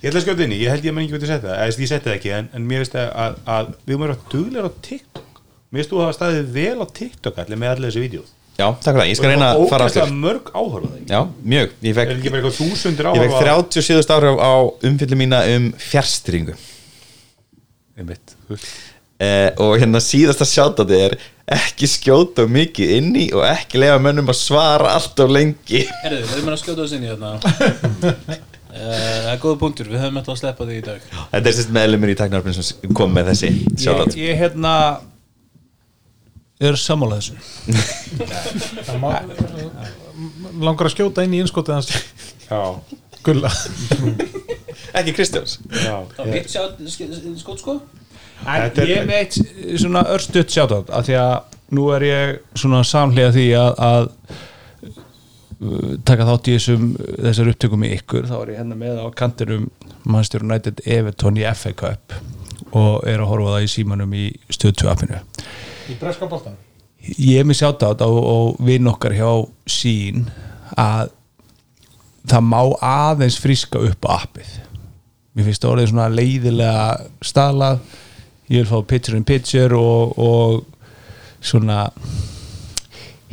[SPEAKER 2] Ég ætla að skjóta inn í, ég held ég að menn ekki veit að setja það eða ég setja það ekki, en, en mér veist að, að, að við erum að vera duglegar á TikTok Mér veist þú að hafa staðið vel á TikTok allir með allir þessi vídeo
[SPEAKER 3] já, takk fyrir það, ég skal reyna að fara
[SPEAKER 2] aftur
[SPEAKER 3] aftur
[SPEAKER 2] mörg áhörða
[SPEAKER 3] já, mjög, ég
[SPEAKER 2] Er
[SPEAKER 3] fekk
[SPEAKER 2] ekki bara eitthvað þúsundir
[SPEAKER 3] ég fekk
[SPEAKER 2] áhörða
[SPEAKER 3] 37 áhrif á umfyllu mína um fjárstringu
[SPEAKER 2] Einmitt.
[SPEAKER 3] Eh, og hérna síðasta sjátandi er ekki skjóta of mikið inni og ekki lega mönnum að svara allt of lengi
[SPEAKER 8] Herðu, við erum að skjóta oss inn í þarna Eh, Það er góða punktur, við höfum alltaf að sleppa því í dag
[SPEAKER 3] þetta er sérst meðlumur í tæknarfinn sem kom með þessi
[SPEAKER 4] ég,
[SPEAKER 3] sjátat
[SPEAKER 4] ég hérna er sammála þessu
[SPEAKER 5] Það má- m- langar að skjóta inn í innskotið hans
[SPEAKER 2] Já,
[SPEAKER 5] gulla
[SPEAKER 3] ekki Kristjáns
[SPEAKER 2] já
[SPEAKER 8] Það býtt sjá, skot sko
[SPEAKER 4] En
[SPEAKER 2] Þetta er-
[SPEAKER 4] ég er með eitt svona örstuðt sjátátt af því að nú er ég svona samhlega því að, að uh, taka þátt í þessum þessar upptökum í ykkur þá er ég hérna með á kantinum Manchester United Everton í FA Cup og er að horfa á það í símanum í stöðtu appinu
[SPEAKER 5] í breska boltan
[SPEAKER 4] ég er með sjátátt og, og vinn okkar hjá sín að það má aðeins friska upp appið mér finnst það orðið svona leiðilega staðlað ég vil fá picture in picture og, og svona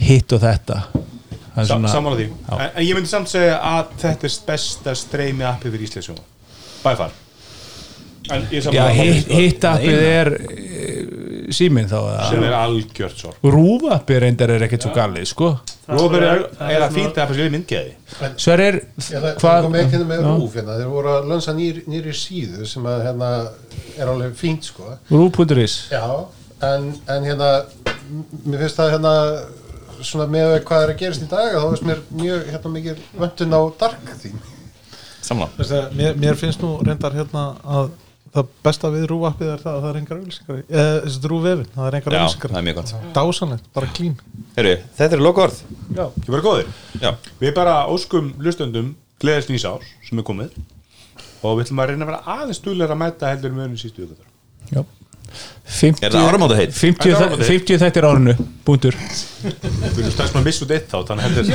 [SPEAKER 4] hitt og þetta Það er svona-
[SPEAKER 2] Samála því
[SPEAKER 4] Já.
[SPEAKER 2] en, en ég myndi samt segja að þetta er besta streymi appi fyrir Íslandsjóma By far En ég er
[SPEAKER 4] Já,
[SPEAKER 2] sammála því,
[SPEAKER 4] hitt,
[SPEAKER 2] sko,
[SPEAKER 4] hitt appið er e, síminn þá
[SPEAKER 2] sem
[SPEAKER 4] eða
[SPEAKER 2] er algjört sorg
[SPEAKER 4] rúf appið reyndar er ekkert svo galið sko
[SPEAKER 2] Róður er
[SPEAKER 6] það
[SPEAKER 2] er
[SPEAKER 6] er
[SPEAKER 2] að
[SPEAKER 6] svona-
[SPEAKER 2] fýta að fyrir myndgæði
[SPEAKER 4] Sver er
[SPEAKER 7] Hérna, það
[SPEAKER 4] hvað
[SPEAKER 7] kom ekki hérna með
[SPEAKER 4] Já.
[SPEAKER 7] rúf hérna, þeir voru að lönsa nýr, nýri síðu sem að hérna er alveg fínt sko
[SPEAKER 4] rúf.is
[SPEAKER 7] já, en, en hérna m- mér finnst það hérna svona með hvað er að gerast í dag þá finnst mér mjög hérna mikið vöntun á dark þín
[SPEAKER 3] samlá
[SPEAKER 5] mér, mér finnst nú reyndar hérna að það besta við rúvappið er það að það er engar ölsingar eða þessi rúvefin, það er engar
[SPEAKER 3] já,
[SPEAKER 5] ölsingar
[SPEAKER 3] það er mjög gott
[SPEAKER 5] dásanlegt, bara klín
[SPEAKER 3] Heru, þetta eru lokaorð
[SPEAKER 2] Ég bara góðir
[SPEAKER 3] já
[SPEAKER 2] Við bara óskum hlustendum gleðist nýs ár sem er komið og við ætlum að reyna að vera aðeins duglegar að mæta heldur með önum sístu ykkur
[SPEAKER 4] Já. 50,
[SPEAKER 3] Er það áramótaheit?
[SPEAKER 4] 50,
[SPEAKER 2] Er það
[SPEAKER 4] þæ-
[SPEAKER 2] áramótaheit?
[SPEAKER 4] 50 þættir á árinu, búndur
[SPEAKER 2] Við erum strax maður að missa út eitt þá þannig að heldur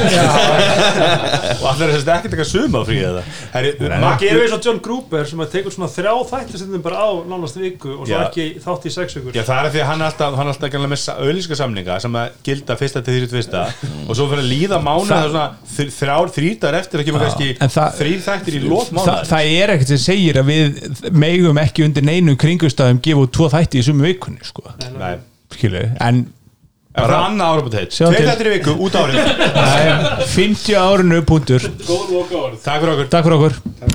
[SPEAKER 2] og allir er þess að ekki taka suma frí eða Herri,
[SPEAKER 6] Það
[SPEAKER 2] Maggi,
[SPEAKER 6] gerir eins og John Gruber sem að tekur svona þrjá þætti sem bara á nánast viku og svo
[SPEAKER 2] Já.
[SPEAKER 6] ekki þátt í sex vikur
[SPEAKER 2] Já, það er því að hann er alltaf, hann er alltaf ekki með auðlíska samninga sem að gilda fyrsta til þrjútt fyrsta og svo fyrir að líða mánu það er svona þr- þrjár þrýtar eftir að kemur
[SPEAKER 4] en
[SPEAKER 2] kannski
[SPEAKER 4] það-
[SPEAKER 2] þrýr þættir í lót
[SPEAKER 4] Þa,
[SPEAKER 2] mánu
[SPEAKER 4] Það er ekkert sem segir að við megum ekki undir neinum kringustæðum gefa út tvo þætti í sumu vikunni sko.
[SPEAKER 2] Nei,
[SPEAKER 4] Skilu, en
[SPEAKER 2] Það er annað ára búið þeir
[SPEAKER 4] Sjáum
[SPEAKER 2] Tveir
[SPEAKER 4] til.
[SPEAKER 2] þættir í viku, út árið
[SPEAKER 4] Nei, 50 árinu punktur
[SPEAKER 8] Góð loka orð
[SPEAKER 2] Takk fyrir okkur
[SPEAKER 4] Takk fyrir okkur